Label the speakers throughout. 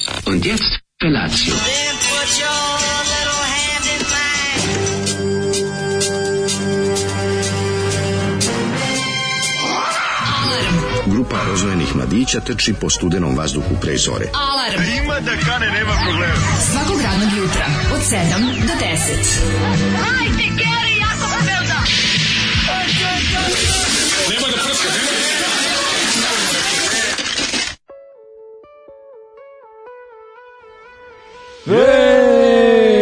Speaker 1: Fest Felatio.
Speaker 2: Grupa rozvojenih mladića teči po studenom vazduhu pre zore.
Speaker 3: Alarm. Ima da kane, nema problema.
Speaker 4: Svakog radnog jutra, od 7 do 10. Hajde, Geri, jako velda!
Speaker 3: Nema da prska, nema da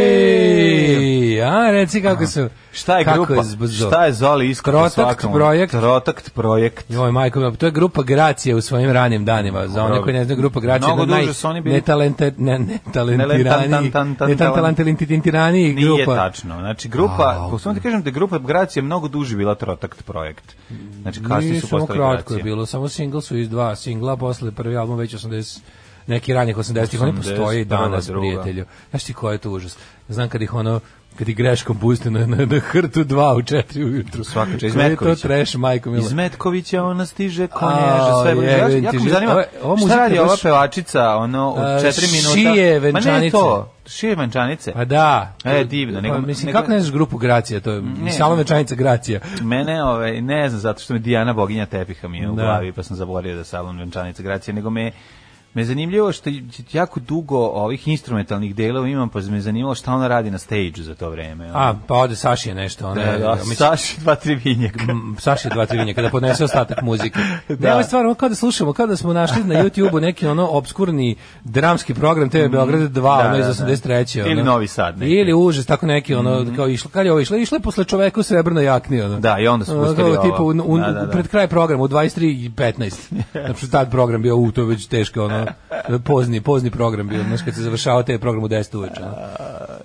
Speaker 5: Ej! A, reci kako su...
Speaker 6: Šta je
Speaker 5: kako
Speaker 6: grupa?
Speaker 5: zbzo-
Speaker 6: Šta je Zoli iskupno
Speaker 5: Trotakt
Speaker 6: svakom?
Speaker 5: projekt.
Speaker 6: Trotakt projekt.
Speaker 5: Joj, majko, mila, to je grupa Gracija u svojim ranim danima. Za one
Speaker 6: Dobro.
Speaker 5: koji ne znaju, grupa Gracija
Speaker 6: Mnogo
Speaker 5: je
Speaker 6: duže
Speaker 5: naj
Speaker 6: su oni bili.
Speaker 5: netalente, ne,
Speaker 6: Nelentan-
Speaker 5: netalentiraniji,
Speaker 6: tan- tan-
Speaker 5: netalentiraniji
Speaker 6: Nije
Speaker 5: grupa.
Speaker 6: tačno. Znači, grupa, po samo ti kažem da je grupa Gracija mnogo duže bila Trotakt projekt. Znači, kasnije
Speaker 5: Nije
Speaker 6: su
Speaker 5: samo
Speaker 6: postali
Speaker 5: kratko
Speaker 6: Gracija.
Speaker 5: je bilo, samo single su iz dva singla, posle prvi album već 80 neki ranih 80-ih, oni
Speaker 6: 80,
Speaker 5: postoje i danas,
Speaker 6: prva, druga.
Speaker 5: prijatelju. Znaš ti ko je to užas? Znam kad ih ono, kad ih greškom puste na, na, na hrtu dva u četiri ujutru.
Speaker 6: Svaka čast, iz
Speaker 5: Koji je to
Speaker 6: Metkovića.
Speaker 5: trash, majko mila?
Speaker 6: Iz Metkovića ona stiže
Speaker 5: A,
Speaker 6: konježa, sve bliže. Ja,
Speaker 5: jebem
Speaker 6: jako
Speaker 5: ti
Speaker 6: me
Speaker 5: život.
Speaker 6: zanima,
Speaker 5: Ova- ova
Speaker 6: šta
Speaker 5: muzika
Speaker 6: radi
Speaker 5: je
Speaker 6: ova
Speaker 5: baš-
Speaker 6: pevačita, ono, u
Speaker 5: A,
Speaker 6: četiri minuta?
Speaker 5: šije
Speaker 6: Ma ne
Speaker 5: venčanice.
Speaker 6: to, šije venčanice.
Speaker 5: Pa da.
Speaker 6: E, divno, nego-
Speaker 5: pa, mislim,
Speaker 6: nego-
Speaker 5: kako ne znaš grupu Gracija, to je
Speaker 6: Ne.
Speaker 5: Salome Čanica Gracija.
Speaker 6: Mene, ovaj, ne znam, zato što me Dijana Boginja tepiha mi je u
Speaker 5: Da.
Speaker 6: glavi, pa sam zaboravio da salon venčanica Gracija, nego me me je zanimljivo što je- jako dugo ovih instrumentalnih delova imam, pa me je zanimalo šta ona radi na stage za to vreme. ono.
Speaker 5: A, pa ode Saši je nešto. Ona,
Speaker 6: da, da,
Speaker 5: mislim,
Speaker 6: Saši dva, tri vinjaka.
Speaker 5: M, Saši dva tri vinjaka, kada podnese ostatak muzike.
Speaker 6: Da.
Speaker 5: da. Nema stvar, ono kao da slušamo, kao da smo našli na YouTubeu neki ono obskurni dramski program TV Beograd 2,
Speaker 6: Mm, Da,
Speaker 5: ono iz
Speaker 6: da, da.
Speaker 5: 83. Ono.
Speaker 6: Ili Novi Sad neki. Mhm.
Speaker 5: Ili užas, tako neki, ono, kao išlo, kad je ovo išlo, išlo je posle čoveka u srebrnoj jakni, ono.
Speaker 6: Da, i onda su
Speaker 5: Ono,
Speaker 6: pustili
Speaker 5: kao, tipa,
Speaker 6: ovo.
Speaker 5: u, u,
Speaker 6: Da, da, da.
Speaker 5: pred kraj programa, u 23.15. Znači, tad program bio, u, to je već teško, ono, pozni, pozni program bio, znaš, kad se završao taj program u 10 uveče.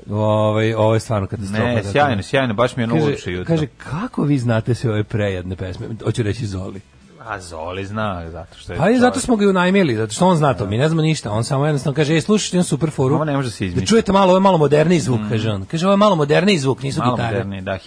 Speaker 5: Ono. Ovaj, ovo je stvarno katastrofa.
Speaker 6: Ne,
Speaker 5: zato-
Speaker 6: sjajno, sjajno, baš mi je ono uopće jutro.
Speaker 5: Kaže, kako vi znate sve ove prejadne pesme? Hoću reći Zoli.
Speaker 6: A Zoli zna, zato što je...
Speaker 5: Pa i
Speaker 6: čovjek-
Speaker 5: zato smo ga i unajmili, zato što on zna to, mi ne znamo ništa. On samo jednostavno kaže, ej, slušajte jedan super foru.
Speaker 6: Ovo ne može da se izmišlja. Mm.
Speaker 5: Da čujete malo, ovo je malo moderniji zvuk, kaže on. Kaže, ovo je malo moderniji zvuk, nisu
Speaker 6: Malo
Speaker 5: gitare.
Speaker 6: modernije, da,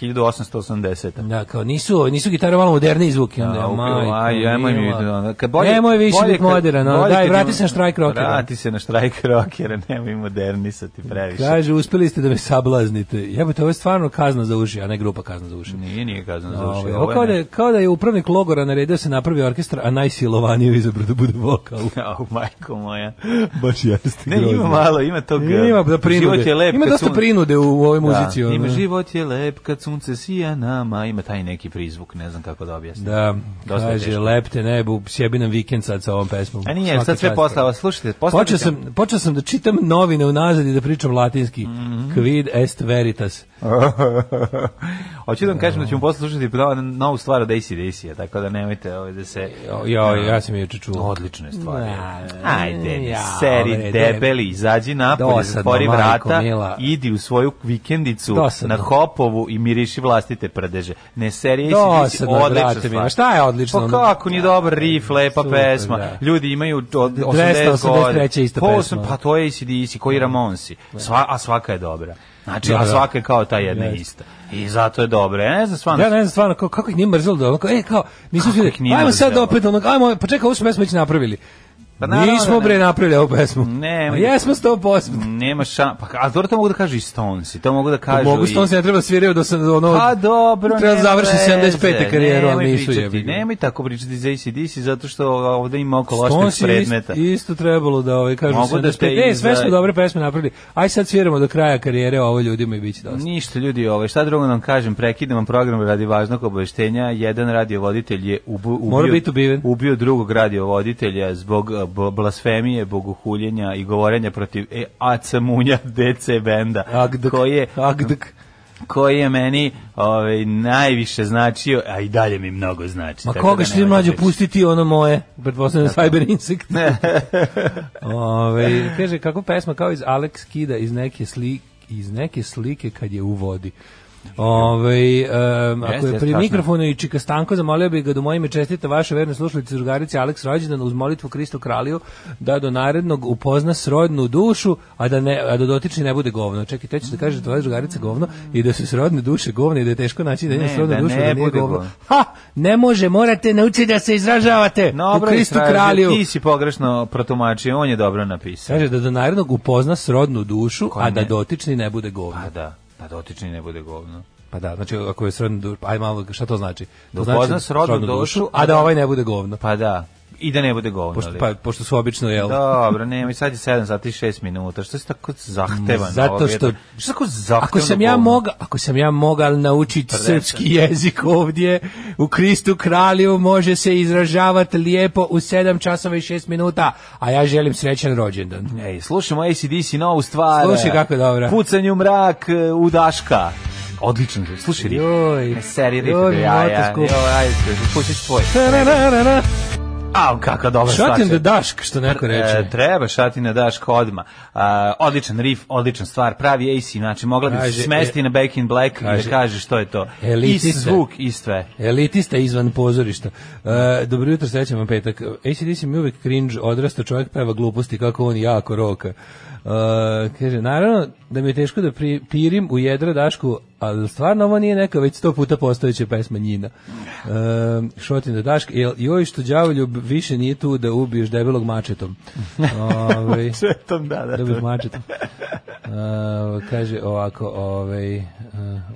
Speaker 6: 1880.
Speaker 5: Da, kao nisu, nisu gitare malo moderniji zvuk. i Onda,
Speaker 6: A,
Speaker 5: ja,
Speaker 6: u-
Speaker 5: majko,
Speaker 6: aj, ajmo mi,
Speaker 5: mila.
Speaker 6: ono, kad bolje-
Speaker 5: Nemoj više
Speaker 6: bolje
Speaker 5: biti
Speaker 6: kad-
Speaker 5: modern, ono,
Speaker 6: bolje
Speaker 5: daj,
Speaker 6: kad
Speaker 5: vrati
Speaker 6: ima-
Speaker 5: se na štrajk ono. rockera.
Speaker 6: Vrati se na štrajk rockera, nemoj modernisati previše.
Speaker 5: Kaže, uspeli ste da me sablaznite. Jebote, ovo je stvarno kazna za uši, a ne grupa kazna za uši.
Speaker 6: Nije, nije kazano za uši.
Speaker 5: Ovaj,
Speaker 6: ovo
Speaker 5: ovo
Speaker 6: je
Speaker 5: kao, da,
Speaker 6: ne-
Speaker 5: je- kao da je upravnik logora naredio se napravi orkestar, a najsilovaniji izabro da bude vokal.
Speaker 6: Au, majko moja.
Speaker 5: Baš jeste
Speaker 6: Ne, ima malo, ima tog...
Speaker 5: Ima da prinude.
Speaker 6: Život je lep
Speaker 5: ima
Speaker 6: kad
Speaker 5: dosta
Speaker 6: sun-
Speaker 5: prinude u ovoj
Speaker 6: Da,
Speaker 5: muzici. ono.
Speaker 6: ima život je lep kad sunce sija nama, ima taj neki prizvuk, ne znam kako da objasnim.
Speaker 5: Da,
Speaker 6: Dosta je
Speaker 5: kaže,
Speaker 6: teško.
Speaker 5: lepte nebu, sjebi nam vikend sad sa ovom pesmom.
Speaker 6: A nije,
Speaker 5: Svaka
Speaker 6: sad sve
Speaker 5: čast.
Speaker 6: poslava, slušajte, poslava
Speaker 5: Počeo sam, počeo sam da čitam novine unazad i da pričam latinski. Quid est veritas.
Speaker 6: Hoću da vam kažem da ćemo poslušati pravo novu stvar od ACDC-a, tako da nemojte ovaj da se...
Speaker 5: Jo, ja sam je juče čuo.
Speaker 6: Odlične stvari.
Speaker 5: Da,
Speaker 6: Ajde,
Speaker 5: Mm, ja,
Speaker 6: seri,
Speaker 5: bre,
Speaker 6: debeli, izađi napolje,
Speaker 5: Dosadno,
Speaker 6: zatvori
Speaker 5: majko
Speaker 6: vrata,
Speaker 5: mila.
Speaker 6: idi u svoju vikendicu
Speaker 5: Dosadno.
Speaker 6: na Hopovu i miriši vlastite prdeže. Ne, seri, jesi
Speaker 5: Dosadno,
Speaker 6: odlična
Speaker 5: brate
Speaker 6: stvar.
Speaker 5: mila, šta je odlično?
Speaker 6: Pa
Speaker 5: ono?
Speaker 6: kako nije dobar rif, lepa
Speaker 5: Super,
Speaker 6: pesma.
Speaker 5: da.
Speaker 6: Ljudi imaju od 80 godina.
Speaker 5: 283 ista
Speaker 6: Pa
Speaker 5: pesma.
Speaker 6: osam- Pa to je ACDC, koji Ramonsi. Sva, a svaka je dobra. Znači,
Speaker 5: Da,
Speaker 6: a
Speaker 5: da.
Speaker 6: svaka je kao ta jedna
Speaker 5: Jeste.
Speaker 6: ista. I zato je dobra. Ja ne znam, stvarno,
Speaker 5: Ja ne znam stvarno kako, kako ih nije mrzelo da ono kao, e kao, nismo svi,
Speaker 6: ih nije
Speaker 5: ajmo sad
Speaker 6: mrzelo?
Speaker 5: opet ono, ajmo, pa čekaj, ovu smo pesmu već napravili. Pa
Speaker 6: Pa naravno da
Speaker 5: Nismo
Speaker 6: ne.
Speaker 5: bre napravili ovu pesmu.
Speaker 6: Ne,
Speaker 5: Ma Jesmo 100%.
Speaker 6: nema ša... Pa, a dobro to mogu da kažu i Stonesi, to mogu da kažu
Speaker 5: Mogu
Speaker 6: i...
Speaker 5: što on se ne treba sviraju da sam ono...
Speaker 6: Pa dobro,
Speaker 5: Treba
Speaker 6: nema
Speaker 5: završi
Speaker 6: veze,
Speaker 5: 75. karijeru, ali
Speaker 6: nemoj
Speaker 5: nisu
Speaker 6: pričati,
Speaker 5: jebi. ga.
Speaker 6: Nemoj tako pričati za ACDC, zato što ovde ima oko loših
Speaker 5: Stonesi je
Speaker 6: predmeta.
Speaker 5: isto, isto trebalo da ovaj kažu
Speaker 6: Mogu da
Speaker 5: 75.
Speaker 6: te
Speaker 5: e, sve smo
Speaker 6: izdaju.
Speaker 5: dobre pesme napravili. Aj sad sviramo do kraja karijere ovo ljudima i bit će dosta.
Speaker 6: Ništa ljudi, ovaj šta drugo nam kažem, prekidam vam program radi važnog obaveštenja. Jedan radiovoditelj je ubu, ubio,
Speaker 5: Mora biti ubiven.
Speaker 6: ubio drugog radiovoditelja zbog eh, bo- blasfemije, bogohuljenja i govorenja protiv e, AC Munja DC benda.
Speaker 5: Agdak,
Speaker 6: koji je
Speaker 5: agdak.
Speaker 6: koji je meni ovaj najviše značio, a i dalje mi mnogo znači.
Speaker 5: Ma
Speaker 6: tako da
Speaker 5: koga što ti
Speaker 6: nemojte
Speaker 5: mlađo
Speaker 6: pričati.
Speaker 5: pustiti ono moje, pretpostavljam Cyber Insect. Ove, kaže, kako pesma kao iz Alex Kida iz neke slike iz neke slike kad je u vodi. Ovaj em, ako
Speaker 6: Jeste,
Speaker 5: je
Speaker 6: jeste,
Speaker 5: pri
Speaker 6: strašno.
Speaker 5: mikrofonu i Čika Stanko, zamolio bih ga da mojime čestita vaše verne slušalice drugarice Aleks Rođendan uz molitvu Kristu Kralju da do narednog upozna srodnu dušu, a da, ne, a da dotični ne bude govno. Čekaj, te ćeš da kažeš da tvoja drugarica govno i da su srodne duše govne i da je teško naći da ima
Speaker 6: Ne,
Speaker 5: srodnu
Speaker 6: da
Speaker 5: dušu
Speaker 6: ne
Speaker 5: da nije
Speaker 6: bude
Speaker 5: govno.
Speaker 6: govno.
Speaker 5: Ha! Ne može, morate naučiti da se izražavate u
Speaker 6: Dobro,
Speaker 5: Kristu
Speaker 6: Israel,
Speaker 5: Kralju. E.
Speaker 6: Ti si pogrešno protumačio, on je dobro napisao.
Speaker 5: Kaže da do narednog upozna srodnu dušu,
Speaker 6: Ko
Speaker 5: a da
Speaker 6: ne?
Speaker 5: dotični ne bude govno.
Speaker 6: Pa da, da dotični ne bude govno.
Speaker 5: Pa da, znači ako je srodnu dušu, aj malo, šta to znači?
Speaker 6: Da
Speaker 5: To znači
Speaker 6: upozna srodnu dušu,
Speaker 5: a da ovaj ne bude govno.
Speaker 6: Pa da, i da ne bude govno.
Speaker 5: Pošto,
Speaker 6: ali.
Speaker 5: pa, pošto su obično, jel?
Speaker 6: Dobro, nemoj, sad je 7 sati i 6 minuta. Što si tako zahtevan?
Speaker 5: Zato što,
Speaker 6: Što si tako zahtevan?
Speaker 5: ako sam ja moga, ako sam ja mogal naučiti
Speaker 6: Prdeca.
Speaker 5: srpski jezik ovdje, u Kristu kralju može se izražavati lijepo u 7 časova i 6 minuta, a ja želim srećan rođendan.
Speaker 6: Ej, slušamo ACDC novu stvar.
Speaker 5: Slušaj kako je dobra.
Speaker 6: Pucanje u mrak e, u Daška. Odlično, slušaj E, rif.
Speaker 5: Joj,
Speaker 6: Ne, Seri rif,
Speaker 5: joj,
Speaker 6: joj, ja,
Speaker 5: moto
Speaker 6: ja,
Speaker 5: skupo.
Speaker 6: joj, ajde, pustiš tvoj.
Speaker 5: Ta-ra-ra-ra-ra.
Speaker 6: Au, kakva dobra stvar.
Speaker 5: Shut in the dašk, što neko reče.
Speaker 6: Pa E, treba šati na Daško odma. odličan rif, odličan stvar, pravi AC, znači mogla bi
Speaker 5: Kaže, e,
Speaker 6: se smesti na Back in Black i
Speaker 5: kaže,
Speaker 6: da kaže što je to. I
Speaker 5: elitista.
Speaker 6: zvuk i sve.
Speaker 5: Elitista izvan pozorišta. E, dobro jutro, srećan vam petak. ACDC mi je uvek cringe, odrasta čovjek peva gluposti kako on jako roka. E, kaže, naravno da mi je teško da pri, pirim u jedra Dašku, ali stvarno ovo nije neka već sto puta postojeća pesma njina. E, šotin da Dašk, jel, joj što đavoljub više nije tu da ubiješ debelog mačetom. Ovaj,
Speaker 6: Svetom, da, da.
Speaker 5: Dobit mačetom. Uh, kaže ovako, ovaj, uh,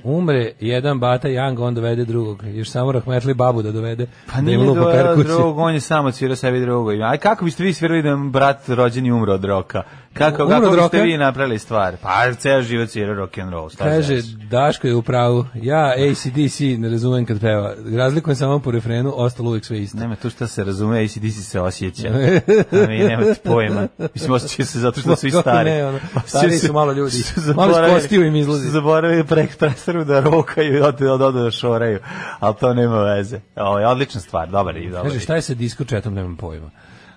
Speaker 5: umre jedan bata Janga, on dovede drugog. Još samo Rahmetli babu da dovede.
Speaker 6: Pa
Speaker 5: da
Speaker 6: nije
Speaker 5: im lupa
Speaker 6: do
Speaker 5: perkusiju.
Speaker 6: drugog, on je samo svirao sebi drugo ime. Aj kako biste vi svirali da vam brat rođeni umro od roka? Kako,
Speaker 5: Umro
Speaker 6: kako
Speaker 5: od roka?
Speaker 6: biste vi napravili stvar? Pa ceo život svirao rock and roll. šta
Speaker 5: Kaže,
Speaker 6: znaš?
Speaker 5: Daško je u pravu, ja ACDC ne razumem kad peva. Razlikujem samo po refrenu, ostalo uvijek sve isto.
Speaker 6: Nema tu šta se razume, ACDC se osjeća. A mi nemate pojma. Mislim, osjećaju se zato što su i
Speaker 5: Kako
Speaker 6: stari.
Speaker 5: ne, ono,
Speaker 6: Osjećaju
Speaker 5: stariji
Speaker 6: se-
Speaker 5: su malo ljudi.
Speaker 6: su
Speaker 5: Malo iz
Speaker 6: zaboravili-
Speaker 5: kostiju im izlazi.
Speaker 6: su Zaboravili prek prestaru da rokaju i od, od, od, da šoraju. Ali to nema veze. Ovo je odlična stvar, dobar i dobar.
Speaker 5: Kaže,
Speaker 6: je.
Speaker 5: šta je sa disco chatom, nemam pojma.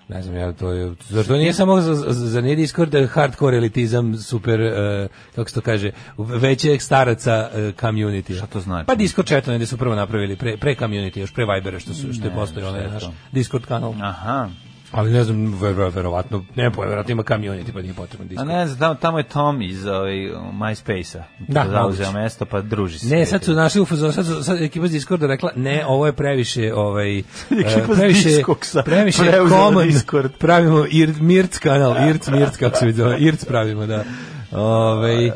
Speaker 5: Ne znam, ja to je, zašto nije samo za, za, za nije Discord, da je hardcore elitizam, super, eh, kako se to kaže, većeg staraca uh, community. Šta
Speaker 6: to znači?
Speaker 5: Pa Discord chat negde su prvo napravili, pre, pre community, još pre Vibera, što, su, što je postoji onaj naš Discord kanal.
Speaker 6: Aha.
Speaker 5: Ali ne znam, ver, ver, verovatno, ne pojma, verovatno ima community, pa nije potrebno
Speaker 6: A
Speaker 5: Discord.
Speaker 6: ne znam, tamo, tamo je Tom iz ovaj, MySpace-a.
Speaker 5: Da,
Speaker 6: Zauzeo
Speaker 5: moguće.
Speaker 6: mesto, pa druži se.
Speaker 5: Ne, sad su našli u fazonu, sad, su- sad je ekipa iz Discorda rekla, ne, ovo je previše, ovaj, e,
Speaker 6: Ekipa s
Speaker 5: previše,
Speaker 6: Discogsa
Speaker 5: previše
Speaker 6: preuzela
Speaker 5: common,
Speaker 6: Discord.
Speaker 5: pravimo ir, Mirc kanal, Irc, Mirc, kako se vidi zove, Irc pravimo, da. Ovaj,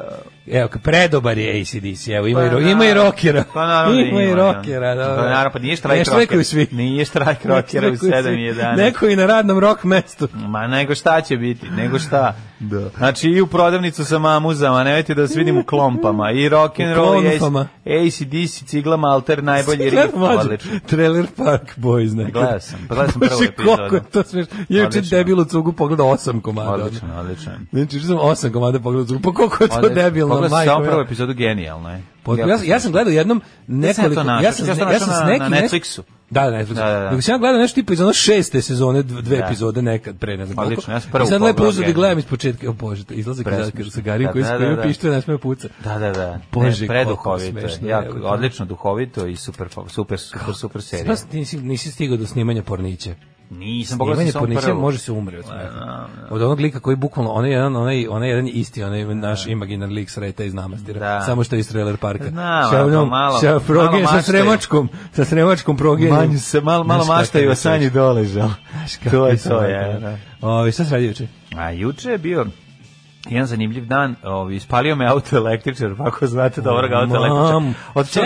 Speaker 5: evo, predobar je ACDC, evo, ima, i, ro, ima i rockera,
Speaker 6: Pa naravno da
Speaker 5: ima i
Speaker 6: da.
Speaker 5: rockera, da.
Speaker 6: Pa naravno, pa nije štrajk
Speaker 5: Nešto rekao
Speaker 6: rockera.
Speaker 5: i svi.
Speaker 6: Nije štrajk rockera u
Speaker 5: Neko je svi.
Speaker 6: 7 i 11.
Speaker 5: Neko i na radnom rock mestu.
Speaker 6: Ma nego šta će biti, nego šta. da. Znači i u prodavnicu sa mamuzama, nemojte da vas vidim u klompama. I rock and
Speaker 5: U
Speaker 6: roll, i
Speaker 5: klonfama.
Speaker 6: ACDC, ciglama, alter, najbolji rip.
Speaker 5: Gledam, mlađe,
Speaker 6: Odlično.
Speaker 5: Trailer Park Boys nekada.
Speaker 6: Gledao sam, pa gledao sam prvu
Speaker 5: Bože,
Speaker 6: epizodu.
Speaker 5: Koliko je to smiješ. Juče
Speaker 6: Odlično.
Speaker 5: debil u cugu pogledao osam komada.
Speaker 6: Odlično, odlično.
Speaker 5: Znači, što sam osam komada pogledao u cugu. Pa koliko je to
Speaker 6: Odlično.
Speaker 5: debilno,
Speaker 6: Pogledao sam
Speaker 5: majko.
Speaker 6: samo prvu
Speaker 5: mila.
Speaker 6: epizodu, genijalno je.
Speaker 5: Pa,
Speaker 6: Jako
Speaker 5: ja, ja sam gledao jednom
Speaker 6: sam ja to
Speaker 5: nekoliko...
Speaker 6: našao?
Speaker 5: Ja sam,
Speaker 6: Ja sam
Speaker 5: ja sam
Speaker 6: našao
Speaker 5: s
Speaker 6: na-
Speaker 5: nekim...
Speaker 6: na
Speaker 5: nek-
Speaker 6: Netflixu.
Speaker 5: Da, da, Netflixu.
Speaker 6: Da, da, da.
Speaker 5: Nego sam ja gledao nešto tipa iz ono šeste sezone, dv- dve
Speaker 6: Da.
Speaker 5: epizode nekad pre, ne znam koliko.
Speaker 6: Odlično, ja sam prvu
Speaker 5: I sad lepo
Speaker 6: pogledao,
Speaker 5: uzeo da
Speaker 6: genijalno.
Speaker 5: gledam iz početka. O Bože, izlaze kada
Speaker 6: Presmešno.
Speaker 5: sa Garim
Speaker 6: Da,
Speaker 5: koji
Speaker 6: da, da,
Speaker 5: skriju
Speaker 6: da.
Speaker 5: pištu, ne smije puca.
Speaker 6: Da, da, da.
Speaker 5: Bože,
Speaker 6: ne,
Speaker 5: koliko
Speaker 6: preduhovito je.
Speaker 5: smešno,
Speaker 6: Jako,
Speaker 5: evo ga.
Speaker 6: odlično, duhovito i super, super, super, super serija.
Speaker 5: Znaš, nisi, nisi stigao do snimanja porniće.
Speaker 6: Nisam pogledao sam
Speaker 5: Snimanje
Speaker 6: samo
Speaker 5: pornića
Speaker 6: prvu.
Speaker 5: može se umre od smeha. Od onog lika koji bukvalno, onaj jedan, onaj, onaj jedan isti, onaj naš imaginar lik sreta iz namastira.
Speaker 6: Da.
Speaker 5: Samo što je iz trailer parka.
Speaker 6: Znam,
Speaker 5: Sa
Speaker 6: ali to
Speaker 5: onom-
Speaker 6: malo-
Speaker 5: sa
Speaker 6: malo
Speaker 5: proge- sa
Speaker 6: maštaju.
Speaker 5: sremačkom, sa sremačkom progenjem.
Speaker 6: Manju se, malo, malo
Speaker 5: Znaš kakav
Speaker 6: maštaju,
Speaker 5: je
Speaker 6: a sanji doležao. To je to, je. da.
Speaker 5: Ovi, šta se radi juče?
Speaker 6: A juče je bio jedan zanimljiv dan, ovaj, ispalio me auto električar, pa ako znate dobro ga auto električar.
Speaker 5: Mam,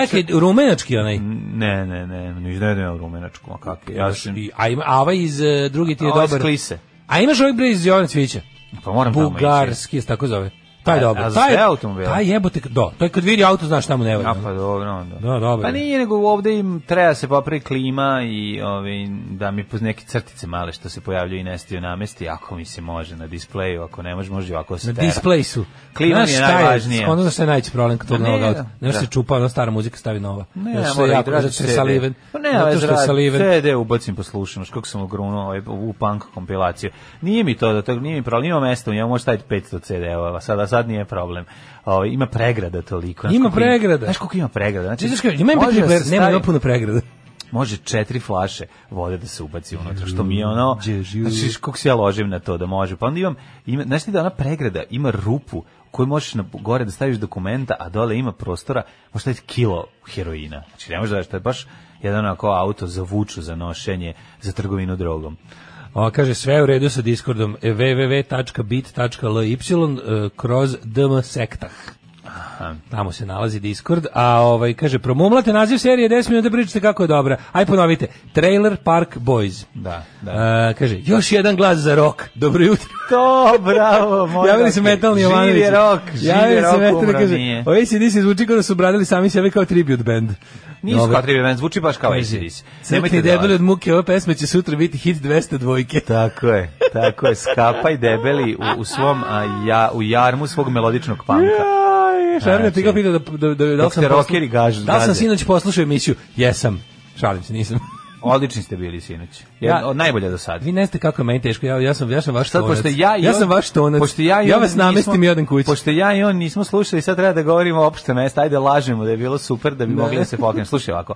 Speaker 5: Čekaj, rumenački onaj.
Speaker 6: Ne, ne, ne, ne iznenadio u rumenačku, a kako? Ja sam... Ovaj
Speaker 5: I- A, ima, a ovaj iz e, drugi ti je
Speaker 6: Ovo je
Speaker 5: dobar.
Speaker 6: Sklise.
Speaker 5: A imaš ovaj bre iz Jovana Cvića?
Speaker 6: Pa moram tamo ići.
Speaker 5: Bugarski, se tako zove. Taj je
Speaker 6: A-
Speaker 5: dobro.
Speaker 6: a za
Speaker 5: Taj-
Speaker 6: sve automobile?
Speaker 5: Taj jebote, do, to je kad vidi auto, znaš šta mu ne valja.
Speaker 6: A pa dobro onda.
Speaker 5: Da, dobro.
Speaker 6: Pa nije, nego ovde im treba se popravi klima i ovaj, da mi puz neke crtice male što se pojavljaju i nestaju namesti, ako mi se može na displeju, ako ne može, može i ovako se
Speaker 5: Na
Speaker 6: tera.
Speaker 5: display su.
Speaker 6: Klima mi je
Speaker 5: šta
Speaker 6: najvažnije.
Speaker 5: Ono znaš šta je najveći problem kod tog
Speaker 6: Ma ne,
Speaker 5: novog auta.
Speaker 6: da.
Speaker 5: Ne može se
Speaker 6: Da.
Speaker 5: čupa, ona stara muzika stavi nova.
Speaker 6: Ne,
Speaker 5: Zato
Speaker 6: ja
Speaker 5: što je
Speaker 6: moram
Speaker 5: jako,
Speaker 6: igraći
Speaker 5: zato što je
Speaker 6: CD.
Speaker 5: saliven.
Speaker 6: Pa ne,
Speaker 5: Zato što je saliven.
Speaker 6: CD ubacim poslušano, kako sam ogrunuo ovaj, ovu punk kompilaciju. Nije mi to, da to nije mi problem, ima mesta, ja možda staviti 500 CD-eva, a sada sad nije problem. Ovaj ima pregrada toliko. Znaš
Speaker 5: Ima
Speaker 6: koliko
Speaker 5: pregrada.
Speaker 6: Znaš koliko ima pregrada? Znači,
Speaker 5: Znaš kao, ima
Speaker 6: može
Speaker 5: MP3
Speaker 6: da se
Speaker 5: player, nema
Speaker 6: stavi-
Speaker 5: ima puno pregrada.
Speaker 6: može četiri flaše vode da se ubaci unutra, što mi je ono,
Speaker 5: Đežu.
Speaker 6: znači kako se ja ložim na to da može. Pa onda imam, ima, znaš ti da ona pregrada ima rupu koju možeš na, gore da staviš dokumenta, a dole ima prostora, možeš staviti kilo heroina. Znači ne možeš da, to je baš jedan onako auto za vuču, za nošenje, za trgovinu drogom.
Speaker 5: O, kaže, sve je u redu sa Discordom e, www.bit.ly e, kroz dm sektah. Tamo se nalazi Discord, a ovaj kaže promumlate naziv serije 10 minuta pričate kako je dobra. Aj ponovite. Trailer Park Boys.
Speaker 6: Da, da.
Speaker 5: E, kaže još jedan glas za rok. Dobro jutro.
Speaker 6: To, bravo, moj
Speaker 5: Javili se
Speaker 6: rock.
Speaker 5: metalni Jovanović.
Speaker 6: Živ je rok, živ
Speaker 5: Javili
Speaker 6: je
Speaker 5: se
Speaker 6: rok,
Speaker 5: metalni,
Speaker 6: umro
Speaker 5: kaže,
Speaker 6: nije.
Speaker 5: ovi si nisi zvuči kao da su obradili sami sebe kao tribute band.
Speaker 6: Nisu
Speaker 5: Dobro.
Speaker 6: kao tri vremena, zvuči baš kao ACDC.
Speaker 5: Crkni debeli od muke, ova pesma će sutra biti hit 202.
Speaker 6: Tako je, tako je. Skapaj debeli u, u svom, a, ja, u jarmu svog melodičnog panka.
Speaker 5: Aj, Šarne, ti ga pitao da, da, da, da li
Speaker 6: Znači, Dok
Speaker 5: sam
Speaker 6: te
Speaker 5: poslu-
Speaker 6: rockeri gažu-
Speaker 5: Da li sam
Speaker 6: gaze.
Speaker 5: sinoć poslušao emisiju? Jesam. Šalim se, nisam.
Speaker 6: Odlični ste bili sinoć. Jedan
Speaker 5: Ja-
Speaker 6: od najbolja do sada.
Speaker 5: Vi ne znate kako je meni teško, ja, ja, sam, ja sam vaš
Speaker 6: Sad,
Speaker 5: tonac.
Speaker 6: pošto ja, i on,
Speaker 5: sam vaš tonac.
Speaker 6: Pošto ja, i
Speaker 5: ja
Speaker 6: on
Speaker 5: vas namestim
Speaker 6: nismo-
Speaker 5: i odem kući.
Speaker 6: Pošto ja i on nismo slušali, sad treba da govorimo opšte mesta. Ajde, lažemo da je bilo super, da bi
Speaker 5: Ne.
Speaker 6: mogli da se pokrenu. Slušaj ovako,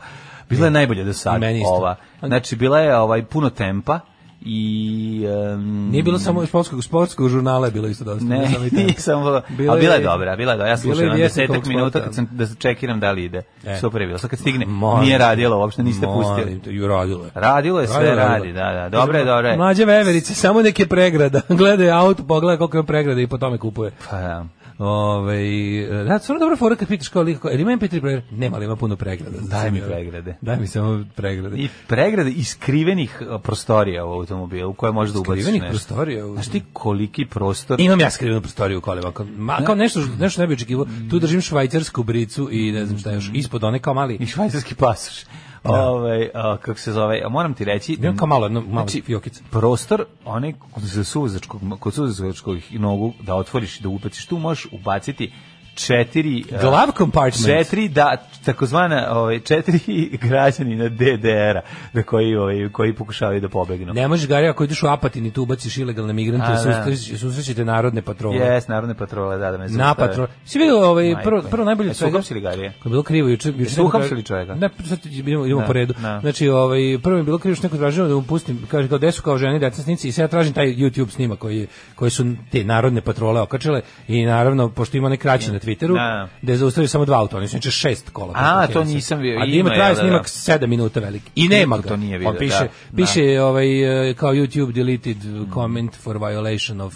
Speaker 6: bila je najbolja do sada.
Speaker 5: Meni isto.
Speaker 6: Ova. Znači, bila je ovaj, puno tempa i... em,
Speaker 5: Nije bilo samo športskog, sportskog žurnala je bilo isto dosta.
Speaker 6: Ne,
Speaker 5: samo i tako.
Speaker 6: nisam,
Speaker 5: Bila
Speaker 6: a bila je
Speaker 5: je-
Speaker 6: dobra, bila je dobra.
Speaker 5: bila je
Speaker 6: Ja slušam na
Speaker 5: vijest
Speaker 6: desetak
Speaker 5: Nikolog
Speaker 6: minuta
Speaker 5: Sporta.
Speaker 6: kad sam, da čekiram da li ide.
Speaker 5: E.
Speaker 6: Super je bilo. Sad kad stigne,
Speaker 5: Molim
Speaker 6: nije
Speaker 5: te.
Speaker 6: radilo, uopšte niste pustili.
Speaker 5: Molim te, ju radilo je.
Speaker 6: Radilo je, sve
Speaker 5: Radilo,
Speaker 6: radi,
Speaker 5: radilo.
Speaker 6: da, da. Dobro je, dobro je.
Speaker 5: Mlađe veverice, samo neke pregrada. Gledaj auto, pogleda koliko ima pregrada i po tome kupuje.
Speaker 6: Pa, da.
Speaker 5: Ove, da, stvarno dobra fora kad pitaš kao liko, jer ima MP3 player? Nema, ali ima puno pregrada.
Speaker 6: Daj mi pregrade.
Speaker 5: Daj mi samo pregrade.
Speaker 6: I pregrade iskrivenih a, prostorija u automobilu u koje možeš da ubaciš
Speaker 5: Skrivenih
Speaker 6: nešto.
Speaker 5: prostorija u-
Speaker 6: Znaš ti koliki prostor?
Speaker 5: Imam ja skrivenu prostoriju u kolima. Kao, ma, kao nešto, nešto ne bi očekivao. Tu držim švajcarsku bricu i ne znam šta još.
Speaker 6: Mhm.
Speaker 5: Ispod one kao mali...
Speaker 6: I švajcarski pasoš. Ovaj, a, kako se zove, a moram ti reći...
Speaker 5: Imam kao malo, jedno, malo
Speaker 6: Znači,
Speaker 5: fiokice.
Speaker 6: prostor, onaj kod za suvozačkog, kod suvozačkog nogu da otvoriš i da upaciš, tu možeš ubaciti četiri... a,
Speaker 5: Glav compartment.
Speaker 6: Četiri, da, takozvana, ovaj, četiri građanina DDR-a da koji, ovaj, koji pokušavaju da pobegnu.
Speaker 5: Ne možeš, Gari, ako ideš u Apatin i tu ubaciš ilegalne migrante,
Speaker 6: A, da.
Speaker 5: susreć- susrećete narodne patrole.
Speaker 6: Jes, narodne patrole, da, da me
Speaker 5: ovaj. Na
Speaker 6: zaustave.
Speaker 5: patrol. Si vidio ovaj
Speaker 6: Majko
Speaker 5: prvo
Speaker 6: je.
Speaker 5: prvo najbolje
Speaker 6: E,
Speaker 5: od
Speaker 6: su
Speaker 5: svega-
Speaker 6: uhapsili ga, ali je?
Speaker 5: Kad je bilo krivo juče, juče
Speaker 6: su
Speaker 5: neko
Speaker 6: uhapsili
Speaker 5: traži-
Speaker 6: čovjeka?
Speaker 5: Ne, sad idemo, idemo
Speaker 6: Ne,
Speaker 5: po redu.
Speaker 6: ne.
Speaker 5: Znači, ovaj prvo je bilo krivo što neko tražio da mu pustim, kaže kao desu kao žene deca snimci i sad ja tražim taj YouTube snimak koji koji su te narodne patrole okačile i naravno pošto ima nekraće na Twitteru,
Speaker 6: Da.
Speaker 5: da je zaustavio samo dva auta, oni su inače šest kola.
Speaker 6: A,
Speaker 5: posle
Speaker 6: to
Speaker 5: Kensa.
Speaker 6: nisam bio.
Speaker 5: A da
Speaker 6: Ima,
Speaker 5: ima
Speaker 6: jel
Speaker 5: traje
Speaker 6: da, da.
Speaker 5: snimak 7 minuta veliki. I nema
Speaker 6: Niko
Speaker 5: ga.
Speaker 6: to nije
Speaker 5: On
Speaker 6: vidio,
Speaker 5: piše,
Speaker 6: da,
Speaker 5: piše je ovaj e, kao YouTube deleted comment for violation of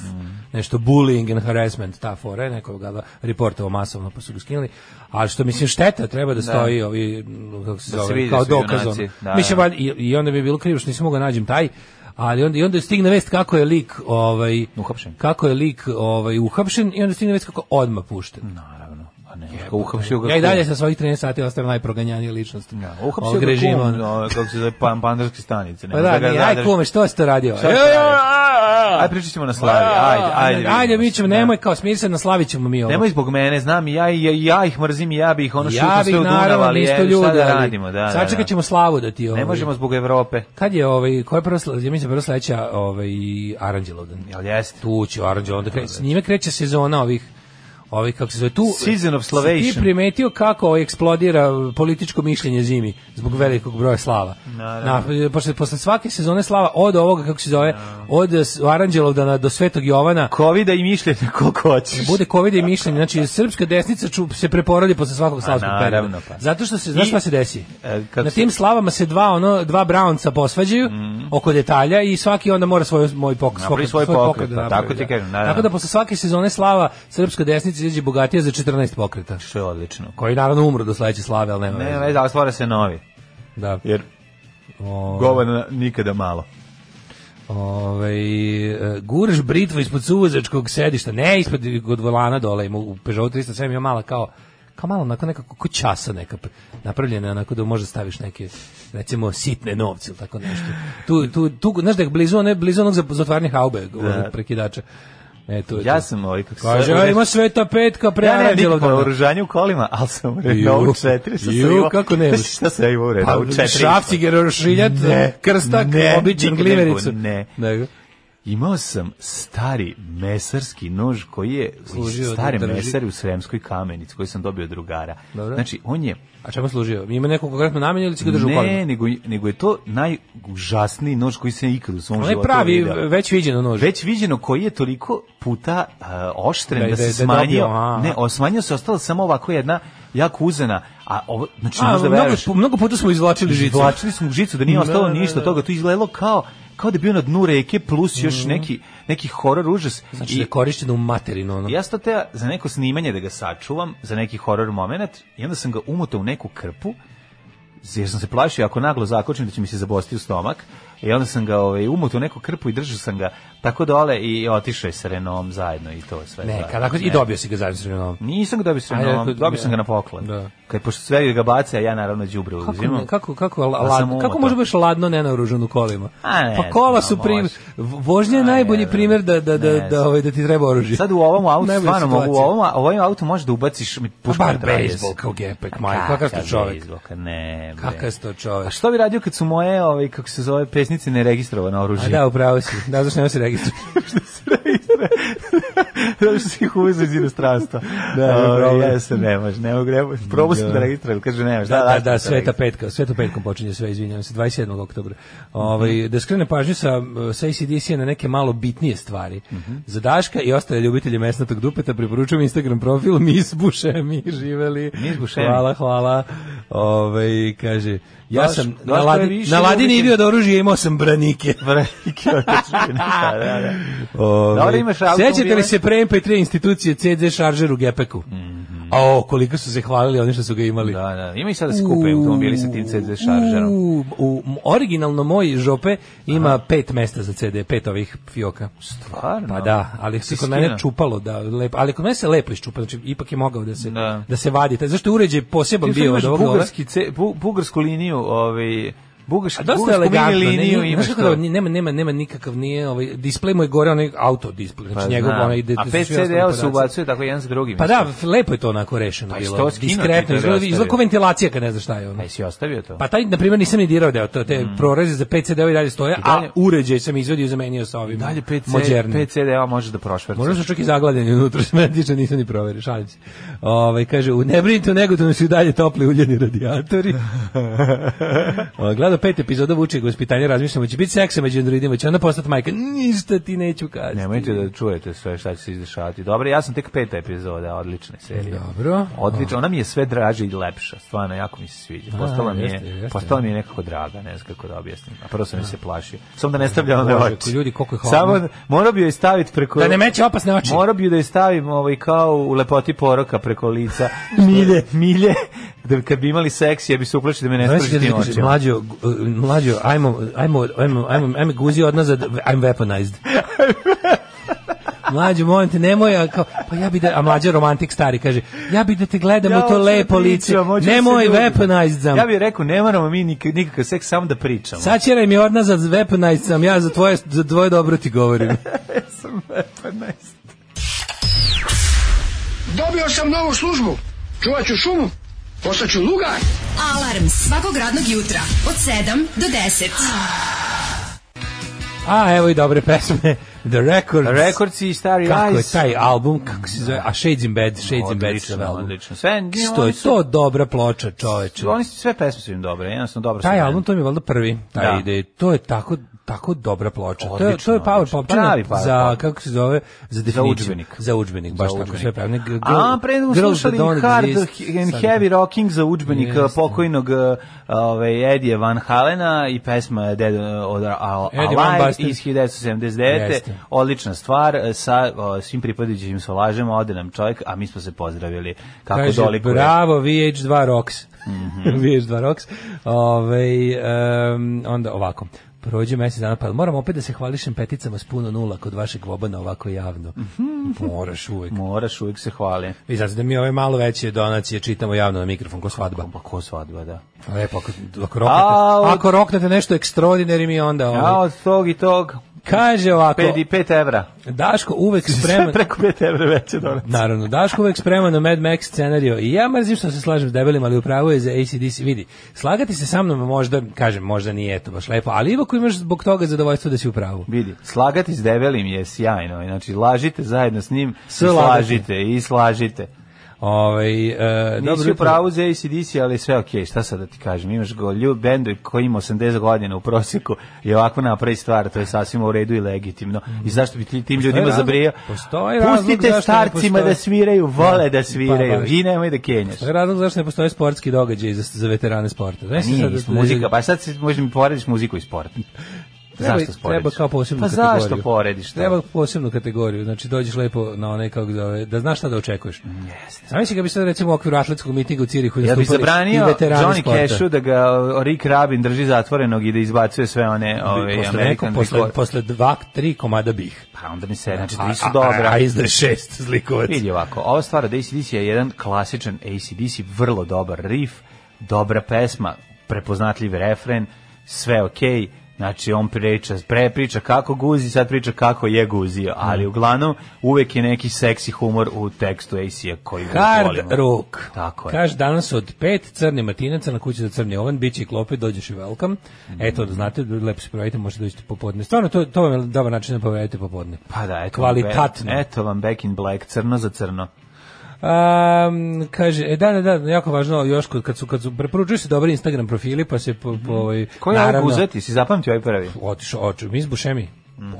Speaker 5: nešto bullying and harassment ta fora je, neko ga reportovao masovno pa su ga skinuli ali što mislim šteta treba da stoji ovi m, kako se
Speaker 6: Da se
Speaker 5: zove
Speaker 6: vidi da
Speaker 5: kao
Speaker 6: su
Speaker 5: dokaz
Speaker 6: junaci,
Speaker 5: ono.
Speaker 6: da,
Speaker 5: mislim
Speaker 6: da.
Speaker 5: valjda- i, i onda bi bilo krivo što nisam mogao nađem taj ali onda i onda stigne vest kako je lik ovaj
Speaker 6: Uhapšen.
Speaker 5: kako je lik ovaj uhapšen i onda stigne vest kako je odmah pušten
Speaker 6: Naravno. A Pa ne, kako uhapšio ga.
Speaker 5: ja i dalje
Speaker 6: kum.
Speaker 5: sa svojih 13 sati ostajem najproganjanija ličnost
Speaker 6: Ja, uhapšio
Speaker 5: ovog
Speaker 6: ga
Speaker 5: režima
Speaker 6: režima.
Speaker 5: ono.
Speaker 6: Kum, ovaj, kako se zove, pan, pandarske stanice. ne
Speaker 5: Pa
Speaker 6: može
Speaker 5: da,
Speaker 6: ga
Speaker 5: nije, aj
Speaker 6: zadrži.
Speaker 5: kume, što si to radio?
Speaker 6: Šta
Speaker 5: Ej,
Speaker 6: se
Speaker 5: ej,
Speaker 6: radi?
Speaker 5: ej,
Speaker 6: Aj pričat ćemo na slavi, ajde, ajde. vidimo
Speaker 5: Ajde, mi
Speaker 6: se.
Speaker 5: ćemo,
Speaker 6: Da.
Speaker 5: nemoj kao smiri se, naslavit ćemo mi ovo.
Speaker 6: Nemoj zbog mene, znam i ja, i ja, i ja ih mrzim i ja bi ih ono
Speaker 5: Ja
Speaker 6: šutno
Speaker 5: bih,
Speaker 6: sve u Dunav,
Speaker 5: naravno,
Speaker 6: ali
Speaker 5: isto
Speaker 6: je, šta
Speaker 5: ljudi,
Speaker 6: da
Speaker 5: ali
Speaker 6: radimo, da, da.
Speaker 5: Sačekat ćemo slavu da ti ovo.
Speaker 6: Ne možemo zbog Evrope.
Speaker 5: Kad je ovaj, koja je prva, sla- ja mislim prva sledeća ovaj, Aranđelovdan?
Speaker 6: Jel jeste?
Speaker 5: Tu će Aranđelovdan, da kreće, s njime kreće sezona ovih ovih kako se zove tu
Speaker 6: Season of
Speaker 5: si
Speaker 6: Slavation.
Speaker 5: ti primetio kako ovaj eksplodira političko mišljenje zimi zbog velikog broja slava
Speaker 6: Naravno.
Speaker 5: Na, posle, posle svake sezone slava od ovoga kako se zove od Aranđelovdana do Svetog Jovana
Speaker 6: Kovida i mišljenja koliko hoćeš.
Speaker 5: bude covid i mišljenje znači srpska desnica ču, se preporodi posle svakog slavskog
Speaker 6: A, naravno,
Speaker 5: perioda
Speaker 6: pa.
Speaker 5: zato što se znaš
Speaker 6: I-
Speaker 5: šta se desi
Speaker 6: E, kako
Speaker 5: na
Speaker 6: se- Mhm.
Speaker 5: tim slavama se dva ono dva braunca posvađaju oko detalja i svaki onda mora svoj moj pokret
Speaker 6: Napravi svoj pokret, pa,
Speaker 5: napravi,
Speaker 6: tako ti
Speaker 5: da.
Speaker 6: kažem, naravno.
Speaker 5: tako da posle svake sezone slava srpska desnica izađe bogatija za 14 pokreta
Speaker 6: Što je odlično.
Speaker 5: koji naravno umru do sledeće slave al nema
Speaker 6: Ne,
Speaker 5: veze.
Speaker 6: ne, da stvara se novi,
Speaker 5: da
Speaker 6: jer
Speaker 5: O,
Speaker 6: govana nikada malo.
Speaker 5: ovaj e, guraš britvu ispod suvozačkog sedišta ne ispod kod volana dole ima u Peugeot 307 ima mala kao kao malo onako nekako ko časa neka pre- napravljena onako da može staviš neke recimo sitne novce ili tako nešto tu, tu, tu znaš da je blizu, one, blizu onog za, za otvaranje haube ovog prekidača E, tu je
Speaker 6: Ja
Speaker 5: to.
Speaker 6: sam ovaj kako se
Speaker 5: Kaže,
Speaker 6: zove-
Speaker 5: a ima sveta petka Pa, pre
Speaker 6: Ja ne
Speaker 5: Aranđelovog
Speaker 6: nikakvo
Speaker 5: dana.
Speaker 6: naoružanje u kolima, ali sam
Speaker 5: Ju,
Speaker 6: u Renault 4 sa
Speaker 5: ju,
Speaker 6: Saivo-
Speaker 5: kako ne?
Speaker 6: Šta se ja
Speaker 5: Pa,
Speaker 6: u Renault 4?
Speaker 5: šrafciger, rošiljat,
Speaker 6: Ne,
Speaker 5: krstak,
Speaker 6: ne,
Speaker 5: običan
Speaker 6: nikad ne bi bilo,
Speaker 5: glimericu.
Speaker 6: ne.
Speaker 5: Nego.
Speaker 6: imao sam stari mesarski nož koji je
Speaker 5: Služio da
Speaker 6: stare
Speaker 5: drži.
Speaker 6: mesari u Sremskoj kamenici koji sam dobio od drugara.
Speaker 5: Dobro.
Speaker 6: Znači, on je
Speaker 5: A čemu služio? Ima neku konkretnu namenu ili si ga držao u kolima?
Speaker 6: ne, nego, nego je to najužasniji nož koji sam ikad u svom
Speaker 5: Onaj
Speaker 6: životu
Speaker 5: pravi,
Speaker 6: video.
Speaker 5: već viđeno nož.
Speaker 6: Već viđeno koji je toliko puta uh, oštren
Speaker 5: Da
Speaker 6: da,
Speaker 5: je-
Speaker 6: se
Speaker 5: da je- da je
Speaker 6: smanjio.
Speaker 5: dobio, aha.
Speaker 6: ne, o, smanjio se, ostala samo ovako jedna jako uzena. A ovo, znači, ne
Speaker 5: A,
Speaker 6: možeš da
Speaker 5: mnogo,
Speaker 6: veruješ.
Speaker 5: mnogo puta smo izvlačili žicu.
Speaker 6: Izvlačili smo žicu da nije
Speaker 5: Da,
Speaker 6: ostalo
Speaker 5: da, da.
Speaker 6: ništa od toga. To je izgledalo kao kao da je bio na dnu reke plus još neki neki horor užas.
Speaker 5: Mhm. Znači
Speaker 6: I
Speaker 5: da je korišćeno u materinu ono.
Speaker 6: ja sam to teo za neko snimanje da ga sačuvam, za neki horor moment, i onda sam ga umotao u neku krpu, jer sam se plašio ako naglo zakočim da će mi se zabosti u stomak, i onda sam ga ovaj, umotao u neku krpu i držao sam ga tako dole i otišao je sa Renom zajedno i to je sve.
Speaker 5: Ne,
Speaker 6: zajedno.
Speaker 5: kad ako, i
Speaker 6: Ne.
Speaker 5: dobio si ga zajedno sa njom.
Speaker 6: Nisam ga dobio sa
Speaker 5: Ajde,
Speaker 6: Renom,
Speaker 5: ako-
Speaker 6: dobio
Speaker 5: ne.
Speaker 6: sam ga na poklon.
Speaker 5: Da.
Speaker 6: Kad, pošto sve ga baca, a ja naravno đubre
Speaker 5: Kako,
Speaker 6: uzimam.
Speaker 5: kako, kako,
Speaker 6: Pa sam
Speaker 5: ladno,
Speaker 6: umotao.
Speaker 5: kako može baš ladno nenaoružan u kolima?
Speaker 6: A ne
Speaker 5: pa kola
Speaker 6: znam,
Speaker 5: su primjer,
Speaker 6: može.
Speaker 5: vožnja je
Speaker 6: A
Speaker 5: najbolji
Speaker 6: ne,
Speaker 5: primjer da, da, da,
Speaker 6: ne
Speaker 5: da,
Speaker 6: znam.
Speaker 5: ovaj, da ti treba oružje.
Speaker 6: Sad u ovom autu,
Speaker 5: Najbolja
Speaker 6: stvarno mogu, u
Speaker 5: situacija.
Speaker 6: ovom, u ovom autu možeš da ubaciš mi
Speaker 5: Pa
Speaker 6: pušku
Speaker 5: bar
Speaker 6: mitraljez.
Speaker 5: bejsbol kao gepek, majko, kakav ste čovek.
Speaker 6: bejsbolka, Ne, bre.
Speaker 5: Kakav ste
Speaker 6: A
Speaker 5: čovek.
Speaker 6: što bi radio kad su moje, ovaj, kako se zove, pesnice neregistrovano
Speaker 5: A
Speaker 6: oružje?
Speaker 5: da, upravo si. Da, zašto nema se registruje.
Speaker 6: Zato što si ih uvezao iz inostranstva.
Speaker 5: Da, ima
Speaker 6: Ovaj,
Speaker 5: problem.
Speaker 6: ja se ne može, ne mogu, ne mogu. Probao sam da registrujem, kaže nemaš.
Speaker 5: Da, da, da,
Speaker 6: da,
Speaker 5: sveta
Speaker 6: registrujem.
Speaker 5: petka, sveta petkom počinje sve, izvinjavam se, 27. oktobra.
Speaker 6: Mhm.
Speaker 5: Ovaj, da skrene pažnju sa, sa ACDC na neke malo bitnije stvari.
Speaker 6: Mhm.
Speaker 5: Za Daška i ostale ljubitelje mesnatog dupeta preporučujem Instagram profil Miss Bušemi, živeli.
Speaker 6: Miss Bušemi.
Speaker 5: Hvala, hvala. Ovaj, kaže, ja
Speaker 6: Daš-
Speaker 5: sam na,
Speaker 6: Daško je
Speaker 5: ladi,
Speaker 6: više
Speaker 5: na ladini
Speaker 6: ljubitelj-
Speaker 5: bio od oružja, imao sam branike.
Speaker 6: Veliki otični, da, da, da.
Speaker 5: Ove,
Speaker 6: Dobro, imaš automobile.
Speaker 5: Ovaj, Sećate li se pre MP3 institucije CD šaržer u Gepeku? O, koliko su se hvalili oni što su ga imali.
Speaker 6: Mhm. Da, da, ima i sada se kupe automobili sa tim CD šaržerom.
Speaker 5: U, u, m- originalno moj žope ima pet mesta za CD, pet ovih fioka.
Speaker 6: Stvarno?
Speaker 5: Pa da, ali se
Speaker 6: Ti
Speaker 5: kod
Speaker 6: si
Speaker 5: mene
Speaker 6: skinuo?
Speaker 5: čupalo da lepo, ali kod mene se lepo iščupa, znači ipak je mogao da se da,
Speaker 6: Da.
Speaker 5: se vadi. Taj zašto je uređaj poseban
Speaker 6: Ti sad
Speaker 5: bio
Speaker 6: imaš
Speaker 5: od ovog dole?
Speaker 6: bugarski, ce, bu, bugarsku liniju, ovaj, bugarski,
Speaker 5: A dosta
Speaker 6: bugarsku
Speaker 5: je
Speaker 6: mini
Speaker 5: elegantno,
Speaker 6: liniju
Speaker 5: ne,
Speaker 6: imaš
Speaker 5: znaš
Speaker 6: to.
Speaker 5: kako da, nema, nema, nema nikakav, nije, ovaj, display mu je gore, onaj auto display, znači
Speaker 6: Pa
Speaker 5: njegov,
Speaker 6: znam.
Speaker 5: onaj,
Speaker 6: A
Speaker 5: su svi
Speaker 6: 5
Speaker 5: ostali
Speaker 6: CD-a se
Speaker 5: podaci.
Speaker 6: ubacuje tako jedan s drugim.
Speaker 5: Pa da, f- lepo je to onako rešeno
Speaker 6: Pa
Speaker 5: bilo.
Speaker 6: što skinuti kad
Speaker 5: Diskretno,
Speaker 6: je
Speaker 5: izgleda, izgleda
Speaker 6: ostavio?
Speaker 5: kao ventilacija kad ne znaš šta je ono.
Speaker 6: Pa jesi ostavio to?
Speaker 5: Pa taj, na primjer, nisam ni dirao deo, to, te proreze za PC deo i dalje stoje,
Speaker 6: Mm. dalje-
Speaker 5: a uređaj sam izvadio i zamenio sa ovim
Speaker 6: dalje 5 CD,
Speaker 5: mođernim.
Speaker 6: 5 CD-a možeš da prošvercaš.
Speaker 5: Možda su čak i zagladeni unutra, što mene tiče nisam ni proverio, šalim se. Ovaj, kaže, u ne brinite, u Negotinu su i dalje topli uljeni radijatori. O, Gledao pet epizoda Vučeg vaspitanja, razmišljam, hoće biti seksa među androidima, će onda postati majka, ništa ti neću kazati.
Speaker 6: Nemojte da čujete sve šta će se izdešavati. Dobro, ja sam tek peta epizoda odlične serije.
Speaker 5: Dobro.
Speaker 6: Odlično, ona mi je sve draža i lepša, stvarno, jako mi se sviđa. Postala mi
Speaker 5: jeste, jeste.
Speaker 6: je, postala mi je nekako draga, ne znam kako da objasnim. A prvo sam mi se plašio. Samo da ne stavlja onda
Speaker 5: Bože,
Speaker 6: oči.
Speaker 5: ljudi, koliko je hladno.
Speaker 6: Samo, morao bi joj staviti preko...
Speaker 5: Da ne meće opasne oči.
Speaker 6: Morao bi da je stavim ovaj, kao u lepoti poroka preko lica. milje. Milje. Da, kad bi imali seks, ja bi se uplašio da me ne
Speaker 5: Znaš
Speaker 6: spraži
Speaker 5: ti
Speaker 6: tim
Speaker 5: kažeš,
Speaker 6: očima.
Speaker 5: mlađo, g- mlađo, ajmo, ajmo, ajmo, ajmo, ajmo guzi od nas, I'm weaponized. Mlađo, molim te, nemoj, a kao, pa ja bi da, a mlađo romantik stari kaže, ja bi da te gledam
Speaker 6: Ja
Speaker 5: u to
Speaker 6: hoću da
Speaker 5: lepo lice,
Speaker 6: pričam, hoću da se
Speaker 5: nemoj
Speaker 6: ljubim.
Speaker 5: weaponized sam.
Speaker 6: Ja bih rekao, ne moramo mi nik- nikakav seks, samo da pričamo.
Speaker 5: Sačeraj mi od nazad, weaponized sam, ja za tvoje, za tvoje dobro ti govorim.
Speaker 6: sam weaponized.
Speaker 2: Dobio sam novu službu. Čuvat ću šumu. Postaću lugar.
Speaker 4: Alarm svakog radnog jutra od 7 do 10.
Speaker 5: A, evo i dobre pesme, The Records.
Speaker 6: Rekordci i stari
Speaker 5: Kako je
Speaker 6: Eyes.
Speaker 5: taj album, kako se zove, a Shades in Bed, Shades in Bed se
Speaker 6: Odlično,
Speaker 5: zove album.
Speaker 6: odlično. Sve,
Speaker 5: Što je to dobra ploča, čoveče.
Speaker 6: Oni su sve pesme su im dobre, jednostavno dobro su
Speaker 5: Taj
Speaker 6: meni.
Speaker 5: album to mi je valjda prvi, taj
Speaker 6: Da.
Speaker 5: ide. To je tako tako dobra ploča. to je to
Speaker 6: Odlično,
Speaker 5: je power
Speaker 6: odlično.
Speaker 5: popčina
Speaker 6: Pravi power
Speaker 5: za
Speaker 6: pop.
Speaker 5: kako se zove za definiciju
Speaker 6: udžbenik.
Speaker 5: Za udžbenik, baš
Speaker 6: Za
Speaker 5: tako
Speaker 6: udžbenik.
Speaker 5: sve pravne.
Speaker 6: A, pre smo slušali Hard and Heavy Rocking za udžbenik
Speaker 5: Jeste.
Speaker 6: pokojnog uh, ovaj, Edija Van Halena i pesma Dead uh, od Al-
Speaker 5: Eddie Van
Speaker 6: Alive
Speaker 5: Basten.
Speaker 6: iz 1979.
Speaker 5: Jeste.
Speaker 6: Odlična stvar uh, sa uh, svim pripadajućim solažem, ode nam čovjek, a mi smo se pozdravili kako
Speaker 5: Kaže,
Speaker 6: dolikuje.
Speaker 5: bravo, VH2 Rocks.
Speaker 6: Mhm.
Speaker 5: VH2 Rocks. Ove, onda ovako. Prođe mesec dana, pa moram opet da se hvališem peticama s puno nula kod vašeg vobana ovako javno.
Speaker 6: Mhm.
Speaker 5: Moraš uvek.
Speaker 6: Moraš uvijek se hvale.
Speaker 5: Vi znate da mi ove malo veće donacije čitamo javno na mikrofon ko svadba.
Speaker 6: Pa ko svadba, da.
Speaker 5: Lepo, E, pa ako, ako, roknete,
Speaker 6: A, od-
Speaker 5: ako roknete nešto ekstraordinari mi onda...
Speaker 6: A
Speaker 5: Ovaj,
Speaker 6: od tog i tog
Speaker 5: Kaže ovako,
Speaker 6: 5, 5 evra.
Speaker 5: Daško uvek
Speaker 6: Sve
Speaker 5: spreman...
Speaker 6: preko 5 evra veće donacije.
Speaker 5: Naravno, Daško uvek spreman na Mad Max scenariju i ja mrzim što se slažem s debelim, ali upravo je za ACDC, vidi, slagati se sa mnom možda, kažem, možda nije eto baš lepo, ali ipak imaš zbog toga zadovoljstvo da si u pravu.
Speaker 6: Vidi, slagati s debelim je sjajno. Znači, lažite zajedno s njim, i
Speaker 5: Sve lagati.
Speaker 6: slažite, i slažite.
Speaker 5: Ovaj e, dobro
Speaker 6: Nisi u
Speaker 5: jutro.
Speaker 6: pravu za ACDC, ali je sve okej, šta sad da ti kažem, imaš go ljub bendu koji ima 80 godina u prosjeku i ovako napravi stvar, to je sasvim u redu i legitimno. I zašto bi ti- tim ljudima
Speaker 5: razlog-
Speaker 6: zabrijao?
Speaker 5: postoji razlog
Speaker 6: Pustite
Speaker 5: zašto ne
Speaker 6: starcima
Speaker 5: postoji.
Speaker 6: da sviraju, vole da
Speaker 5: Pa,
Speaker 6: sviraju
Speaker 5: baš.
Speaker 6: i nemoj da kenjaš.
Speaker 5: To je razlog zašto ne postoje sportski događaj za, za veterane sporta. Znaš
Speaker 6: Nije
Speaker 5: sad
Speaker 6: isto muzika, pa sad si, možda mi porediš muziku i sport.
Speaker 5: Treba,
Speaker 6: zašto sporediš?
Speaker 5: Treba kao posebnu
Speaker 6: pa
Speaker 5: kategoriju.
Speaker 6: zašto porediš to?
Speaker 5: Treba posebnu kategoriju, znači dođeš lepo na onaj, kako zove, da znaš šta da očekuješ. Jeste. Znaš ga bi sad recimo u okviru atletskog mitinga u Cirihu
Speaker 6: Ja bih
Speaker 5: nastupali
Speaker 6: zabranio
Speaker 5: i veterani
Speaker 6: Johnny
Speaker 5: sporta.
Speaker 6: Cashu da ga Rick Rabin drži zatvorenog i da izbacuje sve one ove,
Speaker 5: posle, neko,
Speaker 6: American
Speaker 5: posle,
Speaker 6: record.
Speaker 5: posle dva, tri komada bih.
Speaker 6: Pa onda mi se, znači,
Speaker 5: A-
Speaker 6: tri su
Speaker 5: a-
Speaker 6: dobra.
Speaker 5: A, a izdaj šest zlikovac.
Speaker 6: Vidi ovako, ova stvar od ACDC je jedan klasičan ACDC, vrlo dobar riff, dobra pesma, prepoznatljiv refren, sve okej, znači on priča, pre priča kako guzi, sad priča kako je guzio, ali uglavnom uvek je neki seksi humor u tekstu AC-a koji
Speaker 5: Hard
Speaker 6: volimo.
Speaker 5: rock.
Speaker 6: Tako je.
Speaker 5: Kaže, danas od pet crni martinaca na kući za crni ovan, bit će i klope, dođeš i welcome. Eto,
Speaker 6: Mhm.
Speaker 5: da znate, lepo se provjerite, možete doći popodne. Stvarno, to, to vam je dobar način da provjerite popodne.
Speaker 6: Pa da, eto, vam be-
Speaker 5: Kvalitatno.
Speaker 6: eto vam Back in Black, crno za crno.
Speaker 5: Um, kaže, e, da, da, da, jako važno još kod, kad su, kad su, preporučuju se dobri Instagram profili, pa se po, po ovaj,
Speaker 6: Mhm. Ko je ovaj guzati, si zapamtio ovaj prvi?
Speaker 5: otišao, oču, mi iz Bušemi,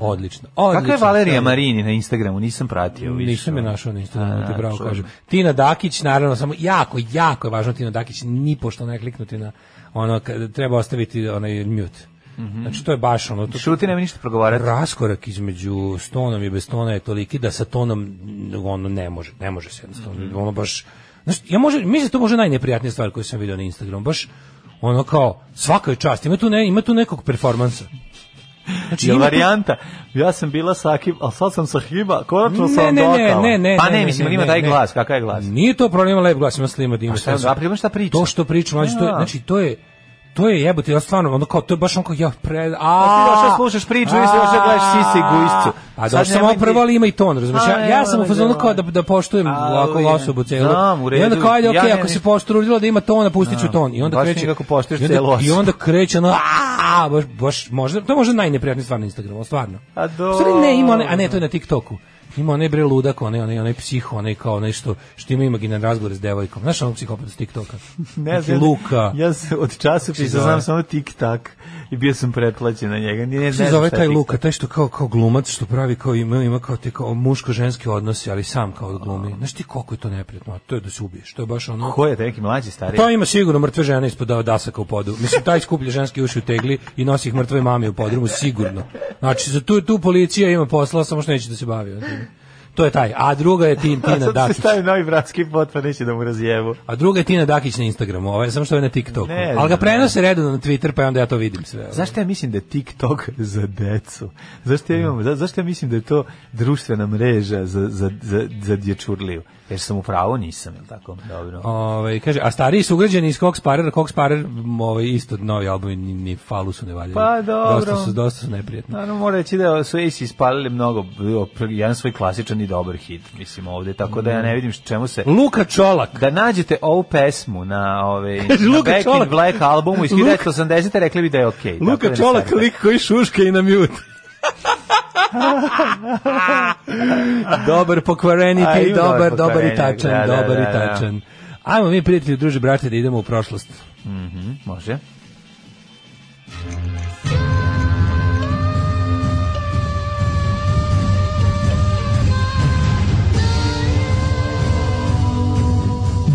Speaker 5: odlično, odlično.
Speaker 6: Mhm. Kakva je Valerija Marini na Instagramu, nisam pratio. više.
Speaker 5: Nisam je našao na Instagramu,
Speaker 6: A,
Speaker 5: ti bravo
Speaker 6: čujem.
Speaker 5: kažem. Tina Dakić, naravno, samo jako, jako je važno Tina Dakić, ni pošto ne kliknuti na ono, kad- treba ostaviti onaj mute.
Speaker 6: Mhm.
Speaker 5: Znači, to je baš ono, to,
Speaker 6: Šuti, nema ništa progovarati.
Speaker 5: raskorak između s tonom i bez tona je toliki da sa tonom mm, ono ne može, ne može se jednostavno.
Speaker 6: Mhm.
Speaker 5: Ono baš, znaš, ja može, mislim da je to može najneprijatnija stvar koju sam video na Instagramu, baš ono kao, svaka je čast, ima tu, ne, ima tu nekog performansa. Znači,
Speaker 6: Je
Speaker 5: ima tu-
Speaker 6: varijanta, ja sam bila Sakib, a sad sam Sahiba, konačno
Speaker 5: Ne,
Speaker 6: sam
Speaker 5: ne, ne,
Speaker 6: dokala.
Speaker 5: ne, ne,
Speaker 6: pa ne,
Speaker 5: ne, ne,
Speaker 6: mislim,
Speaker 5: ne,
Speaker 6: ima
Speaker 5: ne,
Speaker 6: taj
Speaker 5: ne.
Speaker 6: glas, kakav je glas? Pa
Speaker 5: Nije to problem ima lep glas, ima slima da ima
Speaker 6: šta-
Speaker 5: sve.
Speaker 6: a pri- šta priča?
Speaker 5: To što priča, mlađe, to je,
Speaker 6: Ja.
Speaker 5: znači to je to je jebote, ja stvarno, ono kao, to je baš onko, ja, pre... A,
Speaker 6: A Pa ti došao slušaš priču i si došao gledaš sise i gujscu.
Speaker 5: A
Speaker 6: Sad
Speaker 5: došao sam
Speaker 6: nemoj
Speaker 5: ovo
Speaker 6: ti-
Speaker 5: Pa prvo, ali ima i ton, razumiješ?
Speaker 6: A,
Speaker 5: Ja, ja
Speaker 6: nemoj,
Speaker 5: sam u
Speaker 6: nemoj,
Speaker 5: fazonu
Speaker 6: nemoj.
Speaker 5: kao da, da poštujem
Speaker 6: Ali,
Speaker 5: ovakvu osobu celu.
Speaker 6: znam, u
Speaker 5: I onda
Speaker 6: redu,
Speaker 5: kao, ajde,
Speaker 6: ja
Speaker 5: okej,
Speaker 6: nemam
Speaker 5: ako se
Speaker 6: ništa.
Speaker 5: pošturudila da ima tona, pustit ću ton. I onda
Speaker 6: baš
Speaker 5: kreće...
Speaker 6: nekako poštuješ
Speaker 5: i onda-
Speaker 6: celu
Speaker 5: I
Speaker 6: osobu.
Speaker 5: onda kreće, ono, aaa, baš, baš, možda, to je možda najneprijatnija stvar na Instagramu, stvarno.
Speaker 6: A do-
Speaker 5: U stvari ne, ima one, a ne, to je na TikToku. Ima onaj bre ludak, onaj, onaj, onaj psiho, onaj kao nešto što ima imaginaran razgovor s devojkom. Znaš onog psihopata s TikToka?
Speaker 6: Ne
Speaker 5: Neki
Speaker 6: znam,
Speaker 5: znači, Luka. Znači,
Speaker 6: Ja sam od časopisa
Speaker 5: zove?
Speaker 6: znam samo tik-tak i bio sam pretplaćen na njega. Nije, ne
Speaker 5: Što se
Speaker 6: znam
Speaker 5: zove
Speaker 6: šta je
Speaker 5: taj
Speaker 6: tik-tak.
Speaker 5: Luka, taj što kao, kao glumac, što pravi kao ima, ima kao, te, kao muško-ženski odnose, ali sam kao od glumi. Znaš ti koliko je to neprijatno? a To je da se ubiješ. To je baš ono...
Speaker 6: Ko je taj neki mlađi, stariji?
Speaker 5: To ima sigurno mrtve žene ispod da- dasaka u podu. Mislim, taj skuplja ženski uši u tegli i nosi ih mrtve mame u podrumu, sigurno. Znači, za tu, tu policija ima posla, samo što neće da se bavi. o time. To je taj. A druga je Tin,
Speaker 6: A
Speaker 5: Tina
Speaker 6: sad se
Speaker 5: Dakić.
Speaker 6: stavi novi bratski pot, pa neće da mu razjevu.
Speaker 5: A druga je Tina Dakić na Instagramu, ovaj, samo što je na TikToku.
Speaker 6: Ne
Speaker 5: Ali ga
Speaker 6: znam,
Speaker 5: prenose redovno na Twitter, pa onda ja to vidim sve.
Speaker 6: Zašto ja mislim da je TikTok za decu? Zašto ja, imam, za- zašto ja mislim da je to društvena mreža za, za, za, za dječurliju? Jer sam u pravu, nisam, jel tako? Dobro.
Speaker 5: Ovaj kaže a stariji sugrađani iz Cox Parer, Cox Parer, ovaj isto novi album ni, ni falu su ne valjali.
Speaker 6: Pa, dobro.
Speaker 5: Dosta su dosta su neprijatni.
Speaker 6: Naravno, mora reći da su Ace ispalili mnogo, jedan svoj klasičan i dobar hit, mislim, ovde, tako da ja ne vidim čemu se...
Speaker 5: Luka Čolak.
Speaker 6: Da nađete ovu pesmu na, ove,
Speaker 5: Kaže,
Speaker 6: na
Speaker 5: Luka
Speaker 6: Back
Speaker 5: Čolak.
Speaker 6: in Black albumu iz
Speaker 5: Luka-
Speaker 6: 1980. rekli bi da je okej. tako da
Speaker 5: Luka
Speaker 6: ne
Speaker 5: Čolak
Speaker 6: stavite.
Speaker 5: lik koji šuška i na mute. dobar
Speaker 6: A,
Speaker 5: pokvareniti,
Speaker 6: ima
Speaker 5: dobar,
Speaker 6: dobar
Speaker 5: dobar i
Speaker 6: pokvarenik,
Speaker 5: tačan,
Speaker 6: da, da,
Speaker 5: dobar
Speaker 6: da,
Speaker 5: i
Speaker 6: da.
Speaker 5: tačan. Ajmo mi, prijatelji, druže, brate, da idemo u prošlost.
Speaker 6: Mhm, može.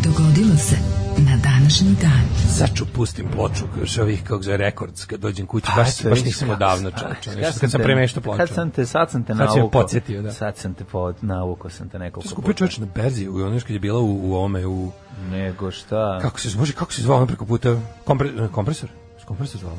Speaker 4: Dogodilo se na današnji dan.
Speaker 5: Sad ću pustim ploču, još ovih, kako zove, rekords, kad dođem kući,
Speaker 6: Pa,
Speaker 5: baš,
Speaker 6: eto,
Speaker 5: baš
Speaker 6: vidiš
Speaker 5: nisam
Speaker 6: kako
Speaker 5: odavno
Speaker 6: sam-
Speaker 5: čovječe,
Speaker 6: a,
Speaker 5: nešto, kad sam premeštao ploču.
Speaker 6: Kad sam te, sad sam te
Speaker 5: Sad si me
Speaker 6: navukao.
Speaker 5: podsjetio, da.
Speaker 6: Sad sam te pod, navukao sam te nekoliko
Speaker 5: Skupio čovječe na berzi, u onoj kad je bila u, u ome, u...
Speaker 6: Nego šta?
Speaker 5: Kako se može, kako se zvao ono preko puta? Kompre, ne, kompresor? S kompresor zvalo?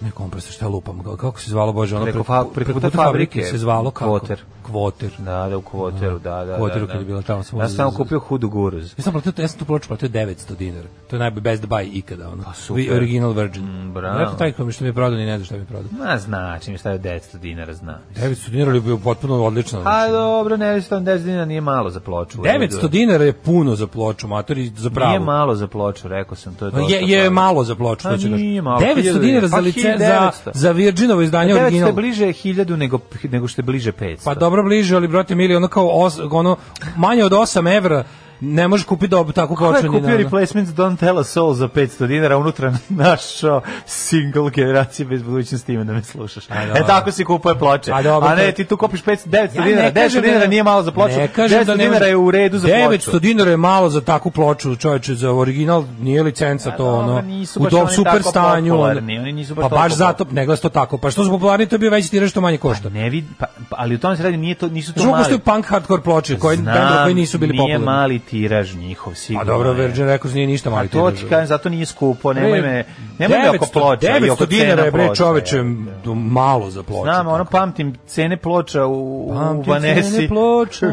Speaker 5: Ne kompresor, šta lupam, kako se zvalo, bože, ono
Speaker 6: Preko fa- preko puta fabrike.
Speaker 5: se zvalo kako?
Speaker 6: Kvoter.
Speaker 5: kvoter.
Speaker 6: Da, da, u kvoteru, da, da.
Speaker 5: Kvoteru
Speaker 6: da, da.
Speaker 5: kad je bila tamo sam
Speaker 6: Ja sam tamo
Speaker 5: za-
Speaker 6: kupio Hudu Guruz.
Speaker 5: Ja sam platio, ja sam tu ploču platio 900 dinara. To je najbolji best buy ikada, ono.
Speaker 6: Pa, super.
Speaker 5: Original Virgin.
Speaker 6: Mm, bravo.
Speaker 5: Vjerojatno taj koji mi što mi je prodao, ni ne zna šta mi je prodao.
Speaker 6: Ma, znači, mi šta je 900 dinara, zna.
Speaker 5: 900 dinara je bio potpuno odlično.
Speaker 6: A
Speaker 5: Znači.
Speaker 6: dobro, ne, 10 dinara nije malo za ploču.
Speaker 5: 900 dinara je puno za ploču, mater, i za pravo.
Speaker 6: Nije malo za ploču, rekao sam, to je dosta.
Speaker 5: je, je
Speaker 6: para.
Speaker 5: malo za ploču,
Speaker 6: A,
Speaker 5: to ću kažem.
Speaker 6: nije malo,
Speaker 5: 900
Speaker 6: hiljadu
Speaker 5: dinara za,
Speaker 6: je. Pa,
Speaker 5: lice, za,
Speaker 6: 900.
Speaker 5: za Virginovo izdanje
Speaker 6: 900 je
Speaker 5: original.
Speaker 6: bliže 1000 nego, nego što je bliže 500.
Speaker 5: Pa dobro bliže, ali brate mili, ono kao os, ono, manje od 8 evra ne možeš kupiti dobu tako
Speaker 6: Ko je
Speaker 5: ploču. ni na-
Speaker 6: kupio replacement Don't Tell a Soul za 500 dinara, unutra našao single generacije bez budućnosti ime da me slušaš.
Speaker 5: dobro.
Speaker 6: E tako se kupuje ploče.
Speaker 5: A dobro,
Speaker 6: A ne,
Speaker 5: to-
Speaker 6: ti tu kopiš 500, 900
Speaker 5: Ja ne
Speaker 6: dinara, 900
Speaker 5: kažem da-
Speaker 6: dinara nije malo za ploču,
Speaker 5: Ne kažem
Speaker 6: 900
Speaker 5: da ne
Speaker 6: dinara
Speaker 5: može-
Speaker 6: je u redu za
Speaker 5: 900
Speaker 6: ploču.
Speaker 5: dinara je malo za takvu ploču, čoveče, za original nije licenca to
Speaker 6: dobro,
Speaker 5: ono.
Speaker 6: nisu
Speaker 5: U
Speaker 6: baš
Speaker 5: tom
Speaker 6: oni
Speaker 5: super
Speaker 6: tako
Speaker 5: stanju. ono.
Speaker 6: popularni, oni nisu baš
Speaker 5: pa baš
Speaker 6: toliko
Speaker 5: zato ne glas to tako. Pa što su popularni, to bi veći tiraž što manje košta.
Speaker 6: Ne vid, pa, pa, ali u tom se radi, nije to, nisu to
Speaker 5: Žuko
Speaker 6: mali.
Speaker 5: postoje punk hardcore ploče koje bendovi pa- koji nisu bili
Speaker 6: pa Nije
Speaker 5: popularni.
Speaker 6: mali tiraž njihov, sigurno.
Speaker 5: A dobro,
Speaker 6: je.
Speaker 5: Virgin Records nije ništa
Speaker 6: A
Speaker 5: mali
Speaker 6: to
Speaker 5: tiraž.
Speaker 6: ti kažem, zato nije skupo, nemoj me, nemoj me oko
Speaker 5: 900
Speaker 6: ploča.
Speaker 5: 900 dinara je bre čoveče
Speaker 6: čoveče.
Speaker 5: malo za ploču.
Speaker 6: Znam, ono
Speaker 5: tako.
Speaker 6: pamtim cene ploča u, u
Speaker 5: Pamtim
Speaker 6: Vanesi.
Speaker 5: cene ploča.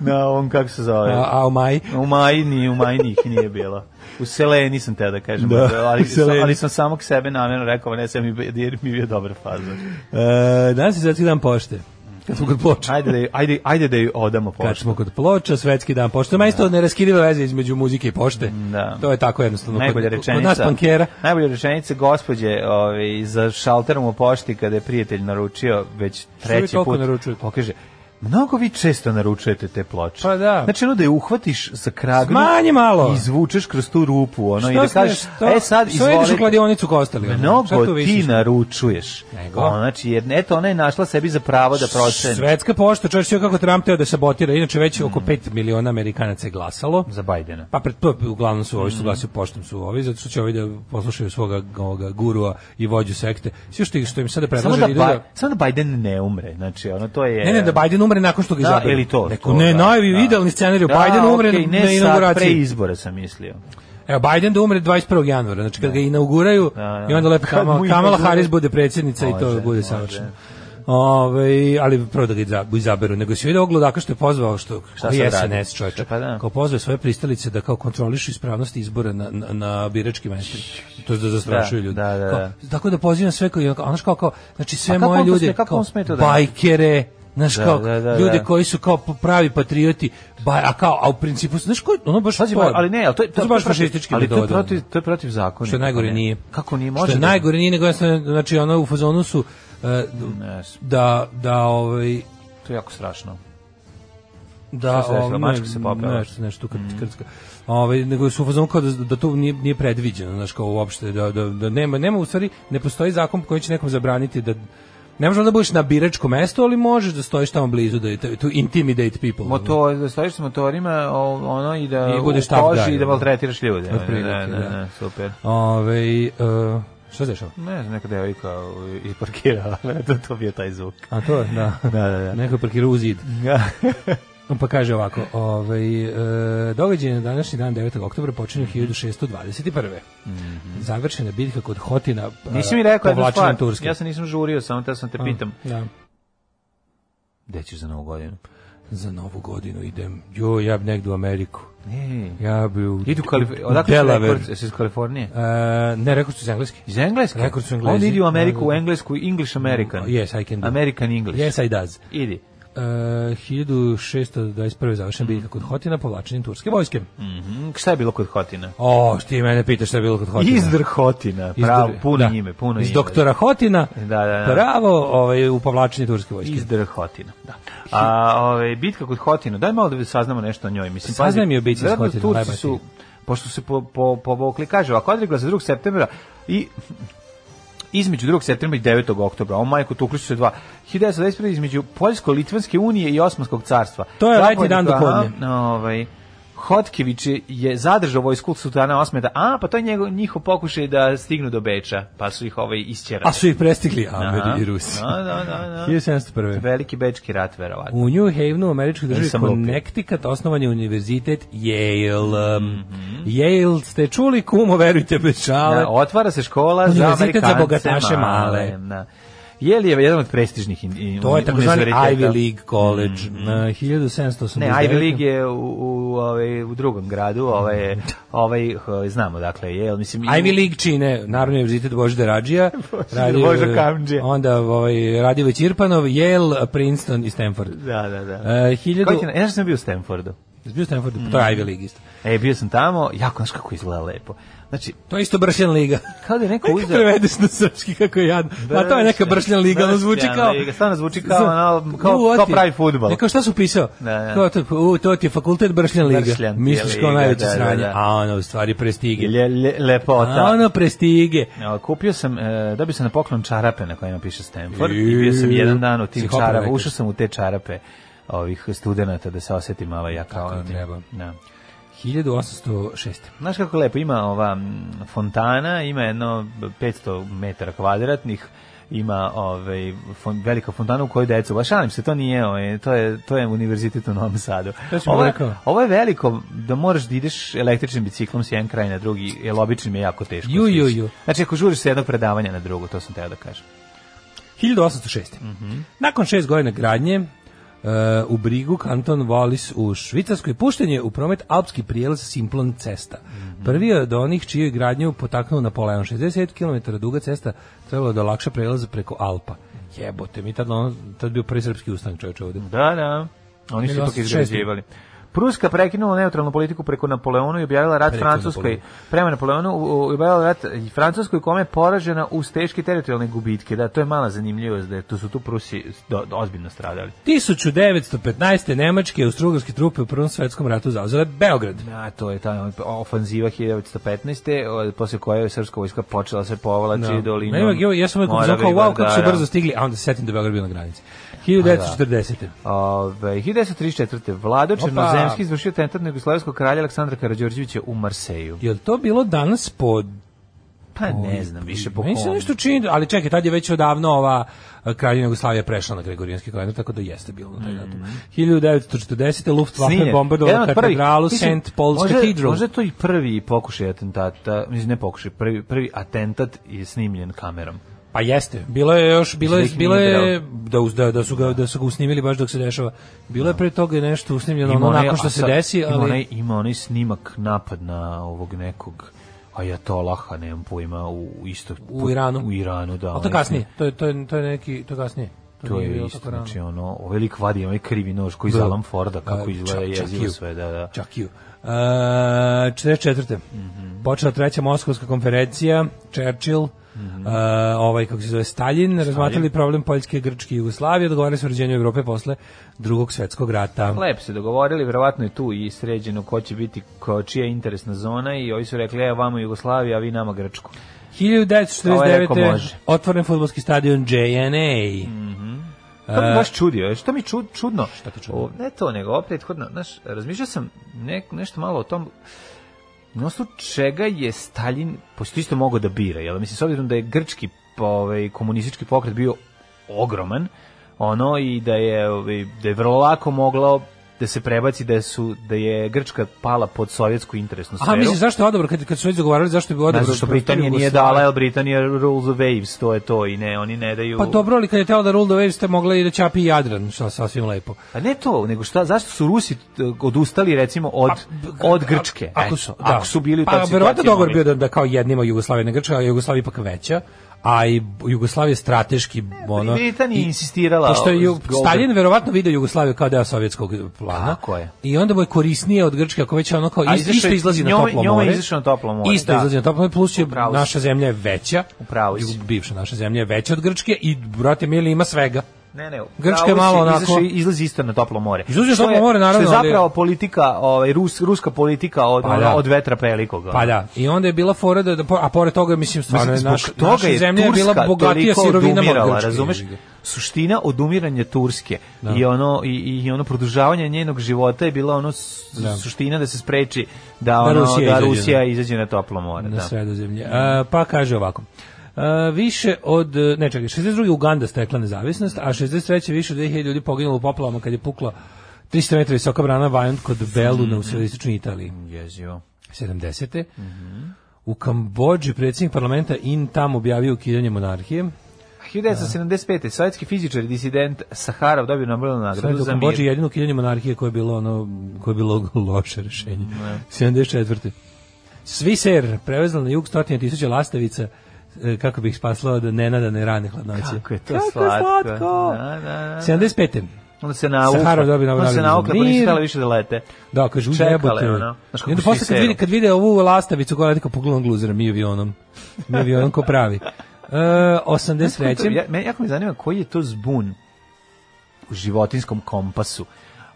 Speaker 6: Na on kako se zove.
Speaker 5: A, a u maji?
Speaker 6: U Majini, u Majini ih nije bilo. U Seleni nisam teo da kažem,
Speaker 5: Da, u
Speaker 6: ali, sam,
Speaker 5: Seleni.
Speaker 6: ali sam samog sebe namjerno rekao, ne sam mi, bi- jer mi je bio dobar fazor.
Speaker 5: E, danas je svetski dan pošte. Kad smo kod ploča.
Speaker 6: Ajde da, ju- ajde, ajde da ju odamo
Speaker 5: Kad
Speaker 6: poštu.
Speaker 5: smo kod ploča, svetski dan pošte. Ima isto neraskidiva veze između muzike i pošte.
Speaker 6: Da.
Speaker 5: To je tako jednostavno. Kod-
Speaker 6: Najbolja
Speaker 5: kod-
Speaker 6: rečenica.
Speaker 5: Kod nas pankera.
Speaker 6: Najbolja rečenica gospođe, ovaj za šalterom u pošti kada je prijatelj naručio već
Speaker 5: vi
Speaker 6: treći
Speaker 5: toliko
Speaker 6: put.
Speaker 5: naručujete?
Speaker 6: Pokaže. Mnogo vi često naručujete te ploče.
Speaker 5: Pa da.
Speaker 6: Znači ono da je uhvatiš za kragnu.
Speaker 5: Smanji malo.
Speaker 6: I izvučeš kroz tu rupu, ono i da
Speaker 5: Što smiješ,
Speaker 6: kažeš,
Speaker 5: to-
Speaker 6: e sad
Speaker 5: što ideš u
Speaker 6: izvolite.
Speaker 5: kladionicu ko ostali? ono? Šta
Speaker 6: Mnogo
Speaker 5: tu
Speaker 6: ti
Speaker 5: visiš?
Speaker 6: naručuješ.
Speaker 5: Nego?
Speaker 6: Ono, znači, jer, eto, ona je našla sebi za pravo da proceni.
Speaker 5: Svetska pošta, čovječ, sve kako Trump teo da sabotira. Inače, već oko 5 miliona Amerikanaca je glasalo.
Speaker 6: Mm. Za Mm. Bajdena.
Speaker 5: Pa pred to uglavnom su ovi su glasio poštom su ovi zato što će ovi da poslušaju svoga ovoga gurua i vođu sekte. Svi što ih što im sada
Speaker 6: Samo
Speaker 5: predlaže
Speaker 6: da,
Speaker 5: idu
Speaker 6: Ba-
Speaker 5: da
Speaker 6: samo da Biden ne umre. Znači, ono, to je...
Speaker 5: Ne, ne, da Biden umre nakon što ga
Speaker 6: Da,
Speaker 5: izaberu.
Speaker 6: ili to,
Speaker 5: Neko,
Speaker 6: to,
Speaker 5: ne,
Speaker 6: da,
Speaker 5: najvi
Speaker 6: da.
Speaker 5: idealni scenarij,
Speaker 6: Da,
Speaker 5: Biden umre
Speaker 6: okej,
Speaker 5: na-
Speaker 6: ne
Speaker 5: na
Speaker 6: sad,
Speaker 5: inauguraciji.
Speaker 6: pre izbora sam mislio.
Speaker 5: Evo, Biden da umre 21. januara, znači kad ga inauguraju
Speaker 6: Da, da.
Speaker 5: i onda lepo
Speaker 6: Kad mu
Speaker 5: Kamala,
Speaker 6: inauguraju-
Speaker 5: Kamala Harris bude predsjednica i to
Speaker 6: Može,
Speaker 5: bude
Speaker 6: može.
Speaker 5: savršeno. Ove, ali prvo da ga iza- izaberu, nego se vidio oglodaka što je pozvao što
Speaker 6: Šta
Speaker 5: koji je
Speaker 6: sad radi?
Speaker 5: SNS čovječe,
Speaker 6: Pa da.
Speaker 5: kao pozvao je svoje pristalice da kao kontrolišu ispravnost izbora na, na, na biračkim mestima. To je da zastrašuju
Speaker 6: Da,
Speaker 5: ljudi.
Speaker 6: da, da,
Speaker 5: Kao,
Speaker 6: da.
Speaker 5: tako da pozivam sve koji, ono kao, kao, znači sve
Speaker 6: A kako
Speaker 5: moje
Speaker 6: on to
Speaker 5: ljude,
Speaker 6: sme- kako
Speaker 5: kao,
Speaker 6: on sme to da-
Speaker 5: bajkere, znaš
Speaker 6: Da,
Speaker 5: kao,
Speaker 6: da, da,
Speaker 5: ljude
Speaker 6: da.
Speaker 5: koji su kao pravi patrioti, ba, a kao, a u principu, znaš koji, ono baš,
Speaker 6: Pazi,
Speaker 5: to je-
Speaker 6: ali ne, ali to je
Speaker 5: su baš fašistički
Speaker 6: ali to je
Speaker 5: metode, ono.
Speaker 6: protiv, to je protiv zakona. Pa
Speaker 5: Što je najgore
Speaker 6: Ne.
Speaker 5: nije.
Speaker 6: Kako nije
Speaker 5: Što
Speaker 6: može?
Speaker 5: je
Speaker 6: da-
Speaker 5: najgore nije, nego jednostavno, znači ono u fazonu su e,
Speaker 6: Ne,
Speaker 5: da, da, ovaj,
Speaker 6: to je jako strašno.
Speaker 5: da,
Speaker 6: se desilo?
Speaker 5: ovaj,
Speaker 6: Mačka se popela. Mhm.
Speaker 5: Nešto, nešto tu krt- krcka. Ovaj, nego su u fazonu kao da, da to nije, nije predviđeno, znaš, kao uopšte, da, da, da nema, nema, u stvari, ne postoji zakon koji će nekom zabraniti da Ne možeš da budeš na biračkom mestu, ali možeš da stojiš tamo blizu da to, to intimidate people. ono.
Speaker 6: Motor, da stojiš s motorima, o- ono i da
Speaker 5: I budeš
Speaker 6: u
Speaker 5: tough
Speaker 6: koži
Speaker 5: guy,
Speaker 6: i da
Speaker 5: ono.
Speaker 6: maltretiraš ljude. Ne,
Speaker 5: Otprilike,
Speaker 6: ne, ne,
Speaker 5: da.
Speaker 6: ne, super.
Speaker 5: Ovaj, e, šta se dešava?
Speaker 6: Ne znam, neka devojka ovaj, i parkirala, to, to bio taj zvuk.
Speaker 5: A to, je, da.
Speaker 6: Da, da, da.
Speaker 5: Neko je parkirao u zid.
Speaker 6: Ja.
Speaker 5: Pa kaže ovako, ovaj, e, događaj na današnji dan 9. oktobra počinju 1621. Završena je bitka kod Hotina e,
Speaker 6: Nisi mi rekao jednu
Speaker 5: povlačenjem
Speaker 6: stvar,
Speaker 5: Turske.
Speaker 6: ja se nisam žurio, samo te sam te pitam.
Speaker 5: Da.
Speaker 6: Gde ćeš za novu godinu?
Speaker 5: Za novu godinu idem. Jo, ja bi negdje u Ameriku.
Speaker 6: Ne,
Speaker 5: Ja bi u,
Speaker 6: E, idu Kalif-
Speaker 5: u
Speaker 6: odakle su
Speaker 5: Delaware.
Speaker 6: rekord, jesi iz Kalifornije?
Speaker 5: E, ne, rekao su iz engleski.
Speaker 6: Iz Engleske?
Speaker 5: Rekord su Englezi.
Speaker 6: Onda idi u Ameriku,
Speaker 5: Da, da.
Speaker 6: u Englesku, English American.
Speaker 5: Yes, I can do.
Speaker 6: American English.
Speaker 5: Yes, I does.
Speaker 6: Idi.
Speaker 5: E, 1621. završena bitka kod Hotina povlačenjem turske vojske.
Speaker 6: Mhm, Šta je bilo kod Hotina?
Speaker 5: O, što ti mene pitaš šta je bilo kod Hotina?
Speaker 6: Izdr Hotina,
Speaker 5: Iz
Speaker 6: pravo,
Speaker 5: dr-
Speaker 6: puno
Speaker 5: da.
Speaker 6: ime, puno
Speaker 5: Iz
Speaker 6: ime.
Speaker 5: doktora Hotina,
Speaker 6: Da, da, da.
Speaker 5: pravo ovaj, u povlačenje turske vojske.
Speaker 6: Izdr Hotina, da. A, ove, bitka kod Hotina, daj malo da saznamo nešto o njoj. Mislim,
Speaker 5: Saznaj
Speaker 6: pazi,
Speaker 5: mi o bici s
Speaker 6: verovatno
Speaker 5: Hotinom,
Speaker 6: Turci
Speaker 5: najbolje
Speaker 6: su,
Speaker 5: ti
Speaker 6: pošto se po, po, povukli, kaže, ako odregla za 2. septembra i između 2. septembra i 9. oktobra, o majko, tukli su se dva, 1921. između Poljsko-Litvanske unije i Osmanskog carstva.
Speaker 5: To je letnji
Speaker 6: Zapadnik,
Speaker 5: dan do
Speaker 6: aha,
Speaker 5: podne.
Speaker 6: Ovaj, Hotkević je- je zadržao vojsku sultana Osmeta, a pa to je njegov, njihov pokušaj da stignu do Beča, pa su ih ovaj isćerali.
Speaker 5: A su ih prestigli
Speaker 6: Aha.
Speaker 5: Ameri i Rusi.
Speaker 6: Da, da, da, da.
Speaker 5: 1701.
Speaker 6: Veliki bečki rat, verovatno.
Speaker 5: U New Havenu, u američkoj državi
Speaker 6: Nisam lupio.
Speaker 5: Connecticut, osnovan je univerzitet Yale. Um,
Speaker 6: Mhm.
Speaker 5: Yale ste čuli, kumo, verujte bez šale.
Speaker 6: Da, otvara se škola za
Speaker 5: Univerzitet za
Speaker 6: Amerikance
Speaker 5: bogataše male.
Speaker 6: Da. Yale je jedan od prestižnih in, in,
Speaker 5: To je takozvani
Speaker 6: univerziteta. Mhm.
Speaker 5: Ivy League College. na 1789.
Speaker 6: Ne, Ivy League je u, u, ovaj, u drugom gradu, ovaj, je- ovaj, eh, znamo dakle, je, mislim... i-
Speaker 5: Ivy League čine Narodni univerzitet Božida Radžija, Radi-
Speaker 6: Božo Kamdžija.
Speaker 5: onda ovaj, Radivoj Ćirpanov, Yale, Princeton i Stanford.
Speaker 6: Da, da, da.
Speaker 5: E, hiljadu...
Speaker 6: Koji ti na- ja sam bio u Stanfordu.
Speaker 5: Jesi bio Stanford, to je Ivy League isto.
Speaker 6: E, bio sam tamo, jako, znaš kako izgleda lepo. Znači,
Speaker 5: To je isto Bršljan liga.
Speaker 6: kao da je neko
Speaker 5: Kako
Speaker 6: uzeo...
Speaker 5: prevedeš na srpski, kako je jadno. A to je neka Bršljan liga, ono zvuči
Speaker 6: Bršljan
Speaker 5: kao...
Speaker 6: liga, stvarno zvuči kao, ono, kao-
Speaker 5: U,
Speaker 6: kao
Speaker 5: ti-
Speaker 6: pravi fudbal.
Speaker 5: Ne, E, kao šta su pisao?
Speaker 6: Da, da.
Speaker 5: Kao to, u, to ti je fakultet Bršljan liga.
Speaker 6: Bršljan ti je
Speaker 5: Misliš kao
Speaker 6: liga,
Speaker 5: najveće
Speaker 6: da, da,
Speaker 5: sranje,
Speaker 6: da.
Speaker 5: a ono, u stvari prestige.
Speaker 6: Le, le, lepota.
Speaker 5: A ono, prestige.
Speaker 6: Ja, kupio sam, e, dobio sam na poklon čarape na kojima piše Stanford i bio sam jedan dan u
Speaker 5: Si
Speaker 6: tim
Speaker 5: hopao
Speaker 6: čarapa,
Speaker 5: nekad?
Speaker 6: ušao sam u te čarape ovih studenata da se osetim malo ja kao
Speaker 5: Kako
Speaker 6: oni.
Speaker 5: treba.
Speaker 6: Da.
Speaker 5: 1806.
Speaker 6: Znaš kako lepo, ima ova mm, fontana, ima jedno 500 metara kvadratnih, ima ovaj fon, velika fontana u kojoj decu, baš šalim se, to nije, ovaj, to je to je univerzitet u Novom Sadu.
Speaker 5: To si mi
Speaker 6: Ovo, je-
Speaker 5: rekao.
Speaker 6: ovo je veliko da moraš da ideš električnim biciklom s jedan kraj na drugi, jer običnim je jako teško.
Speaker 5: Ju, ju,
Speaker 6: stići.
Speaker 5: ju.
Speaker 6: Znači ako žuriš sa jednog predavanja na drugo, to sam teo da kažem.
Speaker 5: 1806. Nakon šest godina gradnje, e, u Brigu, kanton Wallis u Švicarskoj, pušten je u promet alpski prijelaz Simplon cesta. Prvi je od onih čiju je gradnju potaknuo Napoleon. 60 km duga cesta trebalo da lakša prelaz preko Alpa. Jebote, mi tad, ono, tad bio prvi srpski ustanak čovječe ovde.
Speaker 6: Da, da. Oni su ipak
Speaker 5: 1806.
Speaker 6: izgrađivali. Pruska prekinula neutralnu politiku preko Napoleonu i objavila rat
Speaker 5: Preko
Speaker 6: Francuskoj. Prema Napoleonu u- u- objavila rat i Francuskoj kome je poražena uz teške teritorijalne gubitke. Da, to je mala zanimljivost da je, tu su tu Prusi do, do- ozbiljno stradali.
Speaker 5: 1915. Nemačke i Austrougarske trupe u Prvom svetskom ratu zauzele Beograd.
Speaker 6: A to je ta ofanziva 1915. od- posle koje je srpska vojska počela se povlači
Speaker 5: Da.
Speaker 6: dolinom.
Speaker 5: Meni je- ja sam uvijek
Speaker 6: Morave
Speaker 5: uzao kao,
Speaker 6: i
Speaker 5: wow, kako su
Speaker 6: Vardara.
Speaker 5: brzo stigli, a onda se setim da je Beograd bio na granici. 1940.
Speaker 6: Ove, 1934. Vlado
Speaker 5: Opa.
Speaker 6: Černozemski izvršio tentat na jugoslavijskog kralja Aleksandra Karađorđevića u Marseju.
Speaker 5: Je li to bilo danas po
Speaker 6: Pa ne znam, više po
Speaker 5: Meni se
Speaker 6: kom.
Speaker 5: nešto čini, ali čekaj, tad je već odavno ova e, kraljevina Jugoslavija prešla na gregorijanski kalendar, tako da jeste bilo na taj datum. 1940. Luftwaffe
Speaker 6: Snimljen. Mhm. Jedan
Speaker 5: bombardovala
Speaker 6: od prvih.
Speaker 5: katedralu
Speaker 6: Mislim,
Speaker 5: St. Paul's
Speaker 6: možda-
Speaker 5: Cathedral.
Speaker 6: Možda je to i prvi pokušaj atentata, mislim ne pokušaj, prvi, prvi atentat je snimljen kamerom.
Speaker 5: Pa jeste. Bilo je još, bilo je,
Speaker 6: Mislim da ih
Speaker 5: bilo
Speaker 6: nije
Speaker 5: je da, uz- da, da, su ga, da su ga usnimili baš dok se dešava. Bilo je pre toga nešto usnimljeno ono
Speaker 6: onaj-
Speaker 5: nakon
Speaker 6: a
Speaker 5: što se
Speaker 6: sad-
Speaker 5: desi,
Speaker 6: Ima
Speaker 5: ali...
Speaker 6: onaj, ima onaj snimak napad na ovog nekog ajatolaha, nemam pojma, u, u isto...
Speaker 5: U Iranu.
Speaker 6: U Iranu, da.
Speaker 5: Ali to
Speaker 6: onaj
Speaker 5: kasnije, to je, to je, to je neki, to je kasnije.
Speaker 6: To
Speaker 5: nije
Speaker 6: je
Speaker 5: bilo
Speaker 6: isto,
Speaker 5: tako rano.
Speaker 6: znači ono, ovaj lik vadi onaj krivi nož koji iz
Speaker 5: Da.
Speaker 6: Alan Forda, kako
Speaker 5: A,
Speaker 6: izgleda
Speaker 5: čak- čak
Speaker 6: jezivo
Speaker 5: ju.
Speaker 6: sve, da, da.
Speaker 5: Čak i u. E, 44.
Speaker 6: Mhm.
Speaker 5: Počela treća Moskovska konferencija, Churchill,
Speaker 6: Mhm.
Speaker 5: e, ovaj, kako se zove, Stalin, razmatrali problem Poljske, Grčke i Jugoslavije, dogovarali su o uređenju Evrope posle drugog svetskog rata.
Speaker 6: Lepo se dogovorili, verovatno je tu i sređeno ko će biti, ko, čija je interesna zona i ovi su rekli, evo vama Jugoslavija, a vi nama Grčku. Ovo je rekao
Speaker 5: 1949.
Speaker 6: može.
Speaker 5: otvoren futbolski stadion JNA.
Speaker 6: Mhm. To mi baš čudio, je. što mi čud, čudno.
Speaker 5: E. Šta ti čudno?
Speaker 6: O, ne to, nego ovo prethodno, znaš, razmišljao sam nek, nešto malo o tom, na osnovu čega je Stalin, pošto isto mogao da bira, jel? Mislim, s obzirom da je grčki pa, ovaj, komunistički pokret bio ogroman, ono, i da je, ovaj, da je vrlo lako moglo da se prebaci da su da je Grčka pala pod sovjetsku interesnu sferu.
Speaker 5: Aha, mislim, zašto je odabro, kad, kad su već zagovarali, zašto je bio odabro?
Speaker 6: Ne, zato što Britanija nije dala, jer Britanija rules the waves, to je to i ne, oni ne daju...
Speaker 5: Pa dobro, ali kad je teo da Rule the Waves, ste mogli i da Čapi i Jadran, što sasvim lepo.
Speaker 6: Pa ne to, nego šta, zašto su Rusi t- odustali recimo
Speaker 5: Pa,
Speaker 6: od, od Grčke?
Speaker 5: Ako
Speaker 6: eto,
Speaker 5: su, da.
Speaker 6: ako su bili u
Speaker 5: pa,
Speaker 6: toj situaciji. ono,
Speaker 5: verovatno dogovor
Speaker 6: mogli-
Speaker 5: bio da, da kao jednima Jugoslavija na Grčka, a Jugoslavija ipak veća, a i Jugoslavija strateški
Speaker 6: E, pa
Speaker 5: ono
Speaker 6: Britanija
Speaker 5: i-
Speaker 6: insistirala
Speaker 5: pošto je Ju-
Speaker 6: s Goldberg-
Speaker 5: Stalin verovatno video Jugoslaviju kao deo sovjetskog plana.
Speaker 6: Tako je.
Speaker 5: I onda mu je korisnije od Grčke ako već ono kao is-
Speaker 6: A izašao
Speaker 5: isto
Speaker 6: je-
Speaker 5: izlazi na
Speaker 6: njome-
Speaker 5: toplo
Speaker 6: njome
Speaker 5: more.
Speaker 6: je izašao na toplo more,
Speaker 5: Isto
Speaker 6: da.
Speaker 5: izlazi na toplo more plus je
Speaker 6: Upravo si.
Speaker 5: naša zemlja je veća.
Speaker 6: Upravo si.
Speaker 5: Ju- Bivša naša zemlja je veća od Grčke i brate mili ima svega.
Speaker 6: Ne, ne,
Speaker 5: Grčka
Speaker 6: pravo
Speaker 5: je malo
Speaker 6: si,
Speaker 5: onako-
Speaker 6: izašao- izlazi isto na toplo more.
Speaker 5: Izlazi na
Speaker 6: Što
Speaker 5: toplo
Speaker 6: je-
Speaker 5: more, naravno,
Speaker 6: Što je
Speaker 5: ali-
Speaker 6: zapravo politika, ovaj, rus, ruska politika od,
Speaker 5: Pa
Speaker 6: ono,
Speaker 5: da.
Speaker 6: od vetra ono. pelikoga.
Speaker 5: Pa da, i onda je bila fora da, da po- a pored toga mislim stvarno Ono je
Speaker 6: Mislim,
Speaker 5: naš,
Speaker 6: zbog
Speaker 5: naša
Speaker 6: toga je
Speaker 5: zemlja je bila
Speaker 6: Turska
Speaker 5: bogatija
Speaker 6: toliko
Speaker 5: sirovinama od
Speaker 6: odumirala,
Speaker 5: Grčke.
Speaker 6: razumeš? Suština odumiranja Turske i ono i, i ono produžavanje njenog života je bila ono s-
Speaker 5: Da.
Speaker 6: suština da se spreči da ono da
Speaker 5: Rusija
Speaker 6: Rusija,
Speaker 5: izađe, da.
Speaker 6: izađe na toplo more.
Speaker 5: na
Speaker 6: da.
Speaker 5: sredozemlje. E, pa kaže ovako. E, više od, ne čekaj, 62. Uganda stekla nezavisnost, a 63. više od 2000 ljudi poginulo u poplavama kad je pukla 300 metara visoka brana Vajont kod Beluna u sredistočnoj Italiji.
Speaker 6: Jezivo.
Speaker 5: 70.
Speaker 6: Mhm.
Speaker 5: U Kambođi predsjednik parlamenta In Tam objavio ukidanje monarhije.
Speaker 6: 1975. sovjetski fizičar i disident Saharov dobio Nobelovu
Speaker 5: Sve
Speaker 6: nagradu
Speaker 5: dok
Speaker 6: za
Speaker 5: u Bođi
Speaker 6: mir.
Speaker 5: jedino ukidanje monarhije koje je bilo ono koje je bilo loše rešenje. 74. Sviser prevezla na jug stotine tisuća lastavica e, kako bi ih spasla od nenada ne rane hladnoće.
Speaker 6: Kako je to
Speaker 5: Kako
Speaker 6: slatko.
Speaker 5: slatko.
Speaker 6: Da, da, da.
Speaker 5: 75.
Speaker 6: Onda se naukla.
Speaker 5: Saharov dobio Nobelovu
Speaker 6: Onda
Speaker 5: nagradu
Speaker 6: se
Speaker 5: za
Speaker 6: naukla, pa nisu
Speaker 5: mir.
Speaker 6: htjela više da lete.
Speaker 5: Da, kaže,
Speaker 6: Čekala je
Speaker 5: ujebote.
Speaker 6: ona. Znaš kako
Speaker 5: I onda posle kad
Speaker 6: Sviseru.
Speaker 5: vide, kad vide ovu lastavicu koja leti kao pogledom gluzera, mi avionom. Mi avionom ko pravi. E, 83.
Speaker 6: Ja, me, jako me zanima koji je to zbun u životinskom kompasu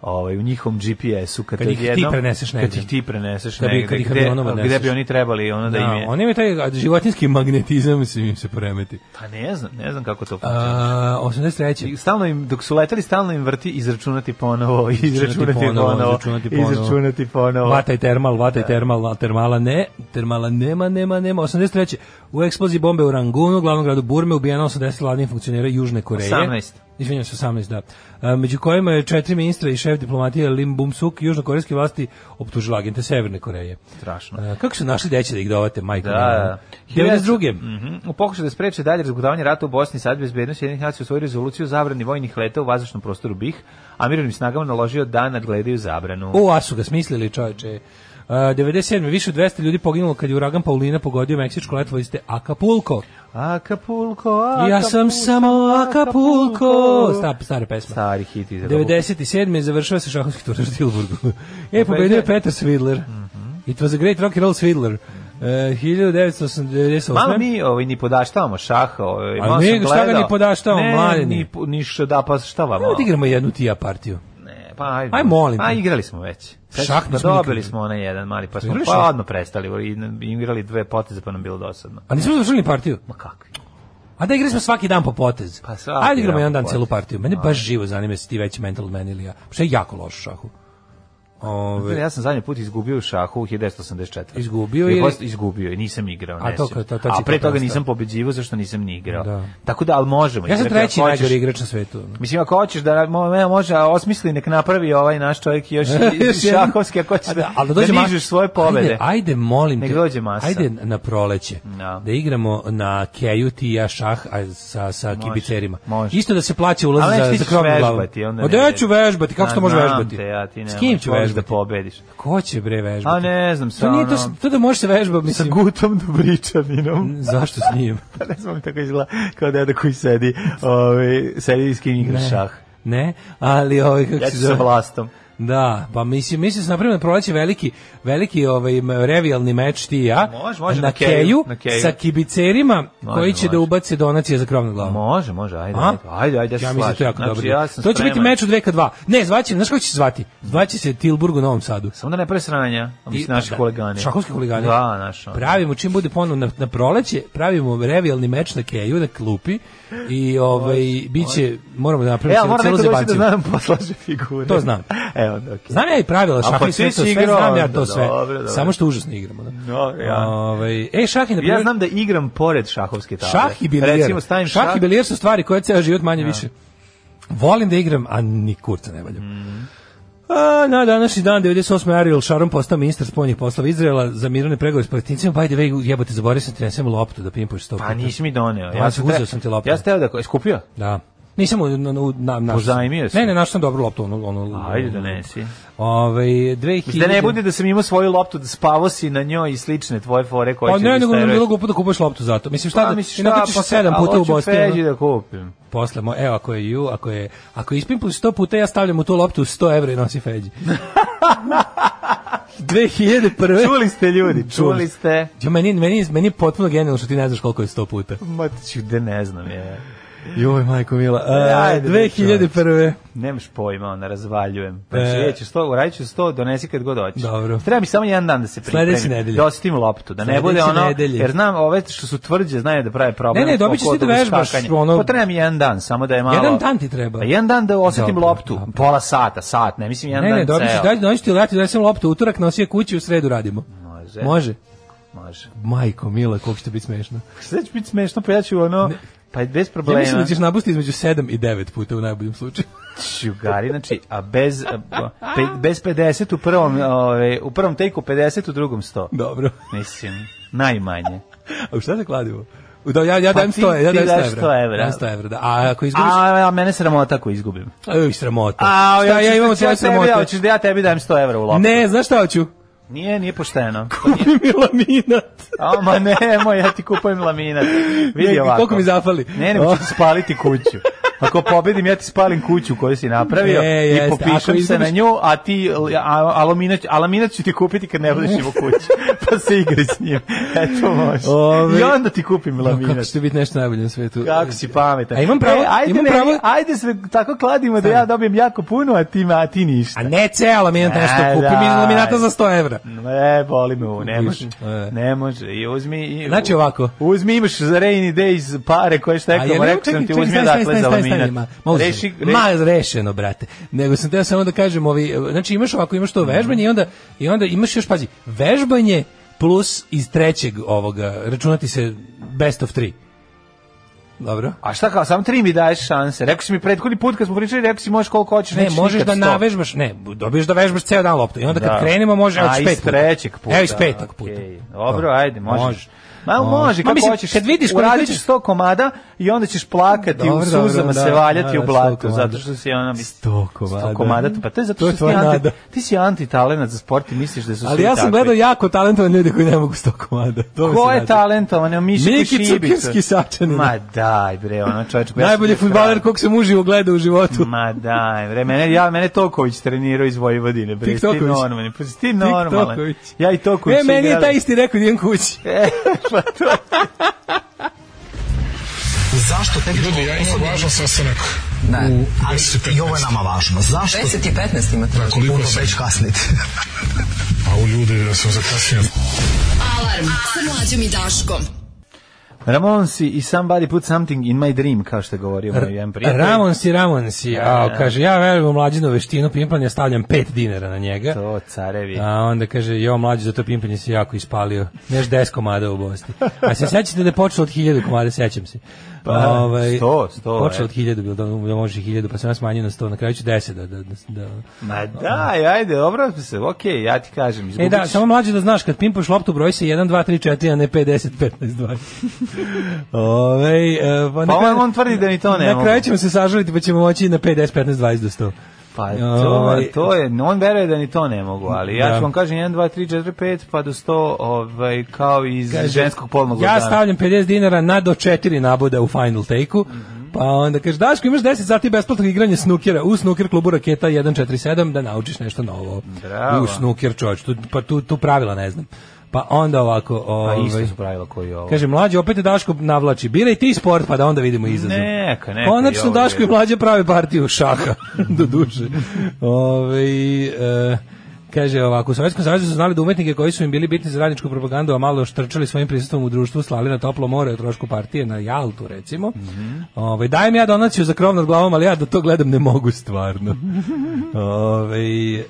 Speaker 6: ovaj, u njihovom GPS-u kad,
Speaker 5: Kad ih ti
Speaker 6: odjednom-
Speaker 5: preneseš
Speaker 6: kad
Speaker 5: negde.
Speaker 6: ih ti preneseš
Speaker 5: Da bi-
Speaker 6: negde,
Speaker 5: kad ih
Speaker 6: gde,
Speaker 5: avionom odneseš.
Speaker 6: gde bi oni trebali ono da,
Speaker 5: Da,
Speaker 6: im je
Speaker 5: on ima taj životinski magnetizam se im se poremeti. E,
Speaker 6: pa ne znam, ne znam kako to funkcionira
Speaker 5: A, 83.
Speaker 6: I stalno im dok su leteli stalno im vrti izračunati ponovo izračunati
Speaker 5: ponovo,
Speaker 6: ponovo
Speaker 5: izračunati ponovo.
Speaker 6: izračunati ponovo
Speaker 5: Vataj termal, vataj termal, a termala ne, termala nema, nema, nema. 83. U eksploziji bombe u Rangunu, glavnom gradu Burme, ubijeno 80 vladnih funkcionera Južne Koreje.
Speaker 6: 18.
Speaker 5: Izvinjam se, 18, da. A, među kojima je četiri ministra i šef diplomatije Lim Bum Suk, južnokorejske vlasti optužila agente Severne Koreje.
Speaker 6: strašno
Speaker 5: A, kako su našli deće da ih dovate, majka?
Speaker 6: Da, da.
Speaker 5: moja? 92.
Speaker 6: Mhm. U pokušaju da spreče dalje razgutavanje rata u Bosni sad bezbednost jednih nacija u svoju rezoluciju o zabrani vojnih leta u vazdušnom prostoru BiH, a mirovnim snagama naložio da nadgledaju zabranu.
Speaker 5: U, a su ga smislili, čoveče. Uh, 97. Više od 200 ljudi poginulo kad je uragan Paulina pogodio meksičko letovište Acapulco.
Speaker 6: Acapulco, Acapulco.
Speaker 5: Ja sam samo Acapulco. Sta, stara pesma.
Speaker 6: Stari hit iz
Speaker 5: 97. završava se šahovski turnir u Tilburgu. E, pobedio je Peter Svidler.
Speaker 6: Mhm.
Speaker 5: It was a great rock and roll Svidler. Uh, 1998.
Speaker 6: Malo mi ovaj, ni podaštavamo šah. Ovaj,
Speaker 5: A
Speaker 6: malo
Speaker 5: mi
Speaker 6: sam
Speaker 5: ga šta ga
Speaker 6: gledao.
Speaker 5: ni podaštavamo,
Speaker 6: ne,
Speaker 5: mladine?
Speaker 6: Ni, po- ni šta da, pa šta vam?
Speaker 5: Ajmo
Speaker 6: ono?
Speaker 5: da igramo jednu ti ja partiju.
Speaker 6: Ne, pa ajde.
Speaker 5: Aj, molim
Speaker 6: Pa
Speaker 5: te.
Speaker 6: igrali smo već. Sećaš
Speaker 5: Šah
Speaker 6: se,
Speaker 5: nismo
Speaker 6: pa
Speaker 5: nikad
Speaker 6: dobili
Speaker 5: igrali.
Speaker 6: smo onaj jedan mali, pa smo
Speaker 5: Igrali
Speaker 6: pa
Speaker 5: šah?
Speaker 6: odmah prestali. i- i Igrali dve poteze, pa nam bilo dosadno.
Speaker 5: A nismo završili partiju.
Speaker 6: Ma kakvi?
Speaker 5: A da igrali smo svaki dan po potez.
Speaker 6: Pa svaki
Speaker 5: Ajde igramo
Speaker 6: dan
Speaker 5: jedan
Speaker 6: po
Speaker 5: dan
Speaker 6: potez.
Speaker 5: celu partiju. Mene baš živo zanima si ti veći mental man ili ja. Što je jako loš u šahu. Ove,
Speaker 6: Ja sam zadnji put izgubio u šahu u 1984.
Speaker 5: Izgubio
Speaker 6: je?
Speaker 5: je-
Speaker 6: Izgubio je, nisam igrao.
Speaker 5: A
Speaker 6: ne
Speaker 5: to-
Speaker 6: sjećam.
Speaker 5: to- to će
Speaker 6: A pre
Speaker 5: to
Speaker 6: toga
Speaker 5: prestao.
Speaker 6: nisam pobeđivo zašto nisam ni igrao.
Speaker 5: Da.
Speaker 6: Tako da, ali možemo.
Speaker 5: ja sam
Speaker 6: igrati,
Speaker 5: treći
Speaker 6: ako hoćeš.
Speaker 5: najgori igrač na svetu. ono.
Speaker 6: Mislim, ako hoćeš da mo- me može a osmisli, nek napravi ovaj naš čovjek još i-
Speaker 5: Još jedan.
Speaker 6: šahovski, ako hoćeš
Speaker 5: A
Speaker 6: da,
Speaker 5: ali
Speaker 6: da,
Speaker 5: dođe mas-
Speaker 6: dižeš svoje
Speaker 5: Ajde,
Speaker 6: pobede.
Speaker 5: ajde molim
Speaker 6: Nek
Speaker 5: te.
Speaker 6: dođe masa.
Speaker 5: Ajde na proleće.
Speaker 6: Da.
Speaker 5: Da igramo na keju ti i ja šah a sa, sa kibicerima.
Speaker 6: može.
Speaker 5: Isto da se plaća
Speaker 6: Ali
Speaker 5: ulaz
Speaker 6: nećeš
Speaker 5: za,
Speaker 6: ti
Speaker 5: za
Speaker 6: ćeš
Speaker 5: krovnu glavu.
Speaker 6: vežbati, onda
Speaker 5: A
Speaker 6: ne
Speaker 5: Pa da
Speaker 6: ide.
Speaker 5: ću vežbati, kako
Speaker 6: A,
Speaker 5: što može
Speaker 6: znam
Speaker 5: vežbati?
Speaker 6: Te, ja, ti ne
Speaker 5: S kim
Speaker 6: možeš,
Speaker 5: ću
Speaker 6: možeš
Speaker 5: vežbati?
Speaker 6: da pobediš?
Speaker 5: Ko će bre vežbati?
Speaker 6: A ne znam, sa
Speaker 5: To, nije, to, s-
Speaker 6: ono-
Speaker 5: to da može se vežbati,
Speaker 6: Sa
Speaker 5: mislim.
Speaker 6: Gutom Dobričaninom.
Speaker 5: Zašto s njim?
Speaker 6: Pa ne znam mi tako izgleda kao deda koji sedi, ovaj, sedi i s kim igra šah.
Speaker 5: Ne, ali ovaj kako
Speaker 6: Ja
Speaker 5: se
Speaker 6: ću sa
Speaker 5: zove?
Speaker 6: vlastom.
Speaker 5: Da, pa mislim, mislim se na primjer proleće veliki, veliki ovaj m- revijalni meč ti i ja.
Speaker 6: Može, može,
Speaker 5: na,
Speaker 6: na keju,
Speaker 5: keju,
Speaker 6: na keju.
Speaker 5: sa kibicerima
Speaker 6: Može,
Speaker 5: koji će da
Speaker 6: može.
Speaker 5: ubace donacije za krovnu glavu.
Speaker 6: Može, može, ajde,
Speaker 5: A?
Speaker 6: ajde, ajde, ajde, se
Speaker 5: Ja mislim da je to jako
Speaker 6: slažem. znači,
Speaker 5: dobro.
Speaker 6: Ja sam
Speaker 5: to će biti
Speaker 6: spreman.
Speaker 5: meč u 2K2. Ne, zvaće, znaš kako će se zvati? Zvaće se Tilburg u Novom Sadu.
Speaker 6: Samo da ne pre sranja,
Speaker 5: I-
Speaker 6: a mislim naši
Speaker 5: da,
Speaker 6: huligani.
Speaker 5: Šahovski huligani.
Speaker 6: Da, naš. ono.
Speaker 5: Pravimo čim bude ponovno na, na proleće, pravimo revijalni meč na Keju, na klupi i ovaj biće moramo da
Speaker 6: E,
Speaker 5: napravimo
Speaker 6: ali
Speaker 5: celu-
Speaker 6: moram
Speaker 5: celu
Speaker 6: neko doći da
Speaker 5: zebanciju.
Speaker 6: znam poslaže figure.
Speaker 5: To znam.
Speaker 6: Evo, da, okej.
Speaker 5: Znam ja i pravila šaha
Speaker 6: pa
Speaker 5: i sve
Speaker 6: ti
Speaker 5: to,
Speaker 6: si
Speaker 5: sve
Speaker 6: igrao
Speaker 5: znam ja
Speaker 6: onda,
Speaker 5: to sve.
Speaker 6: dobro, dobro.
Speaker 5: Samo što užasno igramo. Da.
Speaker 6: No, ja.
Speaker 5: Ovaj, e, šah je, na
Speaker 6: Ja
Speaker 5: primjer,
Speaker 6: znam da igram pored šahovske table.
Speaker 5: šah i bilijer.
Speaker 6: Recimo, stavim šah.
Speaker 5: šah i bilijer su stvari koje ceo život manje više. Volim da igram, a ni kurca ne valja.
Speaker 6: Mhm.
Speaker 5: A, na današnji dan, 98. Ariel Sharon postao ministar spoljnih poslova Izraela za mirovne pregovore s palestincima. By the way, jebote, zaboravio sam ti nesem loptu da pijem pošto sto
Speaker 6: Pa
Speaker 5: puta.
Speaker 6: nisi mi doneo.
Speaker 5: Ja sam uzeo
Speaker 6: tre-
Speaker 5: sam ti loptu.
Speaker 6: Ja sam teo da... ko- Jesi kupio?
Speaker 5: Da. Nisam u, na, u, na, našao sam.
Speaker 6: Pozajmio si?
Speaker 5: Ne, ne, našao sam dobru loptu. Ono, ono, ovaj,
Speaker 6: Ajde, donesi.
Speaker 5: Ove, 2000...
Speaker 6: Da ne bude da sam imao svoju loptu, da spavo si na njoj i slične tvoje fore koje
Speaker 5: Pa
Speaker 6: će
Speaker 5: ne,
Speaker 6: da
Speaker 5: nego mi je
Speaker 6: isteraju.
Speaker 5: bilo glupo da kupuješ loptu zato. Mislim šta,
Speaker 6: Pa,
Speaker 5: da,
Speaker 6: misliš,
Speaker 5: inako
Speaker 6: šta,
Speaker 5: ćeš
Speaker 6: pa,
Speaker 5: sedam
Speaker 6: a
Speaker 5: puta u
Speaker 6: hoću
Speaker 5: Bosni.
Speaker 6: Feđi
Speaker 5: ono.
Speaker 6: da kupim.
Speaker 5: Posle, mo, evo, ako je ju, ako je, ako je ispimpuš 100 puta, ja stavljam u tu loptu 100 evra i nosi Feđi. 2001.
Speaker 6: Čuli ste ljudi, čuli ste.
Speaker 5: Jo, meni, meni, meni je potpuno genijalno što ti ne znaš koliko je 100 puta.
Speaker 6: Ma ću da ne znam je.
Speaker 5: Joj, majko mila.
Speaker 6: e, Ajde,
Speaker 5: 2001.
Speaker 6: Nemaš pojma, ona razvaljujem. Znači,
Speaker 5: E.
Speaker 6: e... ću sto, uradit ću sto, donesi kad god hoćeš.
Speaker 5: Dobro.
Speaker 6: Treba mi samo jedan dan da se pripremi.
Speaker 5: Sledeće nedelje.
Speaker 6: Da osjetim loptu, da ne
Speaker 5: Sledeće
Speaker 6: bude ono,
Speaker 5: nedelje.
Speaker 6: jer znam ove što su tvrđe, znaju da prave problem.
Speaker 5: Ne, ne, dobit ćeš ti da vežbaš, ono-
Speaker 6: Potrebam jedan dan, samo da je malo...
Speaker 5: Jedan dan ti treba.
Speaker 6: Pa jedan dan da osjetim
Speaker 5: Dobro,
Speaker 6: loptu,
Speaker 5: dobro.
Speaker 6: pola sata, sat, ne mislim jedan
Speaker 5: Ne, ne,
Speaker 6: dan
Speaker 5: dobiš,
Speaker 6: ceo.
Speaker 5: daj, dobiš ti leti, donesem loptu, utorak nosi je kući, u sredu radimo.
Speaker 6: Može.
Speaker 5: Može.
Speaker 6: Može.
Speaker 5: Majko mila, koliko će to biti smešno.
Speaker 6: Sve će biti smešno, pa ja ću ono... Pa je bez problema.
Speaker 5: Ja mislim da ćeš nabusti između 7 i 9 puta u najboljem slučaju.
Speaker 6: Čugari, znači, a bez, a, pe, bez 50 u prvom, ove, u prvom tejku 50, u drugom 100.
Speaker 5: Dobro.
Speaker 6: Mislim, najmanje.
Speaker 5: A u šta se kladimo? Da, ja, ja
Speaker 6: Pa
Speaker 5: dajem
Speaker 6: ti-
Speaker 5: 100 evra. Ja
Speaker 6: ti
Speaker 5: dajem 100
Speaker 6: daš
Speaker 5: evra.
Speaker 6: 100 evra.
Speaker 5: Dajem 100 evra, da. A ako izgubiš...
Speaker 6: A, a mene sramota ako izgubim.
Speaker 5: Ej, sramota.
Speaker 6: A,
Speaker 5: Šta, ja imam svoje
Speaker 6: Ja
Speaker 5: sramote.
Speaker 6: hoćeš da ja tebi dajem 100 evra u lopu.
Speaker 5: Ne, znaš šta hoću?
Speaker 6: Nije, Pa nije pošteno.
Speaker 5: Kupi mi laminat.
Speaker 6: A, ma nemoj, ja ti kupujem laminat. Vidi
Speaker 5: Ne,
Speaker 6: ovako.
Speaker 5: koliko mi zafali?
Speaker 6: Ne, nego ću ti spaliti kuću. Ako pobedim, ja ti spalim kuću koju si napravio
Speaker 5: E,
Speaker 6: i
Speaker 5: jeste. Ako
Speaker 6: popišem se
Speaker 5: izgubiš-
Speaker 6: na nju, a ti a, aluminat, aluminat ću ti kupiti kad ne budeš imao kuću. Pa se igri s njim. Eto može.
Speaker 5: Ove-
Speaker 6: I onda ti kupim
Speaker 5: Kako
Speaker 6: laminat.
Speaker 5: će biti nešto najbolje na svetu?
Speaker 6: Pa Kako si pametan.
Speaker 5: A imam pravo?
Speaker 6: E, ajde,
Speaker 5: Imam
Speaker 6: ne,
Speaker 5: pravo?
Speaker 6: ajde se tako kladimo da ja dobijem jako puno, a ti, a ti ništa.
Speaker 5: A ne ceo laminat nešto,
Speaker 6: E,
Speaker 5: kupi
Speaker 6: da.
Speaker 5: mi laminata za 100 evra.
Speaker 6: Ne, boli me ovo, ne može.
Speaker 5: Više, e.
Speaker 6: Ne može. I uzmi... I,
Speaker 5: Znači ovako.
Speaker 6: Uzmi, imaš za rainy days pare koje šta
Speaker 5: A je
Speaker 6: rekao,
Speaker 5: li-
Speaker 6: rekao sam ti,
Speaker 5: čekaj,
Speaker 6: uzmi
Speaker 5: čekaj, stani, stani,
Speaker 6: odakle za
Speaker 5: stani, stani, Ma,
Speaker 6: laminat.
Speaker 5: ma uzmi.
Speaker 6: Reši,
Speaker 5: ma rešeno, brate. Nego sam teo samo da kažem, ovi, znači imaš ovako, imaš
Speaker 6: Mhm.
Speaker 5: to vežbanje i onda, i onda imaš još, pazi, vežbanje plus iz trećeg ovoga, računati se best of three. Dobro?
Speaker 6: A šta kao, samo tri mi daješ šanse. Rekao si mi prethodni put kad smo pričali, rekao si možeš koliko hoćeš,
Speaker 5: Ne,
Speaker 6: nećeš
Speaker 5: možeš
Speaker 6: Znači, nikad
Speaker 5: da
Speaker 6: sto.
Speaker 5: navežbaš, ne, dobiješ da vežbaš ceo dan loptu. I onda kad
Speaker 6: Da.
Speaker 5: krenemo može
Speaker 6: A,
Speaker 5: hoćeš
Speaker 6: iz
Speaker 5: pet puta.
Speaker 6: trećeg puta.
Speaker 5: Evo iz petog puta.
Speaker 6: Okej. Dobro, ajde, možeš.
Speaker 5: Može.
Speaker 6: Ma
Speaker 5: Može.
Speaker 6: može,
Speaker 5: Ma,
Speaker 6: kako
Speaker 5: mislim,
Speaker 6: hoćeš.
Speaker 5: kad vidiš koliko
Speaker 6: uradit
Speaker 5: ćeš-
Speaker 6: ćeš 100 komada i onda ćeš plakati u
Speaker 5: Dobro, dobro,
Speaker 6: suzama
Speaker 5: da,
Speaker 6: se valjati
Speaker 5: da,
Speaker 6: u
Speaker 5: da, 100
Speaker 6: blatu
Speaker 5: komada.
Speaker 6: zato što si ona mislim
Speaker 5: 100 komada.
Speaker 6: komada, pa to je zato
Speaker 5: To je
Speaker 6: što si
Speaker 5: tvoja
Speaker 6: anti-
Speaker 5: nada.
Speaker 6: ti si antitalenat za sport i misliš da su
Speaker 5: Ali
Speaker 6: svi
Speaker 5: ja sam
Speaker 6: takvi.
Speaker 5: gledao jako talentovane ljude koji ne mogu sto komada. To mi se
Speaker 6: Ko je
Speaker 5: nađe.
Speaker 6: talentovan? Evo Miško
Speaker 5: Miki
Speaker 6: Šibica.
Speaker 5: Cukirski Sačanin.
Speaker 6: Ma daj bre, ono čoveče. koji ja sam Mm,
Speaker 5: Najbolji
Speaker 6: bio
Speaker 5: fudbaler
Speaker 6: kralj.
Speaker 5: kog sam uživo gledao u životu.
Speaker 6: Ma daj, bre, mene, ja, mene Toković trenirao iz Vojvodine, bre, ti
Speaker 5: Tiktoković.
Speaker 6: normalni, pa si ti normalan.
Speaker 5: Toković.
Speaker 6: Ja i Toković
Speaker 5: E, meni je
Speaker 6: igrali. E,
Speaker 5: taj isti rekao da idem kući.
Speaker 1: Zašto tek
Speaker 3: Ljudi, ja imam važan sastanak.
Speaker 1: Da. Ali
Speaker 3: 10 i
Speaker 1: i ovo je nama važno. Zašto? 10 i 15 imate. Da,
Speaker 3: koliko
Speaker 1: Puno
Speaker 3: sam?
Speaker 1: već kasnite.
Speaker 3: A u ljudi, da sam zakasnio.
Speaker 4: Alarm sa mlađom i Daškom.
Speaker 6: Ramonsi i Somebody Put Something in My Dream, kao što je govorio moj jedan prijatelj.
Speaker 5: Ramon si, Ramon si. A, kaže, ja verujem u mlađinu veštinu pimpanja, stavljam 5 dinara na njega.
Speaker 6: To, carevi.
Speaker 5: A onda kaže, jo mlađi, za to pimpanje si jako ispalio. Neš 10 komada u Bosni. A se sećate da je počelo od 1000 komada, sećam se.
Speaker 6: Pa,
Speaker 5: Ovaj,
Speaker 6: sto, sto,
Speaker 5: Počelo
Speaker 6: e.
Speaker 5: od 1000, bilo da, da može 1000, pa sam ja smanjio na 100, na kraju ću 10 da... da, da, da.
Speaker 6: Ma daj, ajde, obrazme se, okej, ja ti kažem,
Speaker 5: E
Speaker 6: izgubit
Speaker 5: da,
Speaker 6: ćeš.
Speaker 5: samo mlađe da znaš, kad pimpaš loptu broj se 1, 2, 3, 4, a ne 5, 10, 15, 20. Ove, e, pa
Speaker 6: Pa
Speaker 5: na kraju-
Speaker 6: on, on tvrdi da ni to ne
Speaker 5: Na
Speaker 6: mogu.
Speaker 5: kraju ćemo se sažaliti pa ćemo moći na 5, 10, 15, 20 do 100.
Speaker 6: Pa to,
Speaker 5: Ovaj,
Speaker 6: to je, on veruje da ni to ne mogu, ali ja
Speaker 5: Da.
Speaker 6: ću vam kažem 1, 2, 3, 4, 5, pa do 100, ovaj, kao iz
Speaker 5: Kaže,
Speaker 6: ženskog polnog
Speaker 5: Ja
Speaker 6: organa.
Speaker 5: stavljam 50 dinara na do 4 naboda u final take-u. Pa onda kaže, Daško, imaš 10 sati besplatnog igranja snukera u snuker klubu Raketa 147 da naučiš nešto novo.
Speaker 6: Bravo.
Speaker 5: U snuker čovječ, tu, pa tu, tu pravila ne znam. Pa onda ovako,
Speaker 6: Pa
Speaker 5: ovaj,
Speaker 6: isto su pravila koji je ovo.
Speaker 5: kaže, mlađe, opet je Daško navlači, biraj ti sport pa da onda vidimo izazov.
Speaker 6: Neka, neka.
Speaker 5: Konačno
Speaker 6: i ovo
Speaker 5: Daško i
Speaker 6: je.
Speaker 5: mlađe prave partiju šaha, do duše. Ove, e, kaže ovako, u Sovjetskom savjezu su znali da umetnike koji su im bili bitni za radničku propagandu, a malo štrčali svojim prisustvom u društvu, slali na toplo more o trošku partije, na Jaltu recimo. Ove, dajem ja donaciju za krov nad glavom, ali ja da to gledam ne mogu stvarno. Ove, e,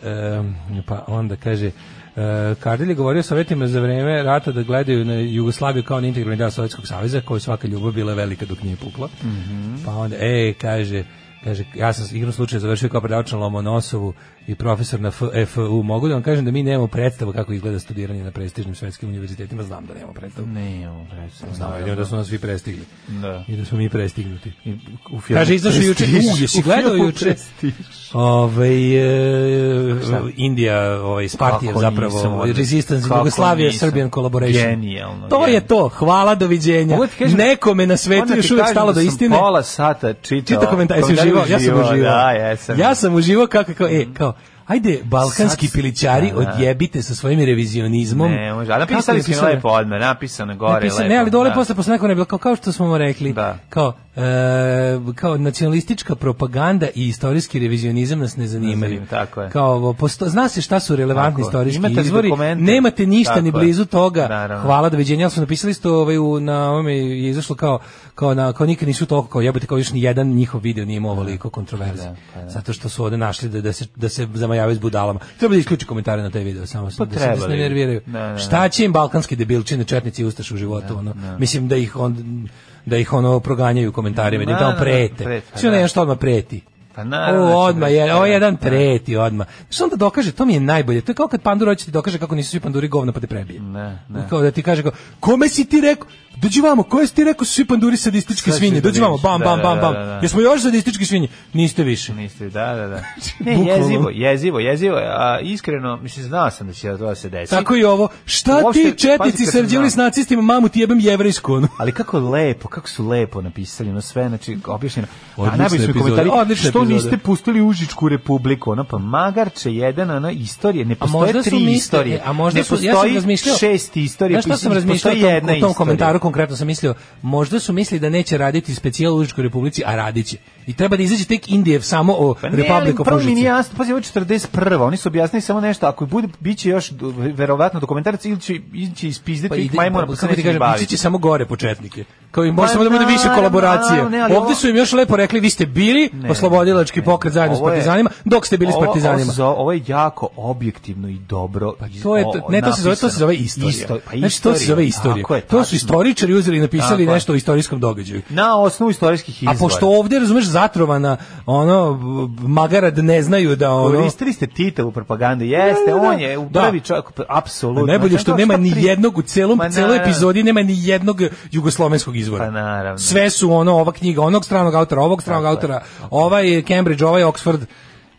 Speaker 5: pa onda kaže... E, Kardil je govorio sovjetima za vreme rata da gledaju na Jugoslaviju kao na integralni deo Sovjetskog saveza, koju svaka ljubav bila je velika dok nije pukla.
Speaker 6: Mhm.
Speaker 5: Pa onda, e, kaže, kaže, ja sam igrom slučaja završio kao predavač na Lomonosovu i profesor na F- FU. Mogu da vam kažem da mi nemamo predstavu kako izgleda studiranje na prestižnim svetskim univerzitetima, znam da nemamo predstavu.
Speaker 6: Ne, imamo predstavu.
Speaker 5: Znam, vidimo da su nas svi prestigli.
Speaker 6: Mm. Da.
Speaker 5: I da smo mi prestignuti.
Speaker 6: I U filmu
Speaker 5: Kaže, izašao juče,
Speaker 6: Prestiž.
Speaker 5: u, jesi
Speaker 6: U
Speaker 5: gledao
Speaker 6: filmu
Speaker 5: juče?
Speaker 6: Prestiž.
Speaker 5: Ovaj e, Indija, ovaj Spartija
Speaker 6: Kako nisam,
Speaker 5: zapravo,
Speaker 6: odlično.
Speaker 5: Resistance
Speaker 6: Kako
Speaker 5: Jugoslavia
Speaker 6: nisam.
Speaker 5: Serbian Collaboration.
Speaker 6: Genijalno,
Speaker 5: To je
Speaker 6: genijalno.
Speaker 5: to. Hvala doviđenja.
Speaker 6: Mogu ti kažem-
Speaker 5: Nekome na
Speaker 6: Odmah
Speaker 5: svetu
Speaker 6: ti
Speaker 5: još uvek
Speaker 6: kažem
Speaker 5: stalo do
Speaker 6: da sam
Speaker 5: istine.
Speaker 6: Pola sata čitao.
Speaker 5: Čita komentar, jesi
Speaker 6: komentare
Speaker 5: uživao? Ja sam uživao.
Speaker 6: Da, jesam. Mhm.
Speaker 5: Ja sam uživao kako, kao, e, kao, ajde, balkanski
Speaker 6: Sad-
Speaker 5: pilićari,
Speaker 6: Da, da.
Speaker 5: odjebite sa svojim revizionizmom.
Speaker 6: Ne, može. A
Speaker 5: Kako je
Speaker 6: napisali smo
Speaker 5: napisano?
Speaker 6: lepo odme, napisano gore
Speaker 5: Napisano,
Speaker 6: lepo.
Speaker 5: ne, ali dole
Speaker 6: da.
Speaker 5: posle posle neko ne bilo kao, kao što smo mu rekli.
Speaker 6: Da.
Speaker 5: Kao e, kao nacionalistička propaganda i istorijski revizionizam nas ne zanimaju.
Speaker 6: zanimaju, tako je.
Speaker 5: Kao ovo, posto, zna se šta su relevantni
Speaker 6: Tako je.
Speaker 5: istorijski
Speaker 6: Imate li
Speaker 5: izvori.
Speaker 6: dokumente?
Speaker 5: Nemate ništa ni
Speaker 6: Tako je.
Speaker 5: blizu toga.
Speaker 6: Naravno.
Speaker 5: Hvala doviđenja, ali su napisali sto ovaj u na ovome je izašlo kao kao na kao nikad nisu toliko kao jebote kao još ni jedan njihov video nije imao ovoliko kontroverze.
Speaker 6: pa
Speaker 5: Zato što su ovde našli da da se da se zamajavaju s budalama. Treba da isključi komentare na taj video samo pa da se, da se ne
Speaker 6: trebali.
Speaker 5: nerviraju.
Speaker 6: Da, da, da.
Speaker 5: Šta će im balkanski debilčine, četnici i ustaše u životu, ono. Mislim da ih on da ih ono proganjaju u komentarima, da im
Speaker 6: Da,
Speaker 5: tamo
Speaker 6: da, da,
Speaker 5: prete.
Speaker 6: prete, pa
Speaker 5: Sve ono
Speaker 6: da.
Speaker 5: nešto odmah preti.
Speaker 6: Pa
Speaker 5: O,
Speaker 6: naravno da će
Speaker 5: odmah,
Speaker 6: preti,
Speaker 5: je, o,
Speaker 6: da.
Speaker 5: jedan preti odmah. Što onda dokaže, to mi je najbolje. To je kao kad pandur hoće ti dokaže kako nisu svi panduri govna pa te prebije.
Speaker 6: Ne, ne.
Speaker 5: Kao da ti kaže, kao, kome si ti rekao?
Speaker 7: Dođi vamo, koje si ti rekao su svi panduri sadističke
Speaker 6: Sad ću
Speaker 7: svinje?
Speaker 6: da
Speaker 7: Dođi vamo,
Speaker 6: vidiš.
Speaker 7: bam,
Speaker 6: Da,
Speaker 7: bam,
Speaker 6: da,
Speaker 7: bam,
Speaker 6: da,
Speaker 7: bam.
Speaker 6: da, da.
Speaker 7: Jesmo još sadističke svinje? Niste više.
Speaker 6: Niste, da, da, da. Ne,
Speaker 7: Bukvalno.
Speaker 6: jezivo, jezivo, jezivo. je, A, iskreno, mislim, znao sam da će to da se desi.
Speaker 7: Tako i ovo. Šta
Speaker 6: Uopšte,
Speaker 7: ti četnici
Speaker 6: pazi kad
Speaker 7: sarađivali s
Speaker 6: sam-
Speaker 7: nacistima, mamu ti jebem jevrejsku. ono.
Speaker 6: Ali kako lepo, kako su lepo napisali, ono sve, znači, objašnjeno.
Speaker 7: Odlična
Speaker 6: A najbolji su mi
Speaker 7: epizoda,
Speaker 6: komentari,
Speaker 7: odlična
Speaker 6: što
Speaker 7: epizoda.
Speaker 6: niste pustili Užičku republiku, ono pa Magarče, jedan, ono, istorije, ne postoje
Speaker 5: možda su
Speaker 6: tri
Speaker 5: mislili-
Speaker 6: istorije,
Speaker 5: e, a možda
Speaker 6: ne
Speaker 5: su- ja sam
Speaker 6: postoji
Speaker 5: razmišljao-
Speaker 6: šest istorija,
Speaker 5: Znaš šta sam
Speaker 6: ne
Speaker 5: razmišljao
Speaker 6: postoji
Speaker 5: o tom,
Speaker 6: jedna
Speaker 5: o tom
Speaker 6: istorija.
Speaker 5: komentaru konkretno sam mislio, možda su mislili da neće raditi specijal u Užičkoj republici, a radit će. I treba da izađe tek Indijev samo o
Speaker 6: Pa ne,
Speaker 5: Republic
Speaker 6: ali
Speaker 5: of
Speaker 6: prvo mi
Speaker 5: Užice.
Speaker 6: nije jasno, pa pazi, ovo je 41. Oni su objasnili samo nešto, ako bude, bit će još do- verovatno dokumentarac ili će, ili će ispizditi
Speaker 5: Pa
Speaker 6: pa,
Speaker 5: ide,
Speaker 6: majmuna,
Speaker 5: pa,
Speaker 6: pa se
Speaker 5: kako ti
Speaker 6: neće ni
Speaker 5: kažem,
Speaker 6: baviti.
Speaker 5: ići će samo gore početnike. Kao i može
Speaker 6: Pa,
Speaker 5: samo da bude više
Speaker 6: naravno,
Speaker 5: kolaboracije.
Speaker 6: naravno, ali
Speaker 5: Ovde
Speaker 6: ovo-
Speaker 5: su im još lepo rekli, vi ste bili
Speaker 6: Ne,
Speaker 5: oslobodilački
Speaker 6: ne,
Speaker 5: pokret zajedno s
Speaker 6: ovo je-
Speaker 5: partizanima, dok ste bili s
Speaker 6: ovo-
Speaker 5: partizanima.
Speaker 6: Ovo, se zove- ovo je jako objektivno i dobro. Pa
Speaker 5: To je to- ne to se zove to se zove istorija.
Speaker 6: pa
Speaker 5: znači to se zove
Speaker 6: istorija,
Speaker 5: istorija.
Speaker 6: tako je,
Speaker 5: to su
Speaker 6: tačno.
Speaker 5: istoričari uzeli i napisali
Speaker 6: Tako je.
Speaker 5: nešto o istorijskom događaju.
Speaker 6: Na osnovu istorijskih izvora.
Speaker 5: A pošto ovdje, razumeš, zatrovana, ono, b- magarad ne znaju da, ono,
Speaker 6: Koristili ste Tita u propagandi, jeste,
Speaker 5: Da, da, da.
Speaker 6: on je u
Speaker 5: Da.
Speaker 6: prvi čovjek, apsolutno.
Speaker 5: najbolje
Speaker 6: Znači,
Speaker 5: što
Speaker 6: to
Speaker 5: nema
Speaker 6: šta
Speaker 5: ni
Speaker 6: pri-
Speaker 5: jednog, u celom,
Speaker 6: Ma
Speaker 5: celoj
Speaker 6: naravno.
Speaker 5: epizodi nema ni jednog jugoslovenskog izvora.
Speaker 6: Pa naravno.
Speaker 5: Sve su, ono, ova knjiga onog stranog autora, ovog stranog
Speaker 6: Tako je,
Speaker 5: autora, ovaj Cambridge, ovaj Oxford,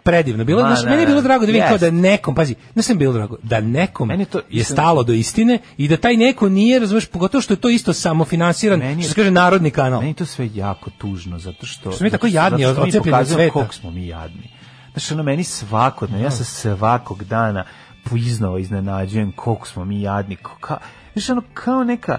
Speaker 5: predivno. Bilo,
Speaker 6: Ma,
Speaker 5: znaš,
Speaker 6: da,
Speaker 5: meni je bilo
Speaker 6: da.
Speaker 5: drago da vidim kao
Speaker 6: Jest.
Speaker 5: da nekom, pazi, znaš što mi je bilo drago, da nekom
Speaker 6: Meni je to
Speaker 5: je
Speaker 6: isto-
Speaker 5: stalo do istine i da taj neko nije, razumeš, pogotovo što je to isto samofinansiran,
Speaker 6: Meni je-
Speaker 5: što se kaže, narodni kanal.
Speaker 6: Meni je to sve jako tužno, zato što...
Speaker 5: Što smo mi tako
Speaker 6: zato-
Speaker 5: jadni,
Speaker 6: zato što mi
Speaker 5: ocepljeni od
Speaker 6: pokazujemo
Speaker 5: sveta.
Speaker 6: Koliko smo mi jadni. Znaš, ono, meni svakodne, ja se svakog dana iznova iznenađujem koliko smo mi jadni. ko- Ka, znaš, ono, kao neka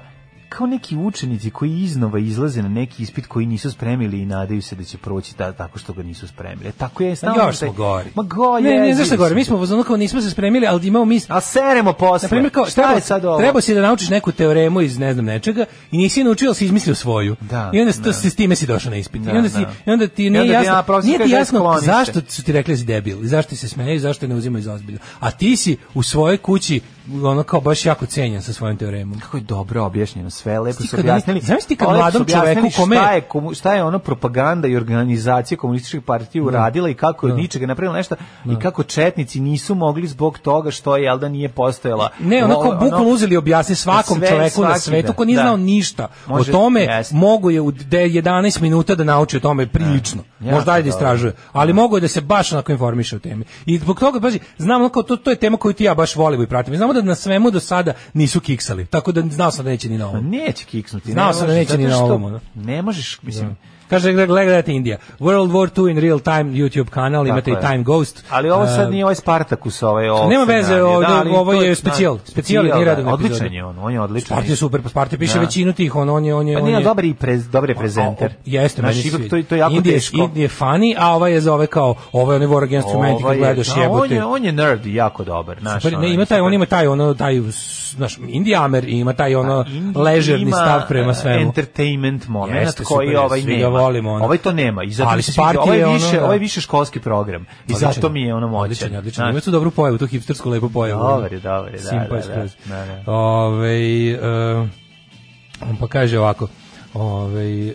Speaker 6: kao neki učenici koji iznova izlaze na neki ispit koji nisu spremili i nadaju se da će proći ta, tako što ga nisu spremili. E, Tako je,
Speaker 5: Ma
Speaker 6: stalno...
Speaker 5: Još
Speaker 6: taj-
Speaker 5: smo gori.
Speaker 6: Ma
Speaker 5: Ne,
Speaker 6: go,
Speaker 5: ne,
Speaker 6: jezivi
Speaker 5: znaš šta gori,
Speaker 6: smo.
Speaker 5: mi smo ono kao nismo se spremili, ali imamo mi...
Speaker 6: A seremo posle.
Speaker 5: Na primjer, kao,
Speaker 6: Šta
Speaker 5: treba,
Speaker 6: je sad ovo?
Speaker 5: treba si da naučiš neku teoremu iz ne znam nečega i nisi je naučio, ali si izmislio svoju.
Speaker 6: Da,
Speaker 5: I onda s, to,
Speaker 6: da.
Speaker 5: s time si došao na ispit.
Speaker 6: Da,
Speaker 5: I, onda si,
Speaker 6: da.
Speaker 5: I onda ti
Speaker 6: I
Speaker 5: nije
Speaker 6: onda ti ja
Speaker 5: jasno,
Speaker 6: profesor
Speaker 5: nije ti
Speaker 6: kaže,
Speaker 5: jasno
Speaker 6: skloni se.
Speaker 5: zašto su ti rekli da si debil, i zašto ti se smeju, i zašto te ne uzimaju za ozbiljno. A ti si u svojoj kući ono kao baš jako cenjen sa svojom teoremom.
Speaker 6: kako je dobro objašnjeno sve, lepo
Speaker 5: Sti
Speaker 6: su
Speaker 5: kad oni-
Speaker 6: objasnili.
Speaker 5: zamisli ti kad
Speaker 6: lepo su
Speaker 5: mladom
Speaker 6: objasnili
Speaker 5: čoveku kome-
Speaker 6: Šta je, komu- šta je ono propaganda i organizacija komunističke partije uradila i kako je od ničega napravila nešto i kako četnici nisu mogli zbog toga što je, jel da nije postojala...
Speaker 5: Ne, ono kao
Speaker 6: Ono-
Speaker 5: bukvalno uzeli objasni svakom
Speaker 6: sve,
Speaker 5: čoveku na
Speaker 6: svaki,
Speaker 5: svetu
Speaker 6: da,
Speaker 5: ko nije
Speaker 6: da.
Speaker 5: znao ništa
Speaker 6: Može,
Speaker 5: o tome,
Speaker 6: jeste.
Speaker 5: mogu je u de- 11 minuta da nauči o tome prilično.
Speaker 6: jako
Speaker 5: Možda ajde da
Speaker 6: dobro.
Speaker 5: istražuje, ali mogu je da se baš onako informiše o temi. I zbog toga, pazi, znam ono kao to, to je tema koju ti i ja baš volim i pratim. Znamo da na svemu do sada nisu kiksali, tako da znao sam da neće ni na
Speaker 6: Ma
Speaker 5: ovom.
Speaker 6: Neće kiksnuti.
Speaker 5: Znao
Speaker 6: ne
Speaker 5: sam da
Speaker 6: možeš,
Speaker 5: neće ni
Speaker 6: zato
Speaker 5: na
Speaker 6: što
Speaker 5: ovom, ono.
Speaker 6: Ne možeš, mislim...
Speaker 5: Kaže, gledaj- gledajte Indija. World War II in real time YouTube kanal, imate
Speaker 6: Tako
Speaker 5: i
Speaker 6: je.
Speaker 5: Time Ghost.
Speaker 6: Ali ovo
Speaker 5: E,
Speaker 6: sad nije ovaj Spartakus, ovaj ovo.
Speaker 5: Nema veze,
Speaker 6: scenarij,
Speaker 5: ovo-
Speaker 6: ali
Speaker 5: ovo
Speaker 6: to
Speaker 5: je specijal,
Speaker 6: znaš,
Speaker 5: specijal je
Speaker 6: da,
Speaker 5: neradovna
Speaker 6: Odličan
Speaker 5: epizoda.
Speaker 6: je on, on je odličan.
Speaker 5: Sparta je super, pa Sparta piše
Speaker 6: Da.
Speaker 5: većinu tih, on, on je... On je
Speaker 6: Pa
Speaker 5: on
Speaker 6: nije
Speaker 5: je-
Speaker 6: dobar i prez, dobar je prezenter.
Speaker 5: A, o- Jeste,
Speaker 6: Znaš,
Speaker 5: meni se
Speaker 6: ipak
Speaker 5: sviđa.
Speaker 6: to, to je jako
Speaker 5: Indije,
Speaker 6: teško.
Speaker 5: Indije je funny, a ovaj je zove kao, ovaj on je War Against Humanity
Speaker 6: Ovaj
Speaker 5: kad
Speaker 6: je-
Speaker 5: gledaš
Speaker 6: da, On
Speaker 5: jebote.
Speaker 6: je, on je nerd i jako dobar. Naš,
Speaker 5: Super, ne, ima taj, on ima taj, ono, taj, s- znaš, Indijamer i ima taj, ono,
Speaker 6: Pa,
Speaker 5: ležerni stav
Speaker 6: e,
Speaker 5: prema svemu.
Speaker 6: Entertainment moment
Speaker 5: Jeste,
Speaker 6: koji
Speaker 5: super,
Speaker 6: ovaj
Speaker 5: svi ga
Speaker 6: nema.
Speaker 5: volimo, ono.
Speaker 6: Ovaj to nema. I zato
Speaker 5: Ali
Speaker 6: mi se
Speaker 5: Sparti
Speaker 6: sviđa. Ovaj
Speaker 5: je
Speaker 6: je
Speaker 5: ono,
Speaker 6: više,
Speaker 5: da.
Speaker 6: ovaj je više školski program. I
Speaker 5: Odličan
Speaker 6: zato mi je ono moćan.
Speaker 5: Odličan, je, odličan.
Speaker 6: Znaš,
Speaker 5: Ima tu dobru pojavu, tu hipstersku lepu pojavu.
Speaker 6: Dobar je, dobar je, da,
Speaker 5: Simpa
Speaker 6: da,
Speaker 5: je
Speaker 6: da,
Speaker 5: skroz.
Speaker 6: da,
Speaker 5: Ovaj, e, on pa kaže ovako, ovaj, e,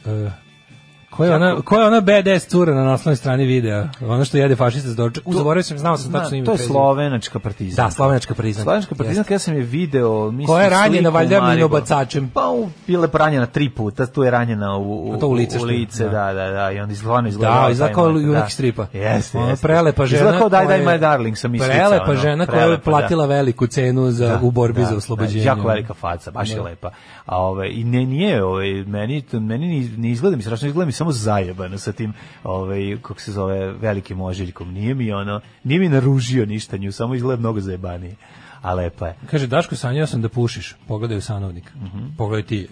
Speaker 5: Koja je, ona, koja je ona BDS cura na naslovnoj strani videa? Ona što jede fašista s doručak. U, zaboravio sam, znao sam
Speaker 6: zna,
Speaker 5: tačno ime. i
Speaker 6: to je
Speaker 5: prezime.
Speaker 6: slovenačka partizanka.
Speaker 5: Da, slovenačka priznanka.
Speaker 6: Slovenačka
Speaker 5: Jeste.
Speaker 6: partizanka, ja sam je video, mislim,
Speaker 5: Koja je ranjena,
Speaker 6: sliku u
Speaker 5: valjda,
Speaker 6: Mariboru.
Speaker 5: minobacačem.
Speaker 6: Pa, u, bila je ranjena tri puta, tu je ranjena u,
Speaker 5: A
Speaker 6: u,
Speaker 5: Pa to u lice
Speaker 6: u
Speaker 5: što je,
Speaker 6: lice,
Speaker 5: da.
Speaker 6: da, da, da, i onda izgleda izgleda.
Speaker 5: Da, izgleda kao junak stripa.
Speaker 6: Jeste,
Speaker 5: Ona
Speaker 6: jeste.
Speaker 5: prelepa žena.
Speaker 6: Izgleda kao Daj,
Speaker 5: koja je-
Speaker 6: Daj, My Darling sam ono, islicao.
Speaker 5: Prelepa žena koja je platila veliku cenu za, u borbi
Speaker 6: da,
Speaker 5: za oslobođenje.
Speaker 6: Da, jako velika faca, baš je lepa. A ovaj i ne nije, ovaj meni to- meni ni, ni izgleda mi strašno, izgleda mi samo zajebano sa tim, ovaj kako se zove, velikim ožiljkom. Nije mi ono, nije mi naružio ništa nju, samo izgleda mnogo zajebanije. A lepa je.
Speaker 5: Kaže, Daško, sanjao sam da pušiš. Pogledaj u sanovnik. Pogledaj ti.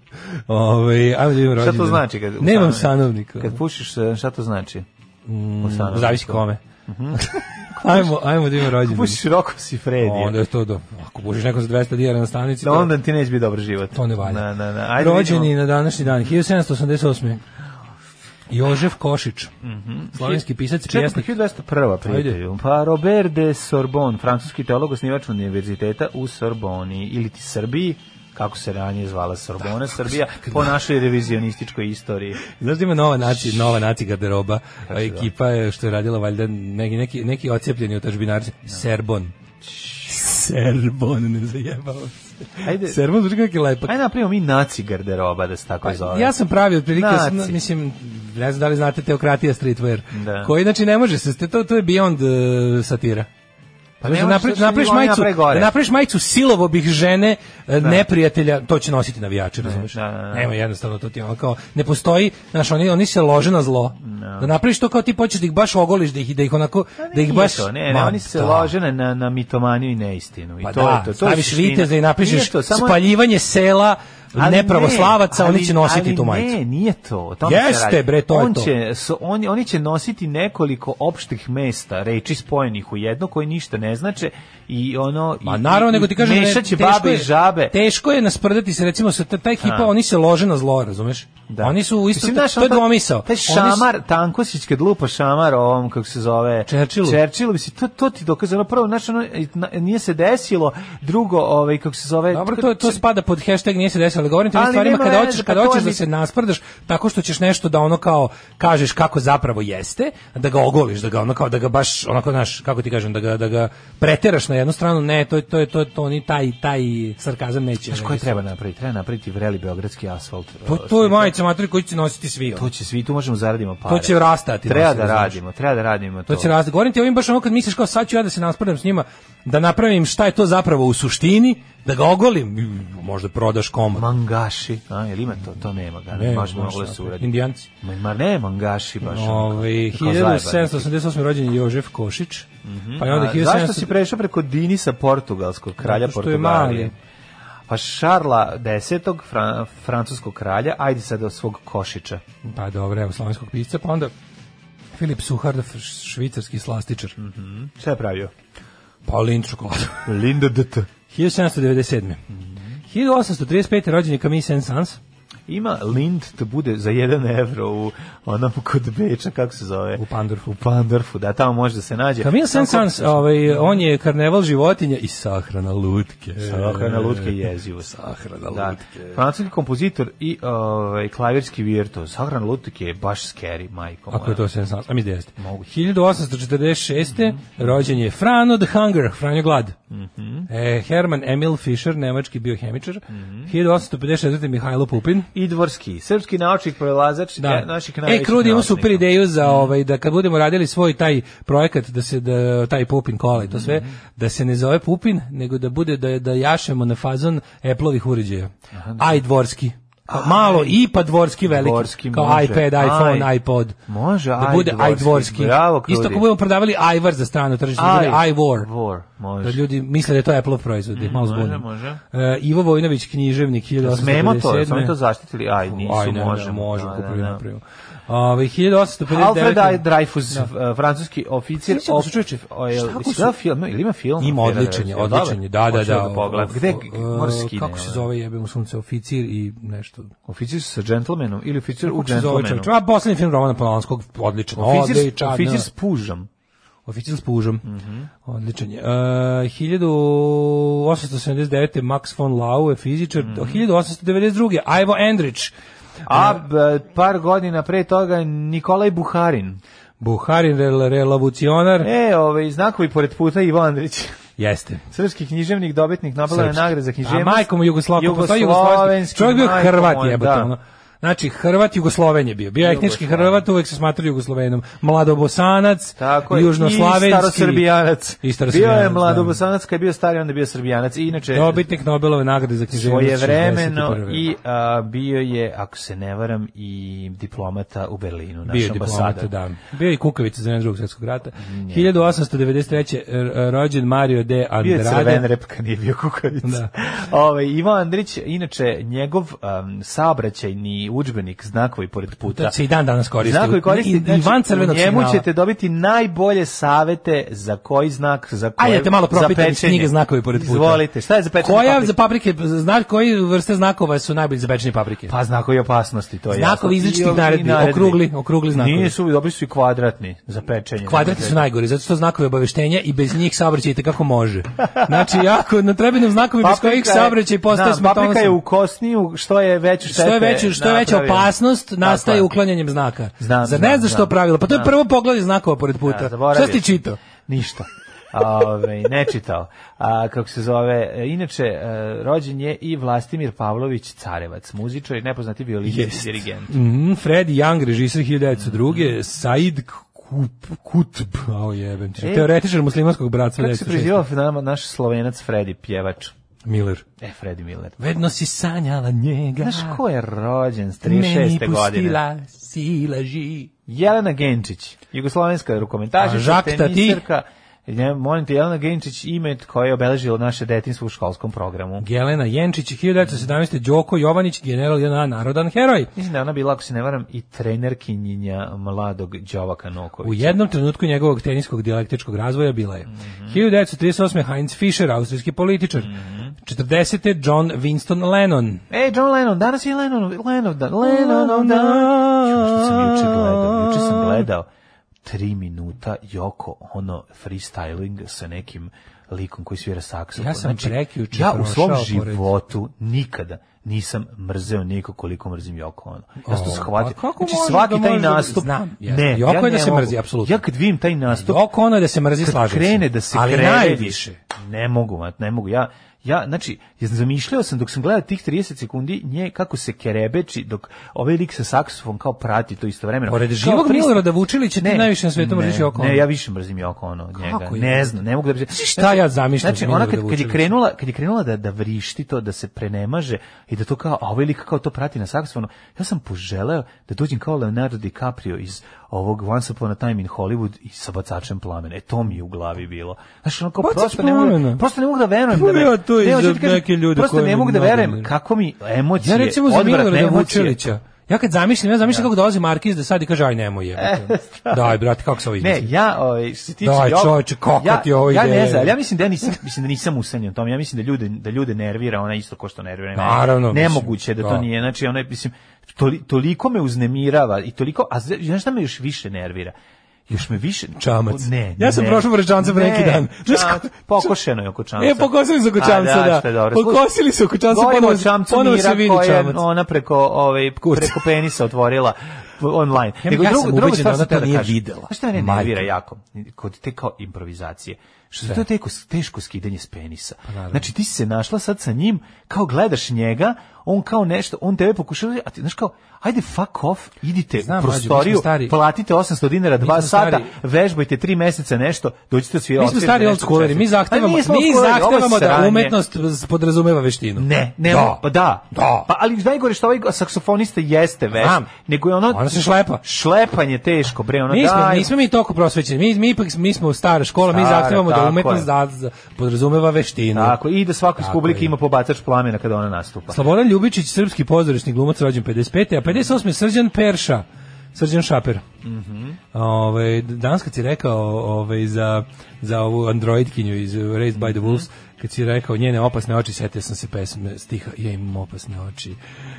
Speaker 5: Ove, ajmo da vidimo
Speaker 6: Mhm. Šta to
Speaker 5: rođendan.
Speaker 6: znači kad u
Speaker 5: Nemam
Speaker 6: stanovniku?
Speaker 5: sanovnika. Mm,
Speaker 6: Kad pušiš, šta to znači? U Mhm. stanovniku.
Speaker 5: Zavisi kome. ajmo, ajmo da imamo rođendan.
Speaker 6: Pušiš roko si Fredi.
Speaker 5: Onda je to do... Ako pušiš neko za 200 dijera na stanici,
Speaker 6: Da
Speaker 5: to-
Speaker 6: onda ti neće biti dobar život.
Speaker 5: To ne valja.
Speaker 6: Na, na, na. Ajde,
Speaker 5: Rođeni
Speaker 6: vidimo.
Speaker 5: na današnji dan, 1788. Jožef Košić, slovenski pisac i
Speaker 6: Mhm. Čekaj,
Speaker 5: pjesnik.
Speaker 6: 1201. prijatelju. Pa Robert de Sorbon, francuski teolog, osnivač univerziteta u Sorboni, ili ti Srbiji, kako se ranije zvala Sorbona, Srbija, po našoj revizionističkoj istoriji.
Speaker 5: Znaš da ima nova naci, nova naci garderoba, a ekipa je što je radila valjda neki neki neki ocepljeni otačbinarci, Serbon. Serbon ne zajebao. se.
Speaker 6: Ajde.
Speaker 5: Servo zvuči kako je lepak.
Speaker 6: Ajde napravimo mi naci garderoba, da se tako zove.
Speaker 5: Pa, Ja sam pravi otprilike,
Speaker 6: Naci.
Speaker 5: s- mislim, ne znam da li znate Teokratija streetwear,
Speaker 6: Da.
Speaker 5: koji znači ne može se, to, to je beyond e, satira. Pa
Speaker 6: ne može,
Speaker 5: napraviš,
Speaker 6: zato što
Speaker 5: napraviš
Speaker 6: oni
Speaker 5: majicu,
Speaker 6: naprave gore.
Speaker 5: da napraviš majicu silovo bih žene e, neprijatelja, to će nositi navijači, razumeš?
Speaker 6: da, da, da.
Speaker 5: Nema jednostavno to ti je ono kao ne postoji, znaš, oni oni se lože na zlo. Da napraviš to kao ti hoćeš da ih baš ogoliš, da ih da ih onako da ih
Speaker 6: Pa Nije
Speaker 5: baš
Speaker 6: to, ne, ne,
Speaker 5: Ma,
Speaker 6: oni se
Speaker 5: da.
Speaker 6: lože na- na, na mitomaniju i neistinu. I
Speaker 5: Pa
Speaker 6: to
Speaker 5: da,
Speaker 6: je to. to je
Speaker 5: staviš
Speaker 6: suština.
Speaker 5: viteza i napišeš
Speaker 6: Nije to, samo-
Speaker 5: spaljivanje sela
Speaker 6: Ali
Speaker 5: nepravoslavaca,
Speaker 6: ne,
Speaker 5: oni će
Speaker 6: ali-
Speaker 5: nositi
Speaker 6: ali
Speaker 5: tu majicu.
Speaker 6: Ne, nije to. o tome se
Speaker 5: Jeste,
Speaker 6: radi.
Speaker 5: bre, to je
Speaker 6: on
Speaker 5: to.
Speaker 6: Će, so, oni, oni će nositi nekoliko opštih mesta, reči spojenih u jedno, koji ništa ne znače i ono...
Speaker 5: Ma
Speaker 6: i-
Speaker 5: naravno,
Speaker 6: i-
Speaker 5: nego ti kažem, ne,
Speaker 6: Mešat će
Speaker 5: teško
Speaker 6: babe i
Speaker 5: je-
Speaker 6: žabe.
Speaker 5: Teško je nasprdati se, recimo, sa ta, ta ekipa,
Speaker 6: Ha.
Speaker 5: oni se lože na zlo, razumeš?
Speaker 6: Da.
Speaker 5: Oni su u isto,
Speaker 6: Mislim,
Speaker 5: to,
Speaker 6: znaš,
Speaker 5: to je
Speaker 6: ono,
Speaker 5: dvomisao.
Speaker 6: Taj
Speaker 5: Oni su-
Speaker 6: šamar, Tankosić kad lupa šamar ovom, kako se zove...
Speaker 5: Churchillu.
Speaker 6: Churchillu, mislim, to, to ti dokaze. Ono prvo, znaš, ono, na- nije se desilo. Drugo, ovaj, kako se zove...
Speaker 5: Dobro, to, to spada pod hashtag nije se desilo, ali govorim ti o
Speaker 6: Ali
Speaker 5: stvarima
Speaker 6: nema
Speaker 5: kada
Speaker 6: veze,
Speaker 5: hoćeš,
Speaker 6: pa
Speaker 5: kada
Speaker 6: to
Speaker 5: hoćeš
Speaker 6: je
Speaker 5: da
Speaker 6: bit-
Speaker 5: se nasprdaš tako što ćeš nešto da ono kao kažeš kako zapravo jeste, da ga ogoliš, da ga ono kao da ga baš onako znaš, kako ti kažem, da ga da ga preteraš na jednu stranu, ne, to je- to je to je- to ni taj taj sarkazam neće.
Speaker 6: Znaš, koje
Speaker 5: ne,
Speaker 6: treba napraviti? Treba napraviti vreli beogradski asfalt. eh,
Speaker 5: To, Pa to je majica materi koju će nositi svi. ono.
Speaker 6: To će svi, tu možemo zaradimo pare.
Speaker 5: To će rastati,
Speaker 6: Treba
Speaker 5: nosim,
Speaker 6: da
Speaker 5: znaš.
Speaker 6: radimo, treba da radimo to.
Speaker 5: To će razli. Govorim ti ovim baš ono kad misliš kao sad ću ja da se nasprdam s njima, da napravim šta je to zapravo u suštini, da ga ogolim, Mm, možda prodaš komad.
Speaker 6: Mangaši, a, jel ima to? To nema ga,
Speaker 5: Ne,
Speaker 6: ne, baš
Speaker 5: možda
Speaker 6: moglo da se
Speaker 5: tako.
Speaker 6: uradi.
Speaker 5: Indijanci.
Speaker 6: Ma, ma ne, mangaši baš. ono,
Speaker 5: Ovaj 1788. rođen je Jožef Košić. Pa je onda
Speaker 6: Onda
Speaker 5: 1700
Speaker 6: Mhm. zašto si prešao preko Dinisa portugalskog kralja
Speaker 5: Zato što je
Speaker 6: Portugalije?
Speaker 5: mali.
Speaker 6: Pa Šarla X, fran, francuskog kralja, ajde sad do svog košića.
Speaker 5: Pa dobro, evo slovenskog pisca, pa onda Filip Suhardov, š- švicarski slastičar.
Speaker 6: Mhm. Šta je pravio?
Speaker 5: Pa Lind čokoladu.
Speaker 6: Linda DT.
Speaker 5: 1797.
Speaker 6: Mhm.
Speaker 5: 1835. rođen je Camille Saint-Saëns.
Speaker 6: Ima Lind da bude za 1 evro u onom kod Beča, kako se zove?
Speaker 5: U Pandorfu.
Speaker 6: U Pandorfu, da, tamo može da se nađe.
Speaker 5: Camille
Speaker 6: Samo
Speaker 5: Saint-Saëns, ovaj, on je karneval životinja i sahrana lutke. E,
Speaker 6: Sahrana lutke je jezivo.
Speaker 5: Sahrana
Speaker 6: Da.
Speaker 5: lutke.
Speaker 6: Francuski kompozitor i ovaj klavirski virtuoz. Sahrana lutke je baš scary, majko moja.
Speaker 5: Pa Ako je to se sam, a mi da jeste.
Speaker 6: Mogu.
Speaker 5: 1846. rođen je Frano the Hunger, Franjo Glad. e, Herman Emil Fischer, nemački biohemičar. 1854. Mihajlo Pupin.
Speaker 6: Idvorski, srpski naučnik, prelazač
Speaker 5: Da.
Speaker 6: e, naših
Speaker 5: e,
Speaker 6: najvećih
Speaker 5: Krudi ima super
Speaker 6: naučnika.
Speaker 5: ideju
Speaker 6: Mm.
Speaker 5: za ovaj da kad budemo radili svoj taj projekat da se da taj Pupin kola i to
Speaker 6: Mm.
Speaker 5: sve da se ne zove Pupin nego da bude da da jašemo na fazon Appleovih uređaja. Aj dvorski. Kao malo i pa dvorski veliki.
Speaker 6: Dvorski
Speaker 5: kao
Speaker 6: može.
Speaker 5: iPad, iPhone,
Speaker 6: Aj.
Speaker 5: iPod.
Speaker 6: Može,
Speaker 5: da
Speaker 6: aj
Speaker 5: bude aj
Speaker 6: dvorski.
Speaker 5: dvorski.
Speaker 6: Bravo, Krudi.
Speaker 5: Isto ako budemo prodavali Ivar za strano tržište, da bude
Speaker 6: Aj,
Speaker 5: i war.
Speaker 6: War,
Speaker 5: Da
Speaker 6: može. Mm,
Speaker 5: ljudi misle da je to Apple proizvod, da ih malo
Speaker 6: može,
Speaker 5: zbunim.
Speaker 6: može.
Speaker 5: E, Ivo Vojinović, književnik, 1857.
Speaker 6: Smemo to, smo mi to zaštitili, aj, nisu,
Speaker 5: Aj, ne,
Speaker 6: možemo.
Speaker 5: ne, možemo,
Speaker 6: Da,
Speaker 5: da,
Speaker 6: da, da.
Speaker 5: napravimo. Ove, 1859.
Speaker 6: Alfred I. Dreyfus, eh, francuski oficir.
Speaker 5: Sjećam se,
Speaker 6: op-
Speaker 5: čoveče,
Speaker 6: o, jel-
Speaker 5: šta ako
Speaker 6: jesi
Speaker 5: su-
Speaker 6: gledao film, ili ima film?
Speaker 5: Ima
Speaker 6: Alfreda
Speaker 5: odličan je,
Speaker 6: Dreyfusa?
Speaker 5: odličan je, da, da,
Speaker 6: Hoću
Speaker 5: da.
Speaker 6: da pogledam.
Speaker 5: o-
Speaker 6: Gde
Speaker 5: o-
Speaker 6: morski? ono?
Speaker 5: Kako se zove, jebemo sunce, oficir i nešto.
Speaker 6: Oficir sa gentlemanom ili oficir u
Speaker 5: Kako se zove
Speaker 6: gentlemanu?
Speaker 5: čovječ? A, poslednji film Romana Polanskog, odličan,
Speaker 6: Oficir, s-
Speaker 5: odličan.
Speaker 6: oficir s Mhm. pužom.
Speaker 5: Oficir s pužom. Odličan je. E, 1879. Max von Laue, fizičar.
Speaker 6: Mhm.
Speaker 5: 1892. Ivo Andrić,
Speaker 6: A b- par godina pre toga Nikolaj Buharin.
Speaker 5: Buharin, rel- relavucionar.
Speaker 6: E, ovaj, znakovi pored puta Ivo Andrić.
Speaker 5: Jeste.
Speaker 6: Srpski književnik, dobitnik Nobelove
Speaker 5: Srpski.
Speaker 6: nagrade za književnost.
Speaker 5: A majkom Jugoslavko, postoji Jugoslovenski.
Speaker 6: Jugoslovenski,
Speaker 5: Čovjek bio
Speaker 6: majko
Speaker 5: Hrvat
Speaker 6: moja,
Speaker 5: jebote,
Speaker 6: da.
Speaker 5: ono. Znači, Hrvat Jugosloven je bio. Bio je etnički
Speaker 6: Jugoslaven.
Speaker 5: Hrvat, uvek se smatra Jugoslovenom. Mladobosanac,
Speaker 6: Tako je.
Speaker 5: južnoslavenski.
Speaker 6: I starosrbijanac.
Speaker 5: I starosrbijanac,
Speaker 6: Bio je
Speaker 5: da.
Speaker 6: mladobosanac, kad je bio stari, onda je bio srbijanac. I inače,
Speaker 5: Dobitnik Nobelove nagrade za književnost.
Speaker 6: svoje vremeno
Speaker 5: 61..
Speaker 6: i a, bio je, ako se ne varam, i diplomata u Berlinu, naš
Speaker 5: bio je
Speaker 6: ambasada.
Speaker 5: diplomata, da. Bio je i kukavica za vreme drugog svjetskog rata. 1893. e, rođen Mario de
Speaker 6: Bio je crven
Speaker 5: Andrade.
Speaker 6: repka, nije bio kukavica.
Speaker 5: Da.
Speaker 6: Ove, Ivo Andrić, inače, njegov um, saobraćajni udžbenik znakovi pored puta.
Speaker 5: To se i dan danas koristi.
Speaker 6: Znakovi koristi,
Speaker 5: I,
Speaker 6: znači,
Speaker 5: Ivan
Speaker 6: u
Speaker 5: Crvenog
Speaker 6: njemu
Speaker 5: signala.
Speaker 6: ćete dobiti najbolje savete za koji znak, za koje,
Speaker 5: Ajde da te malo
Speaker 6: za
Speaker 5: propitam iz
Speaker 6: pečenje.
Speaker 5: knjige znakovi pored puta.
Speaker 6: Izvolite, šta je za pečenje
Speaker 5: Koja
Speaker 6: paprike?
Speaker 5: za paprike, znaš koji vrste znakova su najbolji za pečenje paprike?
Speaker 6: Pa znakovi opasnosti, to je
Speaker 5: Znakovi
Speaker 6: jasno. I
Speaker 5: izričitih
Speaker 6: ovi
Speaker 5: naredbi, okrugli- okrugli znakovi.
Speaker 6: Nisu, dobri su i kvadratni za pečenje.
Speaker 5: Kvadrati su najgori, zato što znakovi obaveštenja i bez njih saobraćaj kako može. Znači, jako, na treba nam znakovi bez
Speaker 6: Znači, Paprika
Speaker 5: kojih
Speaker 6: je-
Speaker 5: saobraćaj postaje
Speaker 6: da, Paprika je
Speaker 5: smrtonosan.
Speaker 6: u kosniju, što je veću
Speaker 5: Što je, veću, što je veća opasnost nastaje uklanjanjem znaka.
Speaker 6: Znam,
Speaker 5: Zar ne
Speaker 6: znam,
Speaker 5: znaš što
Speaker 6: znam.
Speaker 5: pravilo? Pa to je
Speaker 6: Znam.
Speaker 5: prvo pogled znakova pored puta. Šta si ti čitao?
Speaker 6: Ništa. Ove, ne čitao. A, kako se zove, e, inače, e, rođen je i Vlastimir Pavlović Carevac, muzičar i nepoznati violinist i dirigent.
Speaker 5: Mm, Fred Young, režisir 1902. Said Kup, Kutb, ao jebem ti.
Speaker 6: E.
Speaker 5: Teoretičar muslimanskog bratstva.
Speaker 6: Kako se
Speaker 5: 1906.
Speaker 6: prezivao nama naš slovenac Fredi pjevač?
Speaker 5: Miller.
Speaker 6: E, Fredi Miller.
Speaker 5: Vedno si sanjala njega.
Speaker 6: Znaš ko je rođen s
Speaker 5: Meni
Speaker 6: 36. godine?
Speaker 5: pustila si laži.
Speaker 6: Jelena Genčić, jugoslovenska
Speaker 5: A,
Speaker 6: rukomentašica,
Speaker 5: Žak Tati?
Speaker 6: tenisirka. Ne, molim te, Jelena Genčić ime koje je obeležilo naše detinstvo u školskom programu.
Speaker 5: Gelena Jenčić, 1917. Đoko Jovanić, general jedna narodan heroj.
Speaker 6: Mislim da je ona bila, ako se ne varam, i trenerkinjinja mladog Đovaka
Speaker 5: U
Speaker 6: Nokovića.
Speaker 5: jednom trenutku njegovog teniskog dijalektičkog razvoja bila je.
Speaker 6: Mhm.
Speaker 5: 1938. Heinz Fischer, austrijski političar.
Speaker 6: Mhm.
Speaker 5: 40. John Winston Lennon.
Speaker 6: E, John Lennon, danas je Lennon, Lennon, dan, Lennon, dan. Čuo, što sam juče gledao, juče sam gledao tri minuta Joko, ono, freestyling sa nekim likom koji svira saksofon. Znači,
Speaker 5: Ja sam prekjuče
Speaker 6: ja u svom
Speaker 5: prošao pored-
Speaker 6: životu nikada nisam mrzeo niko koliko mrzim Joko ono. Ja sam to
Speaker 5: O,
Speaker 6: shvatio.
Speaker 5: pa kako
Speaker 6: Znači,
Speaker 5: možeš
Speaker 6: svaki
Speaker 5: da
Speaker 6: taj
Speaker 5: možeš da-
Speaker 6: nastup,
Speaker 5: Znam, jeste.
Speaker 6: ne,
Speaker 5: Joko
Speaker 6: ja
Speaker 5: je da
Speaker 6: ne
Speaker 5: se
Speaker 6: mogu.
Speaker 5: mrzi, apsolutno.
Speaker 6: Ja kad vidim taj nastup,
Speaker 5: Joko ono je da se mrzi,
Speaker 6: kad
Speaker 5: slažem se.
Speaker 6: krene da se
Speaker 5: Ali
Speaker 6: krene,
Speaker 5: najviše.
Speaker 6: Ne mogu, mat, ne mogu. Ja, ja, znači, ja zamišljao sam dok sam gledao tih 30 sekundi nje kako se kerebeči dok ovaj lik sa saksofon kao prati to istovremeno.
Speaker 5: Pored
Speaker 6: Kao
Speaker 5: živog
Speaker 6: prist-
Speaker 5: Milorada Vučilića ti najviše na svetu
Speaker 6: ne,
Speaker 5: mrziš Joko ono.
Speaker 6: Ne, ja više mrzim Joko ono od njega.
Speaker 5: Kako je?
Speaker 6: ne znam, ne mogu da bi...
Speaker 5: šta ja zamišljam
Speaker 6: Znači,
Speaker 5: za
Speaker 6: ona
Speaker 5: Milorada
Speaker 6: kad, kad je
Speaker 5: Vučilića?
Speaker 6: krenula, kad je krenula da, da vrišti to, da se prenemaže i da to kao, a ovaj lik kao to prati na saksofonu, ja sam poželeo da dođem kao Leonardo DiCaprio iz ovog Once Upon a Time in Hollywood i sa bacačem plamena. E, to mi je u glavi bilo. Znaš, ono kao
Speaker 5: Bacač
Speaker 6: prosto ne, mogu,
Speaker 5: plamena.
Speaker 6: prosto ne mogu da verujem.
Speaker 5: Čuo
Speaker 6: da me-
Speaker 5: ja to
Speaker 6: Ne,
Speaker 5: i
Speaker 6: hoću
Speaker 5: za
Speaker 6: ti kažem,
Speaker 5: neke ljude
Speaker 6: Prosto
Speaker 5: koji
Speaker 6: ne
Speaker 5: mi
Speaker 6: mogu da
Speaker 5: mnogo
Speaker 6: verujem
Speaker 5: ne-
Speaker 6: kako mi emocije,
Speaker 5: Ja recimo za
Speaker 6: odvratne
Speaker 5: Milorada
Speaker 6: emocije-
Speaker 5: Vučilića. Ja kad zamišljam, ja zamišljam kako dolazi Markiz da sad i kaže, aj nemoj jebate. Daj, brate, kako se ovo
Speaker 6: E, Ne,
Speaker 5: izmisli?
Speaker 6: ja, ovaj, što se tiče
Speaker 5: Daj,
Speaker 6: Joko-
Speaker 5: čoveče, kako
Speaker 6: ja,
Speaker 5: ti ovaj ovo
Speaker 6: ja
Speaker 5: ide?
Speaker 6: ne znam, ali ja mislim da ja nisam, mislim da nisam usanjen o tom. Ja mislim da ljude, da ljude nervira ona isto ko što nervira. mene.
Speaker 5: Naravno, mislim,
Speaker 6: Nemoguće da to
Speaker 5: da.
Speaker 6: nije. Znači, ona, je, mislim, toli- toliko me uznemirava i toliko, a zna- znaš šta me još više nervira? Još me više...
Speaker 5: Čamac.
Speaker 6: Ne,
Speaker 5: Ja sam
Speaker 6: ne.
Speaker 5: prošao pored čamca pre neki
Speaker 6: Ne,
Speaker 5: dan. Znaš
Speaker 6: čamac,
Speaker 5: kako-
Speaker 6: pokošeno je oko čamca.
Speaker 5: E, pokosili su oko
Speaker 6: A,
Speaker 5: čamca, da.
Speaker 6: što je dobro.
Speaker 5: Pokosili su oko čamca,
Speaker 6: Govorimo o
Speaker 5: ponovo-
Speaker 6: čamcu
Speaker 5: ponovo se
Speaker 6: Mira
Speaker 5: vidi
Speaker 6: koja je
Speaker 5: čamac.
Speaker 6: ona preko, ovaj,
Speaker 5: Kurca.
Speaker 6: preko penisa otvorila online.
Speaker 5: Ja-
Speaker 6: Nego
Speaker 5: ja
Speaker 6: drugo-
Speaker 5: sam
Speaker 6: drugo
Speaker 5: ubeđen
Speaker 6: stvar
Speaker 5: da ona
Speaker 6: sam teo
Speaker 5: to nije
Speaker 6: kažem.
Speaker 5: videla.
Speaker 6: Znaš šta mene
Speaker 5: Majka.
Speaker 6: nervira jako? Kod te kao improvizacije. Što je to teko, teško skidanje s penisa.
Speaker 5: Pa
Speaker 6: znači ti si se našla sad sa njim, kao gledaš njega, on kao nešto, on tebe pokušava, a ti znaš kao, ajde fuck off, idite
Speaker 5: Znam,
Speaker 6: u
Speaker 5: mlađe, mi smo
Speaker 6: prostoriju,
Speaker 5: stari.
Speaker 6: platite 800 dinara
Speaker 5: Mi
Speaker 6: dva
Speaker 5: smo
Speaker 6: sata,
Speaker 5: stari.
Speaker 6: vežbajte tri meseca nešto, dođite svi
Speaker 5: Mi smo stari old schooleri, mi
Speaker 6: Pa
Speaker 5: zahtevamo, mi zahtevamo da umetnost podrazumeva veštinu.
Speaker 6: Ne, ne,
Speaker 5: da.
Speaker 6: pa da.
Speaker 5: Da.
Speaker 6: Pa ali najgore što ovaj saksofonista jeste veš,
Speaker 5: Znam.
Speaker 6: nego je ono
Speaker 5: Ono se šlepa.
Speaker 6: Šlepanje teško, bre, ono
Speaker 5: Mi smo,
Speaker 6: daj.
Speaker 5: nismo mi toliko prosvećeni. Mi, mi ipak mi smo stara škola, mi
Speaker 6: Stara,
Speaker 5: zahtevamo da
Speaker 6: tako
Speaker 5: umetnost
Speaker 6: je.
Speaker 5: da, da podrazumeva veštinu.
Speaker 6: Tako, i da svako iz
Speaker 5: Tako
Speaker 6: publike
Speaker 5: je.
Speaker 6: ima pobacač plamena kada ona nastupa.
Speaker 5: Slobodan Ljubičić, srpski pozorišni glumac rođen 55. a 58. Srđan Perša, Srđan Šaper.
Speaker 6: Mhm.
Speaker 5: Ove, danas kad si rekao ove, za, za ovu androidkinju iz Raised by
Speaker 6: Mhm.
Speaker 5: the Wolves, kad si rekao njene opasne oči, setio sam se pesme stiha Ja imam opasne oči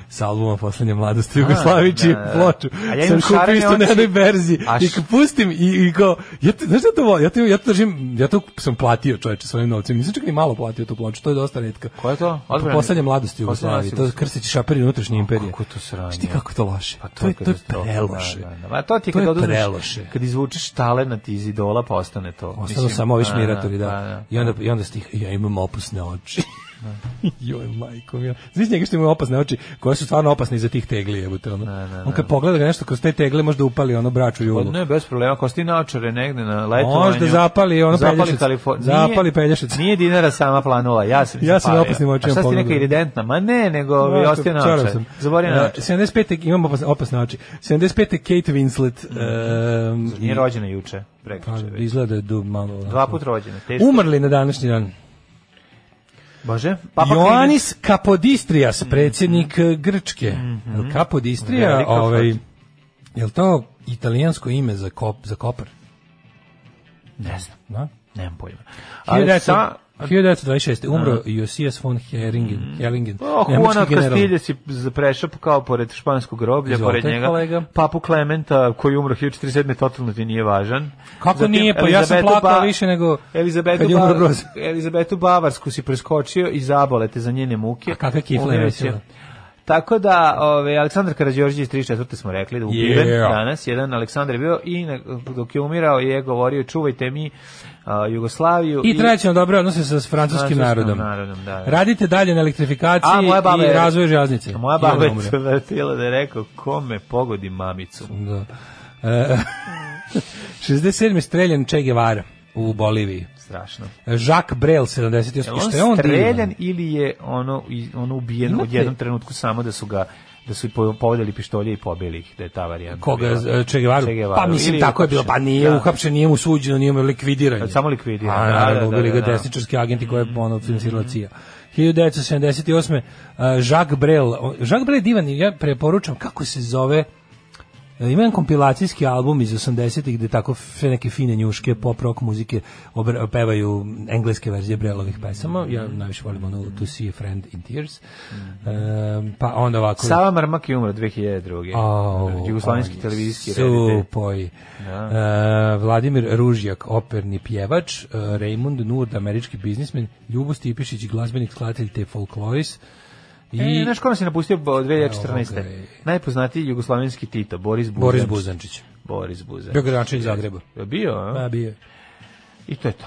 Speaker 5: sa albuma Poslednja mladost Jugoslavije, čiju
Speaker 6: da, da.
Speaker 5: ploču.
Speaker 6: A ja
Speaker 5: sam
Speaker 6: imam
Speaker 5: kupio
Speaker 6: šarene
Speaker 5: isto na
Speaker 6: oči.
Speaker 5: jednoj berzi
Speaker 6: A
Speaker 5: i
Speaker 6: š-
Speaker 5: kad pustim i, i kao, ja, te- znaš šta to volim? Ja, to, ja, to držim, ja to sam platio čoveče svojim novcem, nisam čak ni malo platio tu ploču, to je dosta redka.
Speaker 6: Ko je to? Odbrana?
Speaker 5: Poslednja mladost
Speaker 6: Poslednja
Speaker 5: Jugoslavije,
Speaker 6: mladost
Speaker 5: to je Krstić Šaper i unutrašnji imperije.
Speaker 6: Kako je to sranje?
Speaker 5: Šti kako je to loše?
Speaker 6: Pa
Speaker 5: to, je, to je
Speaker 6: katastrofa,
Speaker 5: preloše.
Speaker 6: Da, da, da. Ma to ti je
Speaker 5: To
Speaker 6: kad
Speaker 5: je
Speaker 6: oduzmeš-
Speaker 5: preloše.
Speaker 6: Kad izvučeš talenat iz idola, pa ostane to.
Speaker 5: Ostalo
Speaker 6: Mislim,
Speaker 5: samo ovi
Speaker 6: da,
Speaker 5: šmiratori, da.
Speaker 6: da, da.
Speaker 5: I onda, i onda stih, ja imam opasne oči. Joj, majko mila. Znaš njega što imaju opasne oči, koje su stvarno opasne iza tih tegli, jebote, ono. On kad pogleda ga nešto kroz te tegle, možda upali ono braču
Speaker 6: Pa
Speaker 5: julu.
Speaker 6: ne, bez problema, ako ste naočare negde na letovanju.
Speaker 5: Možda zapali ono
Speaker 6: zapali
Speaker 5: pelješic.
Speaker 6: Kalifor-
Speaker 5: Zapali
Speaker 6: Nije-
Speaker 5: pelješic.
Speaker 6: Nije dinara sama planula, ja sam
Speaker 5: Ja sam
Speaker 6: zapalio.
Speaker 5: opasnim očima
Speaker 6: A šta si ti
Speaker 5: pogledao.
Speaker 6: neka iridentna? Ma ne, nego bi
Speaker 5: Ja,
Speaker 6: ostio
Speaker 5: čarao
Speaker 6: naočare.
Speaker 5: sam.
Speaker 6: Zaboravio
Speaker 5: E,
Speaker 6: naočare.
Speaker 5: 75. imamo opasne, opasne oči. 75. Kate Winslet. em,
Speaker 6: Mhm. Nije
Speaker 5: i-
Speaker 6: rođena juče, prekriče.
Speaker 5: Pa, Um, izgleda je du malo. onako.
Speaker 6: Dva put rođena, teško.
Speaker 5: Umrli na današnji dan.
Speaker 6: Bože, Papa Kliment.
Speaker 5: Ioannis Kapodistrijas, predsjednik eh, Grčke. Jel Kapodistrija,
Speaker 6: Mhm. Velika
Speaker 5: ovaj,
Speaker 6: fotka.
Speaker 5: je li to italijansko ime za, kop, za kopar?
Speaker 6: Ne znam,
Speaker 5: Da?
Speaker 6: nemam pojma. Ali sa...
Speaker 5: 1900 1926. Umro Josijas von Heringen, Hellingen,
Speaker 6: O, Oh, Juan
Speaker 5: nemački
Speaker 6: od
Speaker 5: general.
Speaker 6: Kastilje si z- prešao kao pored španskog groblja,
Speaker 5: Izvolite,
Speaker 6: pored njega.
Speaker 5: kolega.
Speaker 6: Papu Klementa, koji je umro 1047. totalno ti nije važan.
Speaker 5: Kako nije? Pa ja sam
Speaker 6: Elizabetu
Speaker 5: plakao više nego
Speaker 6: Elizabetu,
Speaker 5: kad je umro
Speaker 6: Ba-
Speaker 5: Broz.
Speaker 6: Elizabetu Bavarsku si preskočio i zabole te za njene muke.
Speaker 5: A kakva kifla je
Speaker 6: Umire
Speaker 5: vesela.
Speaker 6: će. Tako da, ovaj Aleksandar Karađorđević 34. smo rekli da je ubiven danas, jedan Aleksandar je bio i na- dok je umirao je govorio čuvajte mi a, Jugoslaviju
Speaker 5: I treće na dobre odnose sa s francuskim
Speaker 6: Francuskim
Speaker 5: narodom.
Speaker 6: narodom, da, da.
Speaker 5: Radite dalje na elektrifikaciji
Speaker 6: A moja baba
Speaker 5: i
Speaker 6: je-
Speaker 5: razvoju železnice.
Speaker 6: moja
Speaker 5: I ona
Speaker 6: baba je
Speaker 5: umre.
Speaker 6: se vrtila da je rekao kome pogodi mamicu.
Speaker 5: Da. E, 67. streljan Che Guevara u Boliviji.
Speaker 6: Strašno.
Speaker 5: Jacques Brel 78.
Speaker 6: Je on,
Speaker 5: što je on
Speaker 6: streljan
Speaker 5: divan.
Speaker 6: ili je ono i- ono ubijen u
Speaker 5: Imate-
Speaker 6: jednom trenutku samo da su ga da su i po- povedali pištolje i pobili ih, da je ta varijanta.
Speaker 5: Koga
Speaker 6: bila.
Speaker 5: e, Che Guevara?
Speaker 6: Che Guevara.
Speaker 5: Pa mislim
Speaker 6: Ili
Speaker 5: tako je bilo,
Speaker 6: uhapšen.
Speaker 5: pa nije
Speaker 6: Da.
Speaker 5: uhapšen, nije mu suđeno, nije mu likvidiran. je.
Speaker 6: Samo likvidiran,
Speaker 5: A,
Speaker 6: da,
Speaker 5: naravno,
Speaker 6: da, da,
Speaker 5: bili ga
Speaker 6: da, da.
Speaker 5: desničarski agenti koje je ono financirala CIA. 1978. Uh, Jacques Brel. O, Jacques Brel je divan i ja preporučam kako se zove E, Ima jedan kompilacijski album iz 80-ih gde tako sve neke fine njuške pop rock muzike obra- pevaju engleske verzije Brelovih pesama. Ja najviše volim ono To See a Friend in Tears.
Speaker 6: Mm.
Speaker 5: E, pa onda ovako...
Speaker 6: Sava Marmak je umro 2002.
Speaker 5: Au,
Speaker 6: Jugoslovenski
Speaker 5: on
Speaker 6: televizijski reditelj.
Speaker 5: Supoj. E, Vladimir Ružjak, operni pjevač, e, Raymond Nurd, američki biznismen, Ljubo Stipišić, glazbenik, skladatelj te folkloris. I
Speaker 6: I E, znaš ko nas je napustio bo- 2014.
Speaker 5: Evo ga je.
Speaker 6: Najpoznatiji jugoslovenski Tito, Boris Buzančić.
Speaker 5: Boris Buzančić.
Speaker 6: Boris Buzančić.
Speaker 5: Bio gradonačelnik Zagreba.
Speaker 6: Je Bio, a?
Speaker 5: Pa bio je.
Speaker 6: I to je to.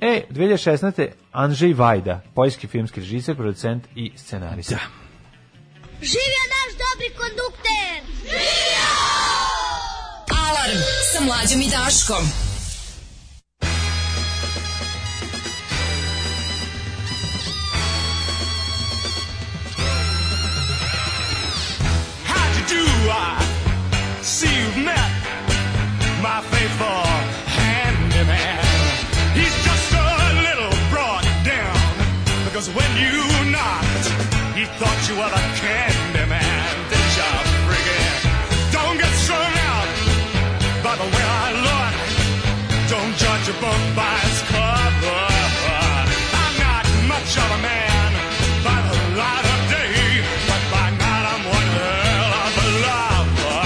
Speaker 6: E, 2016. Andrzej Vajda, poljski filmski režiser, producent i scenarista.
Speaker 8: Živio naš dobri kondukter! Živio! Alarm sa mlađom i Daškom.
Speaker 9: How do you do? I see you've met my faithful handyman. He's just a little brought down because when you knocked, he thought you were the candy man. Did you friggin'? Don't get strung out by the way I look. Don't judge a book by its cover. I'm not much of a man by the light of day, but by night I'm one hell of a lover.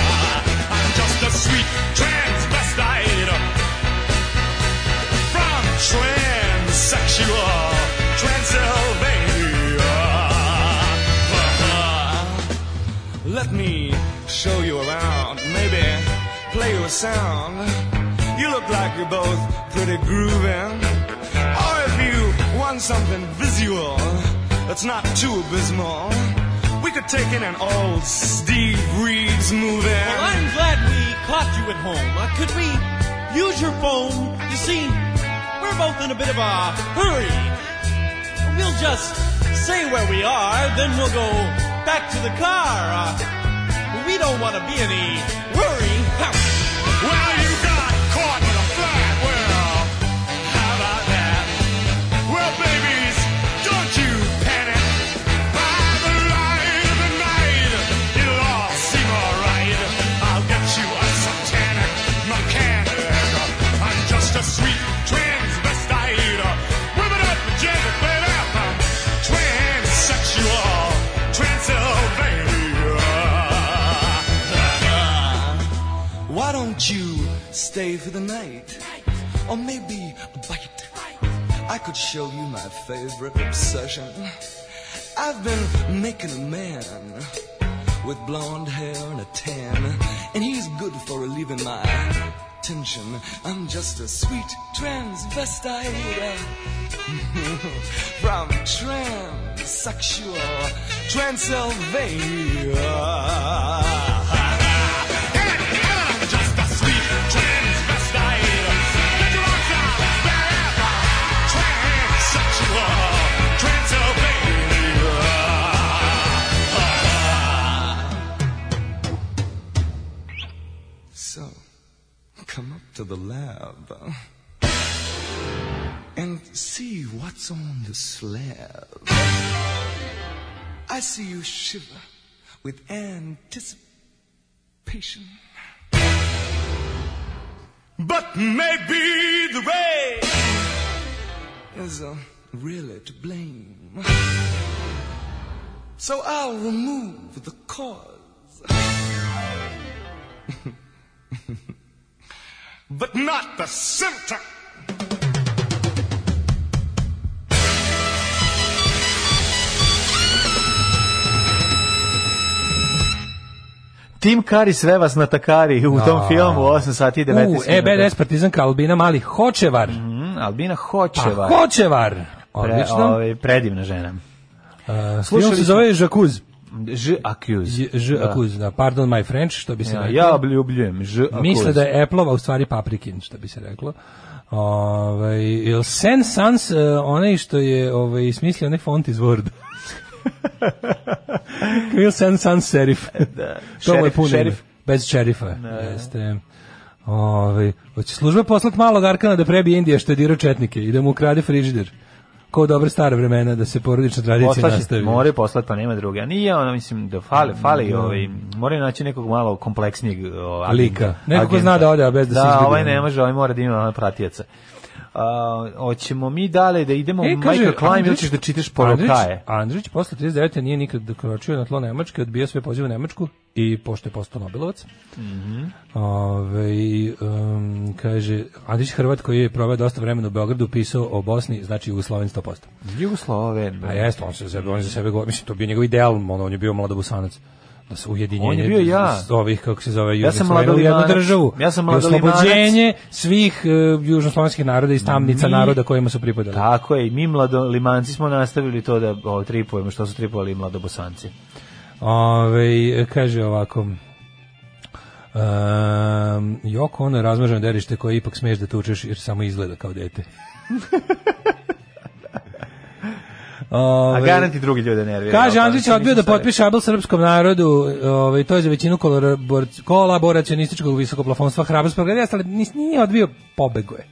Speaker 9: I'm just a sweet transvestite from transsexual Transylvania. Uh-huh. Let me show you around. Maybe play you a sound. You look like you're both pretty grooving. Or if you want something visual that's not too abysmal, we could take in an old Steve Reeves movie.
Speaker 10: Well, I'm glad we caught you at home. Uh, could we use your phone? You see, we're both in a bit of a hurry. We'll just say where we are, then we'll go back to the car. Uh, we don't want to be any worry.
Speaker 9: Well, you got caught with a flat. Well, how about that? Well, babies, don't you panic. By the light of the night, it'll all seem alright. I'll get you a satanic mechanic. I'm just a sweet transvestite. Women up the gender, baby. I'm transsexual, Transylvania.
Speaker 10: Why don't you stay for the night? Or maybe a bite? I could show you my favorite obsession. I've been making a man with blonde hair and a tan, and he's good for relieving my tension. I'm just a sweet transvestite uh, from transsexual Transylvania.
Speaker 9: Just a sweet transvestite, little outside forever, transsexual, Transylvania.
Speaker 10: So, come up to the lab uh, and see what's on the slab. I see you shiver with anticipation.
Speaker 9: But maybe the way
Speaker 10: Is uh, really to blame. So I'll remove the cause,
Speaker 9: but not the symptom.
Speaker 6: Tim Kari sve vas natakari u tom filmu 8 sati i 19
Speaker 5: U, EBDS partizanka Albina Mali Hočevar.
Speaker 6: Mm, Albina
Speaker 5: Pa,
Speaker 6: Hočeva.
Speaker 5: Hočevar!
Speaker 6: Pre,
Speaker 5: Odlično. E,
Speaker 6: ovaj, predivna žena.
Speaker 5: Film se
Speaker 6: smo-
Speaker 5: zove Žakuz.
Speaker 6: Ž akuz.
Speaker 5: Ž- Žakuz, da, pardon my French, što bi se
Speaker 6: Ja,
Speaker 5: reklo.
Speaker 6: ja obljubljujem Ž akuz.
Speaker 5: Misle da je Apple-ova u stvari paprikin, što bi se reklo. Ovaj jel Sen Sans, eh, onaj što je ovaj, smislio onaj font iz Worda. Will Sen Sans serif.
Speaker 6: Da.
Speaker 5: to mu je
Speaker 6: Šerif,
Speaker 5: puno ime.
Speaker 6: šerif.
Speaker 5: Bez šerifa. Jeste. Ovaj, hoće služba poslat malog Arkana da prebije Indija što je dirao četnike i da mu ukrade frižider. Kao u dobre stare vremena da se porodična tradicija
Speaker 6: Poslaće,
Speaker 5: nastavi.
Speaker 6: moraju poslati, pa nema druge. A nije ono, mislim, da fale, fale i ovaj, moraju naći nekog malo kompleksnijeg ovaj,
Speaker 5: Lika. Neko ko
Speaker 6: agenta.
Speaker 5: zna da ode, a bez da se
Speaker 6: Da,
Speaker 5: izgubi.
Speaker 6: ovaj ne može, ovaj mora da ima ono, pratioca. A, hoćemo mi dalje da idemo e,
Speaker 5: E, kaže,
Speaker 6: Michael Klein ili
Speaker 5: Andrić-
Speaker 6: ćeš da
Speaker 5: Andrić,
Speaker 6: čitaš porukaje?
Speaker 5: Andrić posle 39. nije nikad dokoračio na tlo Nemačke, odbio sve pozive u Nemačku i pošto je postao Nobelovac.
Speaker 6: Mhm.
Speaker 5: Ovaj, um, kaže, Andrić Hrvat koji je proveo dosta vremena u Beogradu pisao o Bosni, znači Jugosloven 100%.
Speaker 6: Jugosloven.
Speaker 5: A jeste, on, se za sebe, on je za sebe, govori, mislim, to je bio njegov ideal, ono, on je bio mladobusanac da se ujedinjenje
Speaker 6: On je bio ja.
Speaker 5: s ovih, kako se zove,
Speaker 6: Ja sam
Speaker 5: Jugoslavena u jednu
Speaker 6: mladolivanac.
Speaker 5: državu.
Speaker 6: Ja sam
Speaker 5: I
Speaker 6: mladolivanac.
Speaker 5: Oslobođenje svih uh, južnoslovenskih naroda iz tamnica
Speaker 6: Mi-
Speaker 5: naroda kojima su pripadali.
Speaker 6: Tako je, i mi mladolimanci smo nastavili to da o, tripujemo, što su tripovali i mladobosanci.
Speaker 5: Ove, kaže ovako, um, Joko ono je razmaženo derište koje ipak smeš da tučeš jer samo izgleda kao dete.
Speaker 6: A
Speaker 5: Ove,
Speaker 6: garanti drugi ljude nerviraju.
Speaker 5: Kaže,
Speaker 6: Pa,
Speaker 5: Andrić je
Speaker 6: mislim,
Speaker 5: odbio da
Speaker 6: nisam sad
Speaker 5: potpiše Abel srpskom narodu, ovaj, to je za većinu kolabor- kolaboracionističkog visokoplafonstva hrabrost progredijasta, ali nis- nije odbio, pobego je.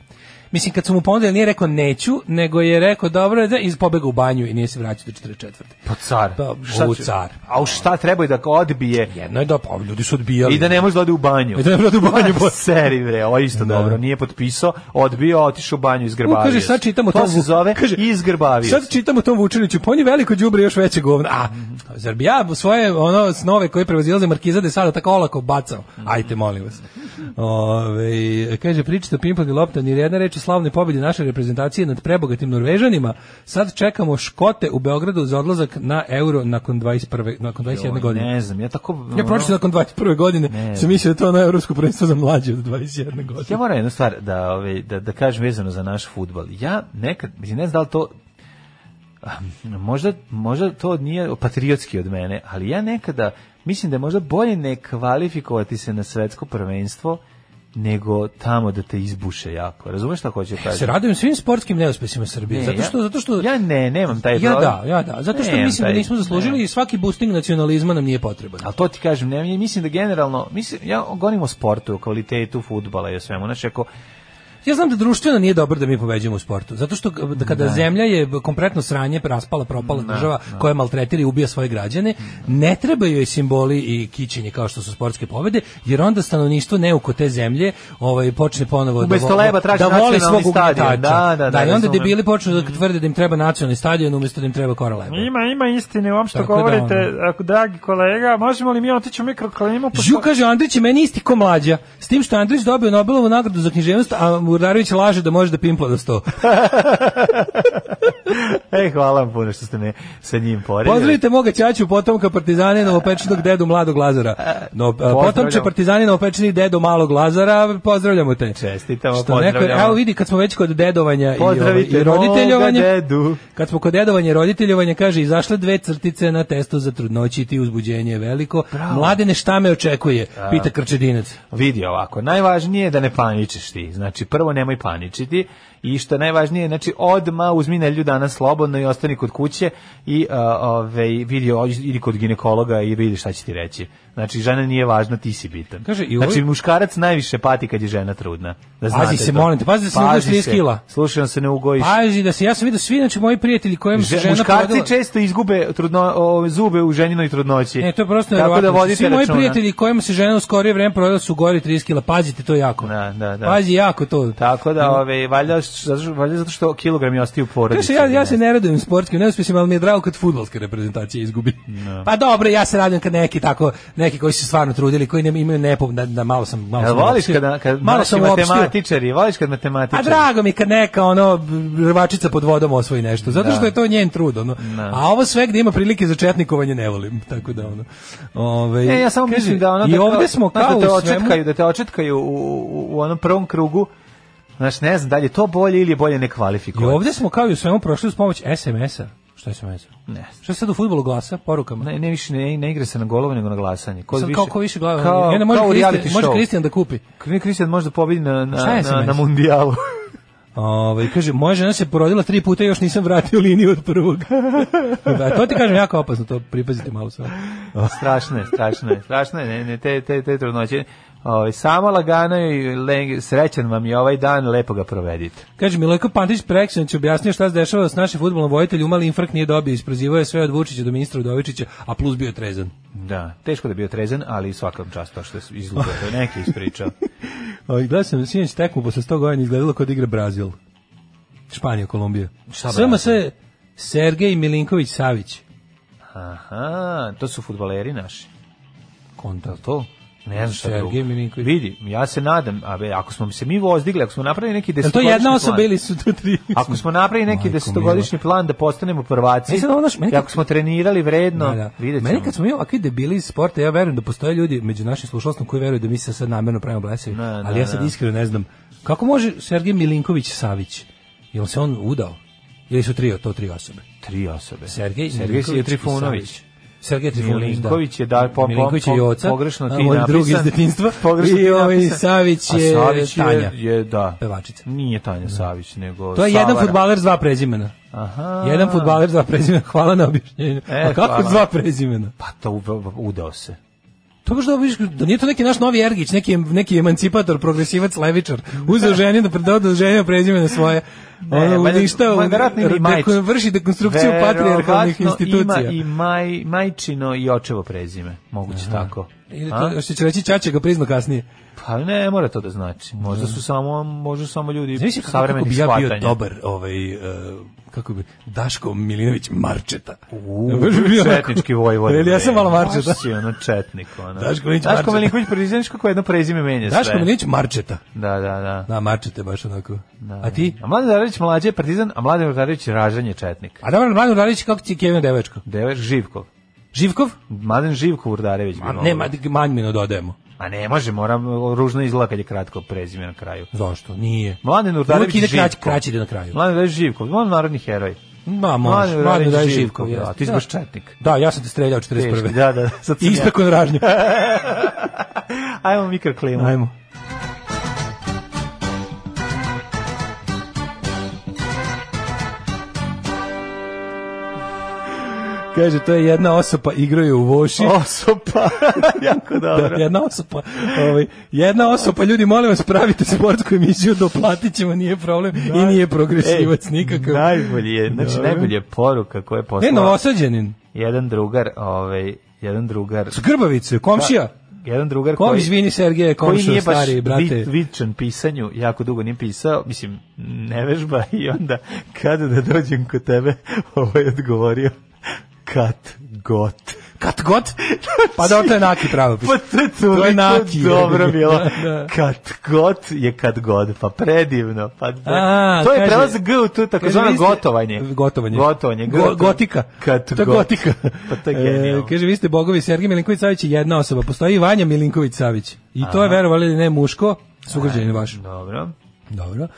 Speaker 5: Mislim, kad su mu ponudili, nije rekao neću, nego je rekao dobro, da, iz pobega u banju i nije se vraćao do 44.
Speaker 6: Pa car.
Speaker 5: Pa,
Speaker 6: Šta
Speaker 5: u
Speaker 6: će-
Speaker 5: car.
Speaker 6: A u šta treba da ga odbije
Speaker 5: Jedno je da, pa ljudi su odbijali.
Speaker 6: i da ne može da ode u banju?
Speaker 5: I da ne može da ode u banju.
Speaker 6: Pa, seri, bre, ovo je isto
Speaker 5: Da.
Speaker 6: dobro. Nije potpisao, odbio, otišao u banju,
Speaker 5: U,
Speaker 6: izgrbavio.
Speaker 5: kaže,
Speaker 6: se.
Speaker 5: sad čitamo
Speaker 6: to.
Speaker 5: tom
Speaker 6: se
Speaker 5: Vu-
Speaker 6: zove
Speaker 5: kaže,
Speaker 6: izgrbavio.
Speaker 5: Sad čitamo tom Vučiniću, pa on je veliko đubre još veće govno. A,
Speaker 6: Mhm.
Speaker 5: zar bi ja svoje ono snove koje prevazilaze Markiza da je sada tako olako bacao?
Speaker 6: Mhm.
Speaker 5: Ajte, molim vas. Ove, kaže, pričate o Pimpag i Lopta, ni jedna reč o slavnoj pobedi naše reprezentacije nad prebogatim Norvežanima. Sad čekamo Škote u Beogradu za odlazak na Euro nakon 21. nakon 21. godine.
Speaker 6: Ne znam, ja tako... ono,
Speaker 5: Ja pročito nakon 21. godine,
Speaker 6: Ne.
Speaker 5: sam mislio da je to ono evropsko prvenstvo za mlađe od 21. godine.
Speaker 6: Ja moram jednu stvar da, ovaj, da, da kažem vezano za naš futbal. Ja nekad, mislim, ne znam da li to možda, možda to nije patriotski od mene, ali ja nekada mislim da je možda bolje ne kvalifikovati se na svetsko prvenstvo nego tamo da te izbuše jako. Razumeš šta hoću
Speaker 5: Ja se
Speaker 6: kažem?
Speaker 5: radujem svim sportskim neuspesima Srbije.
Speaker 6: Ne,
Speaker 5: zato što
Speaker 6: ja-
Speaker 5: zato što
Speaker 6: ja ne, nemam
Speaker 5: Ja
Speaker 6: taj problem.
Speaker 5: da, ja da. Zato što
Speaker 6: Nemam
Speaker 5: mislim da
Speaker 6: taj-
Speaker 5: nismo zaslužili
Speaker 6: ne.
Speaker 5: i svaki boosting nacionalizma nam nije potreban.
Speaker 6: Ali to ti kažem, ne, ja mislim da generalno, mislim, ja govorim o sportu, o kvalitetu futbala i o svemu. Znači, ako,
Speaker 5: Ja znam da društveno nije dobro da mi pobeđujemo u sportu, zato što k- da kada zemlja je kompletno sranje, raspala, propala država koja maltretira i ubija svoje građane, ne trebaju joj simboli i kićenje kao što su sportske pobede, jer onda stanovništvo neuko te zemlje ovaj, počne ponovo da,
Speaker 6: Umesto
Speaker 5: vo-
Speaker 6: leba traži
Speaker 5: da voli
Speaker 6: nacionalni
Speaker 5: svog
Speaker 6: stadion.
Speaker 5: ugnjetača.
Speaker 6: Da, da, da,
Speaker 5: i onda
Speaker 6: razumem.
Speaker 5: debili počnu da tvrde da im treba nacionalni stadion umesto da im treba kora leba.
Speaker 11: Ima, ima istine u ovom što
Speaker 5: Tako da,
Speaker 11: govorite,
Speaker 5: ono.
Speaker 11: ako, dragi kolega. Možemo li mi otići u mikroklimu? pošto-
Speaker 5: Žu kaže Andrić je meni isti ko mlađa, s tim što je Andrić dobio Nobelovu nagradu za književnost, a Murdarević laže da može da pimpla do sto.
Speaker 6: e, hvala vam puno što ste me sa njim poredili.
Speaker 5: Pozdravite moga ćaću potomka partizanina opečenog dedu mladog Lazara. No, a,
Speaker 6: E, Pozdravljamo.
Speaker 5: potomče partizanina opečenih dedu malog Lazara, pozdravljamo te.
Speaker 6: Čestitamo,
Speaker 5: Što neko-
Speaker 6: pozdravljamo.
Speaker 5: evo vidi kad smo već kod dedovanja i, ovaj,
Speaker 6: Pozdravite
Speaker 5: i roditeljovanja.
Speaker 6: moga dedu.
Speaker 5: Kad smo kod dedovanja i roditeljovanja, kaže, izašle dve crtice na testu za trudnoći i ti uzbuđenje je veliko. Mladene, šta me očekuje? Pita Krčedinac.
Speaker 6: Pa Vidi ovako, najvažnije je da ne paničiš ti. Znači, prvo nemoj paničiti i što je najvažnije, znači, odma uzmi nelju danas slobodno i ostani kod kuće i a, ovaj, vidi, o- idi kod ginekologa i vidi šta će ti reći. Znači, žena nije važna, ti si bitan.
Speaker 5: Kaže, i
Speaker 6: znači,
Speaker 5: ovaj-
Speaker 6: muškarac najviše pati kad je žena trudna. Da
Speaker 5: Pazi
Speaker 6: znate
Speaker 5: se,
Speaker 6: to.
Speaker 5: molim te, pazi da se ne ugojiš
Speaker 6: Pazi
Speaker 5: 30 kila.
Speaker 6: Slušaj, on se ne ugojiš.
Speaker 5: Pazi da se, ja sam vidio svi, znači moji prijatelji kojem se
Speaker 6: Že-
Speaker 5: žena
Speaker 6: muškarci
Speaker 5: porodila-
Speaker 6: često izgube trudno, o, zube u ženinoj trudnoći.
Speaker 5: Ne, E, to je prosto
Speaker 6: E, Tako da
Speaker 5: nevjerovatno.
Speaker 6: vodite
Speaker 5: Svi moji
Speaker 6: računa.
Speaker 5: prijatelji kojima se žena u skorije vreme prodala su gori 30 kila. Pazite to jako.
Speaker 6: Da, da, da.
Speaker 5: Pazi jako to.
Speaker 6: Tako da, ove, valjda, š- zato što- valjda zato što kilogrami ostaju u porodici.
Speaker 5: Znaš, ja, ja se ne radujem sportskim neuspjesima, ali mi je drago kad futbolske reprezentacije izgubi. Pa dobro, ja se radujem kad neki tako, neki koji su se stvarno trudili, koji ne, imaju nepo, da, da malo sam... Malo
Speaker 6: Jel
Speaker 5: sam
Speaker 6: voliš
Speaker 5: uopštio.
Speaker 6: kad, kad
Speaker 5: malo
Speaker 6: malo
Speaker 5: sam uopštio.
Speaker 6: matematičari, voliš kad
Speaker 5: A
Speaker 6: matematičari.
Speaker 5: drago mi kad neka ono rvačica pod vodom osvoji nešto, zato što je to njen trud ono. A ovo sve gdje ima prilike za četnikovanje ne volim, tako da ono. Ovaj
Speaker 6: Ne, ja samo
Speaker 5: kaže,
Speaker 6: mislim da ono
Speaker 5: i
Speaker 6: tako-
Speaker 5: ovdje smo
Speaker 6: znaš,
Speaker 5: kao
Speaker 6: da te
Speaker 5: u svemu-
Speaker 6: očetkaju, da te očetkaju u, u, u onom prvom krugu. Znaš, ne znam, da li je to bolje ili je bolje ne
Speaker 5: I
Speaker 6: kvalifikovati.
Speaker 5: ovdje smo kao i u svemu prošli uz pomoć SMS-a. Šta je SMS?
Speaker 6: Ne.
Speaker 5: Šta sad u fudbalu glasa porukama?
Speaker 6: Ne, ne više ne, ne igra se na golove nego na glasanje. Ko
Speaker 5: Sad
Speaker 6: više,
Speaker 5: kao ko više glava.
Speaker 6: Kao,
Speaker 5: Ja ne može
Speaker 6: kao u
Speaker 5: Kristijan,
Speaker 6: reality
Speaker 5: može
Speaker 6: show.
Speaker 5: Kristijan da kupi.
Speaker 6: Kristijan može da pobedi na, na,
Speaker 5: Šta je
Speaker 6: na, na
Speaker 5: SMS?
Speaker 6: mundijalu.
Speaker 5: Ovaj kaže moja žena se porodila tri puta i još nisam vratio liniju od prvog. da, to ti kažem jako opasno, to pripazite malo sve.
Speaker 6: strašno je, strašno je, strašno je, ne, ne, te, te, te trudnoće. Ovaj, samo lagano i le- srećan vam je ovaj dan, lepo ga provedite.
Speaker 5: Kaže Milojko Pantić Preksinoć objasnio šta se dešava s našim fudbalom vojiteljem, umali infarkt nije dobio, isprozivao je sve od Vučića do ministra Udovičića, a plus bio je trezan.
Speaker 6: Da, teško da je bio trezan, ali svakom čast to što je izlupio, to je neki ispričao.
Speaker 5: O, i Ovaj, gledao sam sinoć tekmu posle 100 godina izgledalo kao da igra Brazil. Španija, Kolumbija.
Speaker 6: Šta
Speaker 5: Sve
Speaker 6: Brazil?
Speaker 5: se Sergej Milinković Savić.
Speaker 6: Aha, to su futbaleri naši.
Speaker 5: Konta.
Speaker 6: To? Ne znam šta
Speaker 5: Sergej
Speaker 6: drugo.
Speaker 5: Milinković.
Speaker 6: Vidi, ja se nadam, a be, ako smo se mi vozdigli, ako smo napravili neki
Speaker 5: Je to
Speaker 6: desetogodišnji
Speaker 5: jedna osoba
Speaker 6: plan,
Speaker 5: ili su to tri?
Speaker 6: Ako smo napravili neki
Speaker 5: Majko
Speaker 6: desetogodišnji plan da postanemo prvaci,
Speaker 5: Meni sad ono, znaš, meni
Speaker 6: i
Speaker 5: kad-
Speaker 6: ako smo trenirali vredno,
Speaker 5: Da, da.
Speaker 6: vidjet ćemo.
Speaker 5: Meni kad smo mi ovakvi debili iz sporta, ja verujem da postoje ljudi među našim slušalstvom koji veruju da mi se sad namjerno pravimo blesavi,
Speaker 6: Ne, ne,
Speaker 5: ali ja sad
Speaker 6: ne.
Speaker 5: iskreno ne znam. Kako može Sergej Milinković Savić? Jel se on udao? Ili su tri, to tri osobe?
Speaker 6: Tri osobe.
Speaker 5: Sergej,
Speaker 6: Sergej
Speaker 5: Milinković i
Speaker 6: Trifunović.
Speaker 5: Savić. Sergej Trifunović, da.
Speaker 6: Milinković je da, po- po-
Speaker 5: Milinković
Speaker 6: po-
Speaker 5: je oca,
Speaker 6: pogrešno ti
Speaker 5: a ovaj drugi iz
Speaker 6: napisan.
Speaker 5: detinjstva,
Speaker 6: Pogrešno ti
Speaker 5: i ovaj
Speaker 6: napisan.
Speaker 5: Savić
Speaker 6: A
Speaker 5: je
Speaker 6: Savić
Speaker 5: Tanja,
Speaker 6: Je, da.
Speaker 5: pevačica.
Speaker 6: Nije Tanja Savić, nego
Speaker 5: To je jedan
Speaker 6: Savara.
Speaker 5: futbaler s dva prezimena.
Speaker 6: Aha.
Speaker 5: Jedan futbaler s dva prezimena, hvala na objašnjenju.
Speaker 6: E,
Speaker 5: a kako
Speaker 6: hvala.
Speaker 5: s dva prezimena?
Speaker 6: Pa to u- udao se.
Speaker 5: To baš da obiš, da nije to neki naš novi Ergić, neki, neki emancipator, progresivac, levičar, uzeo ženi da predao da ženio prezime na svoje.
Speaker 6: E,
Speaker 5: Ono,
Speaker 6: valjda-
Speaker 5: uništao,
Speaker 6: ma, verovatno ima i majč-
Speaker 5: deko- vrši dekonstrukciju patrijarhalnih
Speaker 6: Verovatno
Speaker 5: institucija.
Speaker 6: Ima i maj, majčino i očevo prezime, moguće tako.
Speaker 5: Ili
Speaker 6: A?
Speaker 5: to, što će reći Čače ga priznao kasnije.
Speaker 6: Pa ne, mora to da znači. Možda su samo, možda samo ljudi
Speaker 5: Znaš kako, kako bi
Speaker 6: savremenih
Speaker 5: ja
Speaker 6: shvatanja.
Speaker 5: bio dobar, ovaj, e, kako bi, Daško Milinović Marčeta.
Speaker 6: U,
Speaker 5: Baš bi bio onako-
Speaker 6: četnički vojvod.
Speaker 5: Jel ja sam malo Marčeta?
Speaker 6: Si ono četnik. Ono.
Speaker 5: Daško Milinković
Speaker 6: Daško
Speaker 5: Marčeta.
Speaker 6: Milinković prezident kako jedno prezime menja sve.
Speaker 5: Daško Milinović Marčeta.
Speaker 6: Da, da, da.
Speaker 5: Da, Marčeta je baš onako. A ti?
Speaker 6: A Mladen Zarević mlađe je partizan, a Mladen Zarević ražanje četnik.
Speaker 5: A dobro, Mladen Urarić, kako ti je Kevin Devečko?
Speaker 6: Dever Živkov.
Speaker 5: Živkov?
Speaker 6: Mladen Živkov Urdarević. bi
Speaker 5: Ma,
Speaker 6: mogao.
Speaker 5: ne, ma, manjmino dodajemo.
Speaker 6: A ne može, moram ružno izgleda kad je kratko prezime na kraju.
Speaker 5: Zašto? Nije.
Speaker 6: Mladen Urdarević
Speaker 5: Uvijek ide
Speaker 6: Živkov.
Speaker 5: kraći, kraći ide na kraju.
Speaker 6: Mladen Zarević Živkov, on narodni heroj.
Speaker 5: Ma, može.
Speaker 6: Mladen
Speaker 5: Mladen
Speaker 6: Urarić
Speaker 5: Urarić
Speaker 6: Živkov,
Speaker 5: Živkov.
Speaker 6: da,
Speaker 5: jeste.
Speaker 6: ti si baš četnik.
Speaker 5: Da, ja sam te streljao
Speaker 6: Teški,
Speaker 5: 41.
Speaker 6: Da, da, sad sam
Speaker 5: I
Speaker 6: ja.
Speaker 5: ispeku na ražnju.
Speaker 6: Ajmo mikroklimu.
Speaker 5: Ajmo. Kaže, to je jedna osoba igraju u voši.
Speaker 6: Osopa, jako dobro.
Speaker 5: Jedna osoba, ovaj, jedna osoba, ljudi, molim vas, pravite sportsku emisiju, doplatit ćemo, nije problem i nije progresivac
Speaker 6: Ej,
Speaker 5: nikakav.
Speaker 6: Najbolje, E, je, znači
Speaker 5: Dobro.
Speaker 6: najbolje poruka koja je
Speaker 5: Ne,
Speaker 6: poslala
Speaker 5: novosađenin,
Speaker 6: jedan drugar, ovaj, jedan drugar,
Speaker 5: s grbavicu, komšija.
Speaker 6: jedan drugar
Speaker 5: Kom,
Speaker 6: koji
Speaker 5: izvini, Sergeje,
Speaker 6: koji
Speaker 5: komšo,
Speaker 6: nije baš
Speaker 5: stari, brate.
Speaker 6: vi- vičan pisanju, jako dugo nije pisao, mislim, ne vežba i onda kada da dođem kod tebe, ovaj je odgovorio kat got.
Speaker 5: Kad god? Pa dobro, to je naki pravo
Speaker 6: Pa to je
Speaker 5: To je
Speaker 6: toliko
Speaker 5: naki,
Speaker 6: dobro
Speaker 5: jebi ga.
Speaker 6: bilo.
Speaker 5: Da, da.
Speaker 6: Kad god je kad god, pa predivno. Pa,
Speaker 5: A,
Speaker 6: to je
Speaker 5: kaže-
Speaker 6: prelaz G u tu takozvano
Speaker 5: Kaže, vi ste-
Speaker 6: gotovanje.
Speaker 5: Gotovanje.
Speaker 6: Gotovanje. G u
Speaker 5: Go-
Speaker 6: tu-
Speaker 5: gotika.
Speaker 6: Kad
Speaker 5: to je
Speaker 6: god.
Speaker 5: gotika.
Speaker 6: Pa to je genijalno.
Speaker 5: E, kaže, vi ste bogovi, Sergej Milinković Savić je jedna osoba. Postoji i Vanja Milinković Savić. I to je, verovali ili ne, muško,
Speaker 6: E.
Speaker 5: sugrađanin vaš.
Speaker 6: Dobro.
Speaker 5: Dobro.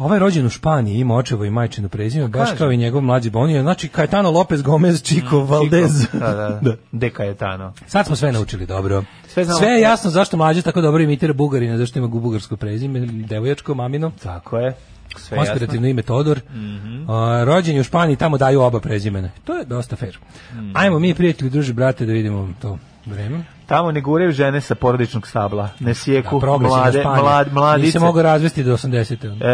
Speaker 5: Ovaj je rođen u Španiji, ima očevo i majčino prezime, baš
Speaker 6: Pa kažem.
Speaker 5: kao i njegov mlađi Bonio. Znači, Cayetano Lopez Gomez Chico Valdez.
Speaker 6: Čiko. Da, da. da. Deka je tano.
Speaker 5: Sad smo sve naučili dobro. Sve,
Speaker 6: Sve znamo.
Speaker 5: je jasno zašto mlađe tako dobro imitira Bugarina, zašto ima bugarsko prezime, devojačko, mamino.
Speaker 6: Tako je. Sve
Speaker 5: Konspirativno ime Todor.
Speaker 6: Mhm.
Speaker 5: A, rođen je u
Speaker 6: Mhm.
Speaker 5: Španiji, tamo daju oba prezimena. To je dosta fair. Ajmo mi, prijatelji, druži, brate, da vidimo to. Vreme?
Speaker 6: Tamo ne guraju žene sa porodičnog stabla, ne sijeku
Speaker 5: Da,
Speaker 6: mlade, mlad, mladice.
Speaker 5: Nisi mogao razvesti do 80. onda.
Speaker 6: E,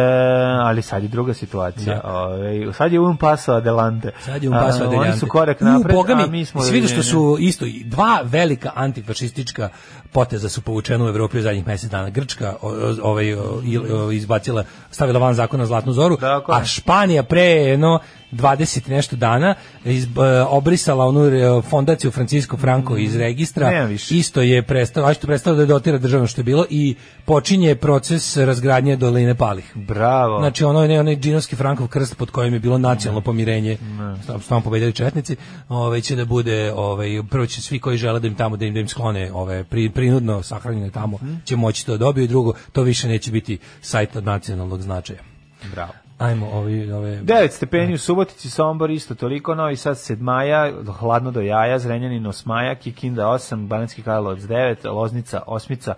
Speaker 6: ali sad je druga situacija.
Speaker 5: Da.
Speaker 6: Ove, sad je un paso adelante.
Speaker 5: Sad je un paso
Speaker 6: A,
Speaker 5: adelante.
Speaker 6: Oni su korak
Speaker 5: U,
Speaker 6: napred,
Speaker 5: boga mi,
Speaker 6: a mi smo...
Speaker 5: jesi vidio što
Speaker 6: odjedinjeni.
Speaker 5: su isto i dva velika antifašistička poteza su povučena u Evropi u zadnjih mesec dana. Grčka o- o- ovaj o- il- o- izbacila, stavila van zakona Zlatnu zoru,
Speaker 6: Tako je.
Speaker 5: a Španija pre no 20 i nešto dana izb, e, obrisala onu e, fondaciju Francisco Franco iz registra.
Speaker 6: Mm, Nema više.
Speaker 5: Isto je prestalo, a što prestalo da je dotira državno što je bilo i počinje proces razgradnje doline Palih.
Speaker 6: Bravo.
Speaker 5: Znači ono je ne, onaj džinovski Frankov krst pod kojim je bilo nacionalno pomirenje. Sam sam pobedili četnici. Ovaj će da bude ovaj prvo će svi koji žele da im tamo da im, da im sklone ove pri, prinudno sahranjene tamo će moći to dobiti. Drugo, to više neće biti sajt od nacionalnog značaja.
Speaker 6: Bravo.
Speaker 5: Ajmo ovi ove
Speaker 6: 9 stepeni u Subotici, Sombor isto toliko, Novi Sad 7 maja, hladno do jaja, Zrenjanin 8 maja, Kikinda 8, Banatski Karlovac 9, Loznica 8,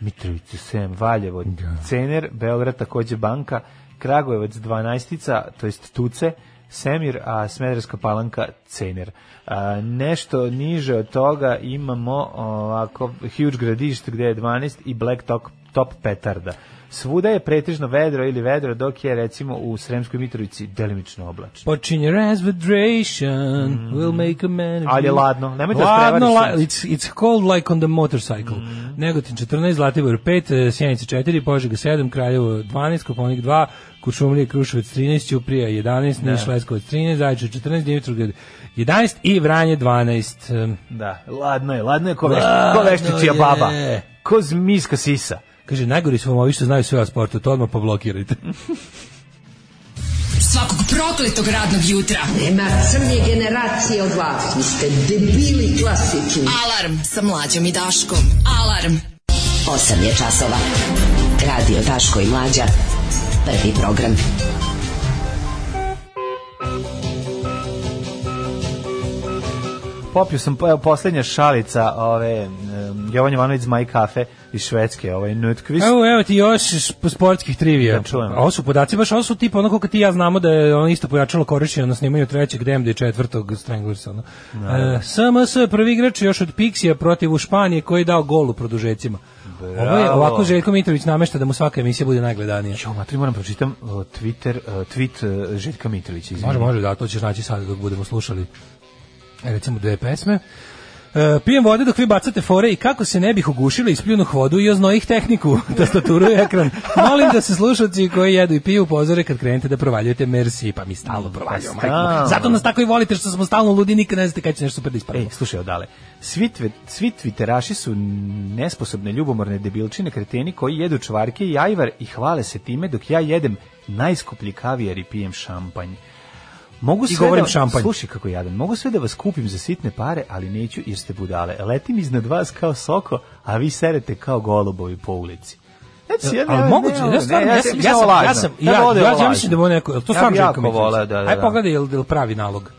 Speaker 6: Mitrovica 7, Valjevo, Cener, Beograd takođe Banka, Kragujevac 12, to jest Tuce, Semir, a Smederska palanka Cener. A, nešto niže od toga imamo ovako Huge Gradište gde je 12 i Black Top, top Petarda. Svuda je pretežno vedro ili vedro, dok je recimo u Sremskoj Mitrovici delimično oblačno.
Speaker 5: Počinje resvedration, we'll make a man. of
Speaker 6: Mm. Ali je
Speaker 5: you.
Speaker 6: ladno, nemojte da
Speaker 5: Ladno,
Speaker 6: vas prevari
Speaker 5: la- it's, it's cold like on the motorcycle.
Speaker 6: Mm.
Speaker 5: Negotin 14, Zlatibor 5, eh, Sjenica 4, Požega 7, Kraljevo 12, Koponik 2, Kučumlija, Kruševac 13, Ćuprija 11, Niš, Leskovac 13, Zajče 14, Dimitrovgrad 11 i Vranje 12. Em,
Speaker 6: Da, ladno je, ladno je ko, vešti, ko
Speaker 5: Ladno
Speaker 6: veštičija
Speaker 5: je.
Speaker 6: baba. Ko zmijska sisa.
Speaker 5: Kaže, najgori su vam ovi što znaju sve o sportu, to odmah poblokirajte.
Speaker 12: Svakog prokletog radnog jutra.
Speaker 8: Nema crnje generacije od vas. Vi ste debili klasični.
Speaker 12: Alarm sa mlađom i Daškom. Alarm.
Speaker 8: 8 je časova. Radio Daško i Mlađa. Prvi program.
Speaker 6: Popio sam evo, posljednja šalica ove um, Jovan Jovanović Zmaj kafe iz Švedske, ovaj Nutkvist.
Speaker 5: Evo, evo ti još s- po- sportskih trivija.
Speaker 6: Da čujem.
Speaker 5: A Ovo su podaci, baš ovo su tipa ono koliko ti i ja znamo da je ono isto pojačalo korišćenje na snimanju trećeg DMD i četvrtog Stranglers. Ono. E, SMS je prvi igrač još od Pixija protiv u Španije koji je dao gol u produžecima. Ovo je, ovako Željko Mitrović namešta da mu svaka emisija bude najgledanija.
Speaker 6: Jo, matri, moram pročitam uh, Twitter, uh, tweet uh, Željka Mitrovića. izvini.
Speaker 5: Može, može, da, to ćeš naći sad dok budemo slušali e, recimo dve pesme. E, pijem vode dok vi bacate fore i kako se ne bih ugušili ispljunuh vodu i oznojih tehniku, tastaturu i ekran. Molim da se slušalci koji jedu i piju upozore kad krenete da provaljujete merci, pa mi stalno provaljujemo.
Speaker 6: Pa stalno.
Speaker 5: majko moja. Zato nas tako i volite što smo stalno ludi, nikad ne znate kada će nešto super da ispadne.
Speaker 6: Ej, E, slušaj odale. Svi, tve, svi tviteraši su nesposobne ljubomorne debilčine kreteni koji jedu čvarke i ajvar i hvale se time dok ja jedem najskuplji kavijar i pijem šampanj. Mogu sve
Speaker 5: govorim
Speaker 6: da,
Speaker 5: šampanj.
Speaker 6: Slušaj kako jadan. Mogu sve da vas kupim za sitne pare, ali neću jer ste budale. Letim iznad vas kao soko, a vi serete kao golubovi po ulici. Znači, ja,
Speaker 5: Ali
Speaker 6: ne-
Speaker 5: moguće,
Speaker 6: ne,
Speaker 5: ja stvarno,
Speaker 6: ne,
Speaker 5: ja sam, ja sam, ja sam, ja,
Speaker 6: bi voleo
Speaker 5: ja, ja
Speaker 6: lažno.
Speaker 5: mislim da mu neko, jel to
Speaker 6: Ja
Speaker 5: stvarno
Speaker 6: bi
Speaker 5: Željko
Speaker 6: jako voleo, da, da,
Speaker 5: Aj
Speaker 6: da.
Speaker 5: pogledaj, jel, jel pravi nalog?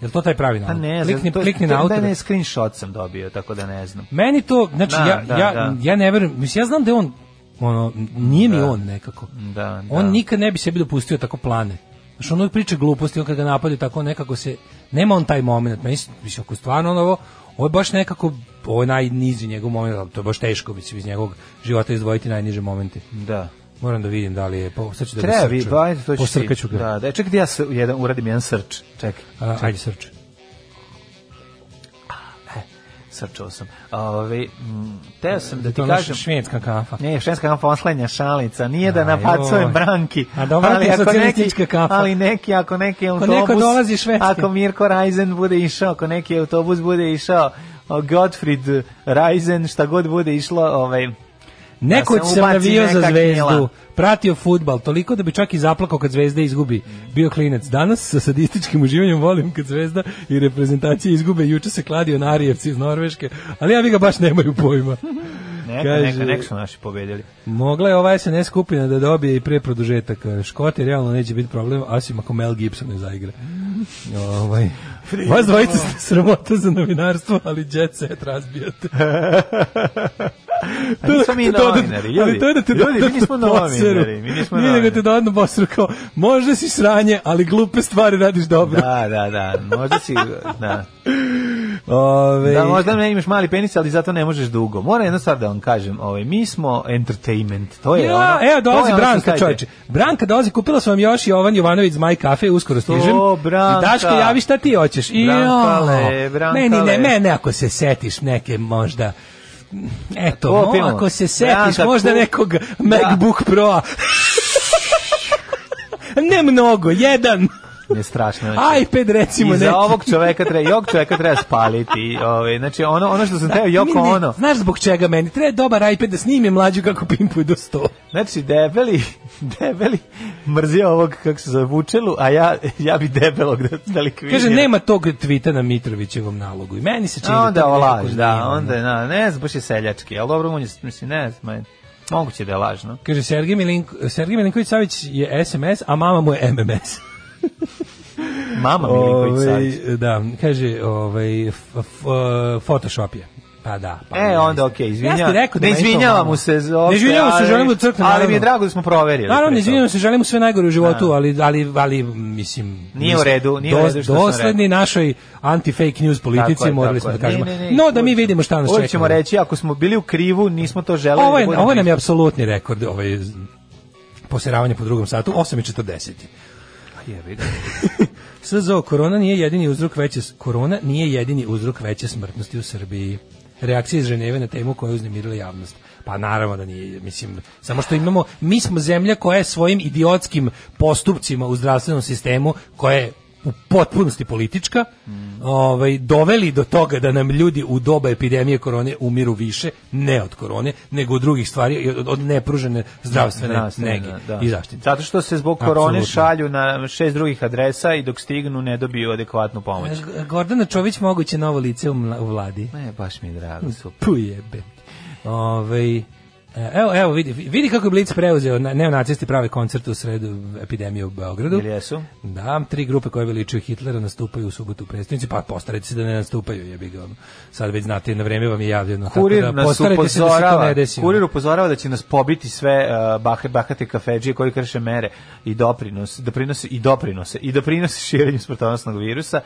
Speaker 5: Jel to taj pravi
Speaker 6: Pa
Speaker 5: nalog?
Speaker 6: ne, znam,
Speaker 5: klikni,
Speaker 6: to-
Speaker 5: klikni
Speaker 6: to-
Speaker 5: na auto.
Speaker 6: da ne, screenshot sam dobio, tako da ne znam.
Speaker 5: Meni to, znači
Speaker 6: Da,
Speaker 5: ja,
Speaker 6: da,
Speaker 5: ja,
Speaker 6: da.
Speaker 5: ja ne verujem, mislim ja znam da je on ono nije mi on nekako.
Speaker 6: Da,
Speaker 5: On
Speaker 6: da.
Speaker 5: nikad ne bi sebi dopustio tako plane. Znaš, on uvijek priča gluposti, on kad ga napadaju tako nekako se, nema on taj moment, meni, se- mislim, ako stvarno on ovo, ovo je baš nekako, ovo je najniži njegov moment, ali to je baš teško, mislim, iz njegovog života izdvojiti najniže momente.
Speaker 6: Da.
Speaker 5: Moram da vidim da li je, po, sad ću da ga
Speaker 6: Treba vi,
Speaker 5: srču.
Speaker 6: ba, to ćeš
Speaker 5: Posrkaću
Speaker 6: ti.
Speaker 5: ga.
Speaker 6: Da, da, čekaj da ja se jedan, uradim jedan srč. Čekaj,
Speaker 5: A, ajde srče.
Speaker 6: srčao sam. Ove, mm, teo sam da
Speaker 5: Da
Speaker 6: ti
Speaker 5: to je naša
Speaker 6: kažem...
Speaker 5: švedska kafa.
Speaker 6: Ne, švenska kafa poslednja šalica, nije da
Speaker 5: Aj,
Speaker 6: napacujem
Speaker 5: oj.
Speaker 6: branki.
Speaker 5: A dobro, ti je socijalistička kafa.
Speaker 6: Ali neki, ako neki autobus...
Speaker 5: neko dolazi iz Švedske.
Speaker 6: Ako Mirko Rajzen bude išao, ako neki autobus bude išao, o, Gottfried Rajzen, šta god bude išlo, ovaj,
Speaker 5: Nekoć
Speaker 6: Da se
Speaker 5: sam
Speaker 6: ubaci
Speaker 5: navio za
Speaker 6: neka
Speaker 5: zvezdu,
Speaker 6: knjila.
Speaker 5: pratio futbal, toliko da bi čak i zaplakao kad zvezda izgubi. Bio klinec. Danas sa sadističkim uživanjem volim kad zvezda i reprezentacije izgube. Juče se kladio na Arijevci iz Norveške, ali ja vi ga baš nemaju pojma.
Speaker 6: neka,
Speaker 5: Kaže-
Speaker 6: neka, neka su naši pobedili.
Speaker 5: Mogla je ova SNS skupina da dobije i pre produžetak. Škote realno neće biti problem, osim ako Mel Gibson ne zaigra. Ovaj. Vas dvojica ste sramota za novinarstvo, ali jet set razbijate.
Speaker 6: A Pa nismo mi
Speaker 5: Te dodatno-
Speaker 6: novinari,
Speaker 5: ali
Speaker 6: ljudi,
Speaker 5: to je da te
Speaker 6: ljudi, mi
Speaker 5: dodatno
Speaker 6: nismo
Speaker 5: poseru.
Speaker 6: novinari, mi nismo
Speaker 5: Nije nego
Speaker 6: novinari.
Speaker 5: te dodatno posru kao, možda si sranje, ali glupe stvari radiš dobro.
Speaker 6: Da, da, da, možda si, da.
Speaker 5: Ove,
Speaker 6: Da, možda ne imaš mali penis, ali zato ne možeš dugo. Moram jedno stvar da vam kažem, ovaj, mi smo entertainment, to je
Speaker 5: Ja,
Speaker 6: ono...
Speaker 5: evo
Speaker 6: to
Speaker 5: dolazi
Speaker 6: je ono što
Speaker 5: Branka,
Speaker 6: kažete.
Speaker 5: čoveče. Branka dolazi, kupila sam vam još Jovan Jovanović iz Maj kafe, uskoro stižem.
Speaker 6: Branka.
Speaker 5: I Daško, javi šta ti hoćeš. I,
Speaker 6: Brankale,
Speaker 5: jao,
Speaker 6: Brankale.
Speaker 5: Meni ne, mene ako se setiš neke možda Eto, mo-
Speaker 6: Kupimo.
Speaker 5: ako se setiš
Speaker 6: Branka,
Speaker 5: možda
Speaker 6: kup-
Speaker 5: nekog MacBook Pro-a. ne mnogo, jedan.
Speaker 6: Ne strašno. znači.
Speaker 5: iPad recimo
Speaker 6: I
Speaker 5: neki.
Speaker 6: za ovog čoveka treba, jog čoveka treba spaliti. Ovaj, znači, ono, ono što sam teo,
Speaker 5: Mi
Speaker 6: joko
Speaker 5: ne-
Speaker 6: ono.
Speaker 5: Znaš zbog čega meni? Treba dobar iPad da snimim mlađu kako pimpuju do 100.
Speaker 6: Znači, debeli, debeli mrzio ovog, kako se zove, vučelu, a ja, ja bi debelog da, da likvidiram.
Speaker 5: Kaže, nema tog tvita na Mitrovićevom nalogu. I meni se čini
Speaker 6: A
Speaker 5: da
Speaker 6: onda
Speaker 5: to
Speaker 6: ovo
Speaker 5: nekako
Speaker 6: laž,
Speaker 5: nije,
Speaker 6: da,
Speaker 5: ono.
Speaker 6: onda, je, na, ne znam, baš je seljački, ali dobro, on je, mislim, ne znam, je- moguće da je lažno.
Speaker 5: Kaže, Sergej, Milink, Sergej Milinković Savić je SMS, a mama mu je MMS.
Speaker 6: Mama Milinković Savić. E,
Speaker 5: Ovaj, da, kaže, ovaj, f- f- uh, Photoshop je. Pa da. Pa
Speaker 6: E, onda, okej, izvinjavam.
Speaker 5: Ja sam ti rekao da
Speaker 6: ne
Speaker 5: meni to
Speaker 6: izvinjavam
Speaker 5: malo-
Speaker 6: mu se. za opšte,
Speaker 5: Ne izvinjavam se,
Speaker 6: ali-
Speaker 5: želim da crknem,
Speaker 6: Ali
Speaker 5: naravno.
Speaker 6: mi je drago da smo proverili.
Speaker 5: Naravno,
Speaker 6: pre
Speaker 5: ne izvinjavam
Speaker 6: toga.
Speaker 5: se, želim mu sve najgore u životu, ali, ali, ali, mislim...
Speaker 6: Nije u redu, nije u
Speaker 5: dos-
Speaker 6: redu što sam
Speaker 5: Dosledni našoj anti-fake news politici
Speaker 6: Tako je,
Speaker 5: morali
Speaker 6: tako
Speaker 5: smo da
Speaker 6: je.
Speaker 5: kažemo.
Speaker 6: Ne, ne, ne,
Speaker 5: no, da mi
Speaker 6: uvijek-
Speaker 5: vidimo šta nas čeka.
Speaker 6: Uvijek ćemo reći, ako smo bili u krivu, nismo to želeli.
Speaker 5: Ovo, je,
Speaker 6: da budemo
Speaker 5: ovo nam je
Speaker 6: isti.
Speaker 5: apsolutni rekord, ovaj, posiravanje po drugom satu, 8.40.
Speaker 6: Jebi ga.
Speaker 5: SZO, korona nije jedini uzrok veće, korona nije jedini uzrok veće smrtnosti u Srbiji. Reakcija iz Ženeve na temu koja je uznemirila javnost. Pa naravno da nije, mislim, samo što imamo, mi smo zemlja koja je svojim idiotskim postupcima u zdravstvenom sistemu, koja je u potpunosti politička,
Speaker 6: Mm.
Speaker 5: ovaj, doveli do toga da nam ljudi u doba epidemije korone umiru više, ne od korone, nego od drugih stvari, od, od nepružene zdravstvene,
Speaker 6: Zdravstvena,
Speaker 5: nege
Speaker 6: da.
Speaker 5: i zaštite.
Speaker 6: Zato što se zbog korone
Speaker 5: Apsolutno.
Speaker 6: šalju na šest drugih adresa i dok stignu ne dobiju adekvatnu pomoć.
Speaker 5: Gordana Čović moguće novo lice u mla- u vladi.
Speaker 6: Ne, baš mi je drago, super.
Speaker 5: Pujebe. Ovaj e, Evo, evo, vidi, vidi kako je Blic preuzeo, na- neonacisti prave koncert u sredu epidemije u Beogradu.
Speaker 6: Ili jesu?
Speaker 5: Da, tri grupe koje veličuju Hitlera nastupaju u subotu u prestonici, pa postarajte se da ne nastupaju, jebi ga ono. Sad već znate, na vreme vam je javljeno. tako
Speaker 6: Kurir
Speaker 5: da,
Speaker 6: nas
Speaker 5: postarajte se da se to
Speaker 6: upozorava,
Speaker 5: ne desi. ono.
Speaker 6: kurir upozorava da će nas pobiti sve uh, bah, bahate kafedžije koji krše mere i doprinos, doprinose i doprinose i doprinose širenju smrtonosnog virusa.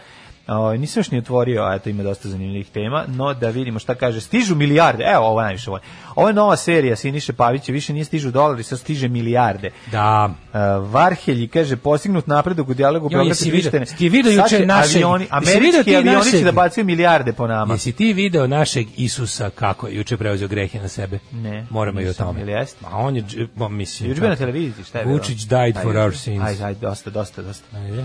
Speaker 6: Uh, nisam još ni otvorio, a eto ima dosta zanimljivih tema, no da vidimo šta kaže. Stižu milijarde, evo ovo je najviše volim. Ovo je nova serija Siniše Pavića, više nije stižu dolari, sad stiže milijarde.
Speaker 5: Da.
Speaker 6: Uh, Varhelji kaže postignut napredak u dijalogu
Speaker 5: Jo,
Speaker 6: Beograda
Speaker 5: jesi
Speaker 6: i
Speaker 5: vidio-
Speaker 6: Prištine.
Speaker 5: jesi vidio
Speaker 6: Sad
Speaker 5: juče
Speaker 6: će
Speaker 5: našeg-
Speaker 6: avioni,
Speaker 5: jesi vidio ti
Speaker 6: američki avioni će
Speaker 5: našeg?
Speaker 6: da bacaju milijarde po nama.
Speaker 5: Jesi ti video našeg Isusa kako je juče preuzeo grehe na sebe?
Speaker 6: Ne,
Speaker 5: Moramo i o
Speaker 6: nisam,
Speaker 5: tome.
Speaker 6: jel jeste?
Speaker 5: A on je, dž- ma, mislim...
Speaker 6: Juče bio na televiziji, šta je bilo?
Speaker 5: Vučić died for
Speaker 6: Ajde,
Speaker 5: our sins.
Speaker 6: Ajde, ajde, dosta, dosta, dosta.
Speaker 5: Ajde.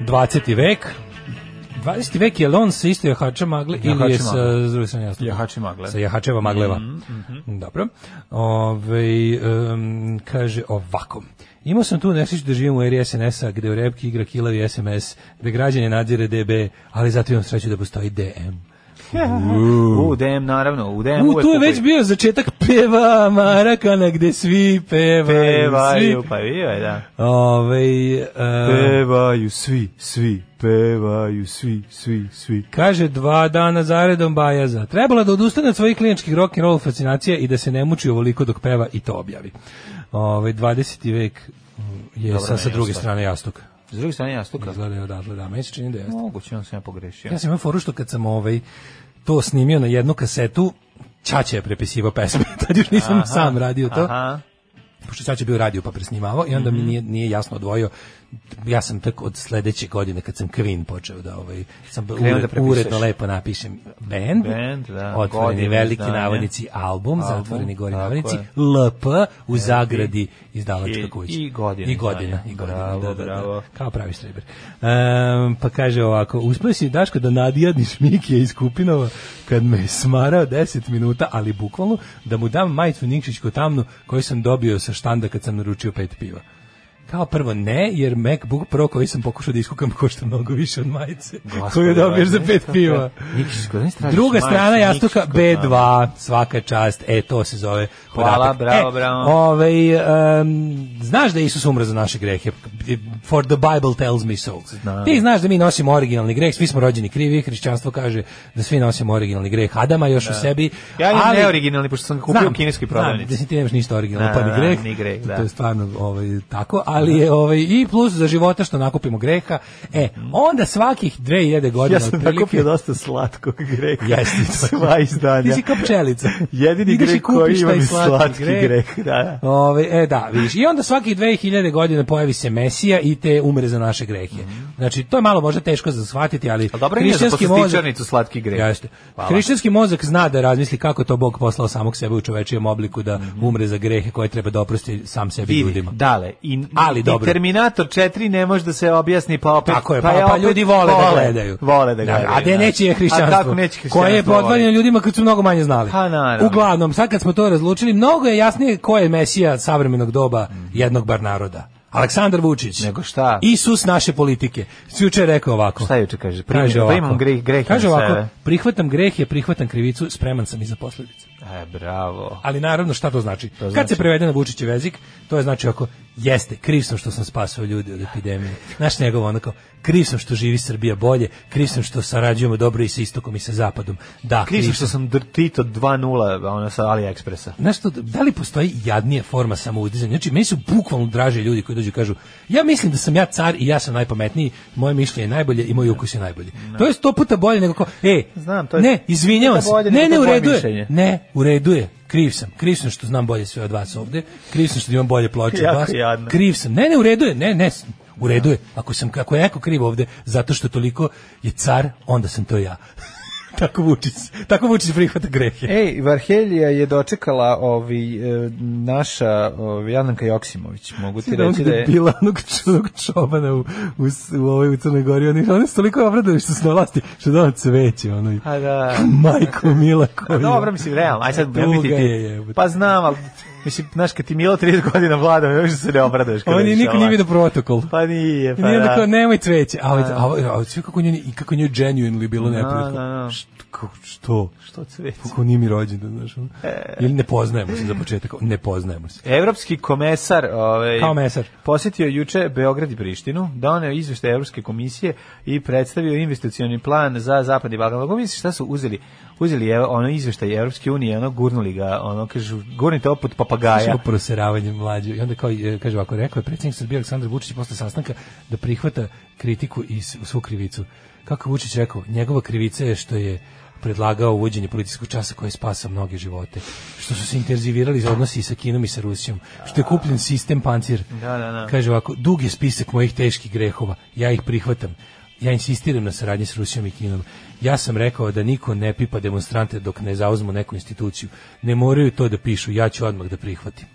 Speaker 5: Mm. 20. vek. 20. vek je li on sa isto jahača magle ili je
Speaker 6: Jahača
Speaker 5: sa
Speaker 6: magle.
Speaker 5: s druge strane jasno?
Speaker 6: Jahači magle. Mhm,
Speaker 5: Sa jahačeva magleva. Dobro. Ove, kaže ovako. Imao sam tu nešto da živim u eri SNS-a gde u repki igra kilavi SMS, gde građanje nadzire DB, ali zato imam sreću da postoji DM.
Speaker 6: U, DM, naravno, u DM
Speaker 5: U, tu je već bio začetak peva Marakana gde svi pevaju.
Speaker 6: Pevaju,
Speaker 5: svi.
Speaker 6: pa bio je, da.
Speaker 5: Ovaj, e,
Speaker 6: Pevaju svi, svi, pevaju svi, svi, svi.
Speaker 5: Kaže dva dana zaredom Bajaza. Trebala da odustane od svojih kliničkih rock and roll fascinacija i da se ne muči ovoliko dok peva i to objavi. Ovaj 20. vek mm, je
Speaker 6: Dobra,
Speaker 5: sa, sa
Speaker 6: ne,
Speaker 5: druge
Speaker 6: jasno.
Speaker 5: strane jastuk.
Speaker 6: S druge strane, ja stukam.
Speaker 5: Izgleda je odatle, da, meni se čini da je jastuk.
Speaker 6: Moguće, on sam ja pogrešio.
Speaker 5: Ja sam imao foru što kad sam ovaj, to snimio na jednu kasetu, Čače je prepisivao pesme, tad još nisam sam radio to
Speaker 6: Aha. Mhm.
Speaker 5: pošto sad je bio radio pa presnimavao i onda mi nije, nije jasno odvojio ja sam tek od sledeće godine kad sam Queen počeo da ovaj sam ured,
Speaker 6: da prepisuješ.
Speaker 5: uredno lepo napišem band,
Speaker 6: Band, da,
Speaker 5: otvoreni
Speaker 6: godine
Speaker 5: veliki
Speaker 6: izdanja.
Speaker 5: navodnici album,
Speaker 6: Album,
Speaker 5: zatvoreni gori
Speaker 6: tako
Speaker 5: navodnici
Speaker 6: je.
Speaker 5: LP u zagradi izdavačka
Speaker 6: i-
Speaker 5: kuća
Speaker 6: i godina
Speaker 5: i godina,
Speaker 6: izdanja.
Speaker 5: i godina
Speaker 6: Bravo,
Speaker 5: da, da, da.
Speaker 6: bravo.
Speaker 5: kao pravi streber Ehm, pa kaže ovako uspio si Daško da nadjadniš Mikija iz Kupinova kad me je smarao 10 minuta ali bukvalno da mu dam majicu Nikšićku tamnu koju sam dobio sa štanda kad sam naručio pet piva Kao prvo ne, jer MacBook Pro koji sam pokušao da iskukam košta mnogo više od majice. koju dobiješ za pet piva. Druga strana jastuka B2, svaka čast. E, to se zove
Speaker 6: Hvala,
Speaker 5: podatak.
Speaker 6: bravo,
Speaker 5: E,
Speaker 6: bravo.
Speaker 5: Ovaj, em, znaš da je Isus umro za naše grehe. For the Bible tells me so. Ti znaš da mi nosimo originalni greh, svi smo rođeni krivi, hrišćanstvo kaže da svi nosimo originalni greh Adama još u sebi.
Speaker 6: Ja imam
Speaker 5: ali-
Speaker 6: neoriginalni, pošto sam ga kupio
Speaker 5: Znam,
Speaker 6: u kineskoj
Speaker 5: znam,
Speaker 6: prodavnici.
Speaker 5: da ti nemaš ništa originalno,
Speaker 6: Da,
Speaker 5: pa
Speaker 6: da,
Speaker 5: ni greh.
Speaker 6: ni greh, da.
Speaker 5: To je stvarno ovaj, tako, ali je ovaj, i plus za života što nakupimo greha. E, onda svakih 2000 godina
Speaker 6: Mhm. Ja sam
Speaker 5: otprilike-
Speaker 6: nakupio dosta slatkog greka.
Speaker 5: Jeste.
Speaker 6: Sva izdanja.
Speaker 5: Ti si kao pčelica.
Speaker 6: Jedini
Speaker 5: Ideš i
Speaker 6: greh
Speaker 5: kupiš
Speaker 6: koji imam
Speaker 5: taj
Speaker 6: je
Speaker 5: slatki
Speaker 6: slatki
Speaker 5: greh.
Speaker 6: greh. Da, da.
Speaker 5: Ove, e da, vidiš. I onda svakih 2000 godina pojavi se Mesija i te umre za naše grehe. Znači, to je malo možda teško za shvatiti, ali
Speaker 6: Ali dobro nije za
Speaker 5: hrišćanski
Speaker 6: poslastičarnicu slatki greh.
Speaker 5: Jeste.
Speaker 6: Hvala.
Speaker 5: Hrišćanski mozak zna da razmisli kako je to Bog poslao samog sebe u čovečijem obliku da umre za grehe koje treba da oprosti sam sebi
Speaker 6: Vidi,
Speaker 5: ljudima.
Speaker 6: Dale, i,
Speaker 5: Ali
Speaker 6: i
Speaker 5: dobro.
Speaker 6: Terminator 4 ne može da se objasni, pa opet...
Speaker 5: Tako je, pa,
Speaker 6: je
Speaker 5: pa,
Speaker 6: opet
Speaker 5: ljudi vole, da gledaju.
Speaker 6: Vole da gledaju.
Speaker 5: A gde
Speaker 6: da.
Speaker 5: neće je hrišćanstvo?
Speaker 6: A kako neće hrišćanstvo?
Speaker 5: Koje je podvaljeno
Speaker 6: voleti?
Speaker 5: ljudima kad su mnogo manje znali.
Speaker 6: Pa, naravno.
Speaker 5: Uglavnom, sad kad smo to razlučili, mnogo je jasnije ko je mesija savremenog doba jednog bar naroda. Aleksandar Vučić.
Speaker 6: Nego šta?
Speaker 5: Isus naše politike. Juče je rekao ovako.
Speaker 6: Šta juče kaže? Primim-
Speaker 5: Kaže ovako.
Speaker 6: primam greh- greh
Speaker 5: Kaže
Speaker 6: na
Speaker 5: ovako,
Speaker 6: sebe.
Speaker 5: prihvatam greh je, prihvatam krivicu, spreman sam i za posledice.
Speaker 6: E, bravo.
Speaker 5: Ali naravno šta to znači? Kad
Speaker 6: znači-
Speaker 5: se prevede na Vučićev jezik, to je znači ako jeste, kriv sam što sam spasao ljudi od epidemije. Naš njegov ono kao, kriv sam što živi Srbija bolje, kriv sam što sarađujemo dobro i sa istokom i sa zapadom. Da,
Speaker 6: Kriv sam što sam dr- Tito 2.0 ono, sa AliExpressa.
Speaker 5: Znaš što, da li postoji jadnija forma samouzdizanja? Znači, meni su bukvalno draže ljudi koji dođu i kažu ja mislim da sam ja car i ja sam najpametniji, moje mišljenje je najbolje i moj ukus je najbolji. To je sto puta bolje nego ko, e,
Speaker 6: Znam, to je
Speaker 5: ne,
Speaker 6: sto
Speaker 5: izvinjavam
Speaker 6: puta
Speaker 5: se,
Speaker 6: bolje
Speaker 5: ne,
Speaker 6: nego
Speaker 5: ne,
Speaker 6: to
Speaker 5: u
Speaker 6: moje
Speaker 5: redu je,
Speaker 6: mišljenje.
Speaker 5: ne, u redu je, kriv sam, kriv sam što znam bolje sve od vas ovde, kriv sam što imam bolje ploče od
Speaker 6: Jako
Speaker 5: vas,
Speaker 6: jadno.
Speaker 5: kriv sam, ne, ne, u redu je, ne, ne, u redu je, ako sam, ako je neko kriv ovde, zato što toliko je car, onda sam to ja. tako Vučić, tako Vučić prihvata grehe.
Speaker 6: Ej, Varhelija je dočekala ovi, e, naša ovi, Jadranka Joksimović. Mogu ti
Speaker 5: Ti da
Speaker 6: reći da je...
Speaker 5: bila onog čudnog čobana u, u, s- u, ovoj u Crnoj Gori, oni, oni su toliko obradili što su na vlasti, što da on cveće, ono, i-
Speaker 6: A Pa da...
Speaker 5: majko mila
Speaker 6: A
Speaker 5: koja.
Speaker 6: dobro, mislim, realno. Aj sad,
Speaker 5: Tuga
Speaker 6: nemoj ti ti-
Speaker 5: je, jebote.
Speaker 6: Pa znam, ali... Mislim, znaš, kad ti Milo 30 godina vlada, ne možeš da se ne obraduješ. kada
Speaker 5: On je
Speaker 6: vidiš
Speaker 5: niko
Speaker 6: ovo.
Speaker 5: nije vidio protokol.
Speaker 6: Pa nije, pa
Speaker 5: I nije
Speaker 6: da.
Speaker 5: da kao, nemoj cveće. A, ovaj- a, ovaj- a, ovaj, sve kako nju, i kako nju genuinely bilo neprijatno.
Speaker 6: da, da.
Speaker 5: Št- kao, Što?
Speaker 6: Što cveće?
Speaker 5: Kako nije mi rođen, znaš. ono.
Speaker 6: E.
Speaker 5: Ili ne poznajemo se za početak. Ne poznajemo se.
Speaker 6: Evropski komesar ovaj,
Speaker 5: Kao mesar.
Speaker 6: posjetio juče Beograd i Prištinu, doneo izveštaj Evropske komisije i predstavio investicioni plan za Zapadni Balkan. Kako misliš šta su uzeli? Uzeli evo, ono izveštaj Evropske unije, ono gurnuli ga, ono kažu, gurnite ovo pod papagaja.
Speaker 5: Slušamo proseravanje mlađe. I onda kao, e, kaže ovako, rekao je predsjednik Srbije Aleksandar Vučić posle sastanka da prihvata kritiku i s- svu krivicu. Kako je Vučić rekao, njegova krivica je što je predlagao uvođenje policijskog časa koji je spasao mnoge živote, što su se intenzivirali za odnosi i sa Kinom i sa Rusijom, što je kupljen sistem pancir.
Speaker 6: Da, da, da.
Speaker 5: Kaže ovako, dug je spisak mojih teških grehova, ja ih prihvatam. Ja insistiram na saradnji s Rusijom i Kinom. Ja sam rekao da niko ne pipa demonstrante dok ne zauzmu neku instituciju. Ne moraju to da pišu, ja ću odmah da prihvatim.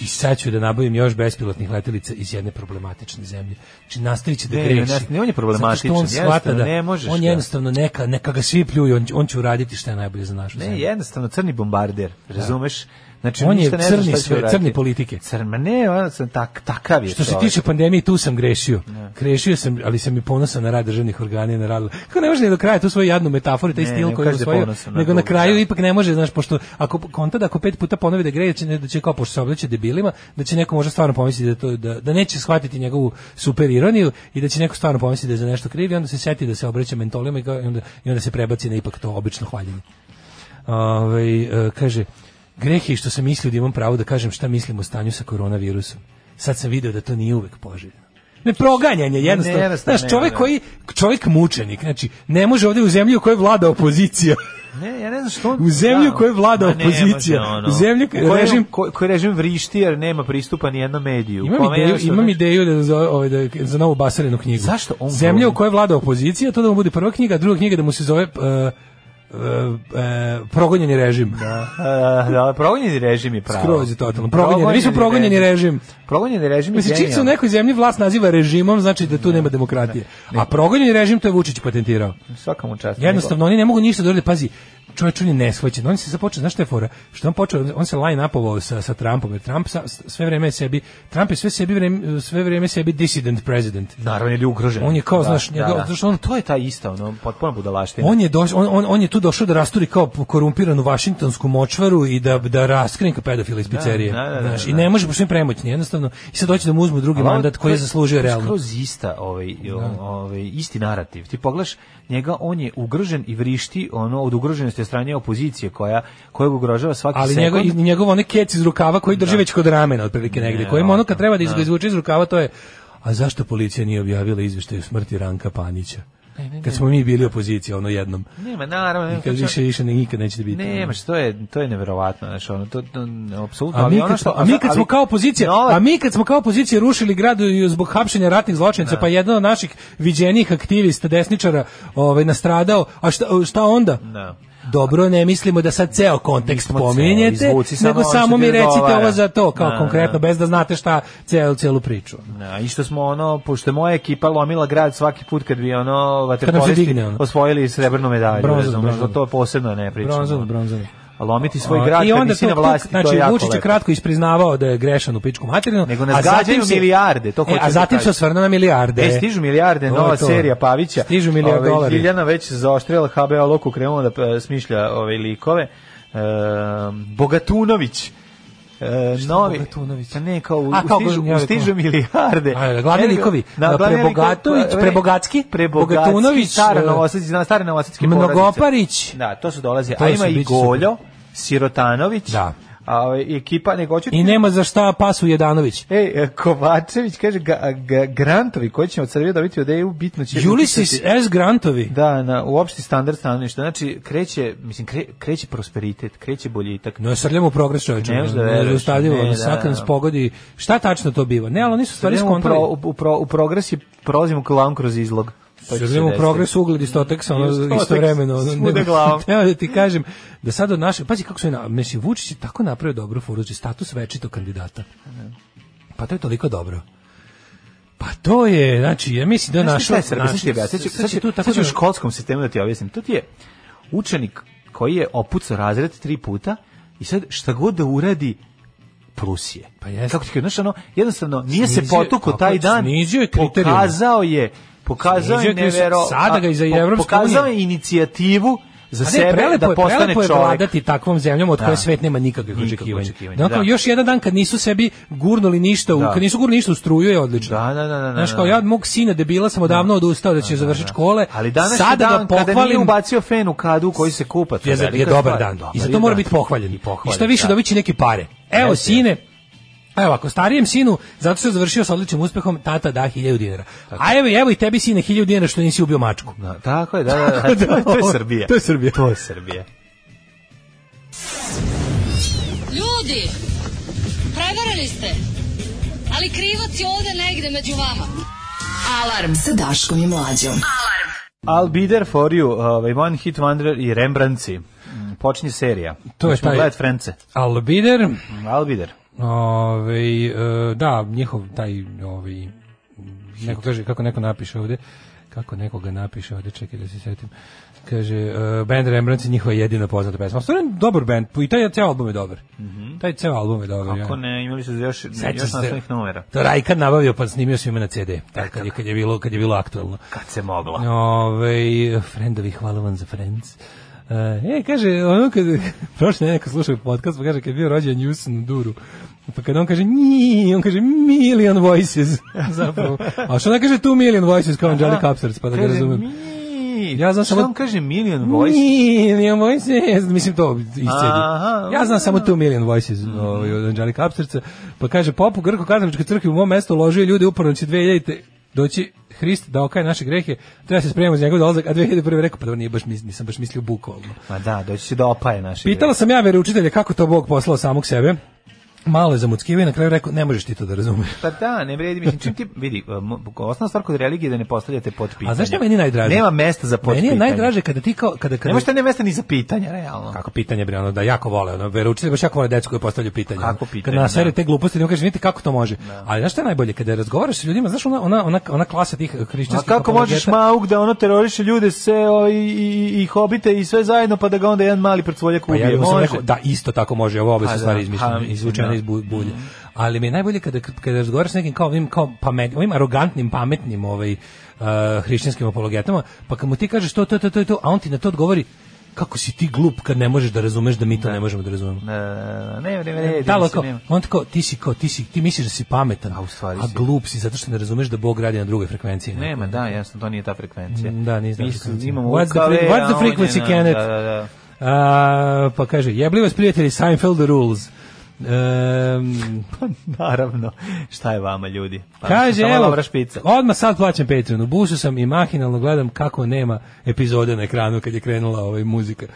Speaker 5: I sad ću da nabavim još bespilotnih letelica iz jedne problematične zemlje. Znači nastavit će da
Speaker 6: Ne,
Speaker 5: greši.
Speaker 6: ne, ne, on je problematičan,
Speaker 5: Zato što on shvata
Speaker 6: jednostavno,
Speaker 5: da
Speaker 6: ne možeš
Speaker 5: on
Speaker 6: da.
Speaker 5: jednostavno neka, neka ga svi pljuju, on, on će uraditi šta je najbolje za našu
Speaker 6: Ne,
Speaker 5: zemlju.
Speaker 6: jednostavno crni bombarder, razumeš? Znači,
Speaker 5: On je
Speaker 6: ništa ne znaš
Speaker 5: crni
Speaker 6: šta će
Speaker 5: sve,
Speaker 6: uraditi.
Speaker 5: crni politike.
Speaker 6: Crn, ma ne, on sam tak, takav je
Speaker 5: Što se
Speaker 6: čovjek.
Speaker 5: tiče pandemije, tu sam grešio. Grešio sam, ali sam i ponosan na rad državnih organa i na rad. Kako ne može ni do kraja tu svoju jadnu metaforu, taj
Speaker 6: Ne,
Speaker 5: stil
Speaker 6: ne
Speaker 5: koji je
Speaker 6: kaže da je
Speaker 5: osvojio,
Speaker 6: ponosan na
Speaker 5: nego na
Speaker 6: drugo,
Speaker 5: kraju
Speaker 6: da.
Speaker 5: ipak ne može, znaš, pošto ako konta da ako pet puta ponovi da greje, da će, ne- da će kao pošto se obleće debilima, da će neko možda stvarno pomisliti da, to, da, da neće shvatiti njegovu super ironiju i da će neko stvarno pomisliti da je za nešto kriv i onda se seti da se obraća mentolima i, kao- i onda, i onda se prebaci na ipak to obično hvaljenje. Ovaj, e, kaže, greh je što sam mislio da imam pravo da kažem šta mislim o stanju sa koronavirusom. Sad sam video da to nije uvek poželjno. Ne proganjanje, jednostavno.
Speaker 6: Ne, jednostavno,
Speaker 5: Znaš,
Speaker 6: ne,
Speaker 5: čovjek
Speaker 6: ne.
Speaker 5: koji, čovjek mučenik, znači, ne može ovdje u zemlji u kojoj vlada opozicija.
Speaker 6: Ne, ja ne znam što on-
Speaker 5: U zemlju
Speaker 6: da.
Speaker 5: u kojoj vlada
Speaker 6: Ma ne može,
Speaker 5: opozicija,
Speaker 6: ono.
Speaker 5: u zemlju u kojoj
Speaker 6: Kojem-
Speaker 5: režim-
Speaker 6: ko- koji režim vrišti jer nema pristupa ni jednom mediju.
Speaker 5: Imam
Speaker 6: Kome
Speaker 5: ideju,
Speaker 6: jednostavno-
Speaker 5: imam ideju da za, ovaj, da, za novu Basarinu knjigu.
Speaker 6: Zašto on
Speaker 5: Zemlja u
Speaker 6: govori?
Speaker 5: kojoj vlada opozicija, to da mu bude prva knjiga, a druga knjiga da mu se zove... e, e, progonjeni režim.
Speaker 6: Da, e, da, progonjeni režim je pravo.
Speaker 5: Skroz je totalno. Progonjeni, mi smo progonjeni režim.
Speaker 6: Progonjeni režim je
Speaker 5: Mislim, čim se u
Speaker 6: genijalno.
Speaker 5: nekoj zemlji vlast naziva režimom, znači da tu nema demokratije. A progonjeni režim to je Vučić patentirao.
Speaker 6: Svaka mu čast.
Speaker 5: Jednostavno oni ne mogu ništa da urade. Pazi, čovjek on je neshvaćen. On se započeo, znaš šta je fora? Što je on počeo, on se line upovao sa sa Trumpom. Jer Trump sa, sve vrijeme je sebi Trump je sve sebi vreme, sve vrijeme sebi dissident president.
Speaker 6: Naravno, ili ugrožen.
Speaker 5: On je kao, znaš, njega- zato što on-
Speaker 6: to je ta ista, ono, potpuno budalaština.
Speaker 5: On je, doš, on, on, on je tu došao da rasturi kao korumpiranu vašingtonsku močvaru i da, da raskrinka pedofila iz pizzerije.
Speaker 6: da, da,
Speaker 5: znaš,
Speaker 6: da,
Speaker 5: I
Speaker 6: da.
Speaker 5: ne može, pošto je premoćni, jednostavno. I sad doći da mu uzmu drugi
Speaker 6: Ali on-
Speaker 5: mandat koji
Speaker 6: to
Speaker 5: je zaslužio
Speaker 6: to je
Speaker 5: realno.
Speaker 6: Skroz ista, ovaj, ovaj, isti narativ. Ti pogledaš njega, on je ugrožen i vrišti ono, od ugroženosti od strane opozicije koja, kojeg ugrožava svaki
Speaker 5: Ali
Speaker 6: sekund.
Speaker 5: njegov, i njegov onaj kec iz rukava koji drži već kod ramena, otprilike negde.
Speaker 6: Ne,
Speaker 5: Koji mu ono kad
Speaker 6: ovako,
Speaker 5: treba da iz-
Speaker 6: da.
Speaker 5: ga izvuče iz rukava, to je a zašto policija nije objavila izveštaj o smrti Ranka Panića? Kad smo mi bili opozicija, ono jednom.
Speaker 6: Nema, naravno. nema,
Speaker 5: Kad
Speaker 6: to će-
Speaker 5: više, više nikad nećete biti. ono.
Speaker 6: Nema, što je, to je neverovatno, znači ono to, to n- apsolutno,
Speaker 5: A
Speaker 6: ali
Speaker 5: mi,
Speaker 6: ono
Speaker 5: kad,
Speaker 6: što
Speaker 5: smo- a mi kad
Speaker 6: ali-
Speaker 5: smo kao opozicija,
Speaker 6: Nova-
Speaker 5: a mi kad smo kao opozicija rušili grad i zbog hapšenja ratnih zločinaca, pa jedan od naših viđenijih aktivista desničara, ovaj nastradao, a šta, šta onda?
Speaker 6: Da.
Speaker 5: Dobro, ne mislimo da sad ceo kontekst
Speaker 6: Nismo ceo,
Speaker 5: pominjete,
Speaker 6: izvuci samo
Speaker 5: nego
Speaker 6: ono
Speaker 5: samo
Speaker 6: što ti
Speaker 5: mi recite
Speaker 6: odgovara.
Speaker 5: ovo za to, kao
Speaker 6: Da,
Speaker 5: konkretno,
Speaker 6: da.
Speaker 5: bez da znate šta celu, celu priču.
Speaker 6: Da, i što smo ono, pošto je moja ekipa lomila grad svaki put kad bi ono vaterpolisti
Speaker 5: digne, ono.
Speaker 6: osvojili srebrnu medalju,
Speaker 5: Bronzanu,
Speaker 6: razumeš,
Speaker 5: bronzanu.
Speaker 6: to posebno ne pričamo.
Speaker 5: Bronzanu, bronzanu.
Speaker 6: A lomiti svoj
Speaker 5: A,
Speaker 6: grad
Speaker 5: Ono, I
Speaker 6: kad
Speaker 5: onda
Speaker 6: nisi na
Speaker 5: to- to-
Speaker 6: vlasti, to
Speaker 5: znači,
Speaker 6: je jako
Speaker 5: Vučić je
Speaker 6: lepo.
Speaker 5: kratko ispriznavao da je grešan u pičku materinu.
Speaker 6: Nego nas
Speaker 5: a zatim
Speaker 6: gađaju
Speaker 5: se-
Speaker 6: milijarde, to
Speaker 5: E,
Speaker 6: hoću
Speaker 5: A
Speaker 6: da
Speaker 5: zatim se
Speaker 6: kažem.
Speaker 5: osvrnuo na milijarde.
Speaker 6: E, stižu milijarde,
Speaker 5: To je
Speaker 6: nova
Speaker 5: to.
Speaker 6: serija Pavića.
Speaker 5: Stižu milijarde
Speaker 6: Ovaj,
Speaker 5: dolara.
Speaker 6: Ljiljana već zaoštrila HBO loku, krenula da e, smišlja ove likove. E, Bogatunović. E, novi,
Speaker 5: Bogatunović?
Speaker 6: Pa Ne, kao, u-
Speaker 5: A, kao
Speaker 6: stižu,
Speaker 5: Bogatunović.
Speaker 6: stižu milijarde.
Speaker 5: A, glavni
Speaker 6: Ergo-
Speaker 5: likovi.
Speaker 6: Da,
Speaker 5: A,
Speaker 6: glavni likovi,
Speaker 5: Prebogatović,
Speaker 6: e,
Speaker 5: Prebogatski, Bogatunović,
Speaker 6: stara
Speaker 5: e,
Speaker 6: Novosadski, zna- stare novosadske
Speaker 5: Mnogoparić.
Speaker 6: porodice. Da, to su dolaze.
Speaker 5: To
Speaker 6: A
Speaker 5: su
Speaker 6: ima i
Speaker 5: biće super.
Speaker 6: Goljo, Sirotanović.
Speaker 5: Da.
Speaker 6: A, ovaj, ekipa, nego hoću
Speaker 5: I nema za šta pasu Jedanović.
Speaker 6: Ej, e, Kovačević kaže ga, ga- grantovi koji ćemo od Srbije dobiti od EU bitno će
Speaker 5: Ulysses
Speaker 6: uticati-
Speaker 5: S. Grantovi.
Speaker 6: da na u opšti standard stanovništva. Znači kreće, mislim kre, kreće prosperitet, kreće boljitak.
Speaker 5: No, srljamo u progres čoveče.
Speaker 6: Ne možeš da
Speaker 5: ono,
Speaker 6: veruješ,
Speaker 5: nezaustavljivo,
Speaker 6: ne,
Speaker 5: ono,
Speaker 6: da,
Speaker 5: svaka nas
Speaker 6: da.
Speaker 5: pogodi. Šta tačno to biva? Ne, ali oni su stvari
Speaker 6: Srljamo u, pro,
Speaker 5: skontali.
Speaker 6: u, u pro, u progres i prolazimo glavom kroz izlog. To će se
Speaker 5: Srljamo u
Speaker 6: desiti.
Speaker 5: progres, ugled i stoteks, ono,
Speaker 6: Stoteks,
Speaker 5: istovremeno. Ono,
Speaker 6: svuda
Speaker 5: nego-
Speaker 6: glavom.
Speaker 5: Evo da ti kažem, da sad od naše, pazi kako su, je na- mislim, Vučić je tako napravio dobro furuđi, status večitog kandidata. Pa to je toliko dobro. Pa to je, znači, ja mislim da je
Speaker 6: Znaš ti
Speaker 5: našao...
Speaker 6: šta je Srbija? Sad ću ti objasniti. Sad ću-
Speaker 5: sad će tu tako
Speaker 6: sad ću u
Speaker 5: da-
Speaker 6: školskom sistemu da ti objasnim. To ti je učenik koji je opucao razred tri puta i sad šta god da uradi plus je.
Speaker 5: Pa jeste.
Speaker 6: Kako ti kažem, znaš, ono, jednostavno nije se
Speaker 5: Snizio-
Speaker 6: potukao taj
Speaker 5: tako je,
Speaker 6: dan,
Speaker 5: snizio je kriterijum.
Speaker 6: pokazao je pokazao
Speaker 5: Snizio
Speaker 6: je
Speaker 5: je kriterijum.
Speaker 6: nevero,
Speaker 5: Sada ga i za
Speaker 6: a, po-
Speaker 5: Evropsku
Speaker 6: pokazao
Speaker 5: uniju.
Speaker 6: je inicijativu
Speaker 5: A
Speaker 6: za
Speaker 5: ne,
Speaker 6: sebe
Speaker 5: prelepo
Speaker 6: da
Speaker 5: je,
Speaker 6: postane
Speaker 5: prelepo je
Speaker 6: čovjek.
Speaker 5: vladati takvom zemljom od
Speaker 6: Da.
Speaker 5: koje svet nema nikakvih
Speaker 6: Nikakvih
Speaker 5: očekivanja.
Speaker 6: očekivanja,
Speaker 5: Dakle,
Speaker 6: da.
Speaker 5: još jedan dan kad nisu sebi gurnuli ništa, u,
Speaker 6: Da.
Speaker 5: kad nisu gurnuli ništa u struju je odlično.
Speaker 6: Da, da, da, da, da,
Speaker 5: Znaš, kao
Speaker 6: da.
Speaker 5: ja od mog sina debila sam odavno odustao da će završiti škole,
Speaker 6: Ali danas je
Speaker 5: sada
Speaker 6: dan
Speaker 5: ga
Speaker 6: kada nije
Speaker 5: pohvalim,
Speaker 6: ubacio fen u kadu u koji se kupa. to
Speaker 5: je, za- je
Speaker 6: velika
Speaker 5: dobar
Speaker 6: stvar.
Speaker 5: dan. I za
Speaker 6: je
Speaker 5: to mora
Speaker 6: dan.
Speaker 5: biti pohvaljen.
Speaker 6: I pohvaljen,
Speaker 5: I šta više
Speaker 6: da.
Speaker 5: dobiće neke pare. Evo,
Speaker 6: Jeste.
Speaker 5: sine, Evo, ako starijem sinu, zato što je završio sa odličnim uspehom, tata da 1000 dinara. A evo, evo i tebi sine 1000 dinara što nisi ubio mačku.
Speaker 6: Da, tako je, da, da, da, to, je- to je Srbija.
Speaker 5: To je Srbija.
Speaker 6: To je Srbija.
Speaker 4: Ljudi, prevarili ste. Ali krivac je ovde negde među vama.
Speaker 8: Alarm sa Daškom i Mlađom.
Speaker 6: I'll be there for you, ovaj, One Hit Wonder i Rembrandtci. Mm, Počinje serija.
Speaker 5: To je
Speaker 6: Hoćemo
Speaker 5: taj-
Speaker 6: gledat Frence.
Speaker 5: Albider,
Speaker 6: Mm, I'll be there.
Speaker 5: Ove, e, da, njihov taj ovaj neko kaže kako neko napiše ovde, kako nekoga napiše ovde, čekaj da se setim. Kaže e, band Rembrandt je njihova jedina poznata pesma. Stvarno je dobar band, i taj ceo album je dobar. Taj ceo album je dobar.
Speaker 6: Ako
Speaker 5: ja.
Speaker 6: ne, imali su još,
Speaker 5: Sećam
Speaker 6: još
Speaker 5: se.
Speaker 6: nastavnih numera.
Speaker 5: To Rajka nabavio pa snimio svima na CD, tako kad je, kad je bilo kad je bilo aktuelno.
Speaker 6: Kad se moglo.
Speaker 5: Ove, friendovi, hvala vam za friends. Uh, e, kaže, ono kad, prošle nedelje kad slušao podcast, pa kaže, kad je bio rođen Jusin u Duru, pa kad on kaže, nji, on kaže, million voices, zapravo. A što ne kaže tu million voices, kao Angelica Upstarts, pa da ga
Speaker 6: Kaže,
Speaker 5: razumem.
Speaker 6: "Mi",
Speaker 5: Ja znam
Speaker 6: što
Speaker 5: samo-
Speaker 6: on kaže Million Voice.
Speaker 5: Million voices, mislim to iz CD.
Speaker 6: Aha. Mhm.
Speaker 5: Ja znam samo tu million voices ovaj, od Angelica Upstarca, pa kaže, popu Grko-Katoličke crkve u mom mestu ložio ljude uporno će 2000 doći Hrist da okaje naše grehe, treba se spremamo za njegov dolazak, a 2001. rekao, pa dobro, nije baš, mis- nisam baš mislio bukvalno.
Speaker 6: Ma da, doći će da opaje naše.
Speaker 5: Pitala sam ja veroučitelje kako to Bog poslao samog sebe, Malo je zamuckivao i na kraju rekao, ne možeš ti to da razumeš.
Speaker 6: Pa da, ne vredi, mislim, čim ti, vidi, um, osnovna stvar kod religije je da ne postavljate potpitanja.
Speaker 5: A znaš što je meni najdraže?
Speaker 6: Nema mesta za potpitanje.
Speaker 5: Meni je najdraže kada ti kao... Kada, kada...
Speaker 6: Nema što nema mesta ni za pitanja, realno.
Speaker 5: Kako pitanje, bre, ono, da jako vole, ono, veroučitelj baš jako vole decu koje postavljaju pitanja.
Speaker 6: Kako pitanje,
Speaker 5: Kada nasere te gluposti, ne kažeš, vidite kako to može. Ali znaš što je najbolje? Kada razgovaraš s ljudima, znaš, ona, ona, ona, ona klasa tih
Speaker 6: A
Speaker 5: hrišćanskih...
Speaker 6: Pa kako možeš
Speaker 5: apologeta- Pa
Speaker 6: Maug da ono teroriše ljude se o, i, i, i hobite i sve zajedno pa da ga onda jedan mali prcvoljak
Speaker 5: Pa
Speaker 6: ubije?
Speaker 5: ja bih samo
Speaker 6: Može.
Speaker 5: rekao da isto tako može, ovo obe
Speaker 6: Pa
Speaker 5: su
Speaker 6: da,
Speaker 5: stvari
Speaker 6: ha,
Speaker 5: izmišljene,
Speaker 6: mislim,
Speaker 5: izvučene
Speaker 6: da. Mhm.
Speaker 5: iz bu- bulje. Ali mi je najbolje kada kada razgovaraš s nekim kao ovim kao pamet, ovim arogantnim, pametnim, ovaj uh, hrišćanskim apologetama, pa kad mu ti kažeš to to to to i to, a on ti na to odgovori kako si ti glup kad ne možeš da razumeš da mi to ne možemo da razumemo.
Speaker 6: Ne, ne, ne, ne, ne, ne,
Speaker 5: Da, ali
Speaker 6: mislim,
Speaker 5: E, kao,
Speaker 6: nema.
Speaker 5: on tako, ti si kao, ti si, ti misliš da si pametan,
Speaker 6: A u stvari si.
Speaker 5: glup si zato što ne razumeš da Bog radi na drugoj frekvenciji.
Speaker 6: Nema, da, jasno, to nije ta frekvencija.
Speaker 5: Mm, da, nije ta
Speaker 6: Mi
Speaker 5: frekvencija.
Speaker 6: imamo
Speaker 5: What's the
Speaker 6: ukale,
Speaker 5: fre- what's the
Speaker 6: a on je
Speaker 5: frequency,
Speaker 6: na-
Speaker 5: Kenneth?
Speaker 6: Da, da, da.
Speaker 5: A, pa kaže, jebli vas prijatelji, Seinfeld the rules. Ehm,
Speaker 6: Naravno, šta je vama ljudi? Pa,
Speaker 5: Kaže,
Speaker 6: samo
Speaker 5: evo,
Speaker 6: dobra špica.
Speaker 5: odmah sad plaćam Patreon. U busu sam i mahinalno gledam kako nema epizode na ekranu kad je krenula ovaj muzika.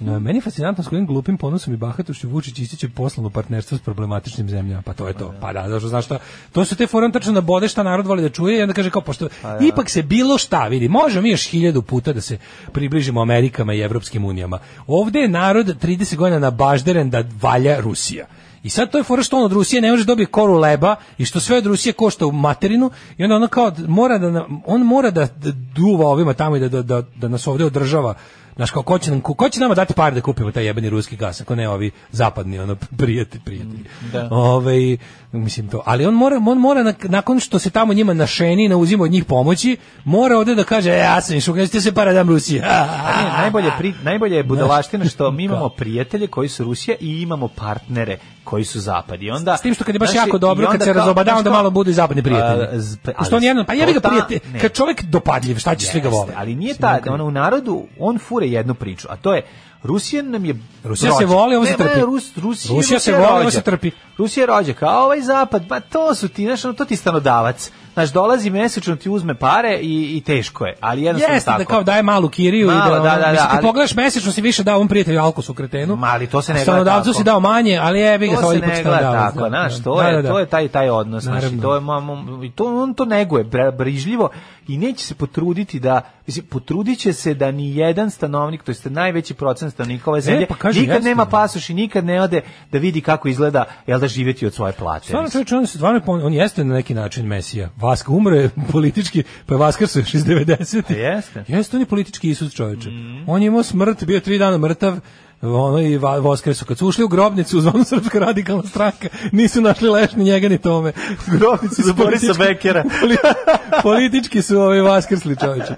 Speaker 5: No, meni je fascinantno s kojim glupim ponosom i bahatošću Vučić ističe poslano partnerstvo s problematičnim zemljama. Pa to je to. Pa da, zašto znaš šta? To su te forum tačno na bode šta narod voli da čuje i onda kaže kao pošto
Speaker 6: Pa
Speaker 5: ipak se bilo šta vidi. Možemo mi još hiljadu puta da se približimo Amerikama i Evropskim unijama. Ovde je narod 30 godina na bažderen da valja Rusija. I sad to je fora što on od Rusije ne može dobije koru leba i što sve od Rusije košta u materinu i onda ono kao d- mora da na- on mora da, da duva ovima tamo i da, da, da, da nas ovdje održava. Znaš, kao, ko će, nam, ko, ko će nama dati par da kupimo taj jebeni ruski gas, ako ne ovi zapadni, ono, prijatelji, prijatelji.
Speaker 6: Mm,
Speaker 5: Ovaj, mislim to. Ali on mora, on mora nak- nakon što se tamo njima našeni i nauzima od njih pomoći, mora ovdje da kaže, e, ja sam išao, nećete se para dam Rusiji.
Speaker 6: A ne, najbolje, pri, najbolje je budalaština što mi imamo prijatelje koji su Rusija i imamo partnere koji su zapad. I onda,
Speaker 5: S tim što kad je baš
Speaker 6: znaš,
Speaker 5: jako
Speaker 6: i
Speaker 5: dobro, kad
Speaker 6: onda
Speaker 5: se
Speaker 6: kao-
Speaker 5: razobada,
Speaker 6: znaš
Speaker 5: onda
Speaker 6: kao-
Speaker 5: malo budu i zapadni prijatelji.
Speaker 6: A, z-
Speaker 5: Pošto
Speaker 6: ali
Speaker 5: on jedan, pa ja bih ga
Speaker 6: total-
Speaker 5: prijatelj,
Speaker 6: ne.
Speaker 5: kad čovjek dopadljiv, šta će svi ga vole?
Speaker 6: Jeste, Ali nije ta, ono, u narodu, on fure jednu priču, a to je, Rusija nam je
Speaker 5: Rusija
Speaker 6: rođak.
Speaker 5: se voli, ovo se
Speaker 6: Ne, ne,
Speaker 5: trpi.
Speaker 6: Rus, Rusija,
Speaker 5: Rusija se
Speaker 6: je
Speaker 5: voli, ovo
Speaker 6: rođak.
Speaker 5: se trpi.
Speaker 6: Rusija je rođak, a ovaj zapad, ma to su ti, znaš, ono, to ti je stanodavac. Znaš, dolazi mesečno, ti uzme pare i, i teško je, ali jednostavno
Speaker 5: Jeste,
Speaker 6: tako.
Speaker 5: da kao daje malu kiriju i
Speaker 6: Malo,
Speaker 5: da, ono,
Speaker 6: da, da, da,
Speaker 5: mislim, kad
Speaker 6: ali-
Speaker 5: pogledaš mesečno si više dao ovom prijatelju alkosu kretenu.
Speaker 6: Ma, ali to se ne gleda
Speaker 5: Stanodavcu
Speaker 6: tako.
Speaker 5: si dao manje, ali je bi ga
Speaker 6: to
Speaker 5: sa
Speaker 6: se
Speaker 5: ovih
Speaker 6: ne gleda tako, znaš, to, je, to je taj, taj odnos, znaš, i
Speaker 5: Naravno.
Speaker 6: to je, ma- ma- i to, on to neguje bra- brižljivo i neće se potruditi da, mislim, potrudit će se da ni jedan stanovnik, to jest najveći procent stanovnika ove zemlje,
Speaker 5: pa kažem,
Speaker 6: nikad
Speaker 5: jeste.
Speaker 6: nema pasoš i nikad ne ode da vidi kako izgleda, jel da živjeti od svoje plate.
Speaker 5: Stvarno
Speaker 6: mislim.
Speaker 5: čovječe, on, se stvarno, pon- on jeste na neki način mesija. Vaska umro je politički, pa je Vaskarsu još iz 90.
Speaker 6: Jeste.
Speaker 5: Jeste, on je politički Isus čoveče.
Speaker 6: Mhm.
Speaker 5: On je imao smrt, bio je tri dana mrtav, ono i va, Voskresu. Kad su ušli u grobnicu, u zvonu Srpska radikalna stranka, nisu našli leš ni njega ni tome.
Speaker 6: Grobnicu za Borisa
Speaker 5: Politički-
Speaker 6: Bekera.
Speaker 5: Poli- politički su ovi Vaskrsli čoveče.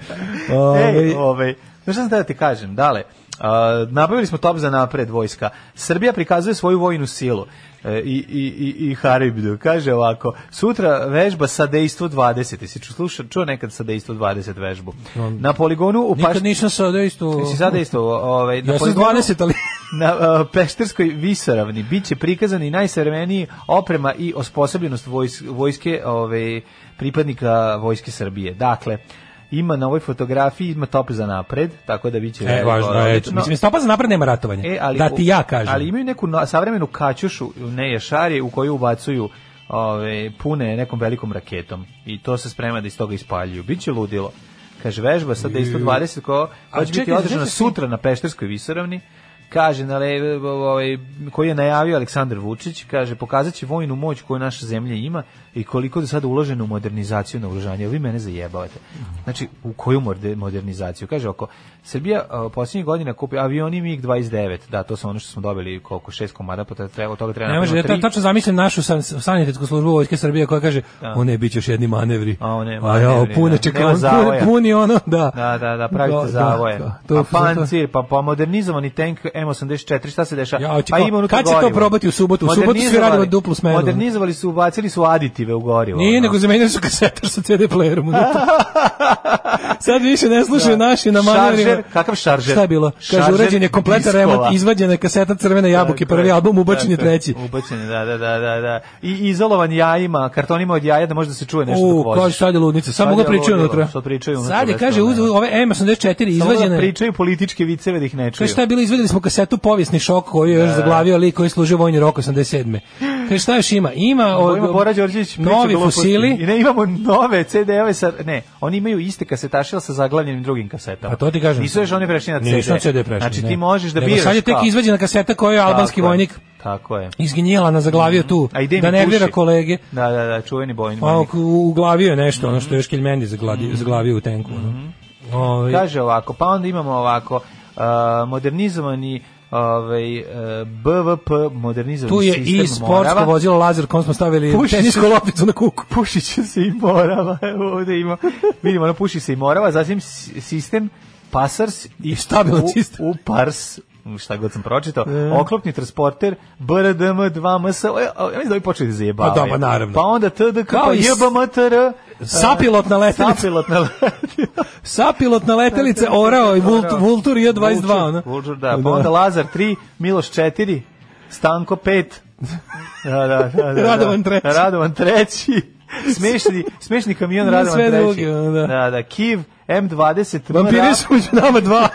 Speaker 5: Ovaj,
Speaker 6: Ej, ovaj, znaš šta sam da ti kažem, dale, a, nabavili smo top za napred vojska. Srbija prikazuje svoju vojnu silu e, i, i, i, i Haribdu. Kaže ovako, sutra vežba sa dejstvu 20. Si ču, slušao, čuo nekad sa dejstvu 20 vežbu? Na poligonu u
Speaker 5: nikad
Speaker 6: Paš-
Speaker 5: nisam sa isto...
Speaker 6: Jesi sad dejstvo? Ovaj, na
Speaker 5: Ja sam s
Speaker 6: poligonu-
Speaker 5: 20, ali...
Speaker 6: na a, Pešterskoj visoravni bit će prikazani najsavremeniji oprema i osposobljenost vojs- vojske ove, pripadnika vojske Srbije. Dakle, ima na ovoj fotografiji, ima top za napred, tako da bit će...
Speaker 5: E, važno,
Speaker 6: odlično.
Speaker 5: je, eto, mislim, stopa za napred nema ratovanja.
Speaker 6: E, ali,
Speaker 5: da ti ja kažem.
Speaker 6: Ali imaju neku no- savremenu kaćušu, ne jašari, u koju ubacuju ove, pune nekom velikom raketom. I to se sprema da iz toga ispaljuju. Biće ludilo. Kaže, vežba sad da isto 20 ko,
Speaker 5: A
Speaker 6: koja će biti
Speaker 5: čekaj,
Speaker 6: održana
Speaker 5: znači-
Speaker 6: sutra na Pešterskoj visoravni. Kaže, na le, ovaj, koji je najavio Aleksandar Vučić, kaže, pokazat će vojnu moć koju naša zemlja ima i koliko je sada uloženo u modernizaciju na oružanje. Vi mene zajebavate. Znači, u koju morde- modernizaciju? Kaže, ako Srbija a, posljednjih godina kupi avioni MiG-29, da, to su ono što smo dobili koliko, šest komada, pa treba, od toga treba
Speaker 5: Ne može, ja
Speaker 6: napraviti
Speaker 5: ta-
Speaker 6: tri.
Speaker 5: tačno zamislim našu san, sanitetsku službu vojske Srbije koja kaže, o ne, bit će još jedni manevri.
Speaker 6: A, o ne,
Speaker 5: A ja,
Speaker 6: manevri,
Speaker 5: pune,
Speaker 6: da.
Speaker 5: čekaj,
Speaker 6: Nema
Speaker 5: on puni,
Speaker 6: zavoja.
Speaker 5: puni ono, da.
Speaker 6: Da, Pa, da, da, pravite
Speaker 5: Da, da,
Speaker 6: zavoje.
Speaker 5: da, to je-
Speaker 6: pa pancir, pa, pa modernizovani tank M84, šta se dešava?
Speaker 5: Ja, hoće
Speaker 6: pa
Speaker 5: kao-
Speaker 6: unutra
Speaker 5: kad će to
Speaker 6: gorivo.
Speaker 5: probati u subotu? U subotu svi
Speaker 6: Modernizovali-
Speaker 5: radimo duplu smenu.
Speaker 6: Modernizovali su, ubacili su aditive u gorivo.
Speaker 5: Nije,
Speaker 6: ono.
Speaker 5: nego zamenili su kasetar sa CD playerom. unutra. Sad više ne slušaju naši na manevrima.
Speaker 6: Šaržer, kakav šaržer?
Speaker 5: Šta je bilo? Kaže,
Speaker 6: Šaržer
Speaker 5: urađen je kompletan
Speaker 6: diskova.
Speaker 5: remont, izvađena je kaseta Crvene jabuke,
Speaker 6: Tako je,
Speaker 5: prvi album, ubačen je
Speaker 6: tako
Speaker 5: treći.
Speaker 6: Ubačen je, da, da, da, da, da. I izolovan jajima, kartonima od jaja da može da se čuje nešto dok
Speaker 5: U,
Speaker 6: voziš.
Speaker 5: kaže, sad je ludnica,
Speaker 6: Sad
Speaker 5: samo ga
Speaker 6: je
Speaker 5: pričaju
Speaker 6: ludilo,
Speaker 5: unutra.
Speaker 6: sad pričaju unutra,
Speaker 5: Sad je,
Speaker 6: bez
Speaker 5: kaže,
Speaker 6: problema.
Speaker 5: uz- ove M84
Speaker 6: Samo da
Speaker 5: izvađene.
Speaker 6: pričaju političke viceve da ih ne čuju.
Speaker 5: Kaže šta je bilo, izvedeli smo kasetu Povijesni šok koju je još zaglavio lik koji je služio vojni rok 87. Kaže, šta još ima? Ima
Speaker 6: Ovo
Speaker 5: od,
Speaker 6: ima Bora Đorđević priča
Speaker 5: novi
Speaker 6: gluposti. I
Speaker 5: fusili.
Speaker 6: ne imamo nove CD-ove sa ne, oni imaju iste kasetaše ali sa zaglavljenim drugim kasetama.
Speaker 5: A to ti kažem.
Speaker 6: Nisu još oni prešli na CD.
Speaker 5: Nisu na CD prešli,
Speaker 6: Znači
Speaker 5: ne.
Speaker 6: ti možeš da
Speaker 5: Nego
Speaker 6: biraš.
Speaker 5: Sad je tek
Speaker 6: kao.
Speaker 5: izvađena kaseta koju je albanski
Speaker 6: Tako je,
Speaker 5: vojnik
Speaker 6: Tako je.
Speaker 5: izginjela na zaglavio tu
Speaker 6: A ide
Speaker 5: da
Speaker 6: mi
Speaker 5: nervira
Speaker 6: puši.
Speaker 5: kolege.
Speaker 6: Da, da, da, čuveni bojni
Speaker 5: A,
Speaker 6: vojnik. Mhm.
Speaker 5: ok, uglavio je nešto, ono što je Škilj Mendi zaglavio, zaglavio u tenku. ono. Ovaj,
Speaker 6: Kaže ovako, pa onda imamo ovako uh, modernizovani ovaj uh, BVP modernizovani
Speaker 5: tu je
Speaker 6: sistem
Speaker 5: i sportsko
Speaker 6: Morava.
Speaker 5: vozilo Lazar kom smo stavili
Speaker 6: Puši
Speaker 5: tenisku
Speaker 6: se.
Speaker 5: lopticu na kuku.
Speaker 6: pušit će se i morava. Evo ovde ima. Vidimo, ono puši se i morava, zatim s- sistem pasars i
Speaker 5: stabilan
Speaker 6: u,
Speaker 5: sistem. E.
Speaker 6: U pars šta god sam pročitao, oklopni transporter BRDM 2MS, o, ja ja mislim da bi počeli da zajebavaju.
Speaker 5: Pa da, pa naravno.
Speaker 6: Pa onda TDK,
Speaker 5: Kao
Speaker 6: pa
Speaker 5: i s-
Speaker 6: JBMTR, e,
Speaker 5: Sapilotna letelica.
Speaker 6: Sapilotna letelica.
Speaker 5: Sapilotna letelice Orao i Vult, Vultur i 22 ono.
Speaker 6: Vulčur, da. Pa onda Lazar 3, Miloš 4, Stanko 5. Da, da, da, da, da.
Speaker 5: Radovan treći.
Speaker 6: Radovan treći. Smešni, smešni kamion
Speaker 5: Na
Speaker 6: Radovan
Speaker 5: sve
Speaker 6: treći.
Speaker 5: drugi, ono, da.
Speaker 6: da, da. Kiv, M20.
Speaker 5: Vampiri
Speaker 6: mra-
Speaker 5: su među nama dva.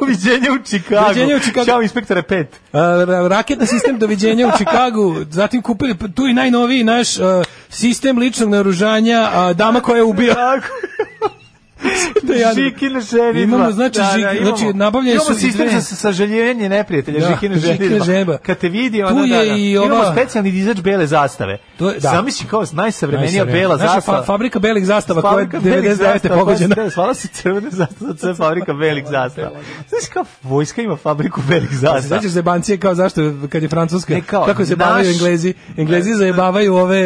Speaker 6: Doviđenja u Čikagu.
Speaker 5: Doviđenja u Čikagu.
Speaker 6: Ćao, inspektore 5.
Speaker 5: A, ra- raketni sistem doviđenja u Čikagu, zatim kupili p- tu i najnoviji naš a, sistem ličnog naoružanja, a, dama koja je ubija.
Speaker 6: Tako.
Speaker 5: Da, ja-
Speaker 6: Žikine želidba.
Speaker 5: Imamo, znači, žik-
Speaker 6: imamo.
Speaker 5: znači, nabavljene
Speaker 6: Imamo
Speaker 5: su
Speaker 6: sistem
Speaker 5: dve-
Speaker 6: za sažaljenje neprijatelja,
Speaker 5: Da,
Speaker 6: Žikine
Speaker 5: Žikina
Speaker 6: želidba.
Speaker 5: želidba.
Speaker 6: Kad te vidi,
Speaker 5: Tu
Speaker 6: ona, da,
Speaker 5: je
Speaker 6: da.
Speaker 5: i
Speaker 6: Imamo
Speaker 5: ova-
Speaker 6: specijalni dizač bele zastave.
Speaker 5: To je- da.
Speaker 6: Zamisli kao najsavremenija bela
Speaker 5: Naša fa-
Speaker 6: zastava.
Speaker 5: fabrika belih zastava koja je
Speaker 6: Fabrika belih
Speaker 5: 99.
Speaker 6: zastava,
Speaker 5: pogođena.
Speaker 6: koja se- Zvala se crvena zastava, to je fabrika belih zastava. Znaš kao, vojska ima fabriku belih
Speaker 5: Pa Se
Speaker 6: zastava.
Speaker 5: sećaš zebancije kao zašto je, kad je Francuska
Speaker 6: Pa Ne, kao,
Speaker 5: kako se
Speaker 6: naš-
Speaker 5: bavaju Englezi Englezi zajebavaju ove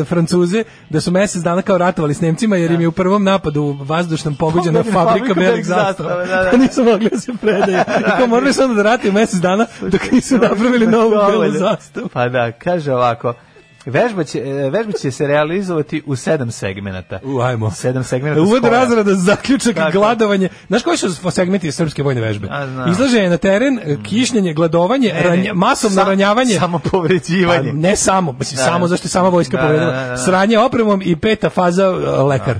Speaker 5: e, Francuze da su mesec dana kao ratovali s Nemcima jer im je u prvom napadu vazdušnom pogođena
Speaker 6: Pogođena
Speaker 5: fabrika
Speaker 6: fabrika
Speaker 5: belih
Speaker 6: belih
Speaker 5: zastava
Speaker 6: zastava, da, da.
Speaker 5: pa nisu mogli da se predaju i kao morali su onda da ratuju mesec dana dok nisu napravili novu belu
Speaker 6: Dovoljno.
Speaker 5: zastavu
Speaker 6: Pa da, kaže ovako. Vežba će, e, vežba će se realizovati u sedam segmenata.
Speaker 5: U, ajmo.
Speaker 6: Sedam segmenata.
Speaker 5: Uvod
Speaker 6: spora.
Speaker 5: razrada, zaključak,
Speaker 6: Tako.
Speaker 5: gladovanje. Znaš koji su segmenti srpske vojne vežbe?
Speaker 6: A, znam.
Speaker 5: Izlaženje na teren, kišnjenje, gladovanje,
Speaker 6: Ne, ne,
Speaker 5: ranja- masovno
Speaker 6: sa-
Speaker 5: ranjavanje.
Speaker 6: Samo
Speaker 5: Pa
Speaker 6: povređivanje.
Speaker 5: ne samo, mislim,
Speaker 6: Da,
Speaker 5: samo
Speaker 6: da.
Speaker 5: zašto je sama vojska
Speaker 6: Da,
Speaker 5: povedala.
Speaker 6: da, da, da.
Speaker 5: Sranje opremom i peta faza uh, lekar.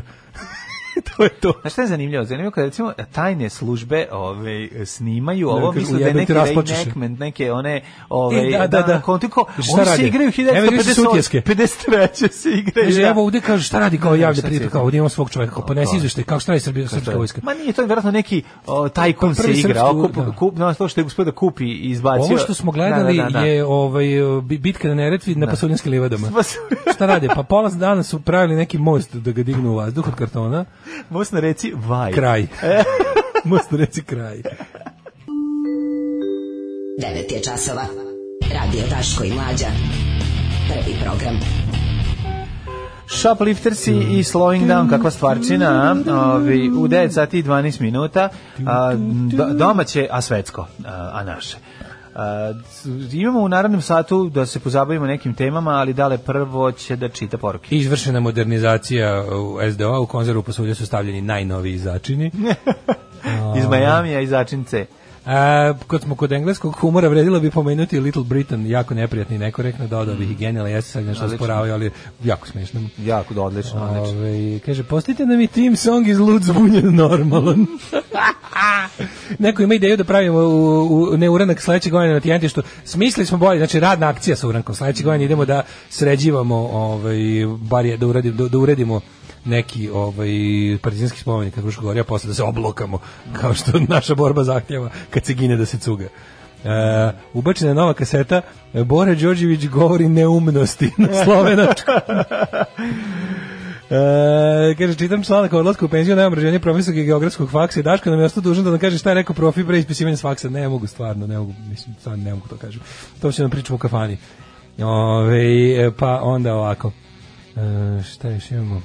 Speaker 5: to je to.
Speaker 6: Znaš šta je zanimljivo? Zanimljivo kada recimo tajne službe ove, snimaju ovo,
Speaker 5: kažu,
Speaker 6: misle da je
Speaker 5: ujebe
Speaker 6: neki
Speaker 5: ti, rasplačeš se.
Speaker 6: reenactment, neke one... ovaj, Ove,
Speaker 5: E, da, da, da.
Speaker 6: kontiko,
Speaker 5: Šta
Speaker 6: oni se
Speaker 5: rade?
Speaker 6: igraju
Speaker 5: Evo, igraju se sutjeske.
Speaker 6: 1958. 53. se igraju.
Speaker 5: Kaže,
Speaker 6: da.
Speaker 5: evo ovde kaže, šta radi kao
Speaker 6: Ne,
Speaker 5: javlja
Speaker 6: šta
Speaker 5: prijatelj,
Speaker 6: ti-
Speaker 5: kao ovde imamo svog čoveka, kao pa ponesi
Speaker 6: to.
Speaker 5: izveštaj, kako šta je Srbija, srpska vojska.
Speaker 6: Ma nije, to je vjerojatno neki o, tajkun
Speaker 5: Pa
Speaker 6: se
Speaker 5: prvi
Speaker 6: igra,
Speaker 5: srpski,
Speaker 6: okup,
Speaker 5: da.
Speaker 6: kup, no, to što je uspio da kupi i izbacio.
Speaker 5: Ovo što smo gledali je ovaj, bi- bitka na Neretvi na Pasulinskim livadama. šta rade? Pa pola dana su pravili neki most da ga dignu u vazduh od kartona.
Speaker 6: Most na reci vaj.
Speaker 5: Kraj. most na reci kraj.
Speaker 8: 9 je časova. Radio Daško i Mlađa. Prvi program.
Speaker 6: Shopliftersi i Slowing Down, kakva stvarčina, a? Ovi, u 9 sati i 12 minuta, a, do- domaće, a svetsko, a, a naše. A, c- imamo u narednom satu da se pozabavimo nekim temama, ali dale prvo će da čita poruke.
Speaker 5: Izvršena modernizacija u SDO, u konzervu posulja su stavljeni najnoviji začini.
Speaker 6: Iz Majamija, iz Začince.
Speaker 5: A, kad smo kod engleskog humora vredilo bi pomenuti Little Britain, jako neprijatno i nekorektno, dodao bih i genijala, ja se sad nešto
Speaker 6: Odlično.
Speaker 5: sporavaju, ali jako smešno.
Speaker 6: Jako da, odlično, odlično.
Speaker 5: Ove, kaže, postite nam i team song iz Lud zbunjen normalan. Neko ima ideju da pravimo u, u neuranak sledećeg godine na tijentištu. Smislili smo bolje, znači radna akcija sa urankom. Sledećeg godine idemo da sređivamo, ovaj, bar je, da, uradimo, da, da uredimo neki ovaj partizanski spomenik kako Gorja, posle da se oblokamo kao što naša borba zahtjeva kad se gine da se cuga. E, ubačena je nova kaseta Bora Đorđević govori neumnosti na slovenačku E, kaže, čitam članak o odlasku u penziju, nemam rađenje promislog geografskog faksa i Daško nam je ostao dužan da nam kaže šta je rekao profi pre ispisivanja s faksa. Ne mogu, stvarno, ne mogu, mislim, sad ne mogu to kažem. To će nam pričamo u kafani. Ove, e, pa onda ovako. E, šta još imamo?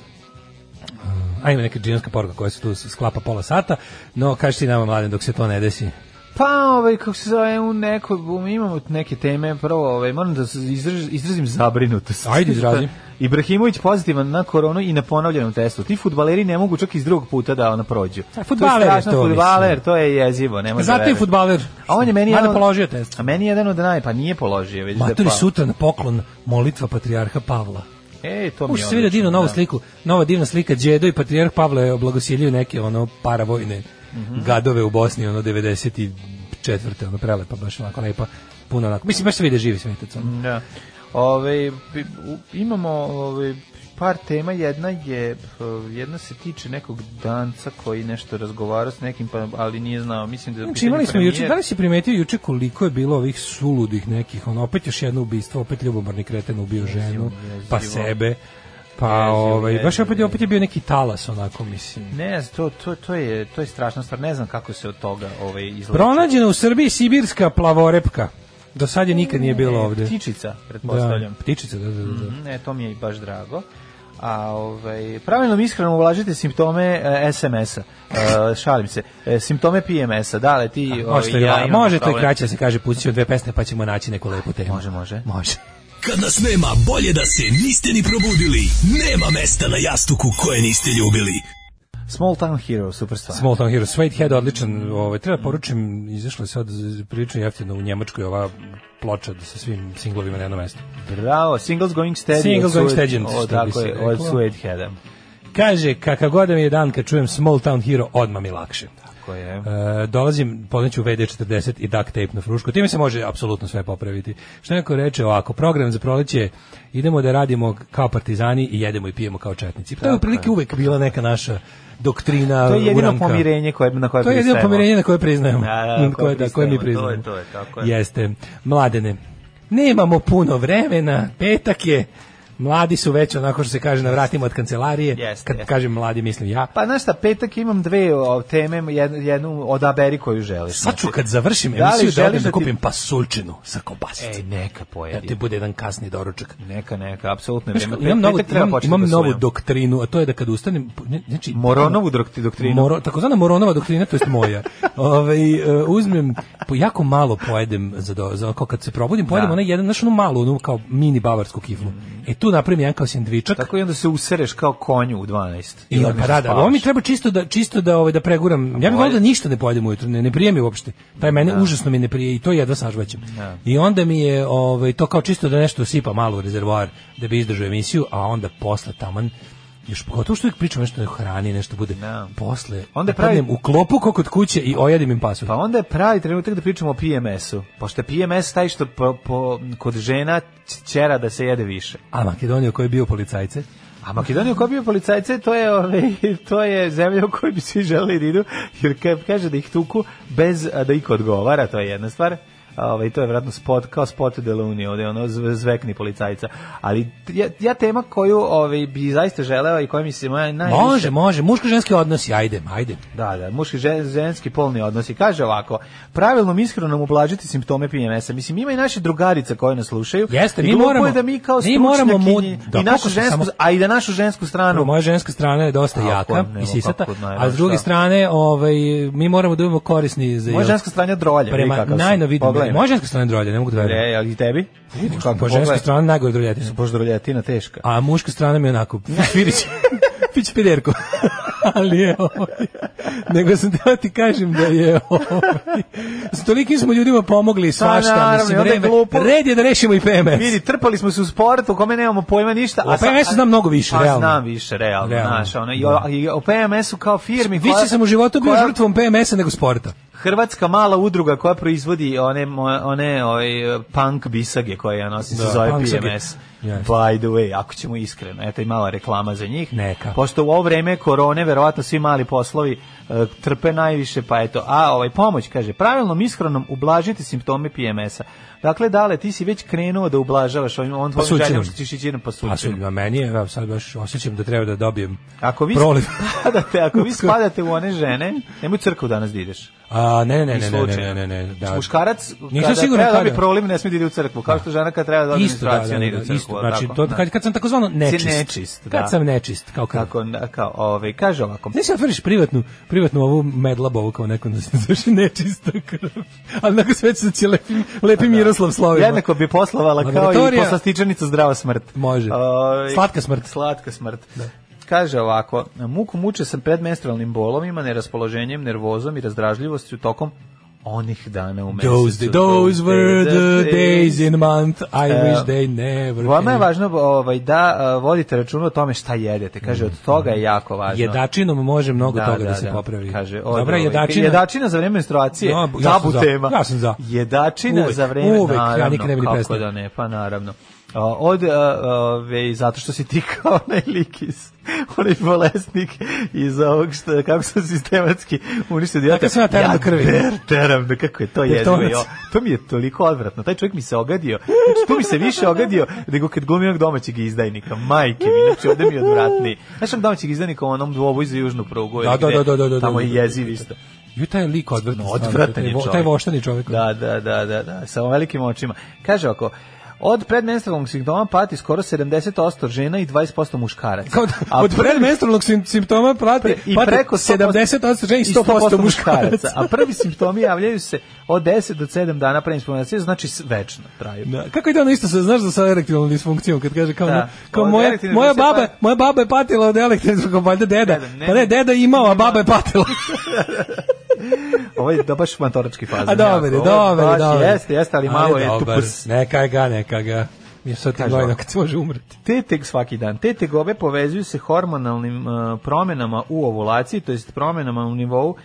Speaker 5: E, A ima neka džinska poruka koja se tu sklapa pola sata, no kaži ti nama, mladen, dok se to ne desi.
Speaker 6: Pa, ovaj, kako se zove, u neko, u- imamo neke teme, prvo, ovaj, moram da se izraž, izrazim zabrinutost.
Speaker 5: Ajde, izrazi.
Speaker 6: Ibrahimović pozitivan na koronu i na ponovljenom testu. Ti fudbaleri ne mogu čak iz drugog puta da ona prođu.
Speaker 5: A, fudbaler je
Speaker 6: to. je strašno,
Speaker 5: to,
Speaker 6: fudbaler,
Speaker 5: mislim.
Speaker 6: to je jezivo, ne može
Speaker 5: Zato je
Speaker 6: veruješ.
Speaker 5: futbaler.
Speaker 6: A on je meni
Speaker 5: Mada
Speaker 6: jedan-
Speaker 5: položio test.
Speaker 6: A meni je jedan od naj, pa nije položio, već da
Speaker 5: Maturi
Speaker 6: pa.
Speaker 5: sutra na poklon molitva patrijarha Pavla.
Speaker 6: E, to mi je
Speaker 5: Uš se vidi divnu
Speaker 6: odlično,
Speaker 5: novu
Speaker 6: da.
Speaker 5: sliku, nova divna slika Đedo i patrijarh Pavle je oblagosilio neke ono
Speaker 6: Mhm.
Speaker 5: paravojne gadove u Bosni ono 94. ono prelepa baš onako lepa puno onako. Mislim, baš se vide živi svetac. ono.
Speaker 6: Da. Ove, bi- u- imamo ove, par tema, jedna je p- jedna se tiče nekog danca koji nešto razgovara s nekim, pa, ali nije znao, mislim da je u
Speaker 5: Znači,
Speaker 6: pitanju
Speaker 5: imali smo
Speaker 6: premijer.
Speaker 5: juče, da li si primetio juče koliko je bilo ovih suludih nekih, ono, opet još jedno ubistvo, opet ljubomorni kreten ubio ženu, pa
Speaker 6: jezivo.
Speaker 5: sebe, pa
Speaker 6: Jezivo,
Speaker 5: ovaj, baš
Speaker 6: jezivo, Mhm.
Speaker 5: opet, je- opet je bio neki talas, onako, mislim.
Speaker 6: Ne, znam, to, to, to, je, to je strašna stvar, ne znam kako se od toga ovaj, izlače.
Speaker 5: Pronađena u Srbiji sibirska plavorepka. Do sad je nikad nije bilo
Speaker 6: E,
Speaker 5: ovde.
Speaker 6: Ptičica,
Speaker 5: Da,
Speaker 6: pretpostavljam.
Speaker 5: ptičica, da, da, da. da.
Speaker 6: Mhm, Ne, to mi je i baš drago. A ovaj pravilnom ishranom ulažite simptome e, SMS-a. E, šalim se. E, simptome PMS-a. Da, ali ti ovaj,
Speaker 5: Možete,
Speaker 6: ja
Speaker 5: ja,
Speaker 6: imam
Speaker 5: može to i
Speaker 6: problem.
Speaker 5: kraće da se kaže, pustit ću dve pesme pa ćemo naći neku lepu temu.
Speaker 6: Može, može.
Speaker 5: Može.
Speaker 10: Kad nas nema, bolje da se niste ni probudili. Nema mesta na jastuku koje niste ljubili.
Speaker 6: Small Town Hero, super stvar.
Speaker 5: Small Town Heroes, Suedehead, odličan, ovaj, treba poručim, izašla je sad prilično jeftino u Njemačkoj ova ploča sa svim singlovima na jedno mesto.
Speaker 6: Bravo, Singles Going Steady.
Speaker 5: Singles
Speaker 6: od
Speaker 5: Going
Speaker 6: Sued-
Speaker 5: Steady, što
Speaker 6: od-
Speaker 5: bi
Speaker 6: Tako
Speaker 5: se
Speaker 6: je, od
Speaker 5: reklo.
Speaker 6: Suedeheada.
Speaker 5: Kaže, kakav god da mi je dan kad čujem Small Town Hero, odmah mi lakše.
Speaker 6: Tako je.
Speaker 5: E, dolazim, podneću VD40 i duct tape na frušku. Time se može apsolutno sve popraviti. Što neko reče ovako, program za proleće je, idemo da radimo kao partizani i jedemo i pijemo kao četnici. To je u prilike uvek bila neka naša doktrina
Speaker 6: To je jedino
Speaker 5: uranka.
Speaker 6: pomirenje koje, na koje
Speaker 5: To je jedino
Speaker 6: pristajemo.
Speaker 5: pomirenje na koje priznajemo.
Speaker 6: Pa Da, da,
Speaker 5: Na koje, da, koje mi
Speaker 6: pristajemo.
Speaker 5: priznajemo.
Speaker 6: To je, to je, tako je.
Speaker 5: Jeste. Mladene, nemamo puno vremena, petak je, mladi su već onako što se kaže na vratima od kancelarije.
Speaker 6: Jeste,
Speaker 5: Kad
Speaker 6: jeste.
Speaker 5: kažem mladi, mislim ja.
Speaker 6: Pa znaš šta, petak imam dve o, teme, jednu, jednu odaberi koju želiš.
Speaker 5: Sad ću
Speaker 6: Znači,
Speaker 5: kad završim
Speaker 6: da li
Speaker 5: emisiju da,
Speaker 6: želiš
Speaker 5: odem da
Speaker 6: da ti-
Speaker 5: kupim pasulčinu sa kobasicom.
Speaker 6: Ej, E, neka pojedi.
Speaker 5: Da ti bude jedan kasni doručak.
Speaker 6: Neka, neka, apsolutno.
Speaker 5: Znaš,
Speaker 6: je vreme.
Speaker 5: imam
Speaker 6: Pe-
Speaker 5: novu,
Speaker 6: petak treba
Speaker 5: imam,
Speaker 6: početi
Speaker 5: imam
Speaker 6: da
Speaker 5: novu
Speaker 6: usvojimo.
Speaker 5: doktrinu, a to je da kad ustanem... ne- Znači,
Speaker 6: Moronovu dokti- doktrinu.
Speaker 5: Moro, takozvana Moronova doktrina, to jest moja. Ovaj e, uzmem po jako malo pojedem za do, za kao kad se probudim pojedem
Speaker 6: Da.
Speaker 5: onaj jedan naš onu malu onu kao mini bavarsku kiflu. E tu napravim jedan kao sendvičak.
Speaker 6: Tako i onda se usereš kao konju u 12.
Speaker 5: I on
Speaker 6: onda
Speaker 5: pa da, da,
Speaker 6: spavaš.
Speaker 5: ovo mi treba čisto da čisto da ovaj da preguram. Ja bih volio da ništa ne pojedem ujutro, ne, ne prije mi uopšte. Taj mene užasno mi ne prije i to jedva sažvaćem. I onda mi je ovaj to kao čisto da nešto sipa malo u rezervoar da bi izdržao emisiju, a onda posle taman još pogotovo što uvijek pričam nešto o hrani, nešto bude.
Speaker 6: Da.
Speaker 5: Posle
Speaker 6: Onda
Speaker 5: onda
Speaker 6: pravi-
Speaker 5: pravim u klopu kao kod kuće i ojedim im pasulj.
Speaker 6: Pa onda je pravi trenutak da pričamo o PMS-u. Pošto je PMS taj što po, po, kod žena ćera da se jede više.
Speaker 5: A Makedonija koji je bio policajce?
Speaker 6: A Makedonija koja bio policajce, to je, ovaj, to je zemlja u kojoj bi svi želeli da idu, jer ka- kaže da ih tuku bez a, da iko odgovara, to je jedna stvar. A, Ovaj, to je vjerojatno spot, kao spot de la Unija, ovde ono zv- zvekni policajca. Ali t- ja, ja tema koju ovaj, bi zaista želeo i koja mi se moja najviše...
Speaker 5: Može, može, muško-ženski odnosi, ajde, ajde.
Speaker 6: Da, da, muški i žen- ženski polni odnosi. Kaže ovako, pravilnom ishranom ublažiti simptome PMS-a. Mislim, ima i naše drugarice koje nas slušaju.
Speaker 5: Jeste,
Speaker 6: I
Speaker 5: mi
Speaker 6: glupo
Speaker 5: moramo-
Speaker 6: je da mi kao
Speaker 5: mi moramo mu-
Speaker 6: stručnjakinje
Speaker 5: da,
Speaker 6: i našu
Speaker 5: koliko smo
Speaker 6: žensku,
Speaker 5: samo-
Speaker 6: a i da našu žensku stranu
Speaker 5: Prvo, moja ženska strana je dosta
Speaker 6: Tako,
Speaker 5: jaka
Speaker 6: nema
Speaker 5: i sisata,
Speaker 6: kako, nema
Speaker 5: a s druge
Speaker 6: šta.
Speaker 5: strane, ovaj, mi moramo da budemo korisni za
Speaker 6: Moja ženska strana je drolja, vidi
Speaker 5: Prema
Speaker 6: kakav si.
Speaker 5: najnovidim.
Speaker 6: Pogledaj me.
Speaker 5: Moja ženska strana je drolja, ne mogu da verujem.
Speaker 6: E, ali i tebi?
Speaker 5: Moja ženska strana je najgore droljetina.
Speaker 6: Bož droljetina teška.
Speaker 5: A muška strana mi je onako, Firić, Fić pederko. Ali je, ovaj, nego sam teo ti kažem da je, ovaj, s tolikim smo ljudima pomogli svašta,
Speaker 6: Pa naravno, i
Speaker 5: mislim,
Speaker 6: onda je
Speaker 5: vreme-
Speaker 6: glupo.
Speaker 5: red je da rešimo i PMS.
Speaker 6: Vidi, trpali smo se u sport u kome nemamo pojma ništa.
Speaker 5: O PMS-u znam mnogo više,
Speaker 6: a,
Speaker 5: realno.
Speaker 6: znam više, realno.
Speaker 5: Realno.
Speaker 6: Znaš, ono, i, o, i o PMS-u kao firmi. koja-
Speaker 5: Više sam u životu bio
Speaker 6: pa koja-
Speaker 5: žrtvom PMS-a nego sporta.
Speaker 6: Hrvatska mala udruga koja proizvodi one, mo- one ovaj, punk bisage koje ja nosim
Speaker 5: Da,
Speaker 6: se zove
Speaker 5: punk sage.
Speaker 6: PMS.
Speaker 5: Yes.
Speaker 6: By the way, ako ćemo iskreno. Eto i mala reklama za njih.
Speaker 5: Neka.
Speaker 6: Pošto u ovo vreme korone, verovatno svi mali poslovi eh, trpe najviše, pa eto. A ovaj pomoć, kaže, pravilnom ishranom ublažiti simptome PMS-a. Dakle, dale, ti si već krenuo da ublažavaš ovim on pa
Speaker 5: Pasućinom.
Speaker 6: željom što ćeš ići jednom
Speaker 5: A
Speaker 6: pasućinom.
Speaker 5: sudba meni je, evo sad baš osjećam da treba da dobijem
Speaker 6: Ako vi,
Speaker 5: proliv.
Speaker 6: spadate, ako vi spadate u one žene, nemoj crku danas da ideš.
Speaker 5: A, ne, ne, ne,
Speaker 6: I
Speaker 5: ne, ne, ne,
Speaker 6: slučajno.
Speaker 5: ne, ne, da.
Speaker 6: Muškarac
Speaker 5: Nisam
Speaker 6: kada
Speaker 5: siguran
Speaker 6: treba da
Speaker 5: kada.
Speaker 6: bi prolim ne smije da ide u crkvu, kao što žena kad treba da ode
Speaker 5: Isto, da, da,
Speaker 6: menstruaciju ne
Speaker 5: da,
Speaker 6: ide u crkvu.
Speaker 5: isto,
Speaker 6: jel
Speaker 5: znači,
Speaker 6: tako?
Speaker 5: to,
Speaker 6: Da.
Speaker 5: kad, kad sam takozvano nečist,
Speaker 6: nečist, da.
Speaker 5: kad sam nečist, kao krv.
Speaker 6: Kako, na- kao, ovaj, kaže ovako.
Speaker 5: Ne se otvoriš privatnu, privatnu ovu medlab ovu kao neko da se zove nečista krv. Ali nakon sve će se lepim, lepim Miroslav Slovima.
Speaker 6: Jednako bi poslovala kao i
Speaker 5: Laboratorija.
Speaker 6: poslastičanica zdrava smrt.
Speaker 5: Može.
Speaker 6: Ovaj,
Speaker 5: Slatka smrt.
Speaker 6: Slatka smrt. Kaže ovako, muku muče sam pred menstrualnim bolovima, neraspoloženjem, nervozom i razdražljivošću tokom onih dana u mesecu.
Speaker 5: Those, the, those were the days days in a month, I wish they never
Speaker 6: Vama je važno ovaj, da uh, vodite računa o tome šta jedete. Kaže, od toga je jako važno.
Speaker 5: Jedačinom može mnogo
Speaker 6: Da,
Speaker 5: toga da,
Speaker 6: da,
Speaker 5: se
Speaker 6: da.
Speaker 5: popravi.
Speaker 6: Kaže, od,
Speaker 5: Dobra,
Speaker 6: ovaj,
Speaker 5: jedačina...
Speaker 6: jedačina za vreme menstruacije,
Speaker 5: No, ja sam
Speaker 6: tabu
Speaker 5: za.
Speaker 6: tema.
Speaker 5: Ja sam za.
Speaker 6: Jedačina
Speaker 5: Uvek,
Speaker 6: za vreme,
Speaker 5: uvek, ja
Speaker 6: naravno.
Speaker 5: nikad ne bi ni
Speaker 6: kako
Speaker 5: prestao.
Speaker 6: da ne, pa naravno. A, Od, a, ove, zato što si ti kao onaj lik iz, onaj bolesnik iz ovog što, kako sam sistematski uništio dijete.
Speaker 5: sam ja teran do krvi.
Speaker 6: ter- teram do- kako je to jezivo.
Speaker 5: Tetonac.
Speaker 6: jo. To mi je toliko odvratno. Taj čovjek mi se ogadio. Znači, tu mi se više ogadio nego kad glumi onog domaćeg izdajnika. Majke mi, znači ovde mi je odvratniji. Znaš onog domaćeg izdajnika u onom dvoboju za južnu prugu.
Speaker 5: Da, da,
Speaker 6: negde,
Speaker 5: da, da, da, da,
Speaker 6: Tamo
Speaker 5: da,
Speaker 6: je
Speaker 5: da, da.
Speaker 6: jeziv isto.
Speaker 5: Ju taj lik odvrtan.
Speaker 6: No, odvratan je čovjek.
Speaker 5: Taj voštani čovjek.
Speaker 6: Da, da, da, da, da, sa velikim očima. Kaže ovako, od predmenstrualnog simptoma pati skoro 70% žena i 20% muškaraca.
Speaker 5: Kao da,
Speaker 6: A
Speaker 5: od
Speaker 6: prvi-
Speaker 5: predmenstrualnog sim- simptoma prate,
Speaker 6: i
Speaker 5: prate
Speaker 6: preko
Speaker 5: 70% žena i 100% muškaraca.
Speaker 6: A prvi simptomi javljaju se od 10 do 7 dana pre insplantacije, znači s- večno traju.
Speaker 5: Da, kako ide ono isto sa, znaš, da sa erektilnom disfunkcijom, kad kaže kao,
Speaker 6: Da.
Speaker 5: ono, kao
Speaker 6: Od
Speaker 5: moja,
Speaker 6: erektilne
Speaker 5: moja,
Speaker 6: disfunkcije
Speaker 5: baba,
Speaker 6: pa-
Speaker 5: moja baba je patila od erektilnog, kao valjda deda.
Speaker 6: Deda, ne,
Speaker 5: pa ne,
Speaker 6: ne.
Speaker 5: deda je imao, a baba je patila.
Speaker 6: Ovo je da baš mantorački fazan.
Speaker 5: a dobar je,
Speaker 6: jako. Ovo
Speaker 5: dobar je,
Speaker 6: baš
Speaker 5: dobar je.
Speaker 6: Jeste, jeste, ali malo je tu
Speaker 5: dobar.
Speaker 6: prs.
Speaker 5: Neka ga, neka ga. Mi je sad ti
Speaker 6: Kaže
Speaker 5: gledano
Speaker 6: ovako.
Speaker 5: kad se može umreti.
Speaker 6: Te teg svaki dan. Te tegobe povezuju se hormonalnim uh, promenama u ovulaciji, to jest promenama u nivou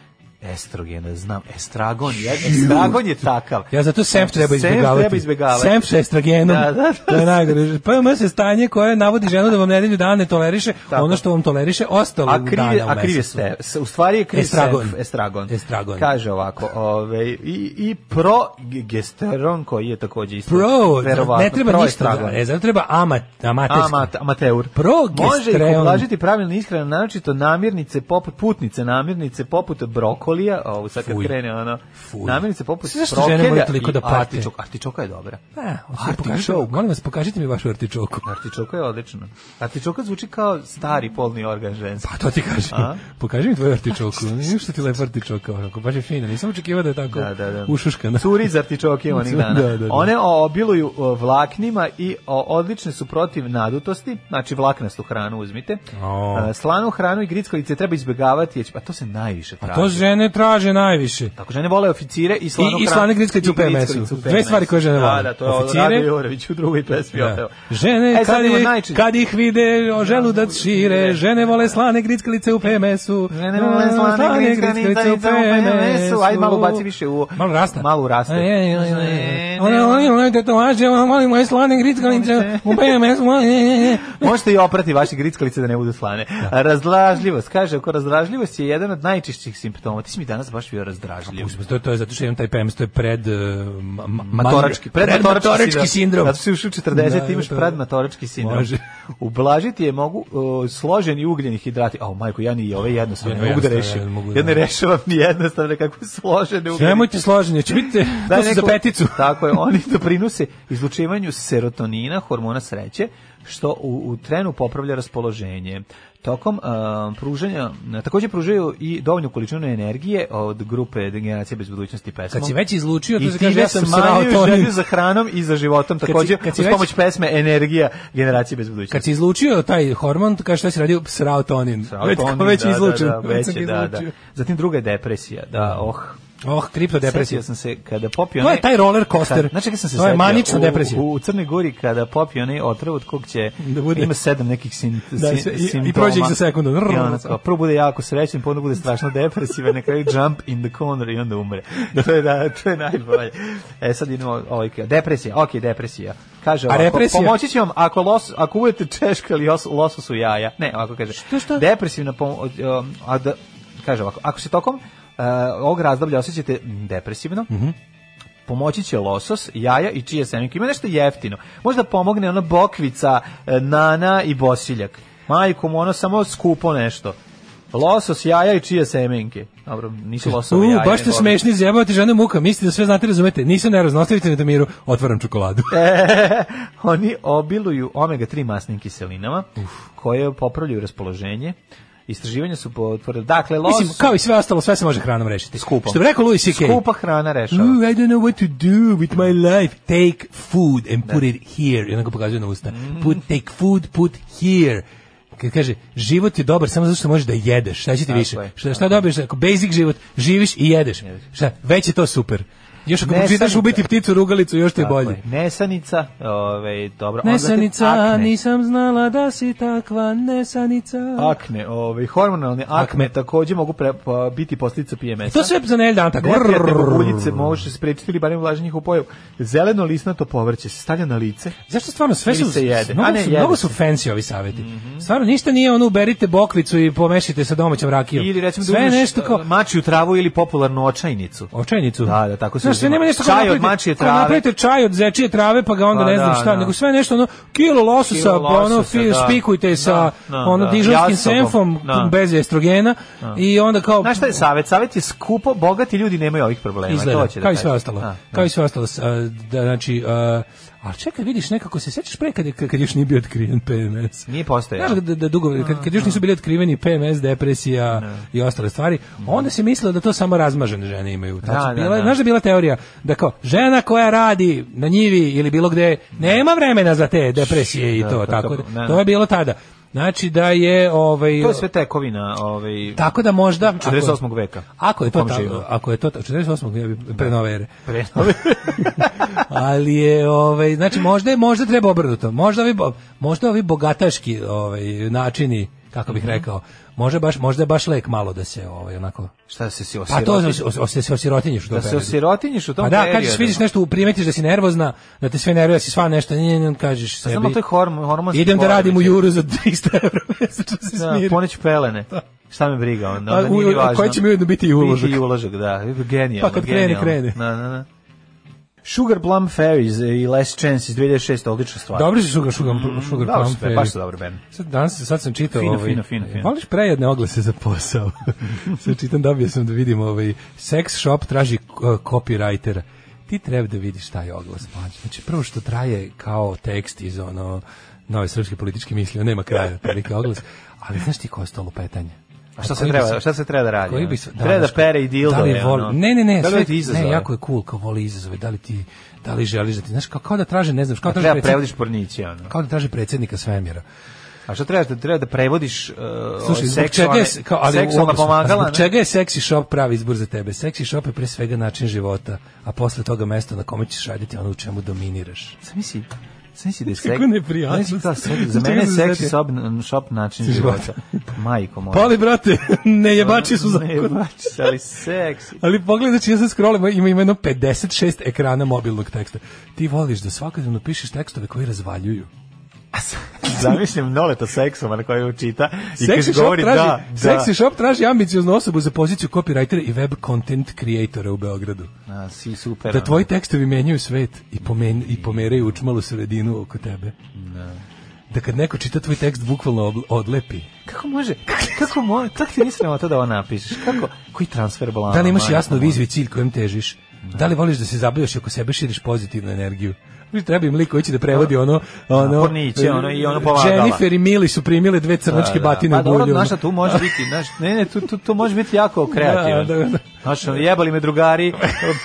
Speaker 6: estrogena, znam, estragon je, estragon je takav.
Speaker 5: Ja zato semf treba
Speaker 6: Semf
Speaker 5: izbjegavati.
Speaker 6: Znači, treba izbjegavati.
Speaker 5: Semf sa estrogenom.
Speaker 6: Da, da, da.
Speaker 5: To je najgore. PMS je stanje koje navodi ženu da vam nedelju dana ne toleriše
Speaker 6: Tako.
Speaker 5: ono što vam toleriše ostalo
Speaker 6: A kriv, je-
Speaker 5: dana u
Speaker 6: a kriv je
Speaker 5: mesecu.
Speaker 6: ste, s- u stvari je kriv
Speaker 5: Estragon.
Speaker 6: semf, estragon.
Speaker 5: Estragon.
Speaker 6: Kaže ovako, ove, i, i progesteron koji je takođe isto.
Speaker 5: Pro,
Speaker 6: verovatno,
Speaker 5: ne treba ništa.
Speaker 6: proestragon.
Speaker 5: da- E, zato treba amat, amaterski.
Speaker 6: Amat, amateur.
Speaker 5: Progesteron.
Speaker 6: Može ih ublažiti pravilna ishrana, naročito namirnice poput putnice, namirnice poput brokolija, ovo sad kad
Speaker 5: Fuj.
Speaker 6: krene ono,
Speaker 5: Fuj.
Speaker 6: namirnice poput
Speaker 5: Znaš što žene
Speaker 6: brokolija
Speaker 5: moraju toliko da pate?
Speaker 6: artičoka. Artičoka je dobra.
Speaker 5: E, artičok.
Speaker 6: Artičok.
Speaker 5: Molim vas, pokažite mi vašu artičoku.
Speaker 6: Artičoka je odlična. Artičoka zvuči kao stari polni organ ženski.
Speaker 5: Pa to ti kažem.
Speaker 6: A?
Speaker 5: Pokaži mi tvoju artičoku. Nije što ti lepa artičoka, onako, baš je fina. Nisam očekivao da je tako
Speaker 6: Da, da, da.
Speaker 5: ušuškana.
Speaker 6: Curi iz artičoke onih dana.
Speaker 5: Da, da, da.
Speaker 6: One obiluju o, vlaknima i o, odlične su protiv nadutosti, znači vlaknastu hranu uzmite.
Speaker 5: O.
Speaker 6: E, Slanu hranu i grickalice treba izbjegavati, jer će- pa to se najviše traži.
Speaker 5: To žene traže najviše.
Speaker 6: Tako žene vole oficire i slanu
Speaker 5: I- i
Speaker 6: hranu-
Speaker 5: slane grickalice
Speaker 6: i
Speaker 5: u PMS-u.
Speaker 6: grickalice u
Speaker 5: Dve stvari koje žene vole.
Speaker 6: Da, da, to je
Speaker 5: Oficire.
Speaker 6: oficire, Radio Jorović u drugoj pesmi.
Speaker 5: Da.
Speaker 6: Da.
Speaker 5: Žene
Speaker 6: e,
Speaker 5: kad,
Speaker 6: sad imamo
Speaker 5: ih-
Speaker 6: najčešće.
Speaker 5: kad ih vide o želudac šire, žene vole slane grickalice u PMS-u.
Speaker 6: Žene
Speaker 5: Mm,
Speaker 6: vole slane grickalice u PMS-u. Ajde, malo baci više u-
Speaker 5: Malo rasta.
Speaker 6: malo rasta.
Speaker 5: E, e, e, e.
Speaker 6: E,
Speaker 5: One
Speaker 6: ne.
Speaker 5: one one tetovaže, one vole moje slane grickalice u PMS-u. e, e, e.
Speaker 6: Možete i oprati vaše grickalice da ne budu slane. Razdražljivost, kaže, ako razdražljivost je jedan od najčešćih simptoma. Ti si mi danas baš bio razdražljiv.
Speaker 5: Uzme, To, to je zato što imam taj PMS, to je pred... eh, ma- ma-
Speaker 6: Matorački,
Speaker 5: manir-
Speaker 6: predmatorački
Speaker 5: predmatorački sindrom.
Speaker 6: Zato što si ušao u 40
Speaker 5: Da,
Speaker 6: imaš
Speaker 5: to-
Speaker 6: predmatorački sindrom.
Speaker 5: Može.
Speaker 6: Ublažiti je mogu uh, složeni ugljeni hidrati. Au, majko, ja ni ove jednostavno ne mogu da
Speaker 5: jednostavno, ja ne
Speaker 6: rešim.
Speaker 5: mogu da-
Speaker 6: Ja ne rešavam ni jednostavno kakve složene ugljeni.
Speaker 5: Nemojte složenje, će biti
Speaker 6: Da
Speaker 5: to
Speaker 6: je
Speaker 5: su za
Speaker 6: neko-
Speaker 5: peticu.
Speaker 6: Tako je, oni doprinose izlučivanju serotonina, hormona sreće, što u, u trenu popravlja raspoloženje. Tokom uh, pružanja, takođe pružaju i dovoljnu količinu energije od grupe generacije bez budućnosti pesmom.
Speaker 5: Kad si već izlučio, to
Speaker 6: I
Speaker 5: se kaže
Speaker 6: time
Speaker 5: ja sam srao
Speaker 6: smanjuju
Speaker 5: tonin.
Speaker 6: želju za hranom i za životom
Speaker 5: si-
Speaker 6: takođe
Speaker 5: kad
Speaker 6: kad
Speaker 5: si
Speaker 6: si,
Speaker 5: već-
Speaker 6: pomoć pesme Energija generacije bez budućnosti.
Speaker 5: Kad si izlučio taj hormon, to kaže šta si radio? Srao tonin.
Speaker 6: Srao
Speaker 5: Već,
Speaker 6: tonin,
Speaker 5: već
Speaker 6: da, da,
Speaker 5: izlučio.
Speaker 6: Da, već
Speaker 5: sam
Speaker 6: je,
Speaker 5: ga
Speaker 6: da, da.
Speaker 5: izlučio.
Speaker 6: Zatim druga je depresija. Da, oh.
Speaker 5: Oh, kriptodepresija.
Speaker 6: Setio sam se kada popio...
Speaker 5: To je
Speaker 6: onaj-
Speaker 5: taj roller coaster.
Speaker 6: Kad, znači, kad sam se
Speaker 5: To je
Speaker 6: setio,
Speaker 5: manična
Speaker 6: u,
Speaker 5: depresija.
Speaker 6: U, Crnoj Gori kada popio onaj otrov od kog će...
Speaker 5: Da bude-
Speaker 6: Ima sedam nekih sin,
Speaker 5: Da,
Speaker 6: sin-
Speaker 5: sve- i- i
Speaker 6: simptoma.
Speaker 5: prođe ih za sekundu.
Speaker 6: I
Speaker 5: Rrrr.
Speaker 6: onda kao, prvo bude jako srećen, pa onda bude strašno depresivan, na kraju jump in the corner i onda umre. To je, da, to je najbolje. E, sad idemo ovaj... Depresija, ok, depresija. Kaže ovako,
Speaker 5: represija?
Speaker 6: pomoći će vam ako, los, ako budete češkali os, lososu jaja. Ne, ovako kaže.
Speaker 5: Što, što?
Speaker 6: Depresivna pomo- um, a da, kaže ovako, ako se tokom uh, ovog razdoblja osjećate mm, depresivno,
Speaker 5: Mhm.
Speaker 6: pomoći će losos, jaja i čije semenke. Ima nešto jeftino. Možda pomogne ona bokvica, e, nana i bosiljak. Majkom, ono samo skupo nešto. Losos, jaja i čije semenke. Dobro, nisu losovi
Speaker 5: U,
Speaker 6: jaja.
Speaker 5: baš ste
Speaker 6: nego-
Speaker 5: smešni, zjebavate žene muka, mislite da sve znate, razumete. Nisam nervozna, ostavite me da miru, otvaram čokoladu.
Speaker 6: Oni obiluju omega-3 masnim kiselinama, koje popravljaju raspoloženje. Istraživanja su potvrdili. Dakle, los...
Speaker 5: Mislim, kao i sve ostalo, sve se može hranom rešiti.
Speaker 6: Skupom.
Speaker 5: Što bi rekao Louis C.K.
Speaker 6: Skupa hrana rešava.
Speaker 5: Ooh, I don't know what to do with my life. Take food and put it here. I onako pokazuje na usta. Put, take food, put here. Kad kaže, život je dobar samo zato što možeš da jedeš. Šta će ti
Speaker 6: Tako
Speaker 5: više?
Speaker 6: je,
Speaker 5: Šta, šta dobiješ? Ako basic život, živiš i jedeš. Šta, već je to super. Još ako pročitaš ubiti pticu rugalicu, još ti je bolje.
Speaker 6: Nesanica, ove, dobro.
Speaker 5: Nesanica,
Speaker 6: Akne.
Speaker 5: nisam znala da si takva nesanica.
Speaker 6: Akne, ove, hormonalne akme,
Speaker 5: Akme.
Speaker 6: takođe mogu pre, pa, biti posljedica PMS-a.
Speaker 5: To sve za nedelj dana tako.
Speaker 6: Neprijatne bubuljice može sprečiti ili barem vlažnje u pojavu. Zeleno lisnato povrće se stavlja na lice.
Speaker 5: Zašto stvarno sve
Speaker 6: Ili
Speaker 5: su
Speaker 6: se jede? A
Speaker 5: Mnogo,
Speaker 6: ne,
Speaker 5: su,
Speaker 6: jede
Speaker 5: mnogo
Speaker 6: se. Mhm.
Speaker 5: su fancy ovi saveti. Stvarno ništa nije ono uberite bokvicu i pomešajte sa domaćom rakijom.
Speaker 6: Ili recimo
Speaker 5: sve
Speaker 6: da
Speaker 5: je
Speaker 6: uzmeš
Speaker 5: nešto kao
Speaker 6: e, mačiju travu ili popularnu očajnicu.
Speaker 5: Očajnicu.
Speaker 6: Da, da, tako se
Speaker 5: Znaš, sve
Speaker 6: uzima.
Speaker 5: nema nešto
Speaker 6: Čaj od
Speaker 5: napravite-
Speaker 6: mačije
Speaker 5: kao
Speaker 6: trave.
Speaker 5: Napravite čaj od zečije trave, pa ga onda
Speaker 6: Pa
Speaker 5: ne znam
Speaker 6: da,
Speaker 5: šta,
Speaker 6: da.
Speaker 5: nego sve nešto ono, kilo lososa,
Speaker 6: Kilo
Speaker 5: pa ono,
Speaker 6: lososa,
Speaker 5: fi,
Speaker 6: da.
Speaker 5: spikujte sa
Speaker 6: Da, da,
Speaker 5: ono
Speaker 6: da.
Speaker 5: dižonskim
Speaker 6: Jasobom.
Speaker 5: senfom,
Speaker 6: Da.
Speaker 5: bez estrogena, i onda kao...
Speaker 6: Znaš šta je savjet? Savjet je skupo, bogati ljudi nemaju ovih problema.
Speaker 5: izgleda,
Speaker 6: to će da
Speaker 5: kao i sve
Speaker 6: kažem.
Speaker 5: ostalo.
Speaker 6: Da,
Speaker 5: Kao i sve ostalo. s- a, Da, znači, a, ali čekaj, vidiš, nekako se sećaš pre kad, je- kad još nije bio otkriven PMS.
Speaker 6: Nije postojao.
Speaker 5: Znaš, da, da dugo, kad, kad još nisu bili otkriveni PMS, depresija i ostale stvari, onda se mislilo da to samo razmažene žene imaju. Znači,
Speaker 6: Da, da,
Speaker 5: bila,
Speaker 6: da.
Speaker 5: Znaš da je bila teorija da kao žena koja radi na njivi ili bilo gde, nema vremena za te depresije i
Speaker 6: Da,
Speaker 5: to,
Speaker 6: pa
Speaker 5: tako
Speaker 6: to-
Speaker 5: da,
Speaker 6: da, da.
Speaker 5: to je bilo tada. Znači da je ovaj
Speaker 6: To je sve tekovina ovaj,
Speaker 5: tako da možda ako-
Speaker 6: 48. veka.
Speaker 5: Ako je
Speaker 6: U
Speaker 5: to
Speaker 6: kom živimo.
Speaker 5: tako, ako je to ta- 48. ja bi pre nove ere.
Speaker 6: Pre-
Speaker 5: Ali je ovaj znači možda je- možda treba obrnuto. Možda ovi bo- možda ovi bogataški ovaj načini kako
Speaker 6: Mhm.
Speaker 5: bih rekao. Možda baš možda je baš lek malo da se ovaj onako
Speaker 6: Šta se si
Speaker 5: Pa
Speaker 6: osirotio?
Speaker 5: to se os- os- se osirotinješ u tom
Speaker 6: Da se
Speaker 5: periodu.
Speaker 6: osirotinješ u tom
Speaker 5: Pa da,
Speaker 6: periodu.
Speaker 5: kažeš, vidiš nešto, primetiš da si nervozna, da te sve nervira, si sva nešto, nje, nje, kažeš sebi.
Speaker 6: Pa Samo to je hormon, hormonski
Speaker 5: Idem da radim u
Speaker 6: poremećaj.
Speaker 5: juru za 300 evra mesečno da se
Speaker 6: Da,
Speaker 5: smirim.
Speaker 6: poneću pelene. Šta me briga onda,
Speaker 5: A,
Speaker 6: onda nije ni
Speaker 5: u- a
Speaker 6: važno.
Speaker 5: koji će mi ujedno biti i uložak.
Speaker 6: Biti i uložak, da. Genijalno,
Speaker 5: Pa kad krene,
Speaker 6: genijalno.
Speaker 5: krene.
Speaker 6: Da, da, da. Sugar Plum Fairies i Last Chance iz 2006. Odlična stvar.
Speaker 5: Dobri su sugar, sugar,
Speaker 6: Mm,
Speaker 5: sugar
Speaker 6: Dobro
Speaker 5: plum
Speaker 6: su, baš su dobar band.
Speaker 5: Sad, danas, sad sam čitao...
Speaker 6: Fino,
Speaker 5: ovaj,
Speaker 6: fino, fino, fino.
Speaker 5: Voliš prejedne oglase za posao? sad čitam, dobio sam da vidim ovaj, sex shop traži uh, copywritera. Ti treba da vidiš taj oglas. mlađe. Znači, prvo što traje kao tekst iz ono nove srpske političke misli, on nema kraja, veliki oglas. Ali znaš ti ko je stalo petanje?
Speaker 6: A Pa šta se treba, šta se treba da radi?
Speaker 5: Koji
Speaker 6: ono?
Speaker 5: bi se,
Speaker 6: treba da
Speaker 5: znaš,
Speaker 6: pere i dildo.
Speaker 5: da li
Speaker 6: je,
Speaker 5: voli,
Speaker 6: ono?
Speaker 5: Ne, ne, ne,
Speaker 6: Da li
Speaker 5: sve,
Speaker 6: ti izazove?
Speaker 5: ne, jako je cool kao voli izazove, da li ti da li želiš da ti, znaš, kao, kao da traže, ne znam, kao,
Speaker 6: A
Speaker 5: da
Speaker 6: treba
Speaker 5: traže
Speaker 6: prevodiš pornići, ono.
Speaker 5: kao da traže predsjednika svemira.
Speaker 6: A što treba da treba da prevodiš uh,
Speaker 5: Slušaj, zbog čega je,
Speaker 6: seksualne,
Speaker 5: se- kao, ali
Speaker 6: seksualna
Speaker 5: oglasno,
Speaker 6: pomagala?
Speaker 5: zbog
Speaker 6: ne?
Speaker 5: čega je seksi shop pravi izbor za tebe? Seksi shop je pre svega način života, a posle toga mesto na kome ćeš raditi ono u čemu dominiraš.
Speaker 6: Sam misli, sam misli da je
Speaker 5: Kako neprijatno.
Speaker 6: Znaš kao seks- za
Speaker 5: Čega
Speaker 6: mene je
Speaker 5: se
Speaker 6: seksi
Speaker 5: setio?
Speaker 6: shop, shop način
Speaker 5: Života.
Speaker 6: života. Majko moja.
Speaker 5: Pali, brate, ne jebači su
Speaker 6: Ne,
Speaker 5: zakon.
Speaker 6: bači se, ali seksi.
Speaker 5: Ali pogledaj, znači ja sad scrollam, ima, ima jedno 56 ekrana mobilnog teksta. Ti voliš da svakodnevno pišeš tekstove koji razvaljuju.
Speaker 6: Zamislim noleta seksoma na koju čita i
Speaker 5: Seksi
Speaker 6: kaže
Speaker 5: shop,
Speaker 6: govori
Speaker 5: traži,
Speaker 6: da, da.
Speaker 5: Sexy shop traži ambicioznu osobu za poziciju copywritera i web content creatora u Beogradu.
Speaker 6: A, si super.
Speaker 5: Da
Speaker 6: ono.
Speaker 5: tvoji tekstovi menjaju svet i, pomen, i pomeraju učmalu sredinu oko tebe. Da kad neko čita tvoj tekst bukvalno obl- odlepi.
Speaker 6: Kako može? Kako može? Kako ti nisi to da ovo napišeš? Kako? Koji transfer balana?
Speaker 5: Da li imaš
Speaker 6: majko
Speaker 5: jasnu
Speaker 6: moja?
Speaker 5: viziju i cilj kojem težiš? Da li voliš da se zabavljaš i oko sebe širiš pozitivnu energiju? Mi treba im lik koji će da prevodi ono... ono
Speaker 6: porniće, ono, i ono pomagala.
Speaker 5: Jennifer i Mili su primile dve crnačke batine
Speaker 6: Pa
Speaker 5: u bulju.
Speaker 6: dobro,
Speaker 5: ono.
Speaker 6: znaš, šta, tu može biti, znaš, ne, ne, tu, tu, tu može biti jako kreativno.
Speaker 5: Da, da, da.
Speaker 6: Znaš, ono, jebali me drugari,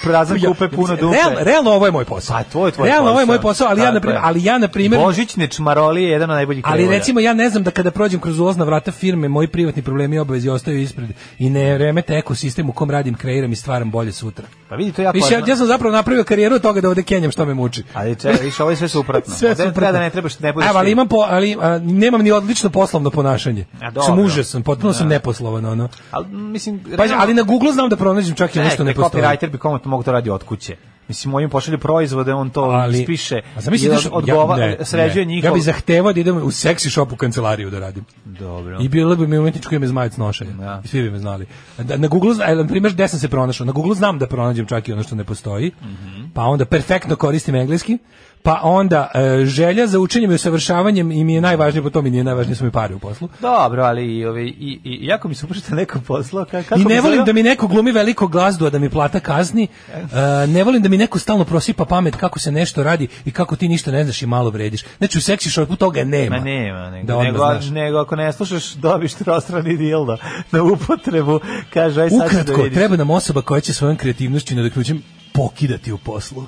Speaker 6: prazan kupe, puno dupe.
Speaker 5: Realno, realno ovo je moj posao.
Speaker 6: Pa to je tvoj
Speaker 5: Realno ovo je
Speaker 6: posao.
Speaker 5: moj posao, ali ja
Speaker 6: Tako
Speaker 5: na primjer,
Speaker 6: je.
Speaker 5: ali ja na primjer
Speaker 6: Božić Nečmaroli je jedan od najboljih
Speaker 5: Ali
Speaker 6: krevolja.
Speaker 5: recimo ja ne znam da kada prođem kroz ulazna vrata firme, moji privatni problemi i obavezi ostaju ispred i ne remete ekosistem u kom radim, kreiram i stvaram bolje sutra.
Speaker 6: Pa vidi, to je jako...
Speaker 5: Više, ja,
Speaker 6: važno.
Speaker 5: ja sam zapravo napravio karijeru od toga da ovde kenjam što me muči.
Speaker 6: Ali čekaj, više, ovo je sve suprotno.
Speaker 5: Sve
Speaker 6: Ovde
Speaker 5: suprotno.
Speaker 6: Treba da ne trebaš, ne budeš...
Speaker 5: Evo, ali
Speaker 6: ti.
Speaker 5: imam po, ali a, nemam ni odlično poslovno ponašanje.
Speaker 6: A, dobro.
Speaker 5: sam užasan, potpuno sam neposlovan ono.
Speaker 6: Ali, mislim,
Speaker 5: Pa,
Speaker 6: realno-
Speaker 5: ali na Google znam da pronađem čak i ono što
Speaker 6: Čekaj,
Speaker 5: ne postoji.
Speaker 6: Copywriter bi komotno mogu to radi od kuće. Mislim, ovim pošalju proizvode, on to
Speaker 5: Ali,
Speaker 6: spiše.
Speaker 5: a zamisli
Speaker 6: i
Speaker 5: da
Speaker 6: od-
Speaker 5: što-
Speaker 6: odgova,
Speaker 5: ja, ne,
Speaker 6: sređuje
Speaker 5: ne.
Speaker 6: njihov...
Speaker 5: Ja bih zahtevao da idem u seksi shop u kancelariju da radim.
Speaker 6: Dobro.
Speaker 5: I bilo bi mi umetničko ime Zmajac Nošaja.
Speaker 6: Da.
Speaker 5: I svi bi me znali. Da, na Google, zna- e, na primjer, gde sam se pronašao? Na Google znam da pronađem čak i ono što ne postoji.
Speaker 6: Mhm.
Speaker 5: Pa onda perfektno koristim engleski. Pa onda e, želja za učenjem i usavršavanjem i mi je najvažnije, po to mi nije najvažnije, su mi pare u poslu.
Speaker 6: Dobro, ali i, ovi, i, i jako mi se upušta neko poslao. Ka, kako
Speaker 5: I
Speaker 6: bi
Speaker 5: ne
Speaker 6: se
Speaker 5: volim
Speaker 6: zove?
Speaker 5: da mi neko glumi veliko glazdu, a da mi plata kazni. E, ne volim da mi neko stalno prosipa pamet kako se nešto radi i kako ti ništa ne znaš i malo vrediš. Znači u seksi shopu toga nema.
Speaker 6: Ma nema, nego,
Speaker 5: Da odmah
Speaker 6: nego,
Speaker 5: znaš.
Speaker 6: nego ako ne slušaš, dobiš trostrani dildo na upotrebu, kaže, aj sad ću da
Speaker 5: Ukratko,
Speaker 6: vidiš.
Speaker 5: treba nam osoba koja će svojom kreativnošću i nadoknućem pokidati u poslu.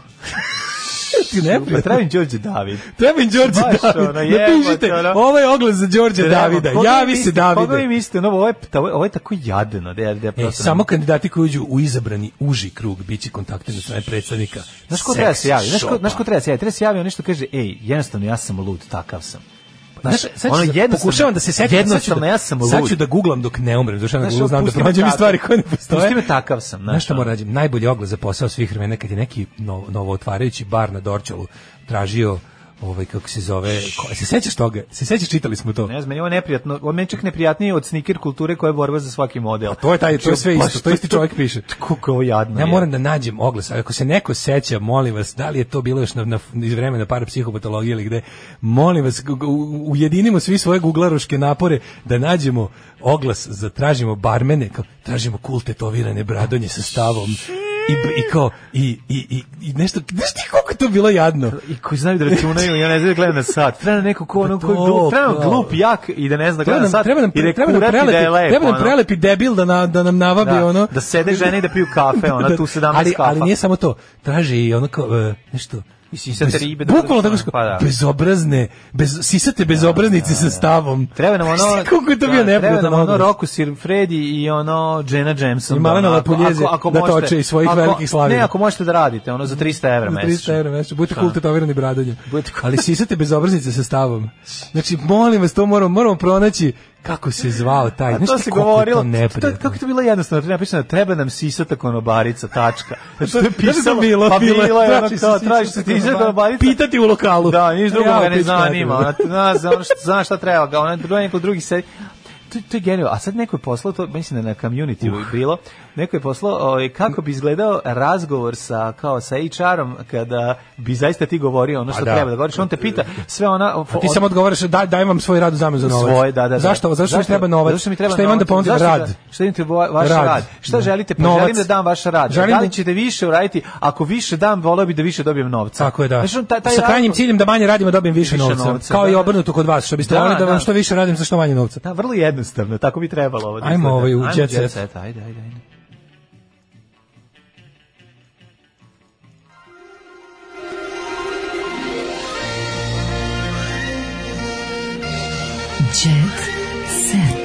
Speaker 5: ti neprijatno.
Speaker 6: Pa Treba im Đorđe David.
Speaker 5: Treba im Đorđe
Speaker 6: Baš
Speaker 5: David.
Speaker 6: ono, jebote,
Speaker 5: Napišite,
Speaker 6: ono.
Speaker 5: ovo je oglas za Đorđe
Speaker 6: Treba.
Speaker 5: Davida.
Speaker 6: Koga vi
Speaker 5: Javi se
Speaker 6: mislite- Koga vi
Speaker 5: Davide.
Speaker 6: mislite? No, ono, ovo, je, ovo je- ovo je tako jadno. Da, ja- da ja
Speaker 5: E,
Speaker 6: prosto ne-
Speaker 5: samo kandidati koji uđu u izabrani uži krug biće kontaktirani od strane predstavnika.
Speaker 6: Znaš ko
Speaker 5: seks
Speaker 6: treba da se javi? Znaš ko,
Speaker 5: shopa.
Speaker 6: znaš ko treba da se javi? Treba da se javi on nešto kaže, ej, jednostavno ja sam lud, takav sam.
Speaker 5: Znaš, sad ću da- pokušavam da se setim, sad ću
Speaker 6: ono Jednostavno
Speaker 5: da,
Speaker 6: ja sam lud.
Speaker 5: Sad ću da googlam dok ne umrem, došao na
Speaker 6: Znaš, ono,
Speaker 5: Google, znam da
Speaker 6: pusti me
Speaker 5: pronađem i
Speaker 6: takav.
Speaker 5: stvari koje ne postoje.
Speaker 6: Pusti me takav sam, znaš,
Speaker 5: Znaš šta
Speaker 6: ono.
Speaker 5: moram rađem? Najbolji oglas za posao svih vremena kad je neki novo, novo otvarajući bar na Dorčalu tražio ovaj kako se zove, ko, se sećaš toga? Se sećaš čitali smo to?
Speaker 6: Ne znam, meni je ovo neprijatno, ovo meni je čak neprijatnije od sneaker kulture koja je borba za svaki model. A
Speaker 5: to je taj- to je sve isto, to isti čovjek piše.
Speaker 6: Kako ovo jadno
Speaker 5: Ja
Speaker 6: Pa je.
Speaker 5: moram da nađem oglas. Ako se neko seća, molim vas, da li je to bilo još na, na, iz vremena parapsihopatologije ili gde, molim vas, gu- u- ujedinimo svi svoje guglaroške napore da nađemo oglas, za tražimo barmene, kao, tražimo kul tetovirane bradonje sa stavom i, br- i kao, i, i, i, i nešto, znaš ti koliko je to bilo jadno?
Speaker 6: I koji znaju da računaju, ja ne znam da gledam na sat. Treba neko ko ono,
Speaker 5: Pa
Speaker 6: koji
Speaker 5: to,
Speaker 6: glup, treba nam
Speaker 5: kao.
Speaker 6: glup, jak i da ne zna da
Speaker 5: Treba
Speaker 6: gleda na
Speaker 5: nam,
Speaker 6: sat.
Speaker 5: treba nam,
Speaker 6: i da je
Speaker 5: treba nam
Speaker 6: kurat i
Speaker 5: prelepi,
Speaker 6: da je lepo,
Speaker 5: treba nam
Speaker 6: ono.
Speaker 5: prelepi debil da, na, da nam navabi
Speaker 6: da,
Speaker 5: ono.
Speaker 6: da sede žene i da piju kafe, ona tu 17
Speaker 5: ali,
Speaker 6: kafa.
Speaker 5: Ali nije samo to. Traži i ono kao, e, nešto,
Speaker 6: Mislim, sad
Speaker 5: bez-
Speaker 6: ribe da
Speaker 5: bukvalno tako
Speaker 6: dođu,
Speaker 5: što
Speaker 6: pa da.
Speaker 5: bezobrazne, bez, sisate bezobraznice sa stavom.
Speaker 6: Treba nam ono...
Speaker 5: Kako je to
Speaker 6: da,
Speaker 5: bio
Speaker 6: Treba
Speaker 5: neprijatan
Speaker 6: nam ono
Speaker 5: oglas.
Speaker 6: Roku Sir Freddy i ono Jenna Jameson.
Speaker 5: I Malena
Speaker 6: ono, ako-
Speaker 5: Lapuljeze
Speaker 6: ako- ako
Speaker 5: da
Speaker 6: možete-
Speaker 5: toče iz svojih
Speaker 6: ako-
Speaker 5: velikih slavina.
Speaker 6: Ne, ako možete da radite, ono za 300 evra
Speaker 5: Za
Speaker 6: mesečno.
Speaker 5: 300 evra mesečno. Budite
Speaker 6: Šta?
Speaker 5: cool tetovirani bradonjem.
Speaker 6: Budite cool.
Speaker 5: Ali sisate bezobraznice sa stavom. Znači, molim vas, to moramo, moramo pronaći kako se zvao taj.
Speaker 6: A
Speaker 5: Znaš
Speaker 6: to
Speaker 5: ti
Speaker 6: se
Speaker 5: koliko je
Speaker 6: govorilo,
Speaker 5: to
Speaker 6: to, to,
Speaker 5: neprijatno?
Speaker 6: kako je to bilo jednostavno, treba napisano, treba nam sisata konobarica, tačka. Znači, to je
Speaker 5: Znaš šta je
Speaker 6: pisalo,
Speaker 5: bilo?
Speaker 6: pa
Speaker 5: Bilo
Speaker 6: bilo
Speaker 5: je,
Speaker 6: je, ono
Speaker 5: traži se
Speaker 6: kao,
Speaker 5: sisata
Speaker 6: traži se ono, sisata
Speaker 5: ono,
Speaker 6: konobarica.
Speaker 5: Pitati u lokalu.
Speaker 6: Da, niš drugo
Speaker 5: Ja,
Speaker 6: ga ne
Speaker 5: pička materina.
Speaker 6: zanima, ona, ona zna, ono što, zna šta treba, ga, ona druga neko drugi sedi. To, to je genijalno. A sad neko je poslao, to mislim da je na community bilo, neko je poslao ovaj, kako bi izgledao razgovor sa, kao sa HR-om kada bi zaista ti govorio ono što
Speaker 5: Pa da. Pa
Speaker 6: treba da govoriš. On te pita sve ona...
Speaker 5: A ti samo odgovaraš, daj, daj vam svoj rad u zamenu za novac.
Speaker 6: Svoje, da, da, da.
Speaker 5: Zašto, zašto, mi treba novac?
Speaker 6: Zašto mi treba
Speaker 5: Šta imam da
Speaker 6: novac?
Speaker 5: ponudim?
Speaker 6: Zašto
Speaker 5: Rad.
Speaker 6: Da, šta imam te vo- vaš
Speaker 5: Rad.
Speaker 6: rad? Šta
Speaker 5: Da.
Speaker 6: želite? Pa
Speaker 5: Novac.
Speaker 6: želim da dam vaš rad.
Speaker 5: Želim
Speaker 6: da li
Speaker 5: da-
Speaker 6: ćete više uraditi? Ako više dam, voleo bi da više dobijem novca.
Speaker 5: Tako je, da.
Speaker 6: Znaš, on taj, taj
Speaker 5: sa krajnjim
Speaker 6: razgovor-
Speaker 5: ciljem da manje radim, a dobijem više,
Speaker 6: Više
Speaker 5: novca.
Speaker 6: novca,
Speaker 5: Kao
Speaker 6: da,
Speaker 5: i
Speaker 6: da.
Speaker 5: obrnuto kod vas, što biste
Speaker 6: Da,
Speaker 5: volili da vam
Speaker 6: da.
Speaker 5: što više radim za što manje novca.
Speaker 6: Da, vrlo jednostavno, tako bi trebalo. Ovo da
Speaker 5: Ajmo
Speaker 6: izgleda.
Speaker 5: ovaj u
Speaker 6: Ajmo
Speaker 5: Jet Set.
Speaker 6: ajde, ajde, ajde.
Speaker 8: Jet set.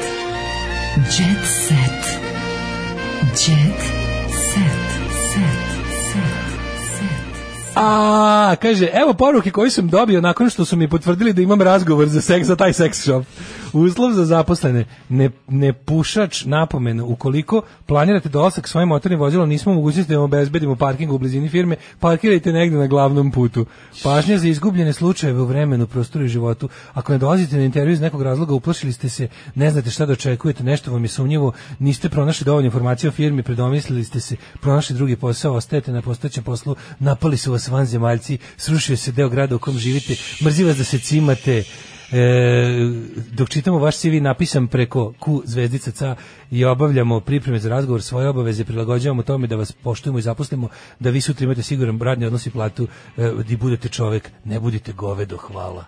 Speaker 8: Jet set. Jet set. Set.
Speaker 5: A, kaže, evo poruke koje sam dobio nakon što su mi potvrdili da imam razgovor za seks, za taj seks shop. Uslov za zaposlene, ne, ne pušač napomenu, ukoliko planirate dolazak svojim motornim vozilom, nismo u mogućnosti da vam obezbedimo parking u blizini firme, parkirajte negde na glavnom putu. Pažnja za izgubljene slučajeve u vremenu, prostoru i životu. Ako ne dolazite na intervju iz nekog razloga, uplašili ste se, ne znate šta da očekujete, nešto vam je sumnjivo, niste pronašli dovoljno informacija o firmi, predomislili ste se, pronašli drugi posao, ostajete na postojećem poslu, napali su vas vanzemaljci, srušio se deo grada u kom živite, mrzi vas da se cimate, E, dok čitamo vaš CV napisan preko Q zvezdica ca i obavljamo pripreme za razgovor, svoje obaveze prilagođavamo tome da vas poštujemo i zaposlimo, da vi sutra imate siguran radni odnos i platu, e, di budete čovek, ne budite govedo, hvala.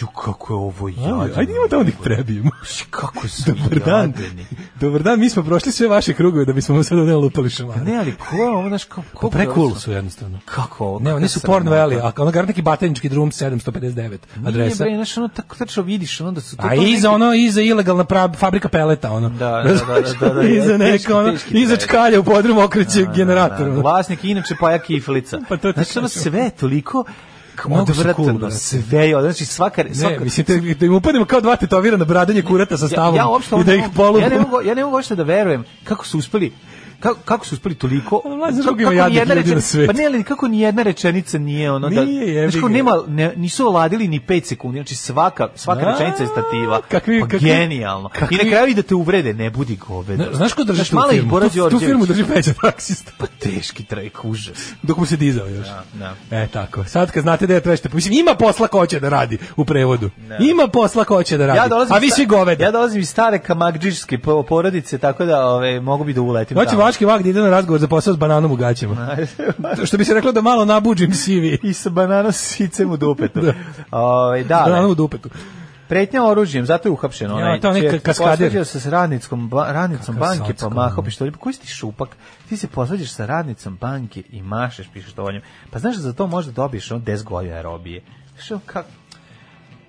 Speaker 6: Ju, kako je ovo jadno.
Speaker 5: Ajde idemo tamo da ih prebijemo.
Speaker 6: Kako su
Speaker 5: Dobar dan.
Speaker 6: jadeni.
Speaker 5: Dobar dan, mi smo prošli sve vaše krugove da bismo vam sad ovdje lupali šamara.
Speaker 6: Pa Ne, ali ko je ovo, znaš, kako... kako
Speaker 5: Pre
Speaker 6: je ovo
Speaker 5: cool
Speaker 6: sad?
Speaker 5: su jednostavno.
Speaker 6: Kako ovo?
Speaker 5: Ne, oni su Porn Valley, a ono garant neki batanički drum 759 adresa.
Speaker 6: Nije, bre, znaš, ono tako tačno vidiš, onda su... to-
Speaker 5: A
Speaker 6: to neki-
Speaker 5: iza ono, iza ilegalna pra- fabrika peleta, ono.
Speaker 6: Da, da, da, da, da, da,
Speaker 5: iza
Speaker 6: teški,
Speaker 5: neka, ono,
Speaker 6: teški
Speaker 5: iza
Speaker 6: projekt.
Speaker 5: čkalja u podrumu okreće generator.
Speaker 6: Da,
Speaker 5: ono.
Speaker 6: Vlasnik je inače Paja Kiflica.
Speaker 5: Pa to ti
Speaker 6: Znači, ono
Speaker 5: kažem.
Speaker 6: sve je toliko
Speaker 5: Mnogo su cool,
Speaker 6: odvratno,
Speaker 5: brate.
Speaker 6: sve je, znači svaka...
Speaker 5: Ne,
Speaker 6: svaka
Speaker 5: mislim, te- da im upademo kao dva tetovirana bradanje kurata sa stavom
Speaker 6: ja, ja uopšte
Speaker 5: i da
Speaker 6: ovdje
Speaker 5: ih
Speaker 6: ne mogu-
Speaker 5: polubimo.
Speaker 6: Ja ne mogu, ja ne mogu uopšte da verujem kako su uspeli Kako, kako su uspeli toliko?
Speaker 5: Pa, mlađe,
Speaker 6: kako-
Speaker 5: drugi ima
Speaker 6: kako
Speaker 5: jadnih
Speaker 6: nijedna
Speaker 5: ljudi na
Speaker 6: rečenica-
Speaker 5: svetu.
Speaker 6: Pa ne, ali kako ni jedna rečenica nije ono da...
Speaker 5: Nije, jebi
Speaker 6: znaš, kako
Speaker 5: ga.
Speaker 6: nema, ne, nisu oladili ni 5 sekundi, znači svaka, svaka
Speaker 5: Da,
Speaker 6: rečenica je stativa.
Speaker 5: kakvi-
Speaker 6: pa,
Speaker 5: kakvi-
Speaker 6: genijalno. I
Speaker 5: kakvi-
Speaker 6: na kraju i da te uvrede, ne budi govedo.
Speaker 5: Na- Znaš ko drži
Speaker 6: Znaš,
Speaker 5: tu
Speaker 6: mala i
Speaker 5: firmu?
Speaker 6: Bora
Speaker 5: Tu- Tu,
Speaker 6: Đorđević.
Speaker 5: firmu drži peća taksista.
Speaker 6: Pa teški trajk, užas.
Speaker 5: Dok mu se dizao još.
Speaker 6: da.
Speaker 5: E, tako. Sad kad znate da je trešte, mislim, ima posla ko hoće da radi u prevodu. Ima posla ko hoće da radi.
Speaker 6: Ja dolazim
Speaker 5: A vi
Speaker 6: iz sta-
Speaker 5: svi govede.
Speaker 6: Ja dolazim iz stare kamakdžiške po- porodice, tako da ove, mogu bi da uletim.
Speaker 5: Hoće
Speaker 6: tamo.
Speaker 5: vaški vak da ide na razgovor za posao s bananom u gaćama. Što bi se reklo da malo nabuđim CV.
Speaker 6: I sa bananom sicem u dupetu. Ove, da,
Speaker 5: Bananom
Speaker 6: ne.
Speaker 5: u dupetu.
Speaker 6: Pretnja oružjem, zato je uhapšen onaj.
Speaker 5: ono- Ja, to onaj
Speaker 6: čerka.
Speaker 5: kaskader.
Speaker 6: Posvađao se s radnicom, ba, radnicom
Speaker 5: Kakav
Speaker 6: banke, pa
Speaker 5: sacko,
Speaker 6: mahao
Speaker 5: ono.
Speaker 6: pištoljem. Pa Koji si ti šupak? Ti se posvađaš sa radnicom banke i mašeš pištoljem. Pa znaš da za to možda dobiješ on 10 godina aerobije. Što kak...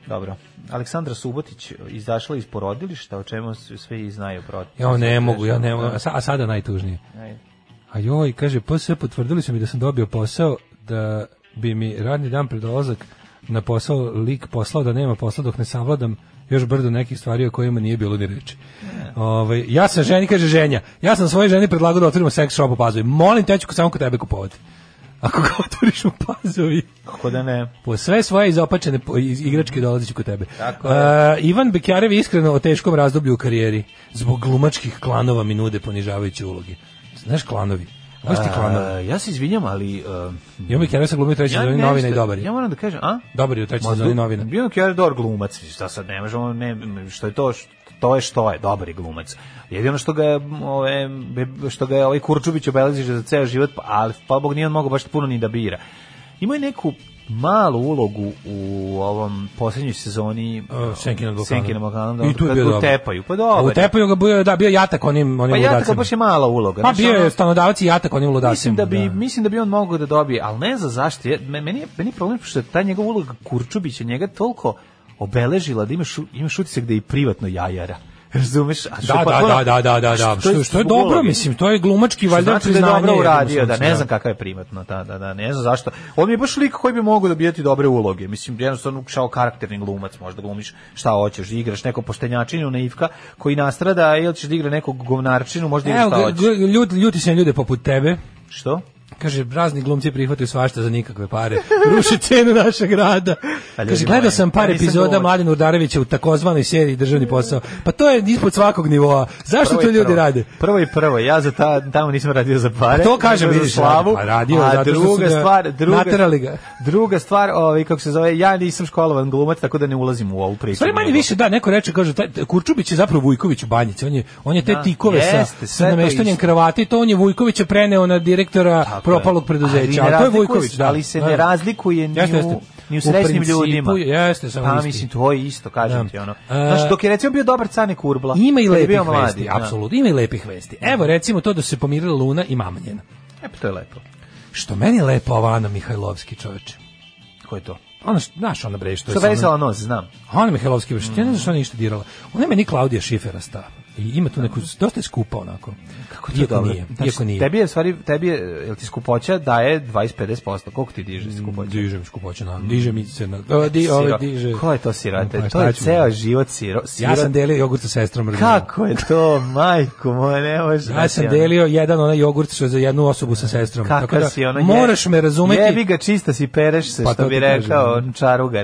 Speaker 6: Dobro. Aleksandra Subotić e, izašla iz porodilišta, o čemu s- svi i znaju protiv.
Speaker 5: Ja ne mogu, ja ne mogu. A sa- A sada najtužnije.
Speaker 6: Ajde.
Speaker 5: A joj, kaže, PS potvrdili su mi da sam dobio posao, da bi mi radni dan pred dolazak na posao lik poslao da nema posla dok ne savladam još brdo nekih stvari o kojima nije bilo ni reči. Ovaj, ja sam ženi, kaže ženja, ja sam svojoj ženi predlagao da otvorimo sex shop u Pazovi. Molim te, ja ću samo kod tebe kupovati. Ako ga otvoriš u Pazovi,
Speaker 6: Kako da ne?
Speaker 5: po sve svoje izopačene po- iz- igračke dolaziću kod tebe.
Speaker 6: Mhm. Tako
Speaker 5: E, Ivan Bekjarev je iskreno o teškom razdoblju u karijeri. Zbog glumačkih klanova mi nude ponižavajuće uloge. Znaš klanovi? Znaš ti klanovi?
Speaker 6: A, E, ja se izvinjam, ali... Uh,
Speaker 5: Ivan Bekjarev se glumi u trećoj sezoni
Speaker 6: nešto-
Speaker 5: novina i dobar je.
Speaker 6: Ja moram da kažem, a?
Speaker 5: Dobar je u trećoj sezoni novina.
Speaker 6: Bio je dobar glumac, šta sad ne možemo, ne, što je to, što, to je što je, dobar je glumac. Jedino što ga je, m, ove, be- što ga je ovaj Kurčubić obeležio za ceo život, pa, ali pa Bog nije on mogao baš puno ni da bira. Imao je neku malu ulogu u ovom posljednjoj sezoni
Speaker 5: E, Senki nad Balkanom.
Speaker 6: Senki nad Balkanom, da,
Speaker 5: I tu je
Speaker 6: kad
Speaker 5: bio
Speaker 6: ga
Speaker 5: dobar.
Speaker 6: utepaju, pa dobar.
Speaker 5: A U Tepaju ga bio, da, bio jatak onim, onim
Speaker 6: Pa ja tako
Speaker 5: ludacima.
Speaker 6: baš je mala uloga.
Speaker 5: Pa
Speaker 6: znaš,
Speaker 5: bio
Speaker 6: ono-
Speaker 5: je stanodavac i jatak onim ludacima.
Speaker 6: Mislim da bi mislim da bi on mogao da dobije, ali ne za zašto. je- me- Meni je meni je problem što je ta njegova uloga Kurčubića njega toliko obeležila da imaš u- imaš utisak da je i privatno jajara. Razumeš? A što
Speaker 5: Da,
Speaker 6: pa
Speaker 5: da,
Speaker 6: ono-
Speaker 5: da, da, da, da, da. Što, što je
Speaker 6: zbog
Speaker 5: dobro,
Speaker 6: uloge.
Speaker 5: mislim, to je glumački
Speaker 6: Što
Speaker 5: valjda
Speaker 6: znači da
Speaker 5: priznanje.
Speaker 6: je dobro uradio,
Speaker 5: jednom
Speaker 6: da ne
Speaker 5: smislu,
Speaker 6: znam kakav je privatno, da, da, da, ne znam zašto. On mi je baš lik koji bi mogao dobijati dobre uloge, mislim, jednostavno šao karakterni glumac, možda glumiš šta hoćeš, igraš neko poštenjačinu, naivka, koji nastrada, ili ćeš da igra nekog govnarčinu, možda igraš
Speaker 5: Evo,
Speaker 6: šta hoćeš.
Speaker 5: gl- gl- ljut, ljuti se na ljude poput tebe.
Speaker 6: Što?
Speaker 5: Kaže, razni glumci prihvataju svašta za nikakve pare. Ruši cenu našeg rada.
Speaker 6: Pa ljudi
Speaker 5: Kaže, gledao
Speaker 6: moji,
Speaker 5: sam par
Speaker 6: ja nisam
Speaker 5: epizoda
Speaker 6: glumac.
Speaker 5: Mladen Urdarevića u takozvanoj seriji Državni posao. Pa to je ispod svakog nivoa. Zašto
Speaker 6: Prvo
Speaker 5: to
Speaker 6: i
Speaker 5: ljudi
Speaker 6: prvo.
Speaker 5: rade?
Speaker 6: Prvo i prvo, ja za ta, tamo nisam radio za pare.
Speaker 5: A to kažem,
Speaker 6: nego
Speaker 5: vidiš,
Speaker 6: za slavu.
Speaker 5: a radio
Speaker 6: a
Speaker 5: zato što su
Speaker 6: druga
Speaker 5: ga
Speaker 6: stvar, druga,
Speaker 5: naterali ga.
Speaker 6: Druga stvar, ovaj kako se zove, ja nisam školovan glumac, tako da ne ulazim u ovu priču.
Speaker 5: Stvari manje
Speaker 6: Nego-
Speaker 5: više, da, neko reče, kaže, taj, taj Kurčubić je zapravo Vujković u banjici, on je, on je te
Speaker 6: Da,
Speaker 5: tikove
Speaker 6: jeste,
Speaker 5: sa,
Speaker 6: sve
Speaker 5: sa
Speaker 6: to
Speaker 5: nameštanjem
Speaker 6: isto.
Speaker 5: kravate, to on je Vujkovića preneo na direktora
Speaker 6: Tako je.
Speaker 5: propalog preduzeća,
Speaker 6: Ali
Speaker 5: ali,
Speaker 6: ne
Speaker 5: to je
Speaker 6: razlikuje
Speaker 5: Vujković,
Speaker 6: se,
Speaker 5: da.
Speaker 6: ali se
Speaker 5: da.
Speaker 6: ne razlikuje ni
Speaker 5: Jeste,
Speaker 6: u-
Speaker 5: jeste.
Speaker 6: ni u srećnim
Speaker 5: principu
Speaker 6: ljudima.
Speaker 5: je- Jeste, samo
Speaker 6: Pa
Speaker 5: isti.
Speaker 6: mislim, to je isto, kažem
Speaker 5: Da.
Speaker 6: ti, ono.
Speaker 5: E,
Speaker 6: Znaš, dok je recimo bio dobar Cane Kurbla.
Speaker 5: Ima i
Speaker 6: Pa, kad je
Speaker 5: lepih
Speaker 6: bio mladi,
Speaker 5: vesti,
Speaker 6: da.
Speaker 5: apsolutno, ima i lepih vesti. Evo, recimo to da su se pomirila Luna i mama njena.
Speaker 6: E, pa to je lepo.
Speaker 5: Što meni je lepo ova Ana Mihajlovski čoveče.
Speaker 6: Ko je to?
Speaker 5: Ona, š- znaš ona bre, što je
Speaker 6: Što
Speaker 5: sa onom-
Speaker 6: vezala nos, znam.
Speaker 5: Ana Mihajlovski, baš, ja ne znam što ona ništa dirala. Ona je meni Klaudija Šiferasta. I ima tu neku, dosta je skupa onako. Kako
Speaker 6: To je dobro.
Speaker 5: Nije,
Speaker 6: Znači,
Speaker 5: iako nije.
Speaker 6: Tebi je, u stvari, tebi je, jel ti skupoća daje 20-50%, koliko ti diže skupoća?
Speaker 5: Mm, Dižem skupoću na, diže mi se na, o, di, ove,
Speaker 6: Siro-
Speaker 5: diže.
Speaker 6: Ko je to sirote?
Speaker 5: Pa
Speaker 6: to
Speaker 5: šta
Speaker 6: je
Speaker 5: ću-
Speaker 6: ceo život siro, siro...
Speaker 5: Ja sam delio jogurt sa sestrom. razumem.
Speaker 6: Kako je to, majko moja, ne ono, može.
Speaker 5: Ja sam delio jedan onaj jogurt što je za jednu osobu sa sestrom.
Speaker 6: Kako si ono... je-
Speaker 5: moraš me razumeti.
Speaker 6: Jebi ga, čista si, pereš se,
Speaker 5: Pa
Speaker 6: što
Speaker 5: to
Speaker 6: bi
Speaker 5: ti
Speaker 6: rekao,
Speaker 5: kažem.
Speaker 6: čaruga,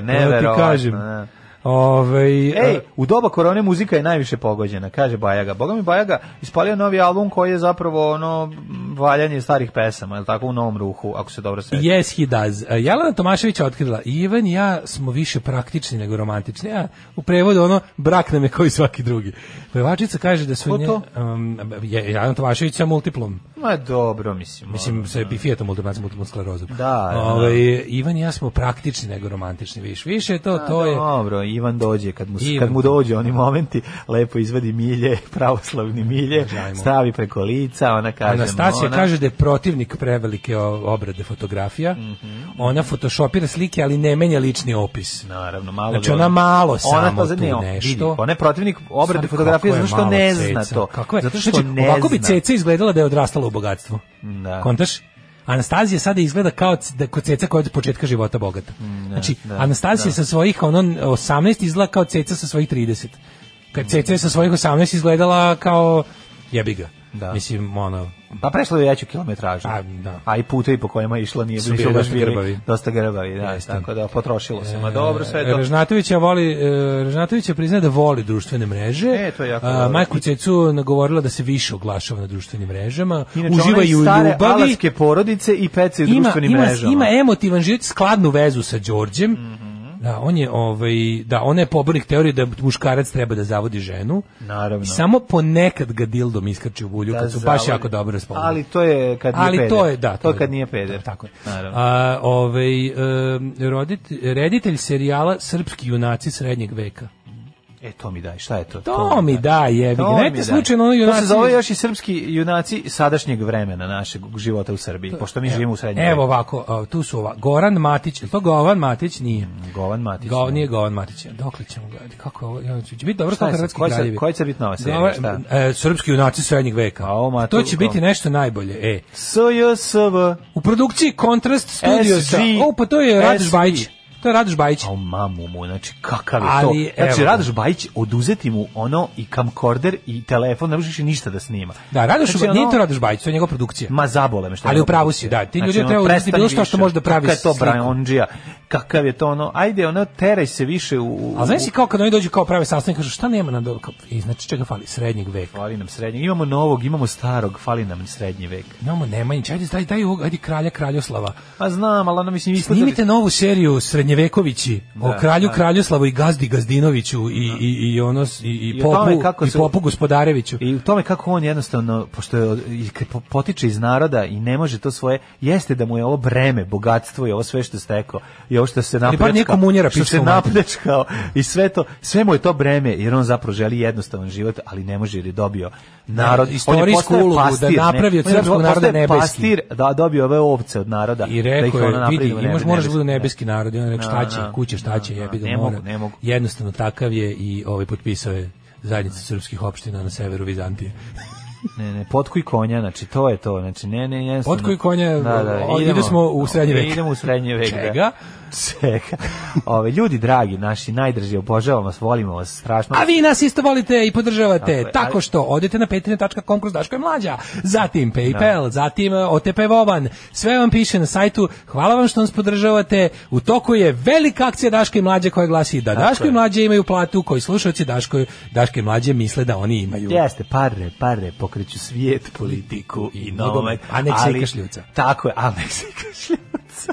Speaker 5: Da ti
Speaker 6: neverovatno.
Speaker 5: kažem.
Speaker 6: da.
Speaker 5: Ovaj,
Speaker 6: Ej, u doba korone muzika je najviše pogođena, kaže Bajaga. Boga mi Bajaga ispalio novi album koji je zapravo ono m, valjanje starih pesama, je li tako, u novom ruhu, ako se dobro sećam.
Speaker 5: Yes, he does. E, Jelena Tomašević je otkrila, Ivan i ja smo više praktični nego romantični. A, u prevodu ono, brak nam je koji svaki drugi. Pevačica kaže da
Speaker 6: Ko
Speaker 5: su nje...
Speaker 6: to?
Speaker 5: Um, Je- Jelena Tomašević sa multiplom.
Speaker 6: Ma dobro, mislim.
Speaker 5: Mislim,
Speaker 6: ono,
Speaker 5: sa epifijetom ultimatom multiplom sklerozom.
Speaker 6: Da, da.
Speaker 5: Ovaj, Ivan i ja smo praktični nego romantični. Više, više je to, to je...
Speaker 6: Dobro, Ivan dođe, kad mu,
Speaker 5: Ivan.
Speaker 6: kad mu dođe oni momenti, lepo izvadi milje, pravoslavni milje,
Speaker 5: Žajmo.
Speaker 6: stavi preko lica, ona kaže...
Speaker 5: Anastasija
Speaker 6: ona,
Speaker 5: kaže da je protivnik prevelike o- obrade fotografija.
Speaker 6: Mhm.
Speaker 5: Ona photoshopira slike, ali ne menja lični opis.
Speaker 6: Naravno, malo
Speaker 5: Znači,
Speaker 6: ga
Speaker 5: ona malo samo
Speaker 6: za-
Speaker 5: tu nešto.
Speaker 6: vidi, ona je protivnik obrade
Speaker 5: Sad,
Speaker 6: fotografije
Speaker 5: kako je
Speaker 6: zato što
Speaker 5: malo
Speaker 6: ne zna
Speaker 5: ceca.
Speaker 6: to.
Speaker 5: Kako je?
Speaker 6: Zato što
Speaker 5: znači,
Speaker 6: ne
Speaker 5: ovako bi
Speaker 6: zna.
Speaker 5: ceca izgledala da je odrastala u bogatstvu.
Speaker 6: Da.
Speaker 5: Kontaš? Anastazija sada izgleda kao c- da kao ceca koja je od početka života bogata. znači,
Speaker 6: Mm, da,
Speaker 5: Anastazija sa svojih ono 18 izgleda kao ceca sa svojih 30. Kad ceca je sa svojih 18 izgledala kao jebiga.
Speaker 6: Da.
Speaker 5: Mislim, ono,
Speaker 6: Pa prešla je veću kilometražu.
Speaker 5: A, da.
Speaker 6: A i putevi po kojima je išla nije
Speaker 5: Su
Speaker 6: bilo
Speaker 5: bili
Speaker 6: baš
Speaker 5: dosta
Speaker 6: bili
Speaker 5: grbavi.
Speaker 6: Dosta grbavi, da,
Speaker 5: Jeste. E,
Speaker 6: tako da potrošilo se. Ma dobro, sve Pa je to.
Speaker 5: Režnatović je voli e, Režnatović je priznaje da voli društvene mreže.
Speaker 6: E, to je jako
Speaker 5: A,
Speaker 6: dobro.
Speaker 5: Majku Cecu nagovorila da se više oglašava na društvenim mrežama,
Speaker 6: Inače,
Speaker 5: uživa
Speaker 6: one
Speaker 5: i u
Speaker 6: stare
Speaker 5: ljubavi.
Speaker 6: Alaske porodice i pece u
Speaker 5: Ima,
Speaker 6: društvenim
Speaker 5: ima,
Speaker 6: mrežama.
Speaker 5: ima emotivan život, skladnu vezu sa Đorđem.
Speaker 6: Mhm.
Speaker 5: Da, on je ovaj da on je pobornik teorije da muškarac treba da zavodi ženu.
Speaker 6: Naravno.
Speaker 5: I samo ponekad ga dildom iskače u bulju kad su baš
Speaker 6: zavoli.
Speaker 5: jako dobro raspoloženi.
Speaker 6: Ali to je kad
Speaker 5: Pa
Speaker 6: nije
Speaker 5: ono. Ali
Speaker 6: peder.
Speaker 5: to je, da.
Speaker 6: To je
Speaker 5: je-
Speaker 6: kad nije peder.
Speaker 5: Tako je.
Speaker 6: Naravno.
Speaker 5: A, ovaj, em, rodit- reditelj serijala Srpski junaci srednjeg veka.
Speaker 6: E, to mi daj, šta je to?
Speaker 5: To, mi daj, jebi ga. Najte slučajno ono
Speaker 6: junaci... To
Speaker 5: junaci...
Speaker 6: se zove još i srpski junaci sadašnjeg vremena našeg života u Srbiji, pošto mi živimo u srednjem
Speaker 5: Evo ovako, a, tu su ova, Goran Matić, je li to Govan Matić? Nije.
Speaker 6: Govan Matić.
Speaker 5: Gov, nije Govan Matić. Dokle ćemo gledati? Kako je ovo? Ja, će biti dobro
Speaker 6: Šta
Speaker 5: kao
Speaker 6: je sad?
Speaker 5: hrvatski
Speaker 6: Koja će-
Speaker 5: kraljevi.
Speaker 6: koja će biti nova serija,
Speaker 5: Dobar,
Speaker 6: šta?
Speaker 5: e, srpski junaci srednjeg veka.
Speaker 6: A, o, ma,
Speaker 5: to
Speaker 6: to-
Speaker 5: će biti nešto najbolje. E,
Speaker 6: SJSV.
Speaker 5: u produkciji Contrast Studios.
Speaker 6: SG.
Speaker 5: O, pa to je Radoš
Speaker 6: SG.
Speaker 5: Bajić. To je Radoš Bajić.
Speaker 6: A mamu mu, znači kakav je
Speaker 5: Ali,
Speaker 6: to. Znači
Speaker 5: evo.
Speaker 6: Radoš Bajić oduzeti mu ono i kamkorder i telefon, ne možeš više ništa da snima.
Speaker 5: Da, Radoš,
Speaker 6: Znači, ono-
Speaker 5: nije to Radoš Bajić, to je njegova produkcija.
Speaker 6: Ma zabole me što.
Speaker 5: Ali
Speaker 6: je
Speaker 5: u pravu
Speaker 6: moguće.
Speaker 5: si, da, ti
Speaker 6: Znači,
Speaker 5: ljudi
Speaker 6: ono,
Speaker 5: trebaju uraditi
Speaker 6: prestani
Speaker 5: bilo šta
Speaker 6: više.
Speaker 5: što može da pravi
Speaker 6: Kakav je to
Speaker 5: sliku.
Speaker 6: Brajonđija? Kakav je to ono? Ajde, ono teraj se više u, u
Speaker 5: A znaš si kao kad oni dođu kao prave sastanak, kažu šta nema na dobro, kao, i znači čega fali, srednjeg veka.
Speaker 6: Fali nam srednji. Imamo novog, imamo starog, fali nam srednji vek.
Speaker 5: Imamo Nemanjić, ajde, daj, daj ovog, ajde kralja Kraljoslava.
Speaker 6: Pa znam, ali ono mislim ispada-
Speaker 5: Snimite novu seriju Srednjevekovići o
Speaker 6: Da,
Speaker 5: kralju
Speaker 6: da.
Speaker 5: Kraljoslavu i gazdi Gazdinoviću i, i, i, ono, s- i, i,
Speaker 6: I o
Speaker 5: popu,
Speaker 6: tome kako
Speaker 5: i
Speaker 6: su-
Speaker 5: popu Gospodareviću.
Speaker 6: I u tome kako on jednostavno, pošto je, od- i k- po- potiče iz naroda i ne može to svoje, jeste da mu je ovo breme, bogatstvo i ovo sve što je stekao i ovo što se
Speaker 5: bar nije
Speaker 6: napljačkao,
Speaker 5: komunjera,
Speaker 6: što se
Speaker 5: pička mu mater.
Speaker 6: napljačkao i sve to, sve mu je to breme, jer on zapravo želi jednostavan život, ali ne može jer je dobio narod.
Speaker 5: Ne,
Speaker 6: On je
Speaker 5: istorijsku
Speaker 6: postao
Speaker 5: ulogu da
Speaker 6: pastir, ne.
Speaker 5: napravi od
Speaker 6: On je
Speaker 5: srpskog
Speaker 6: postao
Speaker 5: naroda nebeski.
Speaker 6: Pastir, da dobio ove ovce od naroda.
Speaker 5: I
Speaker 6: da ih
Speaker 5: rekao
Speaker 6: ono
Speaker 5: je,
Speaker 6: napravi
Speaker 5: vidi,
Speaker 6: u
Speaker 5: imaš,
Speaker 6: nebe-
Speaker 5: moraš da bude nebeski
Speaker 6: nebeski.
Speaker 5: narod. I on je rekao, šta
Speaker 6: Da,
Speaker 5: će,
Speaker 6: da,
Speaker 5: kuće, šta će,
Speaker 6: da,
Speaker 5: jebi ga
Speaker 6: ne
Speaker 5: mora.
Speaker 6: mogu, ne mogu.
Speaker 5: Jednostavno, takav je i ovaj potpisao je zajednica srpskih opština na severu Vizantije.
Speaker 6: Ne, ne, potkuj konja, znači to je to, znači ne, ne, jednostavno.
Speaker 5: Potkuj konja, o, ide smo u srednji vek.
Speaker 6: Idemo u srednji vek, da.
Speaker 5: Čega?
Speaker 6: Čega? Ove, ljudi dragi, naši najdraži, obožavamo vas, volimo vas, strašno.
Speaker 5: A vi nas isto volite i podržavate
Speaker 6: Tako je,
Speaker 5: tako
Speaker 6: ali-
Speaker 5: što odete na patreon.com kroz Daško je mlađa, zatim PayPal, zatim e, OTP Voban, sve vam piše na sajtu, hvala vam što nas podržavate, u toku je velika akcija Daško i mlađa koja glasi da Daško i
Speaker 6: je.
Speaker 5: mlađe imaju platu koju slušalci Daško, Daško i mlađe misle da oni imaju.
Speaker 6: Jeste, pare, pare, pokreću svijet, politiku i nogomet.
Speaker 5: A nek se
Speaker 6: ali-
Speaker 5: ikaš ljuca.
Speaker 6: Tako je, a nek se ikaš ljuca.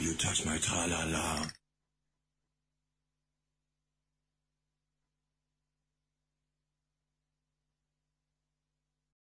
Speaker 13: You touch my tra-la-la.